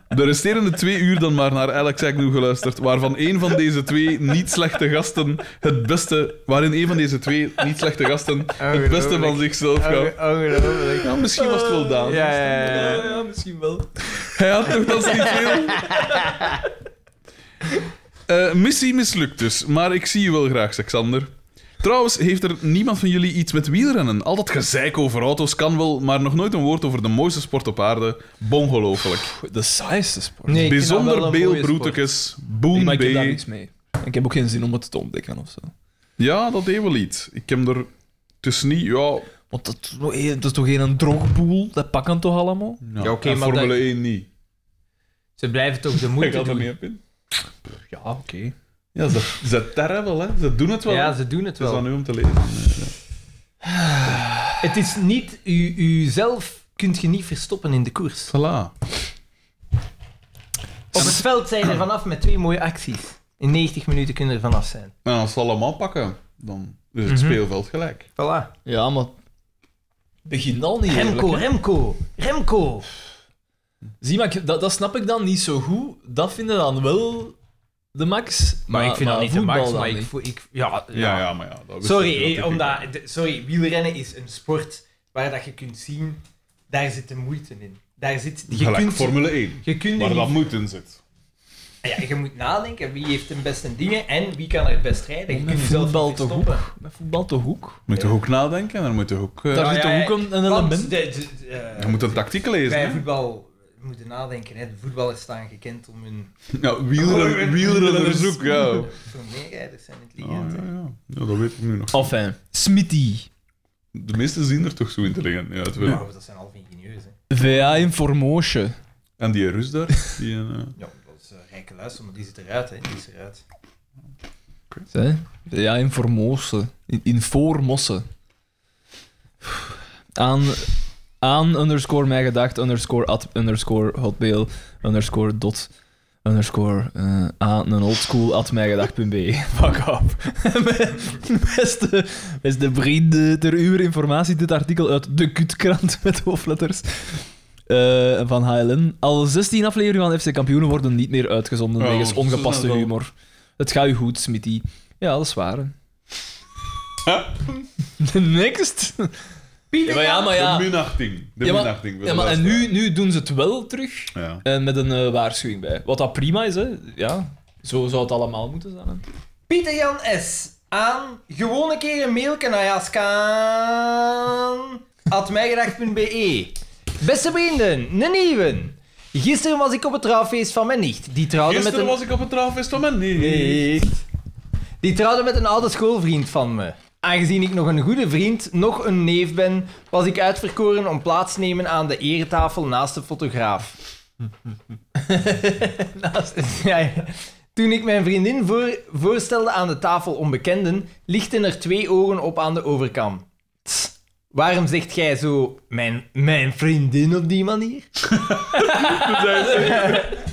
Speaker 2: De resterende twee uur dan maar naar Alex Agnew geluisterd, waarvan een van deze twee niet slechte gasten het beste, waarin een van deze twee niet slechte gasten het beste van zichzelf gaf.
Speaker 3: Ongelooflijk.
Speaker 2: Ja, misschien was het wel Daan.
Speaker 3: Ja, ja, ja, ja.
Speaker 6: Ja, ja, misschien wel.
Speaker 2: Hij had toch dat niet veel. Eh, missie mislukt dus, maar ik zie je wel graag, Alexander. Trouwens, heeft er niemand van jullie iets met wielrennen? Al dat gezeik over auto's kan wel, maar nog nooit een woord over de mooiste sport op aarde. Bongelooflijk.
Speaker 6: De saaiste sport.
Speaker 3: Nee, ik vind dat wel
Speaker 2: Bijzonder
Speaker 3: een mooie sport.
Speaker 2: beelbroetekes, boom
Speaker 6: maar ik heb daar
Speaker 2: bee.
Speaker 6: niks mee. Ik heb ook geen zin om het te ontdekken of zo.
Speaker 2: Ja, dat deed wel iets. Ik heb er... Het is niet, ja...
Speaker 6: Want dat, is toch een- dat is toch geen drogboel? Dat pakken toch allemaal?
Speaker 2: ja,
Speaker 3: oké,
Speaker 2: en
Speaker 3: maar
Speaker 2: Formule
Speaker 3: dat-
Speaker 2: 1 niet.
Speaker 3: Ze blijven toch de
Speaker 2: Ik
Speaker 3: moeite
Speaker 2: had er niet
Speaker 3: doen.
Speaker 2: op in.
Speaker 6: Ja, oké.
Speaker 2: Ja, ze, ze terren wel, hè. Ze doen het wel.
Speaker 3: Ja,
Speaker 2: het
Speaker 3: ze doen het
Speaker 2: is aan
Speaker 3: wel.
Speaker 2: u om te lezen.
Speaker 3: Het is niet... U, uzelf kunt je niet verstoppen in de koers.
Speaker 2: Voilà.
Speaker 3: Op het veld zijn er vanaf met twee mooie acties. In 90 minuten kunnen er vanaf zijn.
Speaker 2: Nou, als ze allemaal pakken, dan is het speelveld gelijk.
Speaker 3: Voilà.
Speaker 6: Ja, maar... Begin al niet eerlijk,
Speaker 3: Remco,
Speaker 6: hè.
Speaker 3: Remco, Remco.
Speaker 4: Zie, maar ik- dat, dat snap ik dan niet zo goed. Dat vinden dan wel de max.
Speaker 3: Maar ik vind dat niet de
Speaker 4: voetbal
Speaker 3: max,
Speaker 4: dan
Speaker 3: maar ik,
Speaker 4: niet.
Speaker 3: voel- ik... Ja, ja.
Speaker 2: Ja, ja, maar ja. Dat wist ik
Speaker 3: Sorry,
Speaker 2: natuurlijk
Speaker 3: eh,
Speaker 2: niet.
Speaker 3: omdat, de- sorry, wielrennen is een sport waar dat je kunt zien, daar zit de moeite in. Daar zit, je
Speaker 2: Gelijk
Speaker 3: kunt,
Speaker 2: Formule 1,
Speaker 3: je kunt er
Speaker 2: waar dat
Speaker 3: niet- Ah
Speaker 2: moet in zit.
Speaker 3: Ja, je moet nadenken wie heeft de beste dingen en wie kan er best rijden. Je
Speaker 6: Om
Speaker 3: kunt
Speaker 6: met
Speaker 3: jezelf
Speaker 6: voetbal
Speaker 3: niet
Speaker 6: te
Speaker 3: verstoppen.
Speaker 6: Met voetbal te hoek.
Speaker 2: Moet je ook nadenken, dan moet je ook... eh,
Speaker 4: Daar
Speaker 3: Ja,
Speaker 4: zit
Speaker 3: Nou ja,
Speaker 4: ook een, een
Speaker 3: Want
Speaker 4: element.
Speaker 3: de- de- eh,
Speaker 2: je moet een tactiek lezen.
Speaker 3: bij
Speaker 2: hè.
Speaker 3: voetbal moeten nadenken. Hè. De voetballers staan gekend om hun
Speaker 2: Ja,
Speaker 3: Oh,
Speaker 2: wielren, wielren zoek, ja. Oh,
Speaker 3: voor meerijders zijn
Speaker 2: ja,
Speaker 3: intelligent. hè.
Speaker 2: ja. ja, dat weet ik nu nog.
Speaker 6: Enfin, Smitty.
Speaker 2: De meesten zien er toch zo intelligent uit. wel.
Speaker 3: Ja, maar dat zijn half ingenieurs. Hè.
Speaker 6: VA in Formotion.
Speaker 2: En die Rus daar, die... eh,
Speaker 3: Ja, dat is eh, rijke luister, maar die zit eruit. Hè. Die is eruit.
Speaker 6: Hè? VA in Formosen. In, in Formossen. Aan, aan underscore mij gedacht, underscore at, underscore hotmail, underscore dot, underscore eh, aan een oldschool at mijgedacht.be. Fuck up. beste, beste vrienden, ter uur informatie, dit artikel uit de kutkrant met hoofdletters. eh, van HLN. Al 16 afleveringen van FC Kampioenen worden niet meer uitgezonden
Speaker 2: Oh,
Speaker 6: wegens
Speaker 2: dat is
Speaker 6: ongepaste
Speaker 2: net wel-
Speaker 6: humor. Het gaat u goed, Smitty. Ja, dat is waar. hè. Next. Ja, maar
Speaker 3: Oh,
Speaker 6: ja, maar ja.
Speaker 2: De minachting. De
Speaker 6: Ja, maar-
Speaker 2: minachting. voor de
Speaker 6: Ja, maar en nu,
Speaker 2: luisteraar.
Speaker 6: nu doen ze het wel terug
Speaker 2: Ja.
Speaker 6: en met een eh, waarschuwing bij. Wat dat prima is, hè. Ja, zo zou het allemaal moeten zijn. hè.
Speaker 3: Pieter Jan S. Aan gewoon een keer een mail naar jaskaan. atmijgedacht.be E. Beste vrienden, een nieuwe. Gisteren was ik op het trouwfeest van mijn nicht. Die trouwde
Speaker 2: Gisteren
Speaker 3: met een...
Speaker 2: was ik op het trouwfeest van mijn nicht.
Speaker 3: Nicht. Die trouwde met een oude schoolvriend van me. Aangezien ik nog een goede vriend, nog een neef ben, was ik uitverkoren om plaats te nemen aan de eretafel naast de fotograaf. naast ja, ja. Toen ik mijn vriendin voor, voorstelde aan de tafel onbekenden, lichten er twee ogen op aan de overkant. Tss, Waarom zegt jij zo mijn, mijn vriendin op die manier?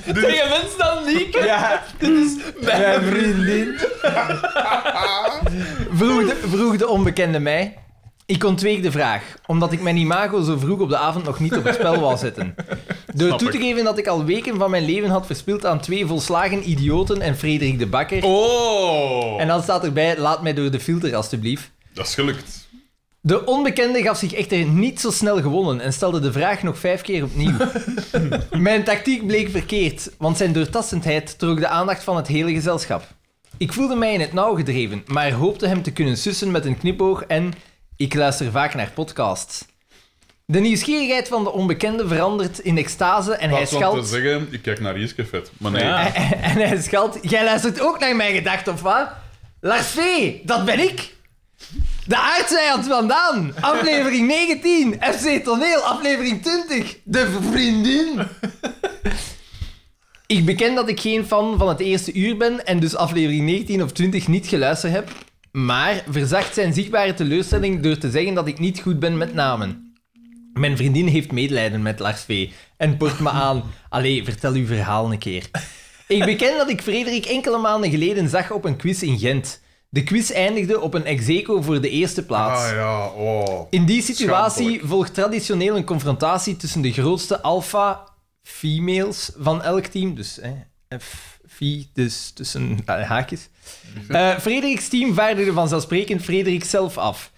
Speaker 6: Tegen mensen dan niet.
Speaker 3: Dus- Ja, dit is mijn, vriendin. vroeg, de, vroeg de onbekende mij. Ik ontweeg de vraag, omdat ik mijn imago zo vroeg op de avond nog niet op het spel wou zetten. Door toe te geven dat ik al weken van mijn leven had verspild aan twee volslagen idioten en Frederik de Bakker.
Speaker 2: Oh!
Speaker 3: En dan staat erbij, laat mij door de filter alstublieft.
Speaker 2: Dat is gelukt.
Speaker 3: De onbekende gaf zich echter niet zo snel gewonnen en stelde de vraag nog vijf keer opnieuw. Mijn tactiek bleek verkeerd, want zijn doortastendheid trok de aandacht van het hele gezelschap. Ik voelde mij in het nauw gedreven, maar hoopte hem te kunnen sussen met een knipoog en ik luister vaak naar podcasts. De nieuwsgierigheid van de onbekende verandert in extase en hij
Speaker 2: Plaats van te
Speaker 3: schalt...
Speaker 2: zeggen, ik kijk naar Jiske vet. Maar nee.
Speaker 6: Ja.
Speaker 3: En hij schalt... Jij luistert ook naar mijn gedachten, of wat? Lars V, dat ben ik. De aardsvijand vandaan. Aflevering 19. FC Toneel, aflevering 20. De vriendin. Ik beken dat ik geen fan van het eerste uur ben en dus aflevering 19 of 20 niet geluisterd heb. Maar verzacht zijn zichtbare teleurstelling door te zeggen dat ik niet goed ben met namen. Mijn vriendin heeft medelijden met Lars V. En port me aan. Allee, vertel uw verhaal een keer. Ik beken dat ik Frederik enkele maanden geleden zag op een quiz in Gent. De quiz eindigde op een execo voor de eerste plaats.
Speaker 2: Ah ja, oh.
Speaker 3: In die situatie
Speaker 2: Schaamtelijk.
Speaker 3: volgt traditioneel een confrontatie tussen de grootste alpha females van elk team. Dus hè, F, phi, dus tussen eh, haakjes. Eh Frederiks team vaardigde vanzelfsprekend Frederik zelf af.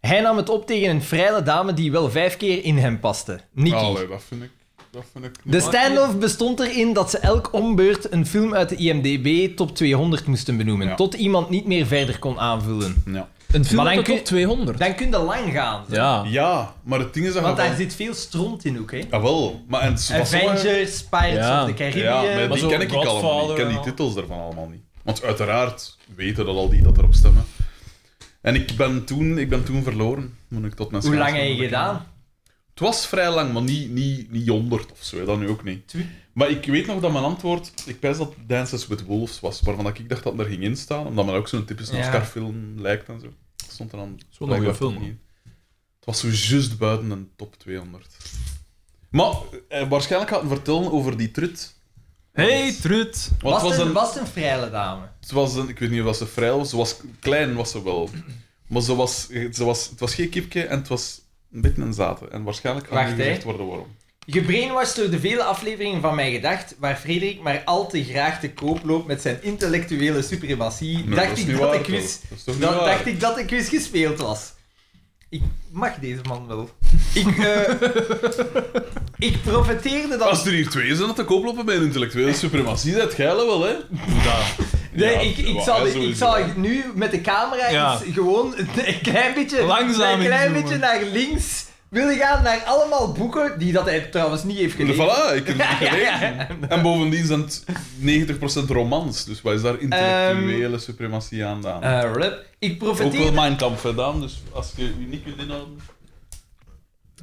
Speaker 3: Hij nam het op tegen een vrije dame die wel vijf keer in hem paste. Nikki.
Speaker 2: Allee, dat vind ik... Dat vind ik
Speaker 3: De standoff bestond erin dat ze elk ombeurt een film uit de IMDb top 200 moesten benoemen.
Speaker 2: Ja.
Speaker 3: Tot iemand niet meer verder kon aanvullen.
Speaker 2: ja.
Speaker 6: Een film
Speaker 3: Maar
Speaker 6: tot
Speaker 3: dan kun-
Speaker 6: op 200.
Speaker 3: Dan kun je lang gaan. zo.
Speaker 6: Ja.
Speaker 2: ja, maar het ding is dat
Speaker 3: Want
Speaker 2: je
Speaker 3: daar
Speaker 2: van-
Speaker 3: zit veel stront in ook, hè.
Speaker 2: Jawel, maar en het was zo-
Speaker 3: Avengers, Pirates
Speaker 6: Ja.
Speaker 3: of the
Speaker 2: Ja,
Speaker 3: Caribbean.
Speaker 2: maar
Speaker 6: Maar
Speaker 2: die
Speaker 6: zo
Speaker 2: ken ik allemaal niet. Ik
Speaker 6: Godfather
Speaker 2: ken
Speaker 6: en
Speaker 2: die
Speaker 6: al.
Speaker 2: titels daarvan allemaal niet. Want uiteraard weten dat al die dat erop stemmen. En ik ben toen, ik ben toen verloren. Moet ik tot mijn
Speaker 3: Hoe
Speaker 2: schaamte
Speaker 3: lang heb je
Speaker 2: bekennen.
Speaker 3: gedaan?
Speaker 2: Het was vrij lang, maar niet, niet, niet 100 of zo, dat nu ook niet.
Speaker 3: Twee-
Speaker 2: Maar ik weet nog dat mijn antwoord, ik pijs dat Dances with Wolves was, waarvan dat ik dacht dat het er ging instaan, omdat men ook zo'n typisch
Speaker 3: Ja.
Speaker 2: Oscar-film lijkt en zo. Dat stond er dan
Speaker 4: wel een
Speaker 2: blijkbaar
Speaker 4: goeie
Speaker 2: toch
Speaker 4: film,
Speaker 2: niet in. Het was zo juist buiten een top 200. Maar eh, waarschijnlijk gaat het vertellen over die trut.
Speaker 6: Hey, Trut.
Speaker 2: Want
Speaker 3: was,
Speaker 2: het was een,
Speaker 3: was het een vrije dame?
Speaker 2: het was een, ik weet niet of dat ze vrij was, ze was klein was ze wel. Maar ze was, ze was, het was geen kipje en het was een beetje een zaten. En waarschijnlijk kan
Speaker 3: Wacht,
Speaker 2: niet
Speaker 3: hè.
Speaker 2: gezegd worden waarom.
Speaker 3: Gebrainwashed door de vele afleveringen van Mijn Gedacht, waar Frederik maar al te graag te koop loopt met zijn intellectuele suprematie,
Speaker 2: Nee,
Speaker 3: dacht,
Speaker 2: is
Speaker 3: ik
Speaker 2: niet
Speaker 3: dat,
Speaker 2: waar,
Speaker 3: de quiz,
Speaker 2: toch? Dat is toch niet
Speaker 3: dan
Speaker 2: waar?
Speaker 3: dacht ik dat de quiz gespeeld was. Ik mag deze man wel. Ik, eh, Ik profiteerde dat...
Speaker 2: Als er hier twee zijn, dat te koop lopen bij een intellectuele suprematie, dat geile wel, hè?
Speaker 3: Nee,
Speaker 2: Ja,
Speaker 3: ik, ik,
Speaker 2: ja,
Speaker 3: zal,
Speaker 2: sowieso.
Speaker 3: ik zal nu met de camera
Speaker 6: Ja.
Speaker 3: eens gewoon een klein beetje,
Speaker 6: Langzaam
Speaker 3: een klein
Speaker 6: inzoomen.
Speaker 3: beetje naar links willen gaan naar allemaal boeken die dat hij trouwens niet heeft gelezen.
Speaker 2: Voilà, ik heb het
Speaker 3: Ja, ja,
Speaker 2: gelezen.
Speaker 3: ja.
Speaker 2: En bovendien zijn het 90% romans, dus wat is daar intellectuele suprematie aan? dan?
Speaker 3: Ehm, Eh, rap. Ik
Speaker 2: Ook wel
Speaker 3: profiteer.
Speaker 2: mijn kamp gedaan, dus als je je niet kunt inhouden...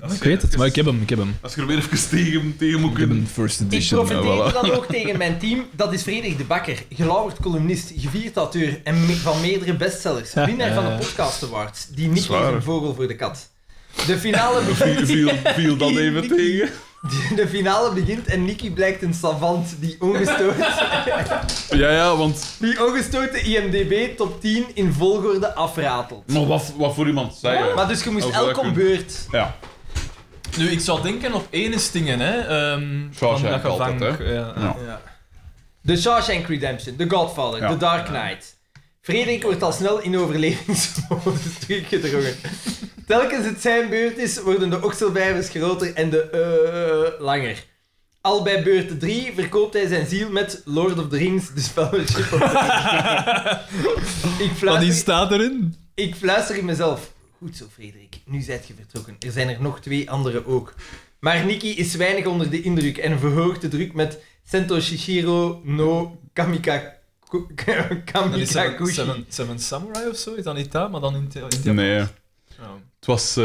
Speaker 2: Als
Speaker 6: Ik
Speaker 2: je
Speaker 6: weet het,
Speaker 2: even-
Speaker 6: maar ik heb hem, ik heb hem.
Speaker 2: Als je er weer even tegen, tegen moet
Speaker 6: Ik heb een
Speaker 2: kunnen...
Speaker 6: first
Speaker 3: Ik
Speaker 6: edition.
Speaker 3: profiteerde
Speaker 6: eh, voilà.
Speaker 3: dan ook tegen mijn team. Dat is Frederik de Bakker, gelauwerd columnist, gevierd auteur en me- van meerdere bestsellers. Winnaar van de podcast awards. Die niet
Speaker 2: Zwaar.
Speaker 3: is een vogel voor de kat. De finale begint...
Speaker 2: Viel, viel, viel dat even
Speaker 3: Die-
Speaker 2: tegen.
Speaker 3: De finale begint en Nicky blijkt een savant die ongestoord
Speaker 2: Ja, ja, want...
Speaker 3: Die ongestoord de IMDB top 10 in volgorde afratelt.
Speaker 2: Maar wat, wat voor iemand zei hè?
Speaker 3: Maar dus je moest
Speaker 2: Als dat
Speaker 3: elk om
Speaker 2: kunt.
Speaker 3: beurt.
Speaker 2: Ja.
Speaker 4: Nu, ik zou denken op ene stingen, hè. ehm,
Speaker 2: Shawshank
Speaker 4: van dat
Speaker 2: altijd,
Speaker 4: gevangen-
Speaker 2: hè.
Speaker 4: Ja.
Speaker 2: Ja.
Speaker 3: The Shawshank Redemption, The Godfather,
Speaker 2: Ja.
Speaker 3: The Dark Knight. Frederik wordt al snel in overlevingsmodus teruggedrongen. Telkens het zijn beurt is, worden de okselvijvers groter en de eh langer. Al bij beurt 3 verkoopt hij zijn ziel met Lord of the Rings, de spelletjes. ik
Speaker 6: Wat die
Speaker 3: fluister
Speaker 6: staat erin?
Speaker 3: Ik fluister in mezelf. Goed zo, Frederik. Nu zijt je vertrokken. Er zijn er nog twee anderen ook. Maar Nikki is weinig onder de indruk en verhoogt de druk met Sento Shishiro no Kamika... Ku-
Speaker 4: Dat is Seven,
Speaker 3: Kamikakushi.
Speaker 4: Seven, Seven Samurai of zo, is dat niet daar, maar dan in, het- in het Japan?
Speaker 2: Nee.
Speaker 4: Ja. Dus
Speaker 2: Het was... eh,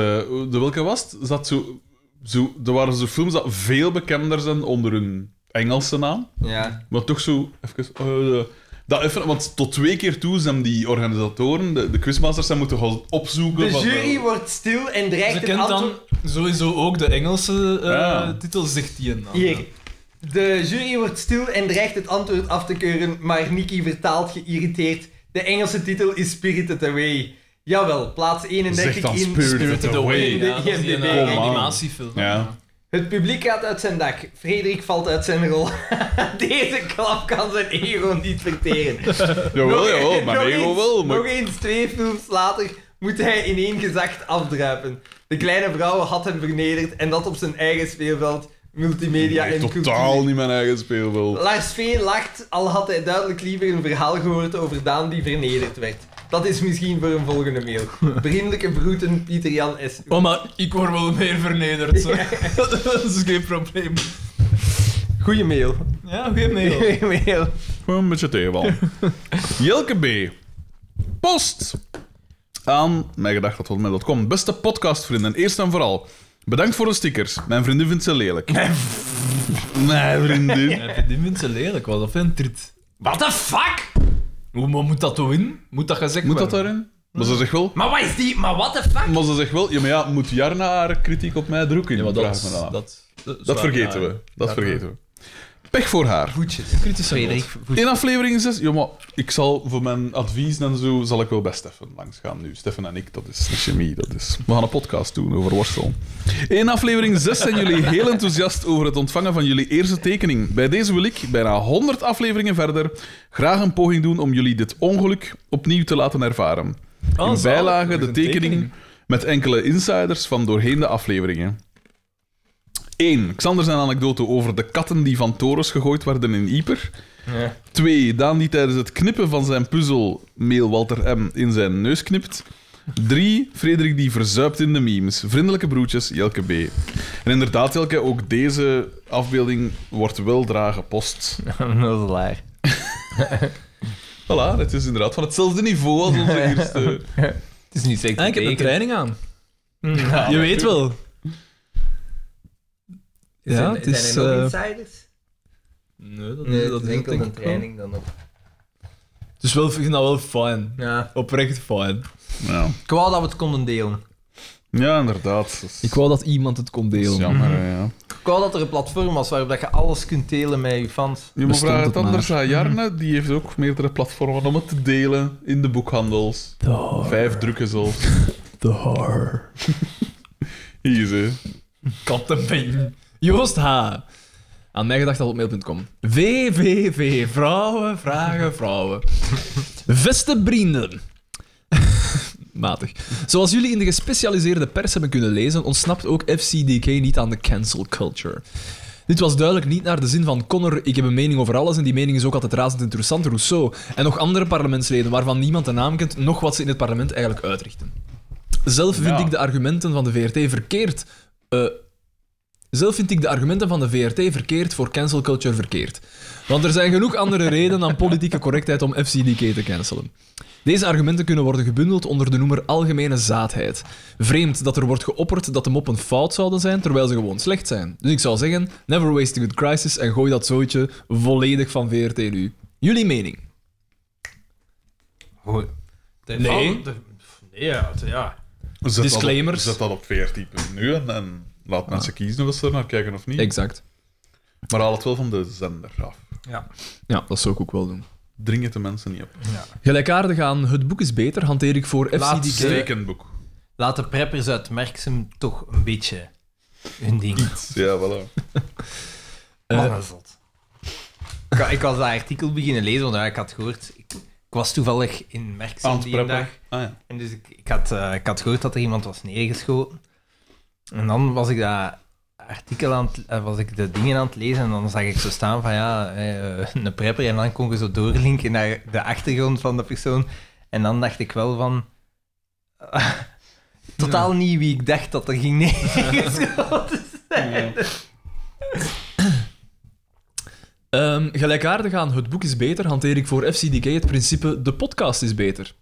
Speaker 2: de welke was het? Zat zo, zo, er waren zo films dat veel bekender zijn onder hun Engelse naam.
Speaker 3: Ja.
Speaker 2: Maar toch zo even... eh, dat even want tot twee keer toe zijn die organisatoren, de, de quizmasters, zijn moeten gaan opzoeken...
Speaker 3: De
Speaker 2: van,
Speaker 3: jury
Speaker 2: eh,
Speaker 3: wordt stil en
Speaker 4: Ze
Speaker 3: dreigt een
Speaker 4: kent
Speaker 3: antwoord...
Speaker 4: dan sowieso ook de Engelse eh
Speaker 2: Ja.
Speaker 4: titel, zegt die en dan.
Speaker 3: Hier. De jury wordt stil en dreigt het antwoord af te keuren, maar Nikki vertaalt geïrriteerd. De Engelse titel is Spirited Away. Jawel, plaats 31
Speaker 2: Zeg dan
Speaker 3: in...
Speaker 2: Spirited
Speaker 4: Spirited Away.
Speaker 2: Away.
Speaker 4: Ja, dat is die,
Speaker 3: IMDb.
Speaker 4: eh,
Speaker 2: Kom aan.
Speaker 4: animatiefilm.
Speaker 2: Oh, Ja.
Speaker 3: Het publiek gaat uit zijn dak. Frederik valt uit zijn rol. Deze klap kan zijn ego niet verteren.
Speaker 2: Jawel, jawel, maar
Speaker 3: nog
Speaker 2: nee,
Speaker 3: eens-
Speaker 2: wel. Maar
Speaker 3: Nog eens twee films later moet hij in één gezacht afdruipen. De kleine vrouw had hem vernederd en dat op zijn eigen speelveld, multimedia
Speaker 2: Nee,
Speaker 3: en
Speaker 2: totaal
Speaker 3: cultuur.
Speaker 2: niet mijn eigen speelveld.
Speaker 3: Lars V. lacht, al had hij duidelijk liever een verhaal gehoord over Daan die vernederd werd. Dat is misschien voor een volgende mail. Vriendelijke groeten, Pieter Jan S.
Speaker 4: Oh, maar ik word wel meer vernederd. Zo. dat is geen probleem.
Speaker 3: Goeie mail.
Speaker 4: Ja, geen mail.
Speaker 3: Goeie mail.
Speaker 2: Gewoon een beetje tegenval. Jelke B. Post. Aan mijngedacht.com. Beste podcastvrienden, eerst en vooral. Bedankt voor de stickers. Mijn vriendin vindt ze lelijk. Mijn vriendin.
Speaker 4: Ja, die mensen lelijk, wat dat vindt dit. What the fuck? Hoe maar moet dat toch in? Moet dat gezegd
Speaker 2: Moet dat
Speaker 4: worden?
Speaker 2: daarin? Maar ze zegt wel...
Speaker 3: Maar wat is die? Maar what the fuck?
Speaker 2: Maar ze zegt wel... Ja, maar ja, moet Jarna haar kritiek op mij drukken?
Speaker 4: Ja, maar
Speaker 2: Vraag
Speaker 4: dat,
Speaker 2: me dan af.
Speaker 4: dat,
Speaker 2: dat,
Speaker 4: dat,
Speaker 2: vergeten we. Dat vergeten we. Pech voor haar.
Speaker 4: Kritische noot.
Speaker 2: In aflevering 6, ja, maar ik zal voor mijn advies en zo, zal ik wel bij Steffen langs gaan nu. Steffen en ik, dat is de chemie, dat is... We gaan een podcast doen over worstel. In aflevering 6 zijn jullie heel enthousiast over het ontvangen van jullie eerste tekening. Bij deze wil ik, bijna 100 afleveringen verder, graag een poging doen om jullie dit ongeluk opnieuw te laten ervaren.
Speaker 4: Oh,
Speaker 2: In
Speaker 4: zalig.
Speaker 2: bijlage
Speaker 4: Er is
Speaker 2: de
Speaker 4: een
Speaker 2: tekening met enkele insiders van doorheen de afleveringen. 1. Xander zijn anekdote over de katten die van torens gegooid werden in Ieper. 2. Daan die tijdens het knippen van zijn puzzel mail Walter M. in zijn neus knipt. 3. Frederik die verzuipt in de memes. Vriendelijke broertjes, Jelke B. En inderdaad, Jelke, ook deze afbeelding wordt wel draag gepost.
Speaker 3: Dat is laag.
Speaker 2: Voilà, het is inderdaad van hetzelfde niveau als onze eerste.
Speaker 3: Het is niet zeker. Mm.
Speaker 4: Ah, ik heb een training aan. je weet wel. Ja, het is...
Speaker 3: Zijn er nog
Speaker 4: eh,
Speaker 3: insiders?
Speaker 4: Nee, dat,
Speaker 3: Nee,
Speaker 4: dat
Speaker 3: dat
Speaker 4: is
Speaker 3: is enkel
Speaker 4: denk
Speaker 3: een
Speaker 4: ik wel.
Speaker 3: training dan nog.
Speaker 4: Het is wel, ik vind dat wel fijn.
Speaker 3: Ja.
Speaker 4: Oprecht fijn.
Speaker 2: Ja.
Speaker 3: Ik wou dat we het konden delen.
Speaker 2: ja, inderdaad. Dat is-
Speaker 6: Ik wou dat iemand het kon
Speaker 2: dat
Speaker 6: delen.
Speaker 2: is jammer, hè, ja.
Speaker 3: Ik wou dat er een platform was waarop dat je alles kunt delen met je fans.
Speaker 2: Je moet
Speaker 6: Bestond
Speaker 2: vragen
Speaker 6: het
Speaker 2: het anders aan Jarne. Die heeft ook meerdere platformen om het te delen in de boekhandels. Vijf drukken zelfs.
Speaker 6: De horror.
Speaker 2: Easy.
Speaker 4: Kattenbeen.
Speaker 6: Joost H. Aan mijgedacht.mail.com. VVV. Vrouwen vragen vrouwen. Beste vrienden.
Speaker 4: Matig. Zoals jullie in de gespecialiseerde pers hebben kunnen lezen, ontsnapt ook FCDK niet aan de cancel culture. Dit was duidelijk niet naar de zin van Connor, ik heb een mening over alles en die mening is ook altijd razend interessant, Rousseau. En nog andere parlementsleden waarvan niemand de naam kent, nog wat ze in het parlement eigenlijk uitrichten. Zelf vind
Speaker 2: Ja.
Speaker 4: ik de argumenten van de VRT verkeerd. eh, zelf vind ik de argumenten van de VRT verkeerd voor cancel culture verkeerd. Want er zijn genoeg andere redenen dan politieke correctheid om FCDK te cancelen. Deze argumenten kunnen worden gebundeld onder de noemer algemene zaadheid. Vreemd dat er wordt geopperd dat de moppen fout zouden zijn, terwijl ze gewoon slecht zijn. Dus ik zou zeggen, never waste a good crisis en gooi dat zooitje volledig van VRT nu. Jullie mening?
Speaker 3: Hoor. De-
Speaker 4: Nee.
Speaker 3: oh, de- nee, ja. de- ja.
Speaker 2: Zet
Speaker 4: Disclaimers.
Speaker 2: Dat op, zet dat op 14.nu en, en laat mensen kiezen of ze er naar kijken of niet.
Speaker 4: Exact.
Speaker 2: Maar haal het wel van de zender af.
Speaker 4: Ja, dat zou ik ook wel doen.
Speaker 2: Dring het de mensen niet op.
Speaker 4: Gelijkaardig aan Het Boek is Beter hanteer ik voor
Speaker 3: Laat
Speaker 4: FCDK...
Speaker 2: Stekenboek.
Speaker 3: Laat de preppers uit Merksem toch een beetje hun ding.
Speaker 2: Ja, voilà.
Speaker 3: Eh. Mannenzot. Ik, wa- ik was dat artikel beginnen lezen, want ja, ik had gehoord... Ik, ik was toevallig in
Speaker 2: Aan
Speaker 3: Merksem
Speaker 2: het
Speaker 3: die een
Speaker 2: preppen.
Speaker 3: dag.
Speaker 2: Ah, ja.
Speaker 3: En dus ik, ik, had, eh, ik had gehoord dat er iemand was neergeschoten. En dan was ik dat artikel aan het, eh, was ik de dingen aan het lezen en dan zag ik zo staan van ja, eh, eh, een prepper. En dan kon je zo doorlinken naar de achtergrond van de persoon. En dan dacht ik wel van... ah, totaal niet wie ik dacht dat er ging neergeschoten zijn.
Speaker 4: Ehm, gelijkaardig aan Het Boek is Beter hanteer ik voor FCDK het principe De podcast is beter.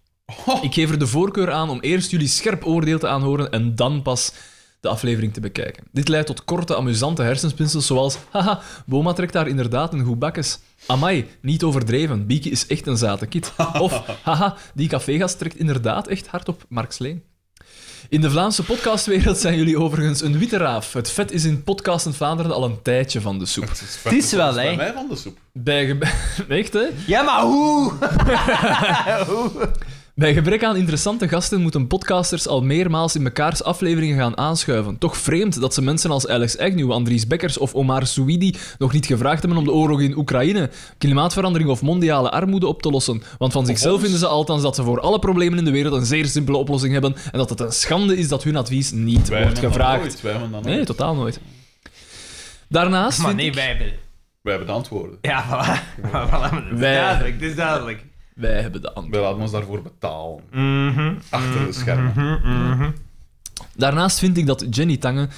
Speaker 4: Ik geef er de voorkeur aan om eerst jullie scherp oordeel te aanhoren en dan pas de aflevering te bekijken. Dit leidt tot korte, amusante hersenspinsels zoals haha, Boma trekt daar inderdaad een goed bakkes. Amai, niet overdreven, Bieke is echt een zate kid. Of haha, die cafégast trekt inderdaad echt hard op Marx Leen. In de Vlaamse podcastwereld zijn jullie overigens een witte raaf. Het vet is in podcast in Vlaanderen al een tijdje van de soep.
Speaker 2: Het is, vet.
Speaker 3: Het is wel,
Speaker 2: Dat bij
Speaker 3: hè.
Speaker 2: mij van de soep.
Speaker 4: Bij gebe- Echt, hè?
Speaker 3: Ja, maar hoe? Hoe?
Speaker 4: Bij gebrek aan interessante gasten moeten podcasters al meermaals in mekaars afleveringen gaan aanschuiven. Toch vreemd dat ze mensen als Alex Agnew, Andries Bekkers of Omar Souidi nog niet gevraagd hebben om de oorlog in Oekraïne, klimaatverandering of mondiale armoede op te lossen. Want van zichzelf
Speaker 2: ons.
Speaker 4: vinden ze althans dat ze voor alle problemen in de wereld een zeer simpele oplossing hebben en dat het een schande is dat hun advies niet
Speaker 2: Wij
Speaker 4: wordt
Speaker 2: hebben dat
Speaker 4: gevraagd.
Speaker 2: nooit, Wij hebben dat
Speaker 4: Nee,
Speaker 2: nooit.
Speaker 4: totaal nooit. Daarnaast
Speaker 3: Maar
Speaker 4: vind
Speaker 3: nee,
Speaker 4: ik-
Speaker 3: wij hebben...
Speaker 2: Wij hebben de antwoorden.
Speaker 3: Ja, voilà. voilà maar dat is
Speaker 4: Wij-
Speaker 3: duidelijk, dat is duidelijk.
Speaker 4: wij hebben de antwoord.
Speaker 2: Wij laten ons daarvoor betalen.
Speaker 3: Mm. Mhm.
Speaker 2: Achter de schermen.
Speaker 4: Daarnaast vind ik dat Jenny Tange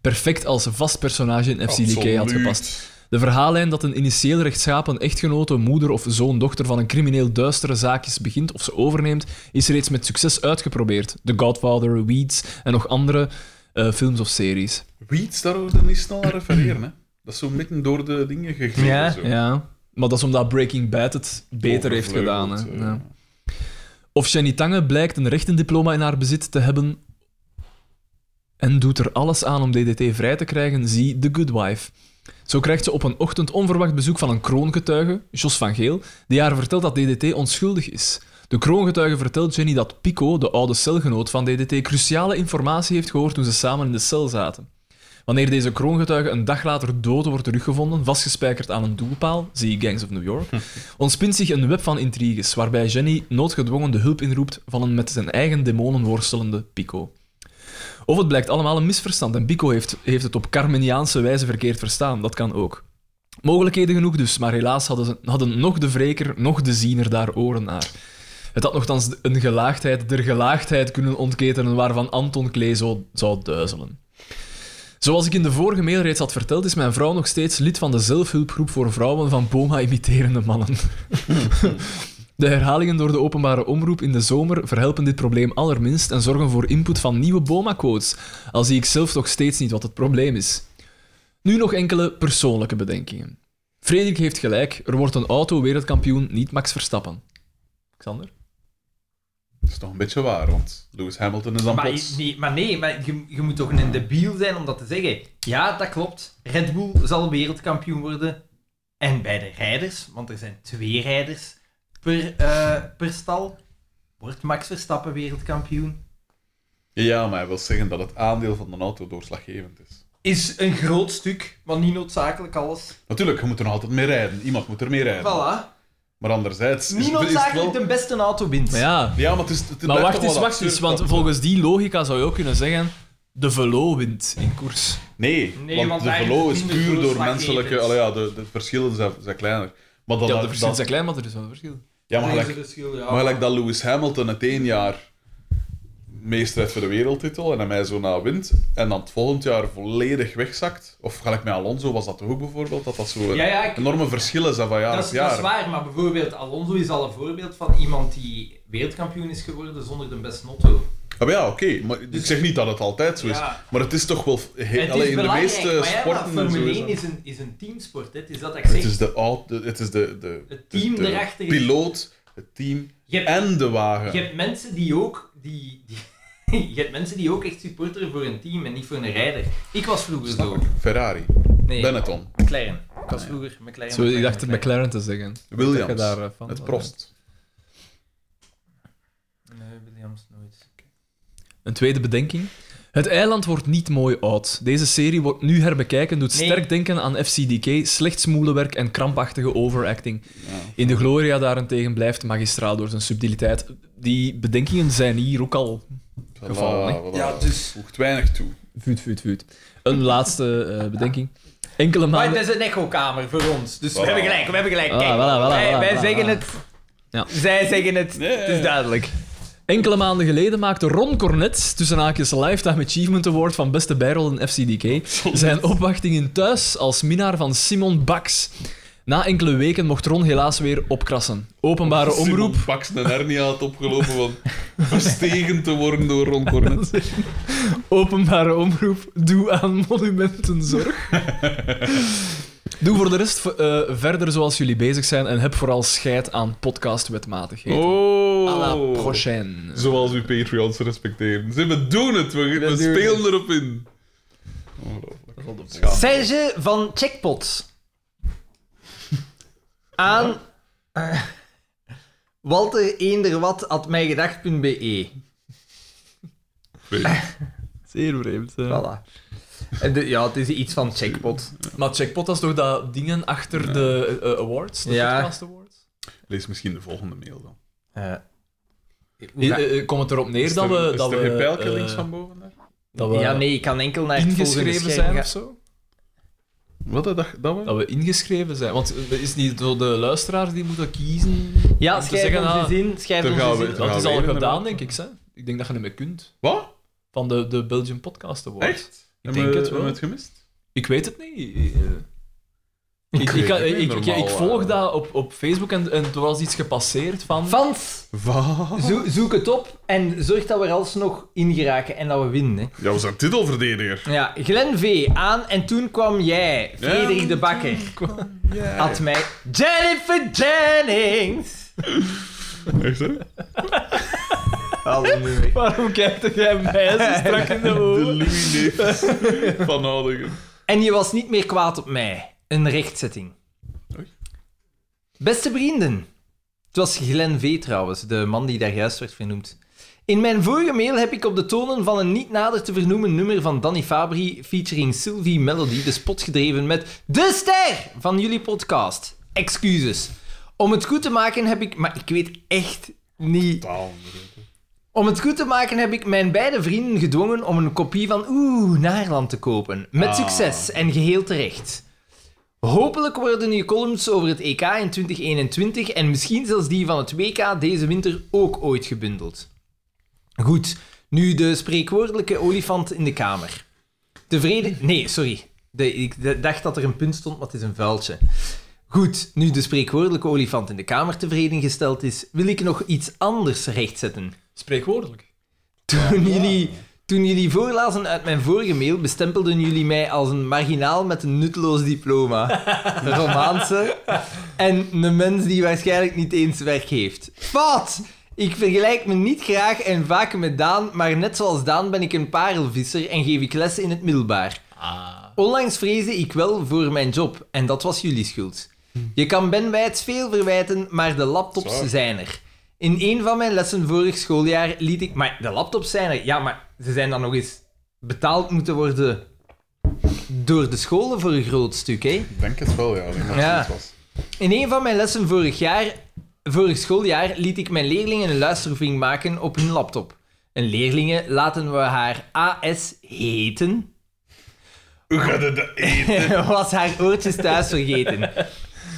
Speaker 4: perfect als vast personage in FCDK had
Speaker 2: Absoluut.
Speaker 4: gepast. De verhaallijn dat een initieel rechtschapen echtgenote, moeder of zoon, dochter van een crimineel duistere zaakjes begint of ze overneemt, is reeds met succes uitgeprobeerd. The Godfather, Weeds en nog andere eh, films of series.
Speaker 2: Weeds, daar hoor je niet snel aan refereren. Hè. Dat is zo midden door de dingen gegeven.
Speaker 3: Ja,
Speaker 2: zo.
Speaker 4: Ja. Maar dat is omdat Breaking Bad het beter heeft gedaan.
Speaker 2: Overvleugeld,
Speaker 4: Hè.
Speaker 2: eh.
Speaker 4: Ja. Of Jenny Tange blijkt een rechtendiploma in haar bezit te hebben en doet er alles aan om DDT vrij te krijgen, zie The Good Wife. Zo krijgt ze op een ochtend onverwacht bezoek van een kroongetuige, Jos van Geel, die haar vertelt dat DDT onschuldig is. De kroongetuige vertelt Jenny dat Pico, de oude celgenoot van DDT, cruciale informatie heeft gehoord toen ze samen in de cel zaten. Wanneer deze kroongetuige een dag later dood wordt teruggevonden, vastgespijkerd aan een doelpaal, zie Gangs of New York, ontspint zich een web van intriges, waarbij Jenny noodgedwongen de hulp inroept van een met zijn eigen demonen worstelende Pico. Of het blijkt allemaal een misverstand en Pico heeft, heeft het op Carmeniaanse wijze verkeerd verstaan, dat kan ook. Mogelijkheden genoeg dus, maar helaas hadden, ze, hadden nog de wreker, nog de ziener daar oren naar. Het had nogthans een gelaagdheid der gelaagdheid kunnen ontketenen waarvan Anton Klee zo, zou duizelen. Zoals ik in de vorige mail reeds had verteld, is mijn vrouw nog steeds lid van de zelfhulpgroep voor vrouwen van Boma-imiterende mannen. De herhalingen door de openbare omroep in de zomer verhelpen dit probleem allerminst en zorgen voor input van nieuwe Boma-quotes, al zie ik zelf nog steeds niet wat het probleem is. Nu nog enkele persoonlijke bedenkingen. Frederik heeft gelijk, er wordt een auto-wereldkampioen, niet Max Verstappen. Xander?
Speaker 2: Dat is toch een beetje waar, want Lewis Hamilton is dan
Speaker 3: Maar
Speaker 2: plots...
Speaker 3: nee, maar, nee, maar je, je moet toch een debiel zijn om dat te zeggen. Ja, dat klopt. Red Bull zal wereldkampioen worden. En bij de rijders, want er zijn twee rijders per, eh, per stal, wordt Max Verstappen wereldkampioen.
Speaker 2: Ja, maar hij wil zeggen dat het aandeel van de auto doorslaggevend is.
Speaker 3: Is een groot stuk, maar niet noodzakelijk alles.
Speaker 2: Natuurlijk, je moet er nog altijd mee rijden. Iemand moet er mee rijden.
Speaker 3: Voilà.
Speaker 2: Maar anderzijds... is-
Speaker 3: Niet
Speaker 2: is het wel-
Speaker 3: noodzakelijk de beste auto wint.
Speaker 4: Maar ja,
Speaker 2: Ja, maar het is... Het
Speaker 4: maar
Speaker 2: blijft
Speaker 4: wacht
Speaker 2: toch
Speaker 4: eens,
Speaker 2: wel
Speaker 4: wacht eens.
Speaker 2: absurd
Speaker 4: Want
Speaker 2: dat-
Speaker 4: volgens die logica zou je ook kunnen zeggen... De velo wint in koers.
Speaker 2: Nee,
Speaker 3: Nee,
Speaker 2: want,
Speaker 3: want
Speaker 2: de
Speaker 3: eigenlijk
Speaker 2: verlo is
Speaker 3: minder
Speaker 2: puur door
Speaker 3: doorslaggevend.
Speaker 2: menselijke... Allee, ja, de, de verschillen zijn, zijn kleiner. Maar dat,
Speaker 4: Ja, de
Speaker 2: dat-
Speaker 4: verschillen zijn klein, maar er is wel een verschil.
Speaker 2: Ja, maar
Speaker 3: Dan is
Speaker 2: gelijk,
Speaker 3: het verschil, dus ja.
Speaker 2: maar gelijk dat Lewis Hamilton het één jaar meestrijd voor de wereldtitel en hij mij zo na wint en dan het volgend jaar volledig wegzakt. Of gelijk met Alonso was dat toch ook bijvoorbeeld, dat dat zo
Speaker 3: Ja, ja, ik-
Speaker 2: enorme verschillen zijn van jaar
Speaker 3: dat, is,
Speaker 2: op jaar.
Speaker 3: dat is waar, maar bijvoorbeeld Alonso is al een voorbeeld van iemand die wereldkampioen is geworden zonder de beste auto.
Speaker 2: Ah, maar ja, oké. Maar ik zeg niet dat het altijd zo is.
Speaker 3: Dus- Ja.
Speaker 2: Maar het is toch wel... he-
Speaker 3: het
Speaker 2: allee,
Speaker 3: is
Speaker 2: in de
Speaker 3: belangrijk,
Speaker 2: meeste
Speaker 3: maar ja, maar
Speaker 2: sporten... en zo
Speaker 3: Formule
Speaker 2: is
Speaker 3: 1
Speaker 2: dat-
Speaker 3: is een, is een teamsport, hè. het is dat dat ik
Speaker 2: Het
Speaker 3: zeg.
Speaker 2: is de, oud- de- het is de, de,
Speaker 3: Het team
Speaker 2: de, de
Speaker 3: erachter.
Speaker 2: piloot, het team
Speaker 3: Je hebt-
Speaker 2: en de wagen.
Speaker 3: Je hebt mensen die ook... Die, die, je hebt mensen die ook echt supporteren voor een team en niet voor een rijder. Ik was vroeger
Speaker 2: Snap
Speaker 3: zo.
Speaker 2: ik. Ferrari,
Speaker 3: Nee,
Speaker 2: Benetton,
Speaker 3: McLaren. Ik was vroeger McLaren.
Speaker 4: Zo, ik dacht
Speaker 3: McLaren,
Speaker 4: het McLaren te zeggen.
Speaker 2: Williams,
Speaker 4: Dat je daar, eh, van
Speaker 2: het
Speaker 4: was,
Speaker 2: Prost.
Speaker 3: Nee, Williams nooit.
Speaker 4: Een tweede bedenking. Het eiland wordt niet mooi oud. Deze serie wordt nu herbekijken, doet
Speaker 3: Nee.
Speaker 4: sterk denken aan FCDK, slecht smoelenwerk en krampachtige overacting. In de Gloria daarentegen blijft magistraal door zijn subtiliteit. Die bedenkingen zijn hier ook al
Speaker 2: Voilà,
Speaker 4: Gevallen, hè?
Speaker 2: voilà.
Speaker 6: Ja, dus-
Speaker 2: Voegt weinig toe.
Speaker 4: vuut, vuut, vuut. Een laatste eh, bedenking. Enkele
Speaker 3: Maar
Speaker 4: maanden...
Speaker 3: het is een echokamer voor ons, dus we
Speaker 2: Voilà.
Speaker 3: hebben gelijk, we hebben gelijk.
Speaker 4: Ah,
Speaker 3: Kijk,
Speaker 4: voilà, voilà,
Speaker 3: wij,
Speaker 4: voilà,
Speaker 3: wij
Speaker 4: voilà,
Speaker 3: zeggen
Speaker 4: voilà.
Speaker 3: het,
Speaker 4: Ja.
Speaker 3: zij zeggen het,
Speaker 2: Nee.
Speaker 3: het is duidelijk.
Speaker 4: Enkele maanden geleden maakte Ron Cornet, tussen haakjes Lifetime Achievement Award van beste bijrol in FCDK, zijn opwachtingen thuis als minnaar van Simon Bax. Na enkele weken mocht Ron helaas weer opkrassen. Openbare
Speaker 2: Simon
Speaker 4: omroep...
Speaker 2: Paxen en Hernia had opgelopen van verstegen te worden door Ron Cornet.
Speaker 4: Openbare omroep, doe aan monumentenzorg. doe voor de rest eh, verder zoals jullie bezig zijn en heb vooral scheid aan podcastwetmatigheden.
Speaker 2: Oh.
Speaker 4: À la prochaine.
Speaker 2: Zoals uw Patreons respecteren. Ze we doen het, we, we
Speaker 4: doen
Speaker 2: spelen erop in. Ongelooflijk. Schaam.
Speaker 3: Serge van Checkpot. Aan eh, Walter Eenderwat at mijgedacht.be.
Speaker 4: Zeer vreemd. hè.
Speaker 3: Voilà. En de- ja, het is iets van Checkpot.
Speaker 4: Maar Checkpot, dat is toch dat dingen achter de eh, awards? De
Speaker 3: Ja.
Speaker 4: podcast awards?
Speaker 2: Lees misschien de volgende mail dan.
Speaker 3: Eh,
Speaker 4: Eh, eh, eh, Komt het erop neer
Speaker 2: Is
Speaker 4: dat
Speaker 2: er-
Speaker 4: we...
Speaker 2: is
Speaker 4: dat
Speaker 2: er
Speaker 4: we,
Speaker 2: geen pijltje
Speaker 4: eh,
Speaker 2: links van boven daar?
Speaker 4: Dat we
Speaker 3: ja, nee, ik kan enkel naar het volgende
Speaker 4: ingeschreven
Speaker 3: scherm
Speaker 4: zijn
Speaker 3: gaan.
Speaker 4: of zo?
Speaker 2: Wat dat, dat, dat
Speaker 4: Dat we ingeschreven zijn. Want eh, is het niet door de luisteraars die moeten kiezen?
Speaker 3: Ja,
Speaker 4: om te
Speaker 3: schrijf
Speaker 4: zeggen,
Speaker 3: ons
Speaker 4: ah,
Speaker 3: eens in, schrijf
Speaker 2: daar
Speaker 3: ons
Speaker 2: gaan
Speaker 3: eens
Speaker 2: we-
Speaker 3: in.
Speaker 2: daar
Speaker 4: Dat is
Speaker 2: weer
Speaker 4: al
Speaker 2: in de
Speaker 4: gedaan,
Speaker 2: bak.
Speaker 4: denk ik. Hè? Ik denk dat je ermee kunt.
Speaker 2: Wat?
Speaker 4: Van de, de Belgian Podcast Award.
Speaker 2: Echt?
Speaker 4: Ik
Speaker 2: Hebben
Speaker 4: denk
Speaker 2: we-
Speaker 4: het
Speaker 2: hebben we
Speaker 4: wel.
Speaker 2: het gemist?
Speaker 4: Ik weet het niet. Eh, Ik, ik,
Speaker 2: weet
Speaker 4: kan-
Speaker 2: het niet,
Speaker 4: ik, ik,
Speaker 2: normaal,
Speaker 4: ik volg
Speaker 2: eh.
Speaker 4: dat op, op Facebook en, en er was iets gepasseerd van...
Speaker 3: Fans,
Speaker 2: Wat?
Speaker 3: zo- zoek het op en zorg dat we er alsnog in geraken en dat we winnen. hè.
Speaker 2: Ja, we zijn titelverdediger.
Speaker 3: Ja, Glenn V. aan en toen kwam jij, Frederik de Bakker. Had mij Jennifer Jennings.
Speaker 2: Echt, hè?
Speaker 4: Waarom kijkt jij mij zo strak in de
Speaker 2: De
Speaker 4: ogen?
Speaker 2: Louis Neefs van Oudingen.
Speaker 3: En je was niet meer kwaad op mij. Een rechtzetting.
Speaker 2: Oei.
Speaker 3: Beste vrienden. Het was Glenn V. trouwens, de man die daar juist werd vernoemd. In mijn vorige mail heb ik op de tonen van een niet nader te vernoemen nummer van Danny Fabri featuring Sylvie Melody de spot gedreven met de ster van jullie podcast. Excuses. Om het goed te maken heb ik... Maar ik weet echt niet... Om het goed te maken heb ik mijn beide vrienden gedwongen om een kopie van Oeh, Naarland te kopen. Met
Speaker 2: Ah.
Speaker 3: succes en geheel terecht. Hopelijk worden je columns over het EK in 2021 en misschien zelfs die van het WK deze winter ook ooit gebundeld. Goed, nu de spreekwoordelijke olifant in de kamer. Tevreden. Nee, sorry. De- ik d- dacht dat er een punt stond, maar het is een vuiltje. Goed, nu de spreekwoordelijke olifant in de kamer tevreden gesteld is, wil ik nog iets anders rechtzetten.
Speaker 4: Spreekwoordelijk.
Speaker 3: Toen, jullie, toen jullie voorlazen uit mijn vorige mail, bestempelden jullie mij als een marginaal met een nutteloos diploma. Een Romaanse. En een mens die waarschijnlijk niet eens werk heeft. Fout! Ik vergelijk me niet graag en vaak met Daan, maar net zoals Daan ben ik een parelvisser en geef ik les in het middelbaar. Onlangs vreesde ik wel voor mijn job en dat was jullie schuld. Je kan Ben Wijts veel verwijten, maar de laptops
Speaker 2: Zwaar.
Speaker 3: zijn er. In een van mijn lessen vorig schooljaar liet ik. Maar de laptops zijn er. Ja, maar ze zijn dan nog eens betaald moeten worden door de scholen voor een groot stuk, hè?
Speaker 2: Ik denk het wel, ja. Ik denk dat het
Speaker 3: Ja.
Speaker 2: iets was.
Speaker 3: In een van mijn lessen vorig jaar Vorig schooljaar liet ik mijn leerlingen een luisteroefening maken op hun laptop. En leerlingen laten we haar AS heten,
Speaker 2: Hoe gaat het dat eten?
Speaker 3: was haar oortjes thuis vergeten.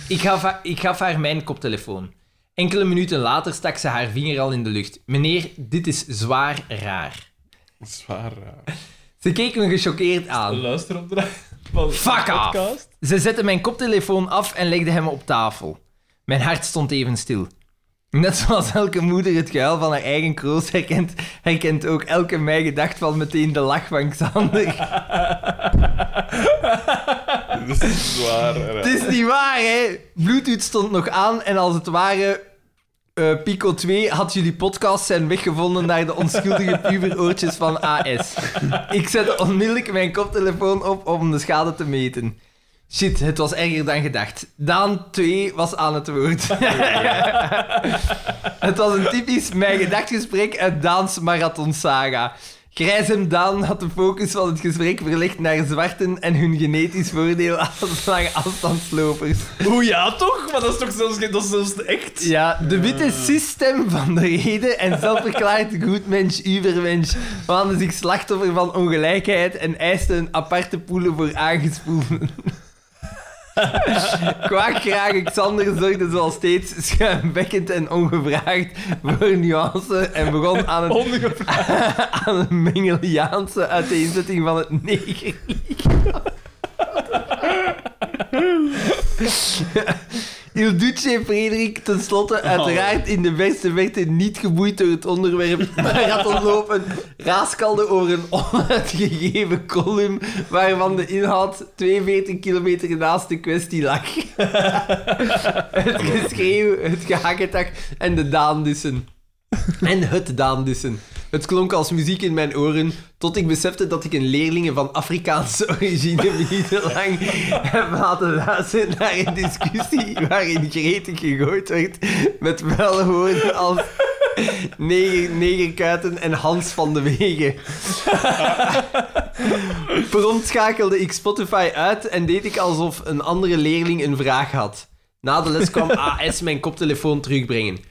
Speaker 3: Ik gaf, haar, ik gaf haar mijn koptelefoon. Enkele minuten later stak ze haar vinger al in de lucht. Meneer, dit is zwaar raar.
Speaker 2: Zwaar raar.
Speaker 3: Ze keek me gechoqueerd aan.
Speaker 6: Luister op de van
Speaker 3: Fuck
Speaker 6: de
Speaker 3: off.
Speaker 6: podcast.
Speaker 3: Ze zette mijn koptelefoon af en legde hem op tafel. Mijn hart stond even stil. Net zoals elke moeder het gehuil van haar eigen kroos herkent, herkent ook elke mij gedacht van meteen de lach van Xander.
Speaker 2: Dit is zwaar raar.
Speaker 3: het is niet waar, hè? Bluetooth stond nog aan en als het ware eh, Pico 2 had jullie podcast zijn weggevonden naar de onschuldige puberoortjes van AS. Ik zette onmiddellijk mijn koptelefoon op om de schade te meten. Shit, het was erger dan gedacht. Daan 2 was aan het woord. het was een typisch mijn gedachtgesprek uit Daans Marathon Saga. Grijs en Daan had de focus van het gesprek verlegd naar zwarten en hun genetisch voordeel als lange afstandslopers.
Speaker 6: Oeh ja, toch? Maar dat is toch zelfs, geen- dat is zelfs echt?
Speaker 3: Ja, de witte systeem van de reden en zelfverklaard goedmens, ubermens waande zich slachtoffer van ongelijkheid en eiste een aparte poelen voor aangespoelden. Kwaakgraag Xander zorgde zoals steeds schuimbekkend en ongevraagd voor nuance en begon aan het aan een Mengeliaanse uiteenzetting van het neger. Il Duce Frederik, tenslotte uiteraard in de beste verte niet geboeid door het onderwerp marathonlopen, raaskalde over een onuitgegeven column waarvan de inhoud 42 kilometer naast de kwestie lag. het geschreeuw, het gehakketak en de daandussen. En het daandussen. Het klonk als muziek in mijn oren, tot ik besefte dat ik een leerling van Afrikaanse origine minutenlang heb laten luisteren naar een discussie waarin gretig gegooid werd met welwoorden als neger, negerkuiten en Hans van de Wegen. Prompt schakelde ik Spotify uit en deed ik alsof een andere leerling een vraag had. Na de les kwam AS mijn koptelefoon terugbrengen.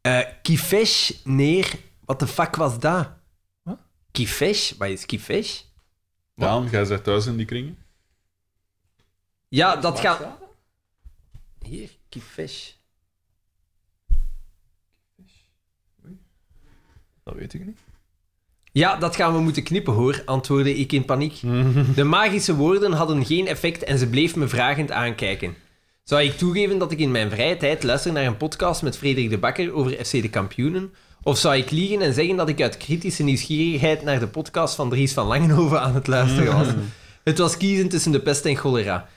Speaker 3: Eh, kifesh neer. Wat de fuck was dat? Wat? Kifesh? Wat is kifesh?
Speaker 2: Daan, jij zit thuis in die kringen?
Speaker 3: Ja, dat gaat... Hier, kifesh.
Speaker 6: Dat weet ik niet.
Speaker 3: Ja, dat gaan we moeten knippen hoor, antwoordde ik in paniek. De magische woorden hadden geen effect en ze bleef me vragend aankijken. Zou ik toegeven dat ik in mijn vrije tijd luister naar een podcast met Frederik de Bakker over FC de kampioenen? Of zou ik liegen en zeggen dat ik uit kritische nieuwsgierigheid naar de podcast van Dries van Langenhoven aan het luisteren was? Het was kiezen tussen de pest en cholera.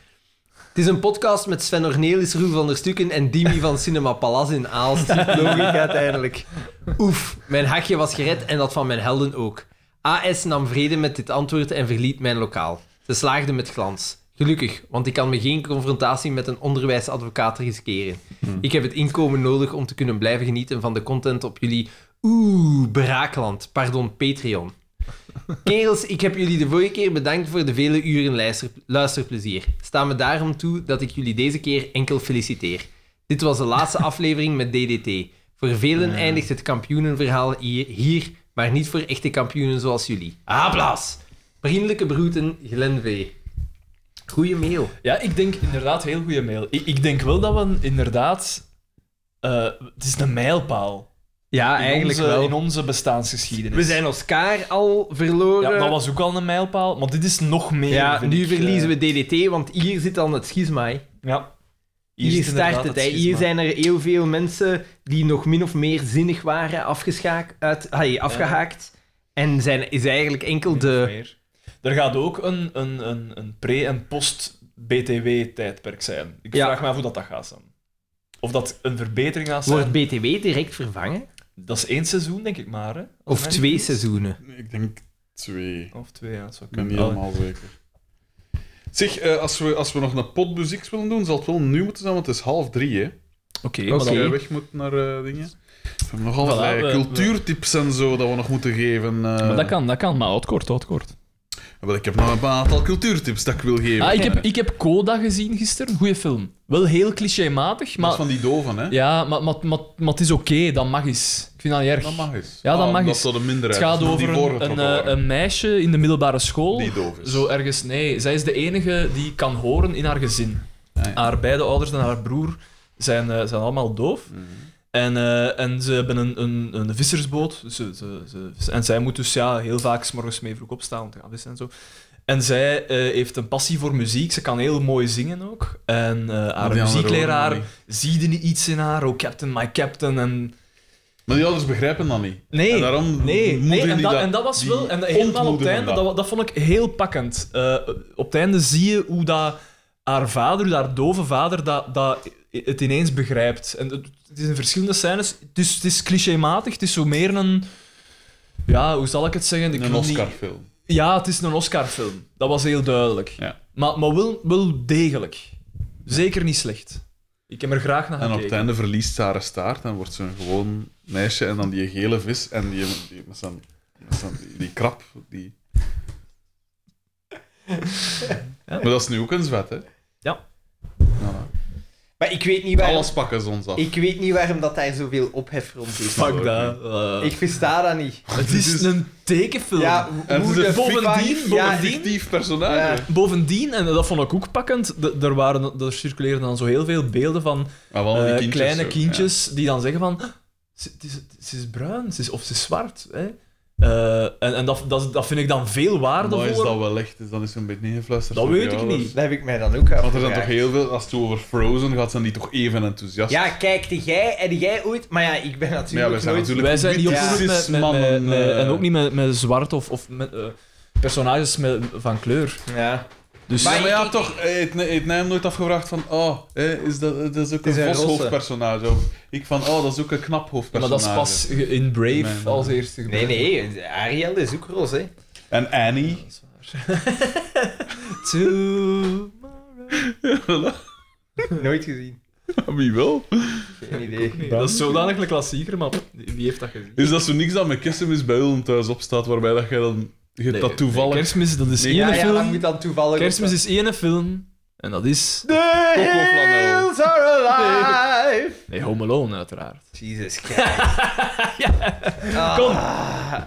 Speaker 3: Het is een podcast met Sven Ornelis, Roel van der Stukken en Dimi van Cinema Palace in Aalst. Logisch uiteindelijk. Oef, mijn hakje was gered en dat van mijn helden ook. AS nam vrede met dit antwoord en verliet mijn lokaal. Ze slaagde met glans. Gelukkig, want ik kan me geen confrontatie met een onderwijsadvocaat riskeren. Ik heb het inkomen nodig om te kunnen blijven genieten van de content op jullie... Oeh, braakland. Pardon, Patreon. Kerels, ik heb jullie de vorige keer bedankt voor de vele uren luister- luisterplezier. Sta me daarom toe dat ik jullie deze keer enkel feliciteer. Dit was de laatste aflevering met DDT. Voor velen eindigt het kampioenenverhaal hier, hier, maar niet voor echte kampioenen zoals jullie. Applaus! Vriendelijke groeten, Glenn V. Goeie mail.
Speaker 6: Ja, ik denk inderdaad heel goede mail. Ik, ik denk wel dat we inderdaad... eh, het is een mijlpaal.
Speaker 3: Ja,
Speaker 6: in onze, In onze bestaansgeschiedenis.
Speaker 3: We zijn Oscar al verloren.
Speaker 6: Ja, dat was ook al een mijlpaal, maar dit is nog meer.
Speaker 3: Ja,
Speaker 6: vind
Speaker 3: nu
Speaker 6: ik,
Speaker 3: verliezen
Speaker 6: eh,
Speaker 3: we DDT, want hier zit dan het schisma. hè.
Speaker 6: Ja.
Speaker 3: Hier,
Speaker 6: is
Speaker 3: start
Speaker 6: inderdaad
Speaker 3: het. hè. Hier
Speaker 6: schisma.
Speaker 3: zijn er heel veel mensen die nog min of meer zinnig waren afgeschaakt, uit, ai, afgehaakt. En zijn, is eigenlijk enkel de...
Speaker 6: Meer. Er gaat ook een, een, een, een pre- en post-BTW-tijdperk zijn. Ik
Speaker 3: Ja.
Speaker 6: vraag me af hoe dat, dat gaat zijn. Of dat een verbetering gaat zijn.
Speaker 3: Wordt BTW direct vervangen?
Speaker 6: Dat is één seizoen, denk ik maar. Hè? Als
Speaker 3: Of
Speaker 6: mij
Speaker 3: twee
Speaker 6: niet vergis.
Speaker 3: seizoenen?
Speaker 2: Ik denk twee.
Speaker 6: Of twee, ja. dat Zou
Speaker 2: Ik ben
Speaker 6: kunnen.
Speaker 2: niet
Speaker 6: Allee.
Speaker 2: helemaal zeker. Zeg, eh, als, we, als we nog een pot muziek willen doen, zal het wel nu moeten zijn, want het is half drie, hè.
Speaker 6: Oké,
Speaker 3: Oké.
Speaker 6: maar
Speaker 2: Als
Speaker 6: dan-
Speaker 2: jij weg moet naar eh, dingen. We hebben nog
Speaker 4: Voilà,
Speaker 2: allerlei
Speaker 4: we- we-
Speaker 2: cultuurtips en zo dat we nog moeten geven. eh.
Speaker 4: Maar dat kan, dat kan. Maar houdt kort, houdt kort.
Speaker 2: Wel, ik heb nog een aantal cultuurtips dat ik wil geven.
Speaker 4: Ah, ik, heb, ik heb Coda gezien gisteren. Goeie film. Wel heel clichématig,
Speaker 2: Dat is
Speaker 4: maar...
Speaker 2: van die doven, hè?
Speaker 4: Ja, maar, maar, maar, maar het is oké. dat mag eens. Ik vind dat niet erg.
Speaker 2: Dat mag eens.
Speaker 4: Ja, dat
Speaker 2: Ah,
Speaker 4: mag
Speaker 2: omdat
Speaker 4: eens.
Speaker 2: Dat een
Speaker 4: Het
Speaker 2: minderheid
Speaker 4: gaat
Speaker 2: is, die
Speaker 4: over een,
Speaker 2: voorgetrokken
Speaker 4: een, eh,
Speaker 2: worden.
Speaker 4: een meisje in de middelbare school.
Speaker 2: Die doof is.
Speaker 4: Zo ergens, nee. Zij is de enige die kan horen in haar gezin.
Speaker 2: Ah, ja.
Speaker 4: Haar beide ouders en haar broer zijn, eh, zijn allemaal doof.
Speaker 2: Mhm.
Speaker 4: En, eh, en ze hebben een, een, een vissersboot. Dus Ze, ze, ze- en zij moet dus ja, heel vaak 's morgens mee vroeg opstaan om te gaan vissen en zo. En zij eh, heeft een passie voor muziek. Ze kan heel mooi zingen ook. En eh, haar
Speaker 2: die anderen
Speaker 4: muziekleraar
Speaker 2: horen
Speaker 4: ziet er iets in haar. Oh, Captain, my Captain. En...
Speaker 2: Maar die ouders begrijpen dat niet.
Speaker 4: Nee,
Speaker 2: En daarom
Speaker 4: nee,
Speaker 2: moedigen
Speaker 4: nee. En,
Speaker 2: die
Speaker 4: dat,
Speaker 2: dat-
Speaker 4: en dat was
Speaker 2: die
Speaker 4: wel... En helemaal op het
Speaker 2: ontmoedigen
Speaker 4: einde,
Speaker 2: dat.
Speaker 4: dat, dat vond ik heel pakkend. Eh, op het einde zie je hoe dat haar vader, hoe haar dove vader, dat, dat het ineens begrijpt. En het, het is in verschillende scènes. Dus het is clichématig, het is zo meer een... Ja, hoe zal ik het zeggen? Ik
Speaker 2: Een
Speaker 4: wil niet-
Speaker 2: Oscar-film.
Speaker 4: Ja, het is een Oscar-film. Dat was heel duidelijk.
Speaker 2: Ja.
Speaker 4: Maar, maar wel, wel degelijk. Zeker niet slecht. Ik heb er graag naar
Speaker 2: En op het
Speaker 4: gekeken.
Speaker 2: einde verliest ze haar staart en wordt ze een gewoon meisje. En dan die gele vis en die, die, met zijn, met zijn- die, die krab. Die... Maar dat is nu ook een zwet, hè?
Speaker 4: Ja.
Speaker 2: Nou, nou,
Speaker 3: Maar ik weet niet waarom,
Speaker 2: Alles pakken ze ons af.
Speaker 3: ik weet niet waarom dat daar zoveel ophef rond is.
Speaker 4: Fuck dat. eh.
Speaker 3: Ik versta dat niet.
Speaker 4: Het is een tekenfilm.
Speaker 3: Ja,
Speaker 2: En
Speaker 3: hoe
Speaker 2: ze
Speaker 3: de
Speaker 2: zijn
Speaker 3: fuck-
Speaker 4: bovendien-
Speaker 3: ja,
Speaker 4: bovendien-
Speaker 2: Fictief personage.
Speaker 4: Bovendien, en dat vond ik ook pakkend, d- er, waren, er circuleerden dan zo heel veel beelden van
Speaker 2: Maar wel die
Speaker 4: eh,
Speaker 2: kindjes
Speaker 4: kleine
Speaker 2: zo,
Speaker 4: kindjes die dan zeggen van... "Ah, Ze het is, ze is bruin, ze is, of ze is zwart. Hè? Eh, en en dat, dat, dat vind ik dan veel
Speaker 2: Ja. Maar is
Speaker 4: waardevoller.
Speaker 2: dat wel echt? Is dan is een beetje ingefluisterd?
Speaker 4: Dat
Speaker 2: door die
Speaker 4: weet ik
Speaker 2: ouders?
Speaker 4: niet.
Speaker 3: Dat heb ik mij dan ook
Speaker 2: Want er zijn
Speaker 3: afgevraagd.
Speaker 2: toch heel veel, als het over Frozen gaat, zijn die toch even enthousiast.
Speaker 3: Ja, kijk, die jij en jij ooit... Maar ja, ik ben
Speaker 2: maar ja,
Speaker 3: natuurlijk
Speaker 2: we zijn
Speaker 3: nooit...
Speaker 2: natuurlijk
Speaker 4: Wij zijn niet
Speaker 3: Ja.
Speaker 4: opgevoed met, met, met,
Speaker 2: cis-mannen,
Speaker 4: met-
Speaker 2: eh.
Speaker 4: En ook niet met, met zwart of, of met eh, personages met, van kleur.
Speaker 3: Ja.
Speaker 4: Dus
Speaker 2: Maar,
Speaker 3: Maar
Speaker 2: ja,
Speaker 3: ik-
Speaker 2: maar ja,
Speaker 3: ik-
Speaker 2: toch, eh, het, het Nijm nooit afgevraagd van, oh, eh, is dat, dat is ook
Speaker 3: is
Speaker 2: een
Speaker 3: een
Speaker 2: vos hoofdpersonage. Of ik van, oh, dat is ook een knap
Speaker 4: maar
Speaker 2: hoofdpersonage.
Speaker 4: dat is pas ge- in Brave
Speaker 2: Nee, nee.
Speaker 4: als eerste
Speaker 3: Nee,
Speaker 4: gebeurd.
Speaker 3: nee, Ariel is ook roze, hè.
Speaker 2: En Annie.
Speaker 4: Dat is waar. Tomorrow.
Speaker 3: Nooit gezien.
Speaker 2: Wie wel?
Speaker 3: Geen idee.
Speaker 4: Nee, dat is zodanig een klassieker, maar wie heeft dat gezien?
Speaker 2: Is dat zo niks dat met kerstmis bij hun thuis opstaat, waarbij dat jij dan... Je hebt dat toevallig...
Speaker 4: Kerstmis, dat is
Speaker 2: Nee,
Speaker 4: één
Speaker 3: Ja, ja, dat
Speaker 4: film.
Speaker 3: moet dan toevallig...
Speaker 4: Kerstmis
Speaker 3: op-
Speaker 4: is één film. En dat is...
Speaker 3: The
Speaker 2: Kokoflanel.
Speaker 3: hills are alive!
Speaker 4: Nee, Home Alone, uiteraard.
Speaker 3: Jesus Christ. Ah.
Speaker 4: Kom,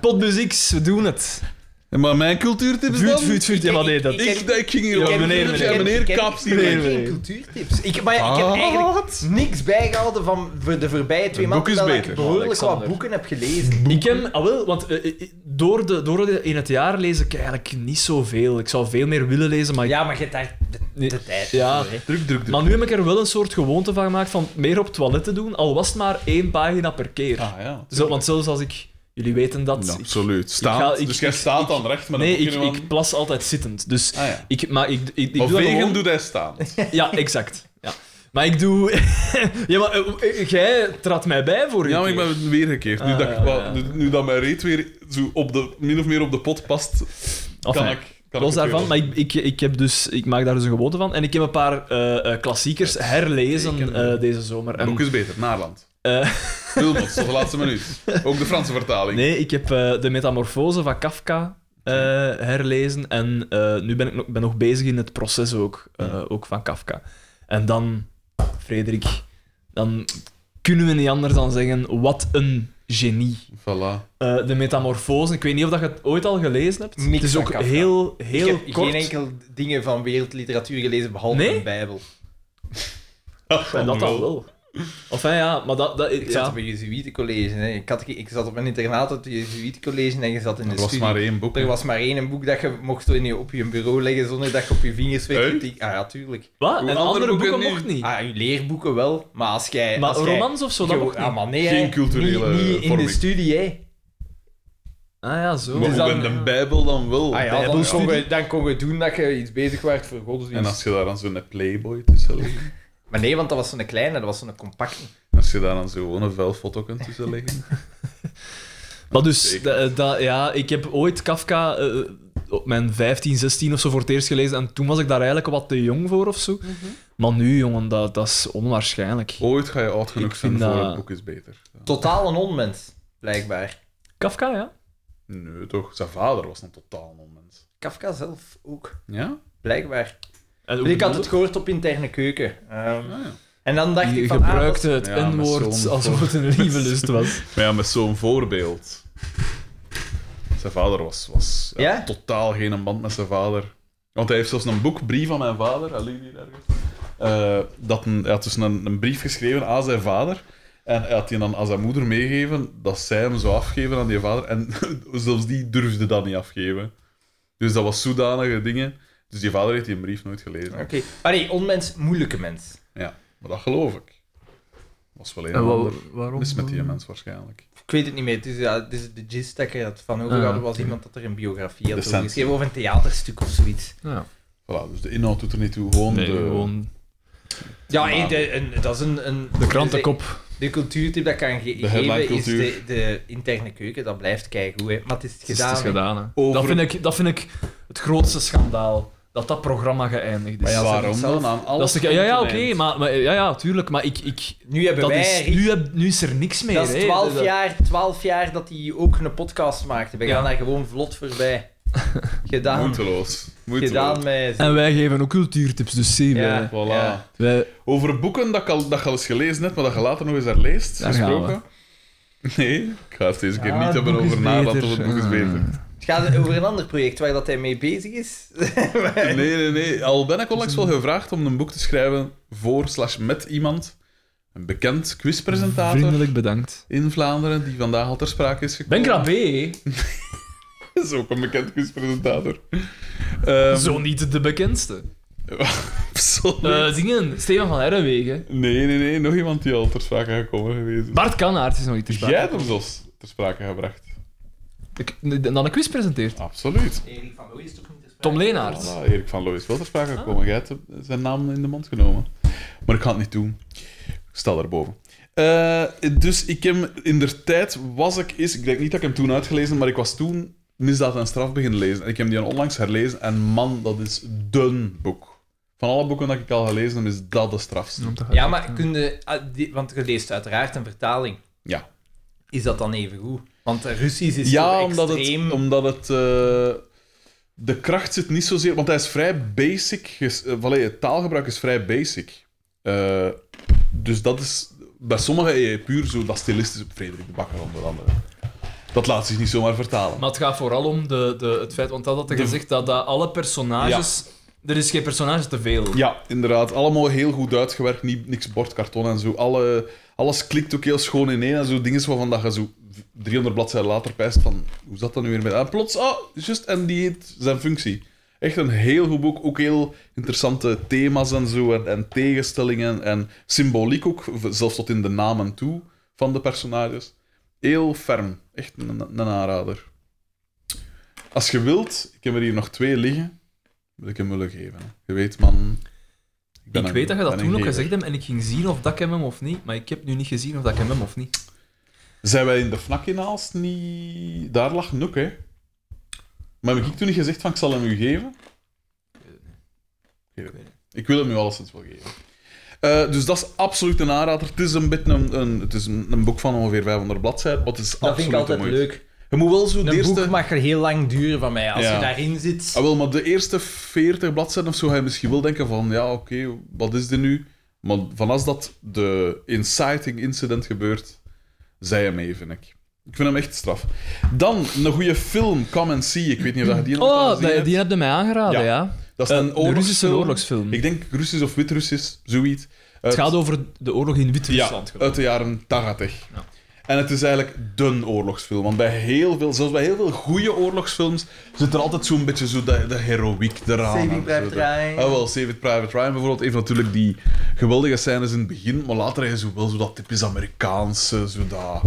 Speaker 4: potmuziek, we doen het.
Speaker 2: Ja, maar mijn cultuurtips
Speaker 4: Vuurt,
Speaker 2: dan?
Speaker 4: vuurt, vuurt. Ja, maar nee, dat...
Speaker 3: Ik-
Speaker 2: Ik, ik ging hier...
Speaker 4: Ja,
Speaker 2: op-
Speaker 4: meneer,
Speaker 2: Ja,
Speaker 4: meneer.
Speaker 2: meneer,
Speaker 3: Ik heb-
Speaker 2: kaps
Speaker 3: Ik heb
Speaker 2: hier.
Speaker 4: nee.
Speaker 3: geen cultuurtips. Ik, maar ja, ik heb
Speaker 2: Ah.
Speaker 3: eigenlijk niks bijgehouden van voor de voorbije twee
Speaker 2: Een
Speaker 3: maanden.
Speaker 2: boek is
Speaker 3: terwijl
Speaker 2: beter.
Speaker 3: Ik behoorlijk
Speaker 4: Alexander.
Speaker 3: wat boeken heb gelezen.
Speaker 4: Ik heb... Ah, wel, want eh, eh, door, de, door de, in het jaar lees ik eigenlijk niet zoveel. Ik zou veel meer willen lezen, maar... ik-
Speaker 3: Ja, maar je hebt daar de,
Speaker 4: Nee.
Speaker 3: de tijd
Speaker 4: Ja.
Speaker 3: voor, hè.
Speaker 2: Druk, druk, druk.
Speaker 4: Maar nu heb ik er wel een soort gewoonte van gemaakt van meer op het toilet te doen, al was het maar één pagina per keer.
Speaker 2: Ah, ja.
Speaker 4: Zo, want zelfs als ik... Jullie weten dat...
Speaker 2: Ja,
Speaker 4: ik-
Speaker 2: absoluut. Staand.
Speaker 4: ga- ik-
Speaker 2: dus jij
Speaker 4: ik-
Speaker 2: staat
Speaker 4: ik-
Speaker 2: dan recht met een
Speaker 4: nee, ik,
Speaker 2: boekje in de
Speaker 4: ik plas altijd zittend. Dus
Speaker 2: hand. Ah, ja.
Speaker 4: ik... Maar ik, ik, ik
Speaker 2: Of
Speaker 4: doe dat
Speaker 2: wegen
Speaker 4: gewoon-
Speaker 2: doet hij staan.
Speaker 4: Ja, exact. Ja. Maar ik doe... ja, maar eh, eh, jij trad mij bij voor
Speaker 2: Ja, maar ik ben weer gekeerd. Nu,
Speaker 4: Ah,
Speaker 2: dat, ik
Speaker 4: ja,
Speaker 2: wel-
Speaker 4: ja.
Speaker 2: nu, nu dat mijn reet weer zo op de, min of meer op de pot past, kan ik... Kan
Speaker 4: Los
Speaker 2: ik het
Speaker 4: daarvan,
Speaker 2: weer
Speaker 4: maar ik, ik, ik, heb dus, ik maak daar dus een gewoonte van. En ik heb een paar eh, eh, klassiekers herlezen
Speaker 2: zeker.
Speaker 4: eh, deze zomer.
Speaker 2: Ook
Speaker 4: En,
Speaker 2: is beter, Naarland.
Speaker 4: eh,
Speaker 2: Wilmots, tot de laatste minuut. Ook de Franse vertaling.
Speaker 4: nee, ik heb eh, de metamorfose van Kafka eh, herlezen. En eh, nu ben ik nog, ben nog bezig in het proces ook, eh, ook van Kafka. En dan, Frederik, dan kunnen we niet anders dan zeggen, wat een genie.
Speaker 2: Voilà.
Speaker 4: Eh, de metamorfose. Ik weet niet of dat je het ooit al gelezen hebt.
Speaker 3: Niks
Speaker 4: het is
Speaker 3: van
Speaker 4: ook
Speaker 3: Kafka.
Speaker 4: heel, heel
Speaker 3: ik heb
Speaker 4: kort.
Speaker 3: geen enkel dingen van wereldliteratuur gelezen, behalve
Speaker 4: Nee?
Speaker 3: de Bijbel.
Speaker 4: En dat dan wel. Enfin, ja, maar dat... dat
Speaker 3: Ik zat
Speaker 4: ja.
Speaker 3: op een jezuïetencollege. hè. Ik, had, ik zat op een internaat op het jezuïetencollege en je zat in de
Speaker 2: Er was
Speaker 3: studie.
Speaker 2: maar één boek.
Speaker 3: Er was maar één een boek dat je mocht in je, op je bureau leggen zonder dat je op je vingers werd
Speaker 2: Hey?
Speaker 3: getikt. Ah, ja, tuurlijk.
Speaker 4: Wat? En
Speaker 2: Andere
Speaker 4: andere boeken,
Speaker 2: boeken niet.
Speaker 4: mocht niet.
Speaker 3: Ah, je leerboeken wel, maar als jij...
Speaker 4: maar
Speaker 3: als jij-
Speaker 4: romans of zo, dat
Speaker 3: Gewoon-
Speaker 4: mocht niet.
Speaker 3: ah, maar nee,
Speaker 2: Geen
Speaker 3: hè.
Speaker 2: culturele
Speaker 3: Niet, niet in
Speaker 2: vorming.
Speaker 3: de studie, hè.
Speaker 4: Ah ja, zo.
Speaker 2: Maar
Speaker 3: Dus
Speaker 2: hoe
Speaker 3: dan-
Speaker 2: in de Bijbel dan wel?
Speaker 3: Ah ja, dan kon,
Speaker 4: Bijbelstudie.
Speaker 3: je, dan kon je doen dat je iets bezig werd voor godsdienst.
Speaker 2: En als je daar dan zo'n playboy tussen legt,
Speaker 3: Maar nee, want dat was zo'n kleine, dat was zo'n compacte.
Speaker 2: als je daar dan zo gewoon een vuil foto kunt tussen leggen.
Speaker 4: Maar dus,
Speaker 2: Zeker.
Speaker 4: da- da- ja, ik heb ooit Kafka eh, op mijn 15, 16 of zo voor het eerst gelezen. En toen was ik daar eigenlijk wat te jong voor of zo.
Speaker 3: Mhm.
Speaker 4: Maar nu, jongen, dat, dat is onwaarschijnlijk.
Speaker 3: Oh.
Speaker 2: Ooit ga je oud
Speaker 4: Ik
Speaker 2: genoeg zijn
Speaker 4: vind
Speaker 2: voor
Speaker 4: dat-
Speaker 2: het boek is beter.
Speaker 3: Totaal een onmens, blijkbaar.
Speaker 4: Kafka, ja.
Speaker 2: Nee, toch? Zijn vader was een totaal onmens.
Speaker 3: Kafka zelf ook.
Speaker 2: Ja?
Speaker 3: Blijkbaar. Dus
Speaker 4: En ook
Speaker 3: Ik
Speaker 4: de
Speaker 3: had
Speaker 4: dood-
Speaker 3: het gehoord op interne keuken. Ehm,
Speaker 2: Ah, ja.
Speaker 3: en dan dacht
Speaker 4: Die
Speaker 3: ik van... ah,
Speaker 4: gebruikte het
Speaker 2: Ja, met
Speaker 4: N-woord
Speaker 2: zo'n
Speaker 4: alsof het een lieve lust was.
Speaker 2: Maar ja, met zo'n voorbeeld. Zijn vader was, was ja,
Speaker 3: Ja?
Speaker 2: totaal geen band met zijn vader. Want hij heeft zelfs een boekbrief aan mijn vader, hij ligt hier ergens. Eh, dat een, hij had dus een, een brief geschreven aan zijn vader. En hij had die dan aan zijn moeder meegegeven, dat zij hem zou afgeven aan die vader. En zelfs die durfde dat niet afgeven. Dus dat was zodanige dingen. Dus die vader heeft die brief nooit gelezen.
Speaker 3: dat- Oké. Allee, onmens, moeilijke mens.
Speaker 2: Ja, maar dat geloof ik. Was wel een
Speaker 4: En
Speaker 2: en
Speaker 4: wa-
Speaker 2: ander
Speaker 4: waarom?
Speaker 2: mis met die mens waarschijnlijk.
Speaker 3: Ik weet het niet meer. Het is, ja, het is de gist dat ik er had van over
Speaker 4: Ah,
Speaker 3: hadden, was
Speaker 4: oké.
Speaker 3: iemand dat er een biografie had
Speaker 2: De
Speaker 3: over
Speaker 2: cent.
Speaker 3: geschreven of een theaterstuk of zoiets.
Speaker 4: Ja.
Speaker 2: Voilà, dus de inhoud doet er niet toe. Gewoon
Speaker 4: Nee,
Speaker 2: de...
Speaker 4: gewoon
Speaker 3: Ja,
Speaker 2: Maar-
Speaker 3: en de- en dat is een... een
Speaker 4: Ah. de krantenkop.
Speaker 3: De, de cultuurtip dat ik kan ge-
Speaker 2: De
Speaker 3: geven is
Speaker 2: headline-cultuur.
Speaker 3: de, de interne keuken. Dat blijft keigoed, hè. Maar het is het
Speaker 4: Het is,
Speaker 3: gedaan.
Speaker 4: het is
Speaker 3: hè.
Speaker 4: gedaan, hè.
Speaker 2: Over-
Speaker 4: Dat, vind ik, dat vind ik het grootste schandaal. Dat dat programma geëindigd is.
Speaker 2: Maar ja,
Speaker 3: ze
Speaker 2: waarom
Speaker 3: zelf-
Speaker 2: dan? Aan
Speaker 4: dat
Speaker 2: alles
Speaker 4: is de- ja, ja
Speaker 2: komt
Speaker 4: oké.
Speaker 2: een eind.
Speaker 4: maar, maar, ja, ja, tuurlijk. Maar ik... ik
Speaker 3: Nu hebben
Speaker 4: dat
Speaker 3: wij...
Speaker 4: is, nu, heb, nu is er niks meer.
Speaker 3: dat
Speaker 4: hè. Dus
Speaker 3: is 12
Speaker 4: Dat-
Speaker 3: jaar, 12 jaar dat hij ook een podcast maakte. We
Speaker 4: Ja.
Speaker 3: gaan daar gewoon vlot voorbij. Gedaan.
Speaker 2: Moeiteloos. Moeiteloos.
Speaker 3: Gedaan met...
Speaker 4: En wij geven ook cultuurtips, dus zie
Speaker 3: Ja.
Speaker 2: Voilà.
Speaker 3: Ja.
Speaker 4: wij...
Speaker 2: Over boeken dat je al, dat je al eens gelezen hebt, maar dat je later nog eens herleest.
Speaker 4: Daar
Speaker 2: gesproken. Nee, ik ga het deze keer
Speaker 4: Ja,
Speaker 2: niet
Speaker 4: het
Speaker 2: hebben
Speaker 4: boek is
Speaker 2: over nadat
Speaker 4: beter.
Speaker 2: of het boek is
Speaker 4: Ah.
Speaker 2: beter.
Speaker 3: Het gaat over een ander project waar dat hij mee bezig is.
Speaker 2: Nee, nee, nee. Al ben ik onlangs wel gevraagd om een boek te schrijven voor slash met iemand. Een bekend quizpresentator
Speaker 4: Vriendelijk bedankt.
Speaker 2: in Vlaanderen, die vandaag al ter sprake is gekomen.
Speaker 4: Ben Krabbe,
Speaker 3: Ehm.
Speaker 2: Dat is ook een bekend quizpresentator. Ehm,
Speaker 4: zo niet de bekendste.
Speaker 2: absoluut.
Speaker 4: Eh, dingen, Steven van Herrenwegen.
Speaker 2: Nee, nee, nee. Nog iemand die al ter sprake gekomen geweest is.
Speaker 4: Bart Kanaert is nog niet te
Speaker 2: Jij
Speaker 4: sprake.
Speaker 2: hebt hem zelfs ter sprake gebracht.
Speaker 4: Ik- En dan een quiz presenteert.
Speaker 2: Absoluut.
Speaker 3: Erik van Looy is toch niet
Speaker 4: Tom Leenaerts.
Speaker 2: Voilà, Erik van Looy is wel ter sprake gekomen. Jij hebt zijn naam in de mond genomen. Maar ik ga het niet doen. Ik sta daarboven. Eh, dus ik heb in de tijd was ik is. Ik denk niet dat ik hem toen uitgelezen, maar ik was toen misdaad en straf beginnen lezen. En ik heb die dan onlangs herlezen. En man, dat is dun boek. Van alle boeken dat ik al gelezen heb, is dat de strafste.
Speaker 3: Ja, maar kun je, ah, die- want je leest uiteraard een vertaling.
Speaker 2: Ja.
Speaker 3: Is dat dan even goed? Want eh, Russisch is
Speaker 2: Ja,
Speaker 3: zo
Speaker 2: omdat
Speaker 3: extreem.
Speaker 2: het. Omdat het eh, de kracht zit niet zozeer. Want hij is vrij basic. ges- eh, welle, het taalgebruik is vrij basic. Eh, dus dat is. Bij sommigen eh, puur zo dat stilistisch op Frederik de Bakker onder andere. Dat laat zich niet zomaar vertalen.
Speaker 4: Maar het gaat vooral om de, de, het feit, want dat had hij
Speaker 2: De-
Speaker 4: gezegd, dat, dat alle personages... Er is geen personage te veel.
Speaker 2: Ja, inderdaad. Allemaal heel goed uitgewerkt. Niet, niks bordkarton en zo. Alle, alles klikt ook heel schoon ineen. En zo dingen waarvan dat je zo 300 bladzijden later pijst van... Hoe zat dat nu weer met... En plots, ah, just, en die heeft zijn functie. Echt een heel goed boek. Ook heel interessante thema's en zo. En, en tegenstellingen. En symboliek ook. v- Zelfs tot in de namen toe van de personages. Heel ferm. Echt een, een aanrader. Als je wilt, ik heb er hier nog twee liggen. Wil ik hem willen geven. Je weet, man. ben
Speaker 4: Ik
Speaker 2: een-
Speaker 4: weet dat je dat
Speaker 2: ben een
Speaker 4: toen ook
Speaker 2: gever.
Speaker 4: gezegd hebt en ik ging zien of dat ik hem hem of niet, maar ik heb nu niet gezien of dat ik hem hem of niet.
Speaker 2: Zijn wij in de fnak in Aalst niet... Daar lag Noek, hè? Maar heb ik toen niet gezegd van ik zal hem u geven? Ik,
Speaker 4: niet.
Speaker 2: ik wil hem u alleszins wel geven. Eh, dus dat is absoluut een aanrader. Het is een beetje een, een, het is een, een boek van ongeveer 500 bladzijden, maar het is
Speaker 3: dat vind
Speaker 2: absoluut
Speaker 3: ik altijd
Speaker 2: de moeite.
Speaker 3: leuk.
Speaker 2: Je moet wel zo de
Speaker 3: Een
Speaker 2: eerste...
Speaker 3: boek mag er heel lang duren van mij. Als
Speaker 2: Ja.
Speaker 3: je daarin zit...
Speaker 2: Ah, wel, maar de eerste 40 bladzijden of zo ga je misschien wel denken van ja, oké, wat is dit nu? Maar van als dat de inciting incident gebeurt, zij hem mee, vind ik. Ik vind hem echt straf. Dan een goede film, Come and See. Ik weet niet of je die nog al
Speaker 4: Oh,
Speaker 2: gezien
Speaker 4: die,
Speaker 2: hebt.
Speaker 4: die heb je mij aangeraden,
Speaker 2: Ja.
Speaker 4: ja.
Speaker 2: Dat is
Speaker 4: Eh,
Speaker 2: een,
Speaker 4: de Russische
Speaker 2: oorlogsfilm.
Speaker 4: oorlogsfilm.
Speaker 2: Ik denk Russisch of Wit-Russisch, zoiets. Eh,
Speaker 4: Het gaat over de oorlog in
Speaker 2: Ja,
Speaker 4: Wit-Rusland. geloof
Speaker 2: uit
Speaker 4: ik.
Speaker 2: de jaren 80.
Speaker 4: Ja.
Speaker 2: En het is eigenlijk dun oorlogsfilm. Want bij heel veel, zelfs bij heel veel goede oorlogsfilms, zit er altijd zo'n beetje zo de, de heroïek eraan.
Speaker 3: Saving
Speaker 2: en
Speaker 3: Private
Speaker 2: zo de-
Speaker 3: Ryan.
Speaker 2: Ah, wel, Save It Private Ryan bijvoorbeeld heeft natuurlijk die geweldige scènes in het begin, maar later is zo wel zo dat typisch Amerikaanse, zo dat...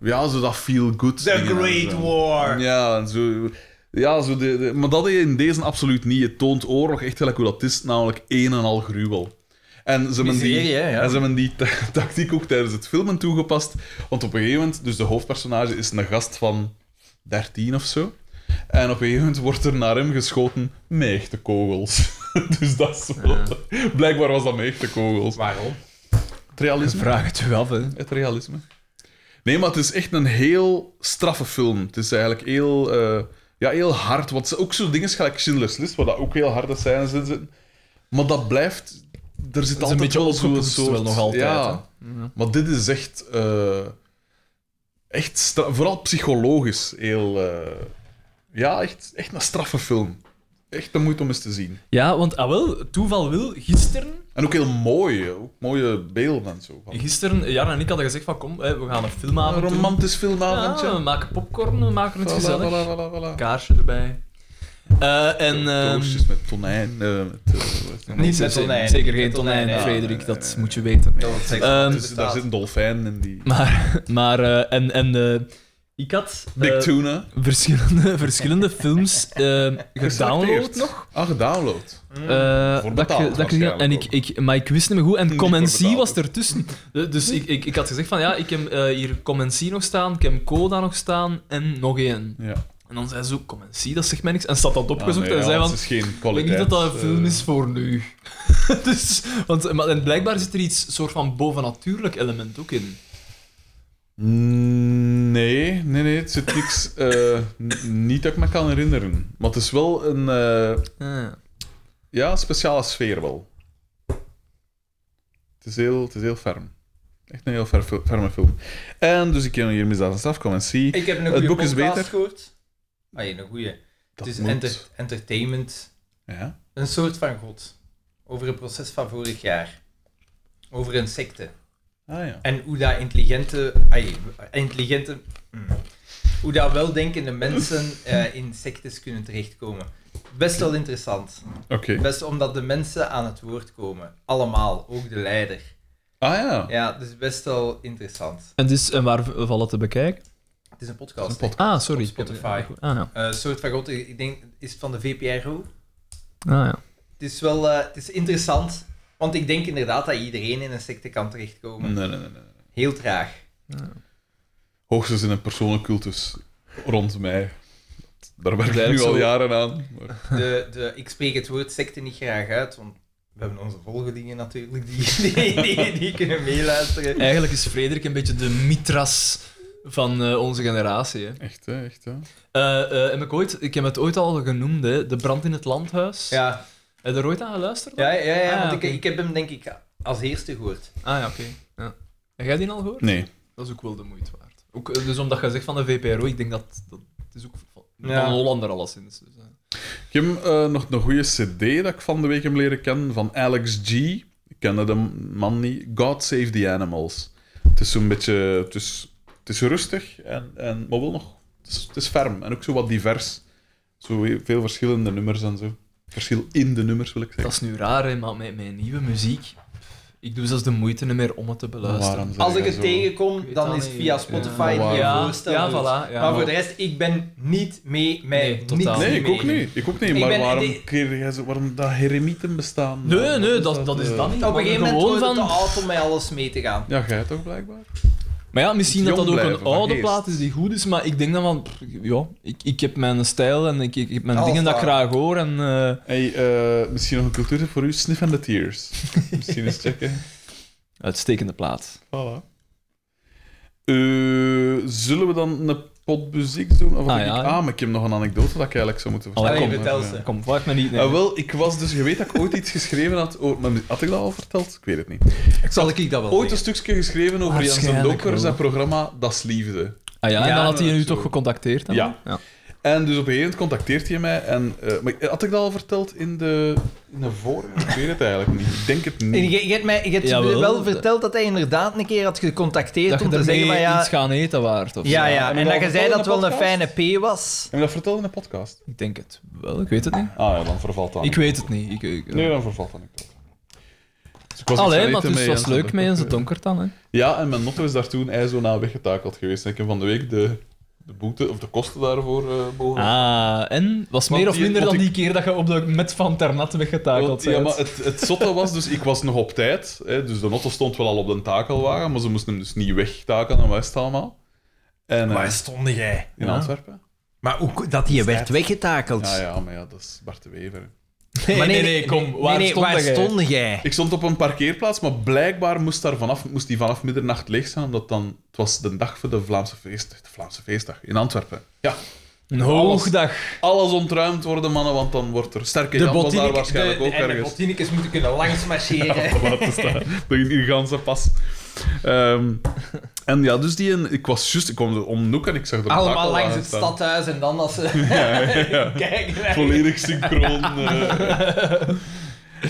Speaker 2: Ja, zo dat feel-good.
Speaker 3: The
Speaker 2: dingen en
Speaker 3: Great
Speaker 2: zo.
Speaker 3: War.
Speaker 2: Ja, en zo... Ja, zo de, de- maar dat heb je in deze absoluut niet. Het toont oorlog echt gelijk hoe dat is, namelijk een en al gruwel. En ze hebben die,
Speaker 3: Miserie, hè, ja.
Speaker 2: en ze hebben die ta- tactiek ook tijdens het filmen toegepast. Want op een gegeven moment, dus de hoofdpersonage is een gast van 13 of zo. En op een gegeven moment wordt er naar hem geschoten met echte kogels. dus dat is wel... Blijkbaar was dat met echte kogels.
Speaker 3: Waarom?
Speaker 2: Het realisme.
Speaker 4: Vraag het u af, hè.
Speaker 2: Het realisme. Nee, maar het is echt een heel straffe film. Het is eigenlijk heel, eh, ja, heel hard. Want ze- ook zo'n dingen is gelijk Schindler's List, waar dat ook heel harde scènes in zitten. Maar dat blijft... Er zit
Speaker 4: is
Speaker 2: altijd
Speaker 4: een beetje
Speaker 2: wel zo'n
Speaker 4: opgepoetst
Speaker 2: soort...
Speaker 4: wel nog altijd,
Speaker 2: Ja. Maar dit is echt... eh, echt stra- Vooral psychologisch heel... eh, ja, echt, echt een straffe film. Echt de moeite om eens te zien.
Speaker 4: Ja, want ah wel, toeval wil, gisteren,
Speaker 2: En ook heel mooi. eh, Ook mooie beelden en zo. Van,
Speaker 4: gisteren, Jan en ik hadden gezegd van kom, hè, we gaan een
Speaker 2: een
Speaker 4: filmavond doen.
Speaker 2: romantisch filmavondje.
Speaker 4: Ja, we maken popcorn, we maken het
Speaker 2: Voilà,
Speaker 4: gezellig.
Speaker 2: voilà, voilà, voilà.
Speaker 4: Kaarsje erbij. Eh, en... ehm,
Speaker 2: Toastjes met tonijn. eh, met, eh, wat dan ook.
Speaker 3: Niet
Speaker 4: zeker-
Speaker 3: met tonijn.
Speaker 4: Zeker geen
Speaker 3: Met
Speaker 4: tonijn,
Speaker 3: tonijn, ja.
Speaker 4: Frederik, dat moet je weten.
Speaker 3: Dat het seks-
Speaker 4: Ehm,
Speaker 2: Dus daar zit een dolfijn in die...
Speaker 4: Maar, maar eh, en, en eh, ik had eh,
Speaker 2: Big Tuna.
Speaker 4: verschillende, verschillende films eh gedownload
Speaker 2: Geselecteerd.
Speaker 4: nog.
Speaker 2: Ah, gedownload.
Speaker 4: Eh,
Speaker 2: Voor
Speaker 4: dat
Speaker 2: betaald
Speaker 4: ik, dat ik, en ik,
Speaker 2: waarschijnlijk
Speaker 4: ik, maar ik wist niet meer goed. En
Speaker 2: Niet
Speaker 4: Comency
Speaker 2: voor betaald.
Speaker 4: was ertussen. Eh, Dus ik, ik, ik had gezegd van ja, ik heb eh, hier Comency nog staan, ik heb Coda nog staan en nog één.
Speaker 2: Ja.
Speaker 4: En dan zei ze ook Comency, dat zegt mij niks. En ze had dat opgezocht
Speaker 2: Ah, nee,
Speaker 4: en zei
Speaker 2: ja,
Speaker 4: van,
Speaker 2: Het is geen
Speaker 4: ik denk
Speaker 2: kwaliteit.
Speaker 4: niet dat dat een
Speaker 2: eh,
Speaker 4: film is voor nu. dus, want, maar, en blijkbaar zit er iets soort van bovennatuurlijk element ook in.
Speaker 2: Nee, nee, nee. Het zit niks... eh, n- niet dat ik me kan herinneren. Maar het is wel een... eh,
Speaker 4: Ah.
Speaker 2: ja, speciale sfeer wel. Het is heel, het is heel ferm. Echt een heel fer- ferme film. En dus ik kan hier misdaad en straf komen en zie.
Speaker 3: Ik heb een
Speaker 2: Het
Speaker 3: goede
Speaker 2: boek is
Speaker 3: podcast
Speaker 2: beter.
Speaker 3: gehoord. Ah, ja, een goede. Het
Speaker 2: Dat
Speaker 3: is
Speaker 2: moet.
Speaker 3: enter- entertainment.
Speaker 2: Ja.
Speaker 3: Een soort van god. Over een proces van vorig jaar. Over een secte.
Speaker 2: Ah ja.
Speaker 3: En hoe dat intelligente... ai, intelligente... mm, Hoe dat weldenkende mensen eh, in sectes kunnen terechtkomen. Best wel interessant.
Speaker 2: Oké.
Speaker 3: Best omdat de mensen aan het woord komen. Allemaal. Ook de leider.
Speaker 2: Ah ja.
Speaker 3: Ja, dus best wel interessant.
Speaker 4: En, dus, en waar v- valt het te bekijken?
Speaker 3: Het is een podcast.
Speaker 2: Een podcast.
Speaker 4: Ah, sorry.
Speaker 3: Op Spotify.
Speaker 4: Ah ja.
Speaker 3: Eh, soort van god, ik denk, is het van de VPRO?
Speaker 4: Ah, ja.
Speaker 3: Het is wel eh, het is interessant, want ik denk inderdaad dat iedereen in een secte kan terechtkomen.
Speaker 2: Nee, nee, nee. nee.
Speaker 3: Heel traag.
Speaker 2: Hoogstens in een persooncultus rond mij. Daar werk ik
Speaker 4: Blijft
Speaker 2: nu al
Speaker 4: zo.
Speaker 2: jaren aan. maar-
Speaker 3: De, de, ik spreek het woord secte niet graag uit, want we hebben onze volgelingen natuurlijk die, die, die, die kunnen meeluisteren.
Speaker 4: Eigenlijk is Frederik een beetje de mitras van eh, onze generatie. Hè.
Speaker 2: Echt, hè? Echt, hè?
Speaker 4: Eh, eh, heb ik, ooit, ik heb het ooit al genoemd, hè, de brand in het landhuis.
Speaker 3: Ja,
Speaker 4: Heb je er ooit aan geluisterd?
Speaker 3: ja, ja, ja,
Speaker 4: Ah,
Speaker 3: want
Speaker 4: oké.
Speaker 3: ik, ik heb hem denk ik als eerste gehoord.
Speaker 4: Ah ja, oké. Ja. Heb jij die al gehoord?
Speaker 2: Nee.
Speaker 4: Dat is ook wel de moeite waard. Ook, eh, dus omdat je zegt van de VPRO, ik denk dat... dat het is ook van,
Speaker 3: Ja.
Speaker 4: van een Hollander alleszins. Dus, eh.
Speaker 2: Ik heb eh, nog een goede CD dat ik van de week heb leren kennen van Alex G. Ik kende de man niet. God Save the Animals. Het is zo'n beetje. Het is, het is rustig, en, en, maar wel nog. Het is, het is ferm en ook zo wat divers. Zo heel veel verschillende nummers en zo. Verschil in de nummers wil ik
Speaker 4: Dat
Speaker 2: zeggen.
Speaker 4: is nu raar, hè, maar met mijn nieuwe muziek... Ik doe zelfs de moeite niet meer om het te beluisteren.
Speaker 2: Waarom zeg
Speaker 3: Als ik
Speaker 2: jij
Speaker 3: het
Speaker 2: zo?
Speaker 4: Ik
Speaker 3: tegenkom,
Speaker 4: weet
Speaker 3: dan
Speaker 4: dat
Speaker 3: is het
Speaker 4: niet.
Speaker 3: via
Speaker 4: Ja.
Speaker 3: Spotify
Speaker 2: Ja.
Speaker 3: die je
Speaker 4: Ja,
Speaker 3: voorstel
Speaker 4: ja,
Speaker 3: doet.
Speaker 4: voilà. Ja.
Speaker 3: Maar voor de rest, ik ben niet mee met
Speaker 4: Nee, totaal.
Speaker 3: niks
Speaker 2: Nee,
Speaker 3: mee
Speaker 2: ik ook
Speaker 3: mee.
Speaker 2: niet. Ik ook niet.
Speaker 3: Ik
Speaker 2: Maar
Speaker 3: ben-
Speaker 2: waarom,
Speaker 3: die-
Speaker 2: keer jij zo, waarom dat heremieten bestaan?
Speaker 4: Nee, nee, dat, dat is
Speaker 2: eh?
Speaker 4: dat niet.
Speaker 3: Op een
Speaker 4: maar
Speaker 3: gegeven moment
Speaker 4: gewoon
Speaker 3: wordt het
Speaker 4: van-
Speaker 3: te oud om met alles mee te gaan.
Speaker 2: Ja, jij toch blijkbaar?
Speaker 4: Maar ja, misschien dat
Speaker 2: Jong
Speaker 4: dat ook
Speaker 2: blijven
Speaker 4: een
Speaker 2: van
Speaker 4: oude
Speaker 2: geest.
Speaker 4: plaat is die goed is, maar ik denk dan van, pff, ja, ik, ik heb mijn stijl en ik, ik heb mijn
Speaker 3: Alles
Speaker 4: dingen dat ik
Speaker 3: daar.
Speaker 4: graag hoor. En, eh,
Speaker 2: Hey, eh, misschien nog een cultuurtip voor u. Sniff and the Tears. misschien eens checken.
Speaker 4: uitstekende plaat.
Speaker 2: Voilà. Eh, zullen we dan een pot muziek doen? Of
Speaker 4: Ah,
Speaker 2: heb ik-
Speaker 4: ja. Oh,
Speaker 2: ah, maar ik heb nog een anekdote dat ik eigenlijk zou moeten
Speaker 4: Allee,
Speaker 2: vertellen.
Speaker 3: kom, vertel
Speaker 2: Ja.
Speaker 3: ze.
Speaker 4: Kom, vraag me niet. Nee.
Speaker 2: Ah, wel, ik was dus... Je weet dat ik ooit iets geschreven had... over- maar had ik dat al verteld? Ik weet het niet.
Speaker 3: Zal ik dat wel
Speaker 2: Ooit een stukje geschreven over Jens en
Speaker 4: Waarschijnlijk
Speaker 2: Dokker,
Speaker 4: wel.
Speaker 2: zijn programma Das Liefde.
Speaker 4: ah ja, en
Speaker 3: Ja,
Speaker 4: dan had hij
Speaker 2: maar
Speaker 4: je nu
Speaker 2: zo.
Speaker 4: toch gecontacteerd? hè?
Speaker 2: Ja.
Speaker 4: ja.
Speaker 2: En dus op een gegeven moment contacteert hij mij. En, eh, maar had ik dat al verteld in de, in de vorige? Ik weet het eigenlijk niet. Ik denk het
Speaker 3: En
Speaker 2: niet.
Speaker 3: je, je hebt mij je hebt
Speaker 4: Jawel.
Speaker 3: wel verteld dat hij inderdaad een keer had gecontacteerd
Speaker 4: Dat je
Speaker 3: om te zeggen van
Speaker 4: ermee
Speaker 3: ja,
Speaker 4: iets gaan eten waard. Of
Speaker 3: ja,
Speaker 4: zo.
Speaker 3: ja.
Speaker 2: En
Speaker 3: En dat
Speaker 2: dan
Speaker 3: je zei dat het
Speaker 2: volgende
Speaker 3: wel een fijne P
Speaker 2: podcast?
Speaker 3: was.
Speaker 2: Heb je dat verteld in de podcast?
Speaker 4: Ik denk het wel, ik weet het niet.
Speaker 2: Ah ja, dan vervalt dat.
Speaker 4: Ik weet het niet. Ik, ik,
Speaker 2: Nee, dan vervalt dat niet. Dus ik was iets
Speaker 4: Allee,
Speaker 2: gaan eten
Speaker 4: maar dus
Speaker 2: met
Speaker 4: het was
Speaker 2: Jens
Speaker 4: leuk
Speaker 2: en
Speaker 4: mee in
Speaker 2: Dokker.
Speaker 4: het donker dan. Hè.
Speaker 2: Ja, en mijn notto is daar toen ijs zo na weggetakeld geweest. En ik heb van de week de, de boete of de kosten daarvoor eh mogen
Speaker 4: Ah, en? Was
Speaker 2: Want
Speaker 4: meer of
Speaker 2: die-
Speaker 4: minder
Speaker 2: want
Speaker 4: dan die
Speaker 2: ik-
Speaker 4: keer dat je op de met Van Ternat weggetakeld
Speaker 2: Want- Ja,
Speaker 4: bent?
Speaker 2: maar het, het zotte was dus, ik was nog op tijd. Hè, dus de auto stond wel al op de takelwagen, maar ze moesten hem dus niet wegtaken en West allemaal. En, eh,
Speaker 3: stond jij?
Speaker 2: in
Speaker 4: Ja.
Speaker 2: Antwerpen.
Speaker 3: Maar ook dat hij werd weggetakeld.
Speaker 2: Ja, ja, maar ja, dat is Bart de Wever. hè.
Speaker 6: Maar nee, nee, kom, waar stond
Speaker 3: waar
Speaker 6: jij?
Speaker 3: stond jij?
Speaker 2: Ik stond op een parkeerplaats, maar blijkbaar moest, daar vanaf, moest die vanaf middernacht leeg zijn, omdat dan, het was de dag voor de Vlaamse feestdag, de Vlaamse feestdag in Antwerpen. Ja,
Speaker 6: Een hoogdag.
Speaker 2: alles ontruimd worden, mannen, want dan wordt er sterke
Speaker 3: De
Speaker 2: Jan was daar
Speaker 3: botinik-
Speaker 2: waarschijnlijk
Speaker 3: de-
Speaker 2: ook
Speaker 3: en de
Speaker 2: ergens.
Speaker 3: botinicus moeten kunnen langs marcheren.
Speaker 2: laten staan. In uw ganse pas. Ehm, en ja, dus die... En, ik was juist... Ik kwam er om de hoek en ik zag er een
Speaker 3: Allemaal
Speaker 2: takel
Speaker 3: langs
Speaker 2: aan
Speaker 3: het
Speaker 2: staan.
Speaker 3: stadhuis en dan als ze
Speaker 2: Ja, ja, ja.
Speaker 3: kijken. naar-
Speaker 2: Volledig synchroon. eh.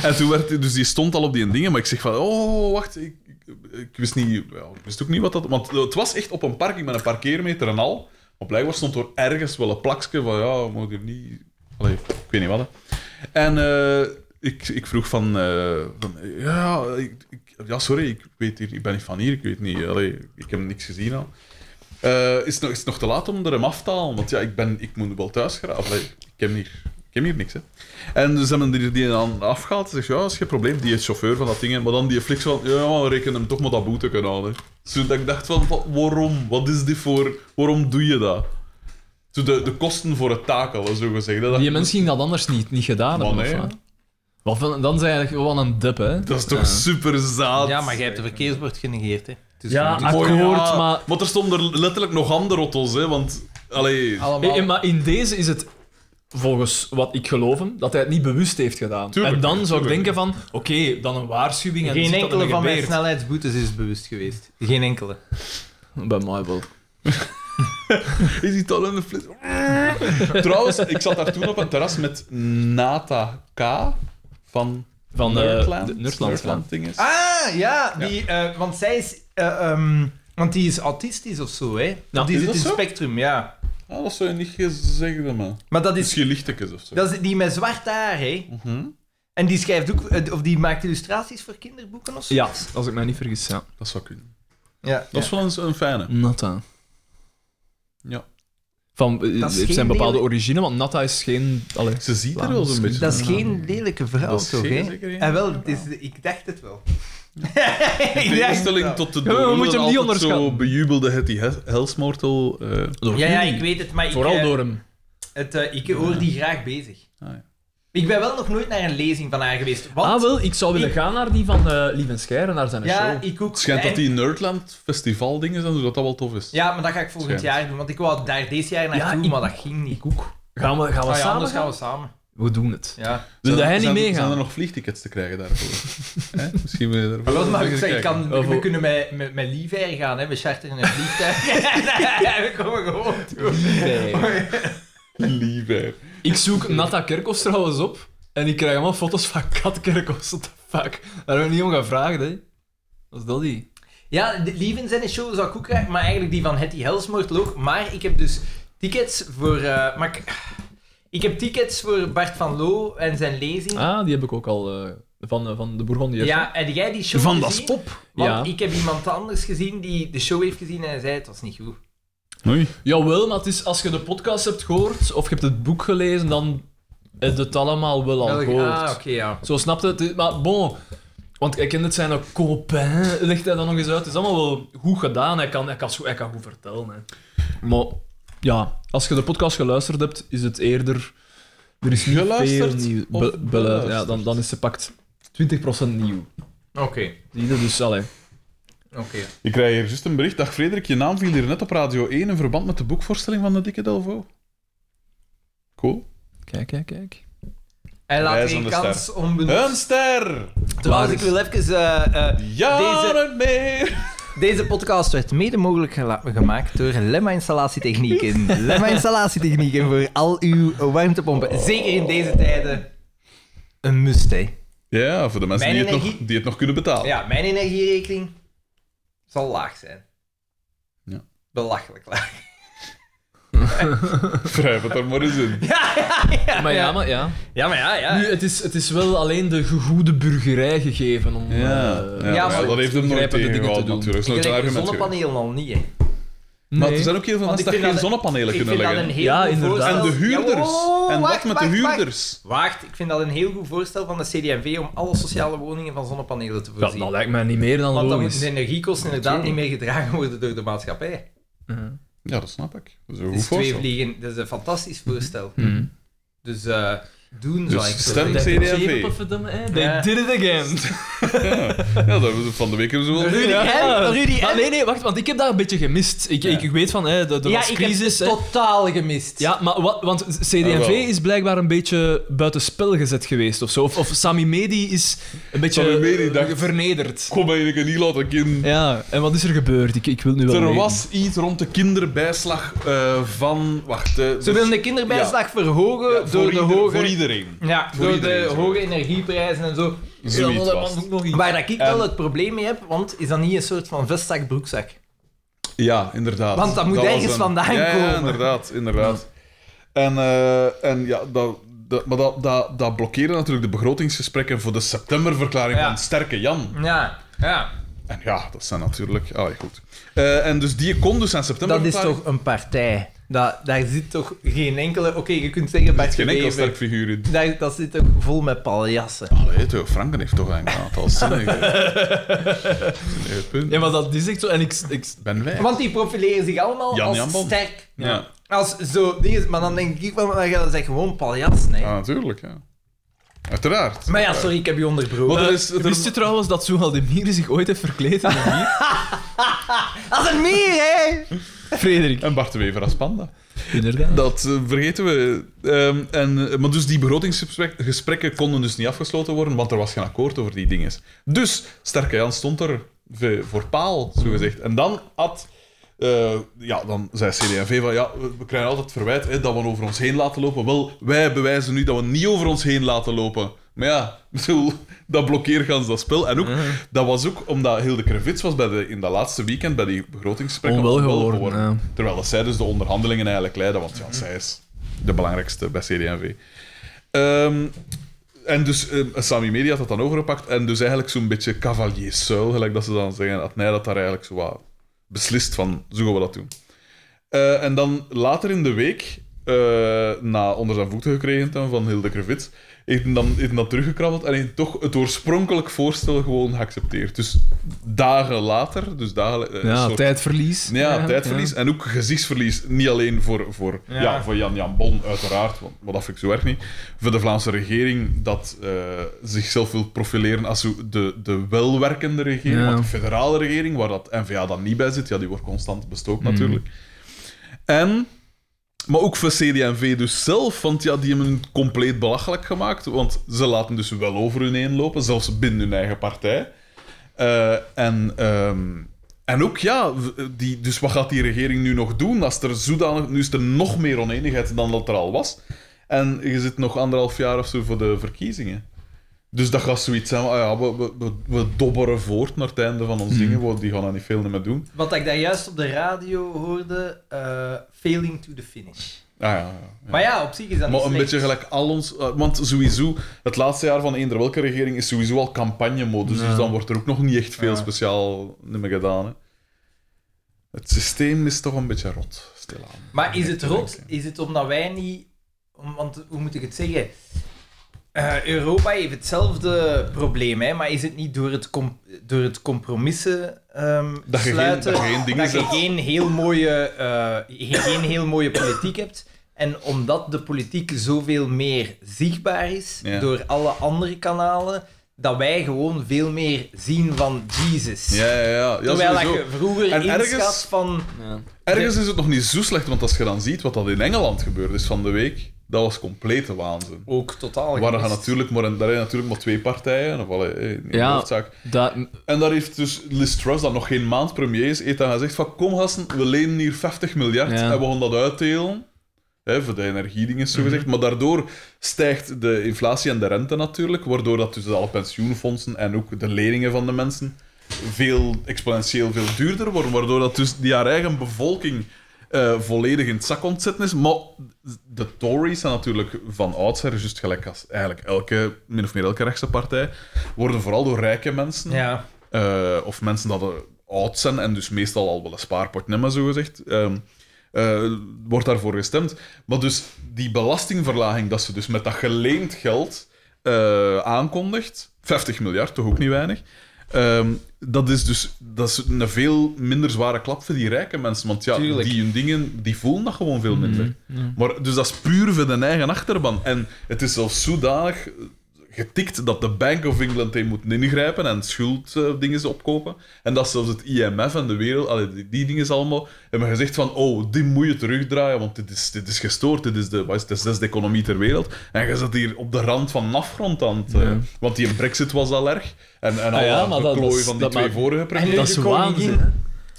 Speaker 2: En toen werd... die- Dus die stond al op die dingen, maar ik zeg van... Oh, wacht. Ik, ik- ik wist niet... ja, ik wist ook niet wat dat... Want het was echt op een parking met een parkeermeter en al. Maar blijkbaar stond er ergens wel een plakje van... Ja, moet je niet... Allee, ik weet niet wat. hè. En eh, ik, ik vroeg van, eh, van, ja, ik, ik- ja, sorry, ik, weet hier, ik ben niet van hier, ik weet niet, allee, ik heb niks gezien al. Eh, is, het nog, is het nog te laat om er hem af te halen? Want ja, ik, ben, ik moet wel thuis graven. ik, heb hier, ik heb hier niks, hè. En dus hebben die, die dan afgehaald. Ze zegt, ja, dat is geen probleem, die chauffeur van dat ding. hè. Maar dan die fliks van, ja, maar reken hem toch maar dat boete kunnen aan, hè. Dus toen dat ik dacht van, wa- waarom? Wat is dit voor... Waarom doe je dat? Zo de, de kosten voor het takelen, zo gezegd. Dat dacht
Speaker 4: Die
Speaker 2: ik,
Speaker 4: mensen ging dat anders niet, niet gedaan
Speaker 2: Maar
Speaker 4: hebben.
Speaker 2: nee.
Speaker 4: of wat? Wat vind- dan zijn je gewoon een dip, hè?
Speaker 2: Dat is toch super zaad.
Speaker 3: Ja, maar jij hebt de verkeersbord genegeerd, hè. Het is
Speaker 4: Ja,
Speaker 3: gewoon-
Speaker 4: akkoord, maar...
Speaker 2: Want er stonden er letterlijk nog andere rottels, hè? Want. Allee.
Speaker 3: allemaal...
Speaker 4: Eh, eh, maar in deze is het, volgens wat ik geloof hem, dat hij het niet bewust heeft gedaan.
Speaker 2: Tuurlijk,
Speaker 4: en dan zou ik
Speaker 2: tuurlijk.
Speaker 4: denken van, oké, dan een waarschuwing en
Speaker 3: Geen
Speaker 4: ziet dat er
Speaker 3: enkele van mijn
Speaker 4: gebeurt.
Speaker 3: snelheidsboetes is bewust geweest. Geen enkele.
Speaker 4: Bij mij wel.
Speaker 2: Is die al in de fles? Trouwens, ik zat daar toen op een terras met Nata K. van.
Speaker 4: Van eh,
Speaker 2: Nerdland.
Speaker 4: de Nerdland.
Speaker 2: Nerdland dinges.
Speaker 3: Ah, ja, die, eh, want zij is... eh, ehm, want die is autistisch of zo, hè?
Speaker 4: Ja,
Speaker 3: die
Speaker 2: is
Speaker 3: zit
Speaker 2: dat
Speaker 3: in het
Speaker 2: zo?
Speaker 3: spectrum, ja.
Speaker 2: Ah, dat zou je niet gezegd hebben. man.
Speaker 3: Maar dat is,
Speaker 2: Misschien lichtekes of zo.
Speaker 3: dat is die met zwart haar, hè?
Speaker 2: Mhm.
Speaker 3: En die schrijft ook, eh, of die maakt illustraties voor kinderboeken of zo.
Speaker 4: Ja, als ik mij niet vergis, ja.
Speaker 2: Dat zou kunnen.
Speaker 3: ja.
Speaker 2: Dat is wel eens een fijne.
Speaker 4: Natta.
Speaker 2: Ja.
Speaker 4: Van, eh,
Speaker 3: Dat is
Speaker 4: het
Speaker 3: geen
Speaker 4: zijn bepaalde
Speaker 3: lelijk-
Speaker 4: origine, want Natta is geen... Allee.
Speaker 2: Ze ziet er wel zo'n beetje.
Speaker 3: Dat is
Speaker 2: naar.
Speaker 3: geen lelijke vrouw,
Speaker 2: Dat is
Speaker 3: toch?
Speaker 2: zeer
Speaker 3: hè?
Speaker 2: zeker geen
Speaker 3: Ah, wel, het is, ik dacht het wel.
Speaker 2: In
Speaker 3: ik dacht het
Speaker 2: tegenstelling
Speaker 3: wel.
Speaker 2: tot de
Speaker 4: maar we
Speaker 2: door
Speaker 4: moeten hem niet
Speaker 2: altijd zo
Speaker 4: onderschatten.
Speaker 2: bejubelde Hetty Hel- Helsmortel. eh,
Speaker 4: Door
Speaker 3: Ja, ja,
Speaker 4: jullie.
Speaker 3: ik weet het, maar ik,
Speaker 4: Vooral
Speaker 3: eh,
Speaker 4: door hem.
Speaker 3: het, eh, ik hoor die graag bezig.
Speaker 2: Ah, ja.
Speaker 3: Ik ben wel nog nooit naar een lezing van haar geweest. Want,
Speaker 4: Ah, wel, ik zou willen
Speaker 3: Ik-
Speaker 4: gaan naar die van eh Lieve Scheire, naar zijn
Speaker 3: ja,
Speaker 4: show.
Speaker 3: ik ook.
Speaker 2: Het schijnt dat
Speaker 3: En-
Speaker 2: die Nerdland festival dingen zijn, zodat dat wel tof is.
Speaker 3: Ja, maar dat ga ik volgend
Speaker 2: Schijnt.
Speaker 3: jaar doen, want ik wou daar deze jaar naartoe,
Speaker 4: ik-
Speaker 3: maar dat ging niet.
Speaker 4: Ik ook. Gaan we,
Speaker 3: Ah
Speaker 4: gaan we
Speaker 3: ja,
Speaker 4: samen
Speaker 3: anders gaan
Speaker 4: gaan?
Speaker 3: we samen.
Speaker 4: We doen het.
Speaker 3: Ja.
Speaker 4: Wil jij niet
Speaker 2: zijn, Zijn
Speaker 4: meegaan?
Speaker 2: er nog vliegtickets te krijgen daarvoor? Hè? Misschien wil je daarvoor.
Speaker 3: Maar wel, maar ik
Speaker 2: eens
Speaker 3: zeg, ik
Speaker 2: kijken.
Speaker 3: kan,
Speaker 4: Of-
Speaker 3: we kunnen met, met, met Lieve gaan, hè. we charteren een vliegtuig. we komen gewoon toe.
Speaker 2: Lief, hè.
Speaker 4: Ik zoek Natta Kerkhoffs trouwens op. En ik krijg allemaal foto's van Kat Kerkhoffs. What the fuck? Daar hebben we niet om gevraagd, hè. Wat is dat die?
Speaker 3: Ja, de- Lieve in zijn show zou ik ook graag, maar eigenlijk die van Hetty Helsmoort ook. Maar ik heb dus tickets voor... eh, maar ik, ik heb tickets voor Bart van Loo en zijn lezing.
Speaker 4: Ah, die heb ik ook al. eh, van, eh, van de Bourgondiërs.
Speaker 3: Ja, heb jij die show
Speaker 2: Van dat
Speaker 3: gezien?
Speaker 2: spop.
Speaker 4: ja.
Speaker 3: Want ik heb iemand anders gezien die de show heeft gezien en hij zei het was niet goed.
Speaker 2: Oei.
Speaker 4: Jawel, maar het is, als je de podcast hebt gehoord of je hebt het boek gelezen, dan heb je het allemaal wel al
Speaker 3: Ah,
Speaker 4: gehoord.
Speaker 3: oké, ja.
Speaker 4: Zo snapte het. is- Maar bon, want ik ken het zijn ook copain, legt hij dan nog eens uit. Het is allemaal wel goed gedaan. Hij kan, hij kan, zo- hij kan goed vertellen. Hè. Maar ja, als je de podcast geluisterd hebt, is het eerder. Er is niet
Speaker 2: Geluisterd
Speaker 4: veel nieuw.
Speaker 2: of
Speaker 4: Be- belu- ja,
Speaker 2: beluisterd?
Speaker 4: dan, dan is ze pakt 20% nieuw.
Speaker 3: Oké,
Speaker 4: Zie je dus, allee.
Speaker 3: oké.
Speaker 2: Ik krijg hier juist een bericht. Dag Frederik, je naam viel hier net op Radio 1 in verband met de boekvoorstelling van de Dikke Delvo. Cool.
Speaker 4: Kijk, kijk, kijk.
Speaker 3: Hij laat
Speaker 2: Wijs
Speaker 3: geen
Speaker 2: aan de
Speaker 3: kans onbenut.
Speaker 2: Een ster!
Speaker 3: Trouwens, ik
Speaker 4: Waar is-
Speaker 3: wil even... eh, eh,
Speaker 2: Jaren meer!
Speaker 3: Deze podcast werd mede mogelijk gela- gemaakt door Lemma Installatietechnieken. Lemma Installatietechnieken voor al uw warmtepompen. Zeker in deze tijden. Een must, hè.
Speaker 2: Ja, voor de mensen
Speaker 3: Mijn
Speaker 2: die het, nog,
Speaker 3: energie-
Speaker 2: die het nog kunnen betalen.
Speaker 3: Ja, mijn energierekening zal laag zijn.
Speaker 2: Ja.
Speaker 3: Belachelijk laag.
Speaker 2: Wrijf het er maar eens in.
Speaker 3: Ja, ja, ja.
Speaker 4: Maar ja, maar ja.
Speaker 3: Ja, maar ja, ja.
Speaker 4: Nu, het is, het is wel alleen de gegoede burgerij gegeven om.
Speaker 2: Ja, ja,
Speaker 4: eh,
Speaker 2: maar ja,
Speaker 3: maar
Speaker 2: dat heeft hem nooit
Speaker 4: grijpende dingen te
Speaker 2: tegengehouden
Speaker 4: doen.
Speaker 2: natuurlijk. Dat is nooit een
Speaker 3: Gelijk
Speaker 2: argument geweest.
Speaker 3: zonnepanelen al niet, hè.
Speaker 2: Maar
Speaker 4: nee.
Speaker 2: er zijn ook heel veel
Speaker 3: Want
Speaker 2: mensen
Speaker 3: ik
Speaker 2: die
Speaker 3: vind
Speaker 2: geen
Speaker 3: dat-
Speaker 2: zonnepanelen
Speaker 3: Ik
Speaker 2: kunnen
Speaker 3: vind dat
Speaker 2: leggen.
Speaker 3: een heel
Speaker 4: Ja,
Speaker 3: goed
Speaker 4: inderdaad.
Speaker 3: voorstel.
Speaker 2: En de huurders.
Speaker 3: Jawel,
Speaker 2: en
Speaker 3: wacht,
Speaker 2: wat met de
Speaker 3: wacht, wacht.
Speaker 2: huurders?
Speaker 3: Wacht, ik vind dat een heel goed voorstel van de CDMV om alle sociale woningen van zonnepanelen te
Speaker 4: Ja,
Speaker 3: voorzien.
Speaker 4: dat lijkt mij niet meer dan
Speaker 3: Want dan
Speaker 4: logisch.
Speaker 3: moeten de energiekosten inderdaad niet meer gedragen worden door de maatschappij.
Speaker 2: Ja, dat snap ik. Dat is een
Speaker 3: Dat
Speaker 2: goed
Speaker 3: is twee
Speaker 2: voorstel.
Speaker 3: vliegen. Dat is een fantastisch voorstel.
Speaker 4: Mhm.
Speaker 3: Dus eh, doen, zou ik
Speaker 2: Hmm. Dus stem
Speaker 3: zeggen.
Speaker 2: CD&V.
Speaker 4: eh, They
Speaker 3: Ja.
Speaker 4: did it again.
Speaker 2: Ja, dat hebben we van de week zo wel.
Speaker 4: Rudy,
Speaker 3: hè? Rudy, hè?
Speaker 4: ah, Nee, nee, wacht, want ik heb daar een beetje gemist. Ik, ik, ik weet van, hè, de, de
Speaker 3: Ja,
Speaker 4: was
Speaker 3: ik heb
Speaker 4: crisis.
Speaker 3: het
Speaker 4: hè.
Speaker 3: totaal gemist.
Speaker 4: Ja, maar wat, want
Speaker 2: Ah,
Speaker 4: CD&V
Speaker 2: wel.
Speaker 4: is blijkbaar een beetje buitenspel gezet geweest of zo. Of, of Sami Medi is een beetje
Speaker 2: Sami Medi
Speaker 4: eh,
Speaker 2: dacht-
Speaker 4: vernederd.
Speaker 2: Kom maar, ik kan niet laten kind.
Speaker 4: Ja, en wat is er gebeurd? Ik, ik wil nu wel
Speaker 2: Er
Speaker 4: weten.
Speaker 2: was iets rond de kinderbijslag eh, van... Wacht, eh,
Speaker 3: Ze
Speaker 2: dus-
Speaker 3: willen de kinderbijslag verhogen
Speaker 2: Ja,
Speaker 3: door
Speaker 2: voor,
Speaker 3: de
Speaker 2: ieder-
Speaker 3: hoge...
Speaker 2: voor iedereen.
Speaker 3: Ja,
Speaker 2: Voor
Speaker 3: door
Speaker 2: iedereen,
Speaker 3: de
Speaker 2: zo.
Speaker 3: hoge energieprijzen en zo.
Speaker 2: Zoiets was. het.
Speaker 3: Waar dat ik wel het probleem mee heb, want is dat niet een soort van vestzak broekzak?
Speaker 2: Ja, inderdaad.
Speaker 3: Want dat moet
Speaker 2: was
Speaker 3: ergens vandaan
Speaker 2: Ja, Ja,
Speaker 3: komen.
Speaker 2: inderdaad, inderdaad. En, eh, en ja, dat, dat, maar dat, dat, dat blokkeerde natuurlijk de begrotingsgesprekken voor de septemberverklaring
Speaker 3: Ja.
Speaker 2: van Sterke Jan.
Speaker 3: Ja, ja.
Speaker 2: En ja, dat zijn natuurlijk... Allee, goed. Eh, en dus die kon dus aan september...
Speaker 3: Dat is toch een partij. Dat, daar zit toch geen enkele... Oké, je kunt zeggen Bart
Speaker 2: Geen enkel
Speaker 3: Gebever.
Speaker 2: sterk figuur in.
Speaker 3: Daar, dat zit toch vol met paljassen.
Speaker 2: Allee, toch, Franken heeft toch een aantal zinnige... Nee, punt.
Speaker 4: Ja, maar dat is echt zo. En ik, ik,
Speaker 2: Ben wij.
Speaker 3: Want die profileren zich allemaal
Speaker 2: Jan
Speaker 3: als
Speaker 2: Jambon.
Speaker 3: sterk.
Speaker 2: Ja.
Speaker 3: Als zo... die is- Maar dan denk ik van, maar dat zijn gewoon paljassen, hè.
Speaker 2: Ah, natuurlijk, ja. Uiteraard.
Speaker 3: Maar ja, sorry, ik heb je onderbroken.
Speaker 2: Want er
Speaker 4: Eh,
Speaker 2: is, er-
Speaker 4: Wist je trouwens dat Zoehaldemir zich ooit heeft verkleed in een mier?
Speaker 3: Als een meer, hè!
Speaker 4: Frederik.
Speaker 2: En Bart de Wever als panda.
Speaker 4: Inderdaad.
Speaker 2: Dat eh, vergeten we. Ehm, en, eh, maar dus die begrotingsgesprekken konden dus niet afgesloten worden, want er was geen akkoord over die dingen. Dus Sterke Jan stond er v- voor paal, zogezegd. En dan had... eh, ja, dan zei CD&V van ja, we, we krijgen altijd verwijt hè, dat we over ons heen laten lopen. Wel, wij bewijzen nu dat we niet over ons heen laten lopen. Maar ja, ik bedoel, dat blokkeert gans dat spel. En ook, dat was ook omdat Hilde Krevits was bij de, in dat laatste weekend bij die begrotingsgesprekken
Speaker 4: Onwel
Speaker 2: onwel
Speaker 4: geworden, ja.
Speaker 2: Terwijl dat zij dus de onderhandelingen eigenlijk leiden, want ja, zij is de belangrijkste bij CD&V. Ehm, en dus ehm, Sami Media had dat dan overgepakt en dus eigenlijk zo'n beetje cavalier-suil, gelijk dat ze dan zeggen, had Nij dat daar eigenlijk zo wat beslist van, zo gaan we dat doen. Eh, en dan later in de week, eh, na onder zijn voeten gekregen te hebben van Hilde Krevits, heeft hij dan, heeft hij dan teruggekrabbeld en heeft toch het oorspronkelijk voorstel gewoon geaccepteerd. Dus dagen later, dus dagen... eh, een
Speaker 4: Ja,
Speaker 2: soort-
Speaker 4: tijdverlies.
Speaker 2: ja, tijdverlies en ook gezichtsverlies. Niet alleen voor, voor, ja. voor Jan Jan Bon, uiteraard, want maar dat vind ik zo erg niet. Voor de Vlaamse regering dat eh, zichzelf wil profileren als zo de, de welwerkende regering.
Speaker 4: Ja.
Speaker 2: Want de federale regering, waar dat N-VA dan niet bij zit, ja, die wordt constant bestookt natuurlijk. En... Maar ook voor CD&V dus zelf, want ja, die hebben hun compleet belachelijk gemaakt. Want ze laten dus wel over hun heen lopen, zelfs binnen hun eigen partij. Eh, en, ehm, en ook, ja, w- die, dus wat gaat die regering nu nog doen? Als er zodanig, nu is er nog meer oneenigheid dan dat er al was. En je zit nog anderhalf jaar of zo voor de verkiezingen. Dus dat gaat zoiets zijn, van, ah ja, we, we, we, we dobberen voort naar het einde van ons dingen, want die gaan er niet veel meer doen.
Speaker 3: Wat ik daar juist op de radio hoorde, eh, failing to the finish.
Speaker 2: Ah ja, ja, ja.
Speaker 3: Maar ja, op zich is dat
Speaker 2: Maar
Speaker 3: niet
Speaker 2: een
Speaker 3: slecht.
Speaker 2: beetje gelijk al ons... eh, Want sowieso, het laatste jaar van eender welke regering is sowieso al campagnemodus. Dus dan wordt er ook nog niet echt veel speciaal meer gedaan. Hè. Het systeem is toch een beetje rot, stilaan.
Speaker 3: Maar is het
Speaker 2: te
Speaker 3: rot?
Speaker 2: denken.
Speaker 3: Is het omdat wij niet... om- Want hoe moet ik het zeggen? Eh, Europa heeft hetzelfde probleem, hè? maar is het niet door het, com- door het compromissen ehm,
Speaker 2: Dat je geen-
Speaker 3: sluiten
Speaker 2: dat je geen dingen
Speaker 3: dat je
Speaker 2: zet.
Speaker 3: geen heel, mooie, eh, je geen heel mooie politiek hebt? En omdat de politiek zoveel meer zichtbaar is
Speaker 2: Ja.
Speaker 3: door alle andere kanalen, dat wij gewoon veel meer zien van Jesus.
Speaker 2: Ja, ja, ja. ja
Speaker 3: Terwijl dat
Speaker 2: sowieso.
Speaker 3: je vroeger
Speaker 2: En
Speaker 3: inschat
Speaker 2: ergens-
Speaker 3: van...
Speaker 2: Ergens is het nog niet zo slecht, want als je dan ziet wat dat in Engeland gebeurd is van de week, dat was complete waanzin.
Speaker 3: Ook totaal
Speaker 2: Waar er
Speaker 3: gemist.
Speaker 2: natuurlijk maar, daar zijn natuurlijk maar twee partijen, of allee, eh, in de
Speaker 4: Ja.
Speaker 2: hoofdzaak.
Speaker 4: Dat,
Speaker 2: En daar heeft dus Liz Truss, dat nog geen maand premier is, heeft dan gezegd van kom gasten, we lenen hier 50 miljard
Speaker 4: Ja.
Speaker 2: en we gaan dat uitdelen. Hè, voor de energiedingen, zogezegd. Maar daardoor stijgt de inflatie en de rente natuurlijk, waardoor dat dus alle pensioenfondsen en ook de leningen van de mensen veel exponentieel veel duurder worden, waardoor dat dus die haar eigen bevolking eh, volledig in het zak ontzetten is. Maar de Tories zijn natuurlijk van oudsher, juist gelijk als eigenlijk elke, min of meer elke rechtse partij, worden vooral door rijke mensen
Speaker 3: Ja.
Speaker 2: eh, of mensen dat er oud zijn en dus meestal al wel een spaarpot nemen, zogezegd, ehm eh, wordt daarvoor gestemd. Maar dus die belastingverlaging dat ze dus met dat geleend geld eh, aankondigt, 50 miljard, toch ook niet weinig, Ehm, dat is dus dat is een veel minder zware klap voor die rijke mensen. Want ja,
Speaker 6: Tuurlijk.
Speaker 2: die hun dingen die voelen dat gewoon veel minder. Maar, dus dat is puur voor de eigen achterban. En het is zelfs zodanig getikt dat de Bank of England heeft moeten ingrijpen en schulddingen opkopen. En dat zelfs het IMF en de wereld, allee, die, die dingen allemaal, hebben gezegd van oh, die moet je terugdraaien, want dit is, dit is gestoord, dit is de, wat is het, de zesde economie ter wereld. En je zit hier op de rand van een afgrond aan het... eh, Want die brexit was al erg. En, en al
Speaker 4: Ah ja,
Speaker 2: dat
Speaker 4: maar dat
Speaker 2: geklooi
Speaker 4: is-
Speaker 2: van die
Speaker 4: dat
Speaker 2: twee
Speaker 4: maakt-
Speaker 2: vorige
Speaker 3: nu
Speaker 2: premiers.
Speaker 4: dat is
Speaker 3: de koningin.
Speaker 4: waanzin,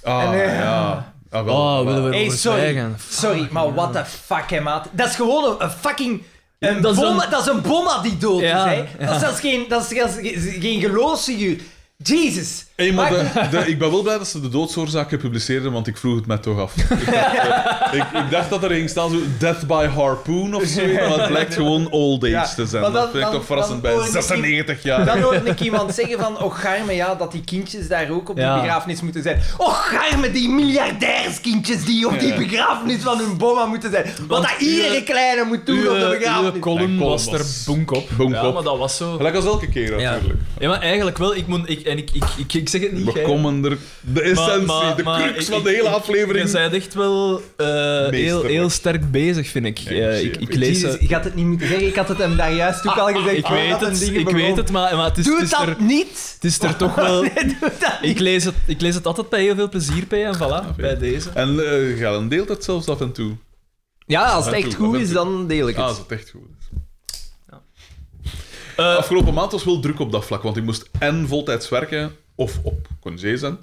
Speaker 4: hè?
Speaker 2: Ah,
Speaker 3: en, eh,
Speaker 2: ja. Ah, wel,
Speaker 4: Oh,
Speaker 2: wel.
Speaker 4: willen we
Speaker 3: Hey,
Speaker 4: erover
Speaker 3: sorry.
Speaker 4: zwijgen?
Speaker 3: Sorry, maar what the fuck, hè, maat. Dat is gewoon een, een fucking... Een
Speaker 4: dat is
Speaker 3: bomma-
Speaker 4: een-
Speaker 3: dat is een bomma die dood
Speaker 4: Ja,
Speaker 3: is, hè. Dat is zelfs geen, dat is, dat is ge- geen geloofsfiguur. Jesus.
Speaker 2: Hey, maar
Speaker 3: Maak-
Speaker 2: de- de- ik ben wel blij dat ze de doodsoorzaak gepubliceerd hebben, want ik vroeg het mij toch af. Ik dacht, eh, ik, ik dacht dat er ging staan, zo Death by Harpoon of zo, maar het blijkt gewoon old age
Speaker 3: Ja,
Speaker 2: te zijn.
Speaker 3: maar
Speaker 2: dat
Speaker 3: dan-
Speaker 2: vind ik
Speaker 3: dan-
Speaker 2: toch verrassend
Speaker 3: dan
Speaker 2: bij
Speaker 3: hoor ik
Speaker 2: 96 jaar.
Speaker 3: Dan hoorde ik iemand zeggen van, och garme, ja, dat die kindjes daar ook op
Speaker 4: Ja.
Speaker 3: die begrafenis moeten zijn. Och garme, die miljardairskindjes die op die begrafenis van hun bomma moeten zijn. Wat
Speaker 4: Want
Speaker 3: dat iedere
Speaker 4: uwe-
Speaker 3: kleine moet doen op de
Speaker 4: Uw
Speaker 3: begrafenis.
Speaker 4: column
Speaker 2: Mijn column
Speaker 4: was er
Speaker 2: was-
Speaker 4: bonk op.
Speaker 2: bonk
Speaker 4: ja,
Speaker 2: op.
Speaker 4: maar dat was zo.
Speaker 2: Gelijk als elke keer,
Speaker 4: Ja.
Speaker 2: natuurlijk.
Speaker 4: Ja, maar eigenlijk wel. Ik, moet, ik, en ik, ik, ik, ik zeg het niet.
Speaker 2: We
Speaker 4: jij.
Speaker 2: komen er... De essentie,
Speaker 4: maar-
Speaker 2: de
Speaker 4: maar
Speaker 2: crux
Speaker 4: ik-
Speaker 2: van de
Speaker 4: ik-
Speaker 2: hele
Speaker 4: ik- Je
Speaker 2: aflevering.
Speaker 4: bent echt wel eh, heel,
Speaker 2: Meesterlijk.
Speaker 4: heel sterk bezig, vind ik.
Speaker 2: ik
Speaker 4: Eh,
Speaker 2: zie
Speaker 4: ik,
Speaker 2: het.
Speaker 4: ik lees
Speaker 3: Jezus,
Speaker 4: eh,
Speaker 3: ik had het niet moeten zeggen. Ik had het hem daar juist ook al gezegd.
Speaker 4: Ik
Speaker 3: voordat
Speaker 4: weet
Speaker 3: hem
Speaker 4: het,
Speaker 3: dingen
Speaker 4: ik
Speaker 3: begon.
Speaker 4: weet het, maar, maar het is,
Speaker 3: Doe
Speaker 4: het
Speaker 3: het
Speaker 4: is
Speaker 3: dat
Speaker 4: er,
Speaker 3: niet!
Speaker 4: het is er toch wel...
Speaker 3: Nee, doe dat niet!
Speaker 4: Ik lees, het, ik lees het altijd bij heel veel plezier bij en voilà, bij deze.
Speaker 2: En eh Galen deelt het zelfs af en toe.
Speaker 3: Ja, als het
Speaker 2: Af en
Speaker 3: echt
Speaker 2: toe,
Speaker 3: goed
Speaker 2: af en
Speaker 3: is,
Speaker 2: toe.
Speaker 3: dan deel ik
Speaker 2: Ah,
Speaker 3: het.
Speaker 2: als het echt goed is.
Speaker 4: Eh,
Speaker 2: Afgelopen maand was wel druk op dat vlak, want ik moest en voltijds werken, of op congé zijn.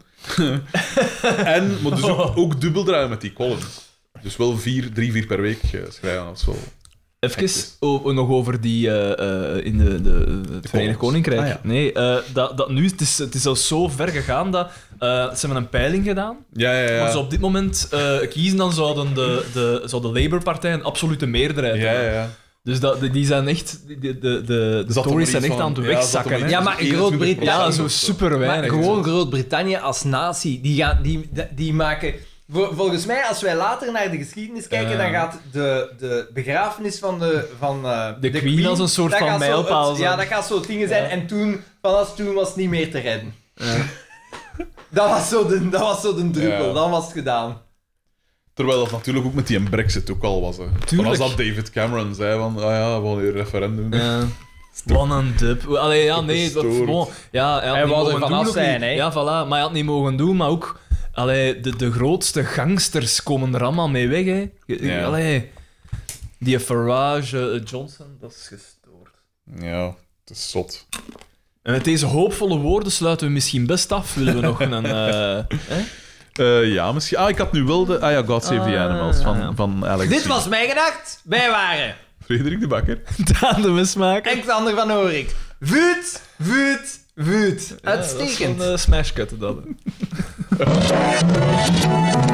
Speaker 2: en, maar dus ook, ook dubbel draaien met die columns. Dus wel vier, drie, vier per week eh, schrijven. Dat is wel...
Speaker 4: Even o- nog over die eh, eh, in de, de, het Verenigd Koninkrijk.
Speaker 2: Ah, ja.
Speaker 4: Nee, eh, dat, dat nu, het is, het is al zo ver gegaan dat eh, ze hebben een peiling gedaan.
Speaker 2: Ja, ja, ja.
Speaker 4: Als ze op dit moment eh, kiezen, dan zouden de, de, zou de Labour-partij een absolute meerderheid
Speaker 2: ja,
Speaker 4: hebben.
Speaker 2: ja, ja.
Speaker 4: Dus dat, die- die zijn echt, die- die- de, de, de
Speaker 2: Zat er maar
Speaker 4: Tories
Speaker 2: iets
Speaker 4: zijn echt
Speaker 2: van-
Speaker 4: aan het
Speaker 2: ja,
Speaker 4: wegzakken.
Speaker 2: zat er maar
Speaker 4: hè.
Speaker 3: Ja,
Speaker 2: iets
Speaker 3: maar
Speaker 2: van
Speaker 3: in
Speaker 2: 21%
Speaker 3: Groot-Brittannië-
Speaker 4: ja,
Speaker 2: of
Speaker 4: zo super
Speaker 3: Maar
Speaker 4: weinig.
Speaker 3: gewoon Groot-Brittannië als natie, die, gaan, die, die maken... Vol- Volgens mij, als wij later naar de geschiedenis kijken,
Speaker 4: Ja.
Speaker 3: dan gaat de, de begrafenis van de... Van, eh,
Speaker 4: De Queen als een soort
Speaker 3: dat
Speaker 4: van
Speaker 3: gaat zo
Speaker 4: mijlpaal
Speaker 3: het-
Speaker 4: zijn.
Speaker 3: Ja, dat gaat zo dingen zijn.
Speaker 4: Ja.
Speaker 3: En toen, vanaf toen was het niet meer te redden. Dat was zo de, dat was zo de druppel.
Speaker 2: Ja.
Speaker 3: Dan was het gedaan.
Speaker 2: Terwijl dat natuurlijk ook met die brexit ook al was. Hè. Maar als dat David Cameron zei van, ah ja, we gaan hier referendum. doen.
Speaker 4: Ja. Wat een dub. Allee, ja, nee, dat,
Speaker 2: Gestoord.
Speaker 4: bon. ja, hij had
Speaker 3: Hij
Speaker 4: niet
Speaker 3: wou er
Speaker 4: mogen
Speaker 3: vanaf
Speaker 4: doen, of
Speaker 3: zijn,
Speaker 4: niet?
Speaker 3: hè?
Speaker 4: Ja, voilà, maar hij had niet mogen doen, maar ook... Allee, de, de grootste gangsters komen er allemaal mee weg, hè. Je-
Speaker 2: Ja.
Speaker 4: Allee, die Farage, eh, Johnson, dat is gestoord.
Speaker 2: Ja, het is zot.
Speaker 4: En met deze hoopvolle woorden sluiten we misschien best af. Willen we nog een... eh, hè?
Speaker 2: Eh, ja, misschien... Ah, ik had nu wel de... Ah ja, God Save the
Speaker 4: Ah,
Speaker 2: Animals van,
Speaker 4: ah, ja.
Speaker 2: van Alex.
Speaker 3: Dit
Speaker 2: G.
Speaker 3: was mijn gedacht. Wij waren
Speaker 2: Frederik de Bakker.
Speaker 4: Daan de mismaker.
Speaker 3: Alexander van Oorik. Vuut, vuut, vuut.
Speaker 4: Ja, dat is eh,
Speaker 3: Uitstekend.
Speaker 4: Een smashcut, dat. hè.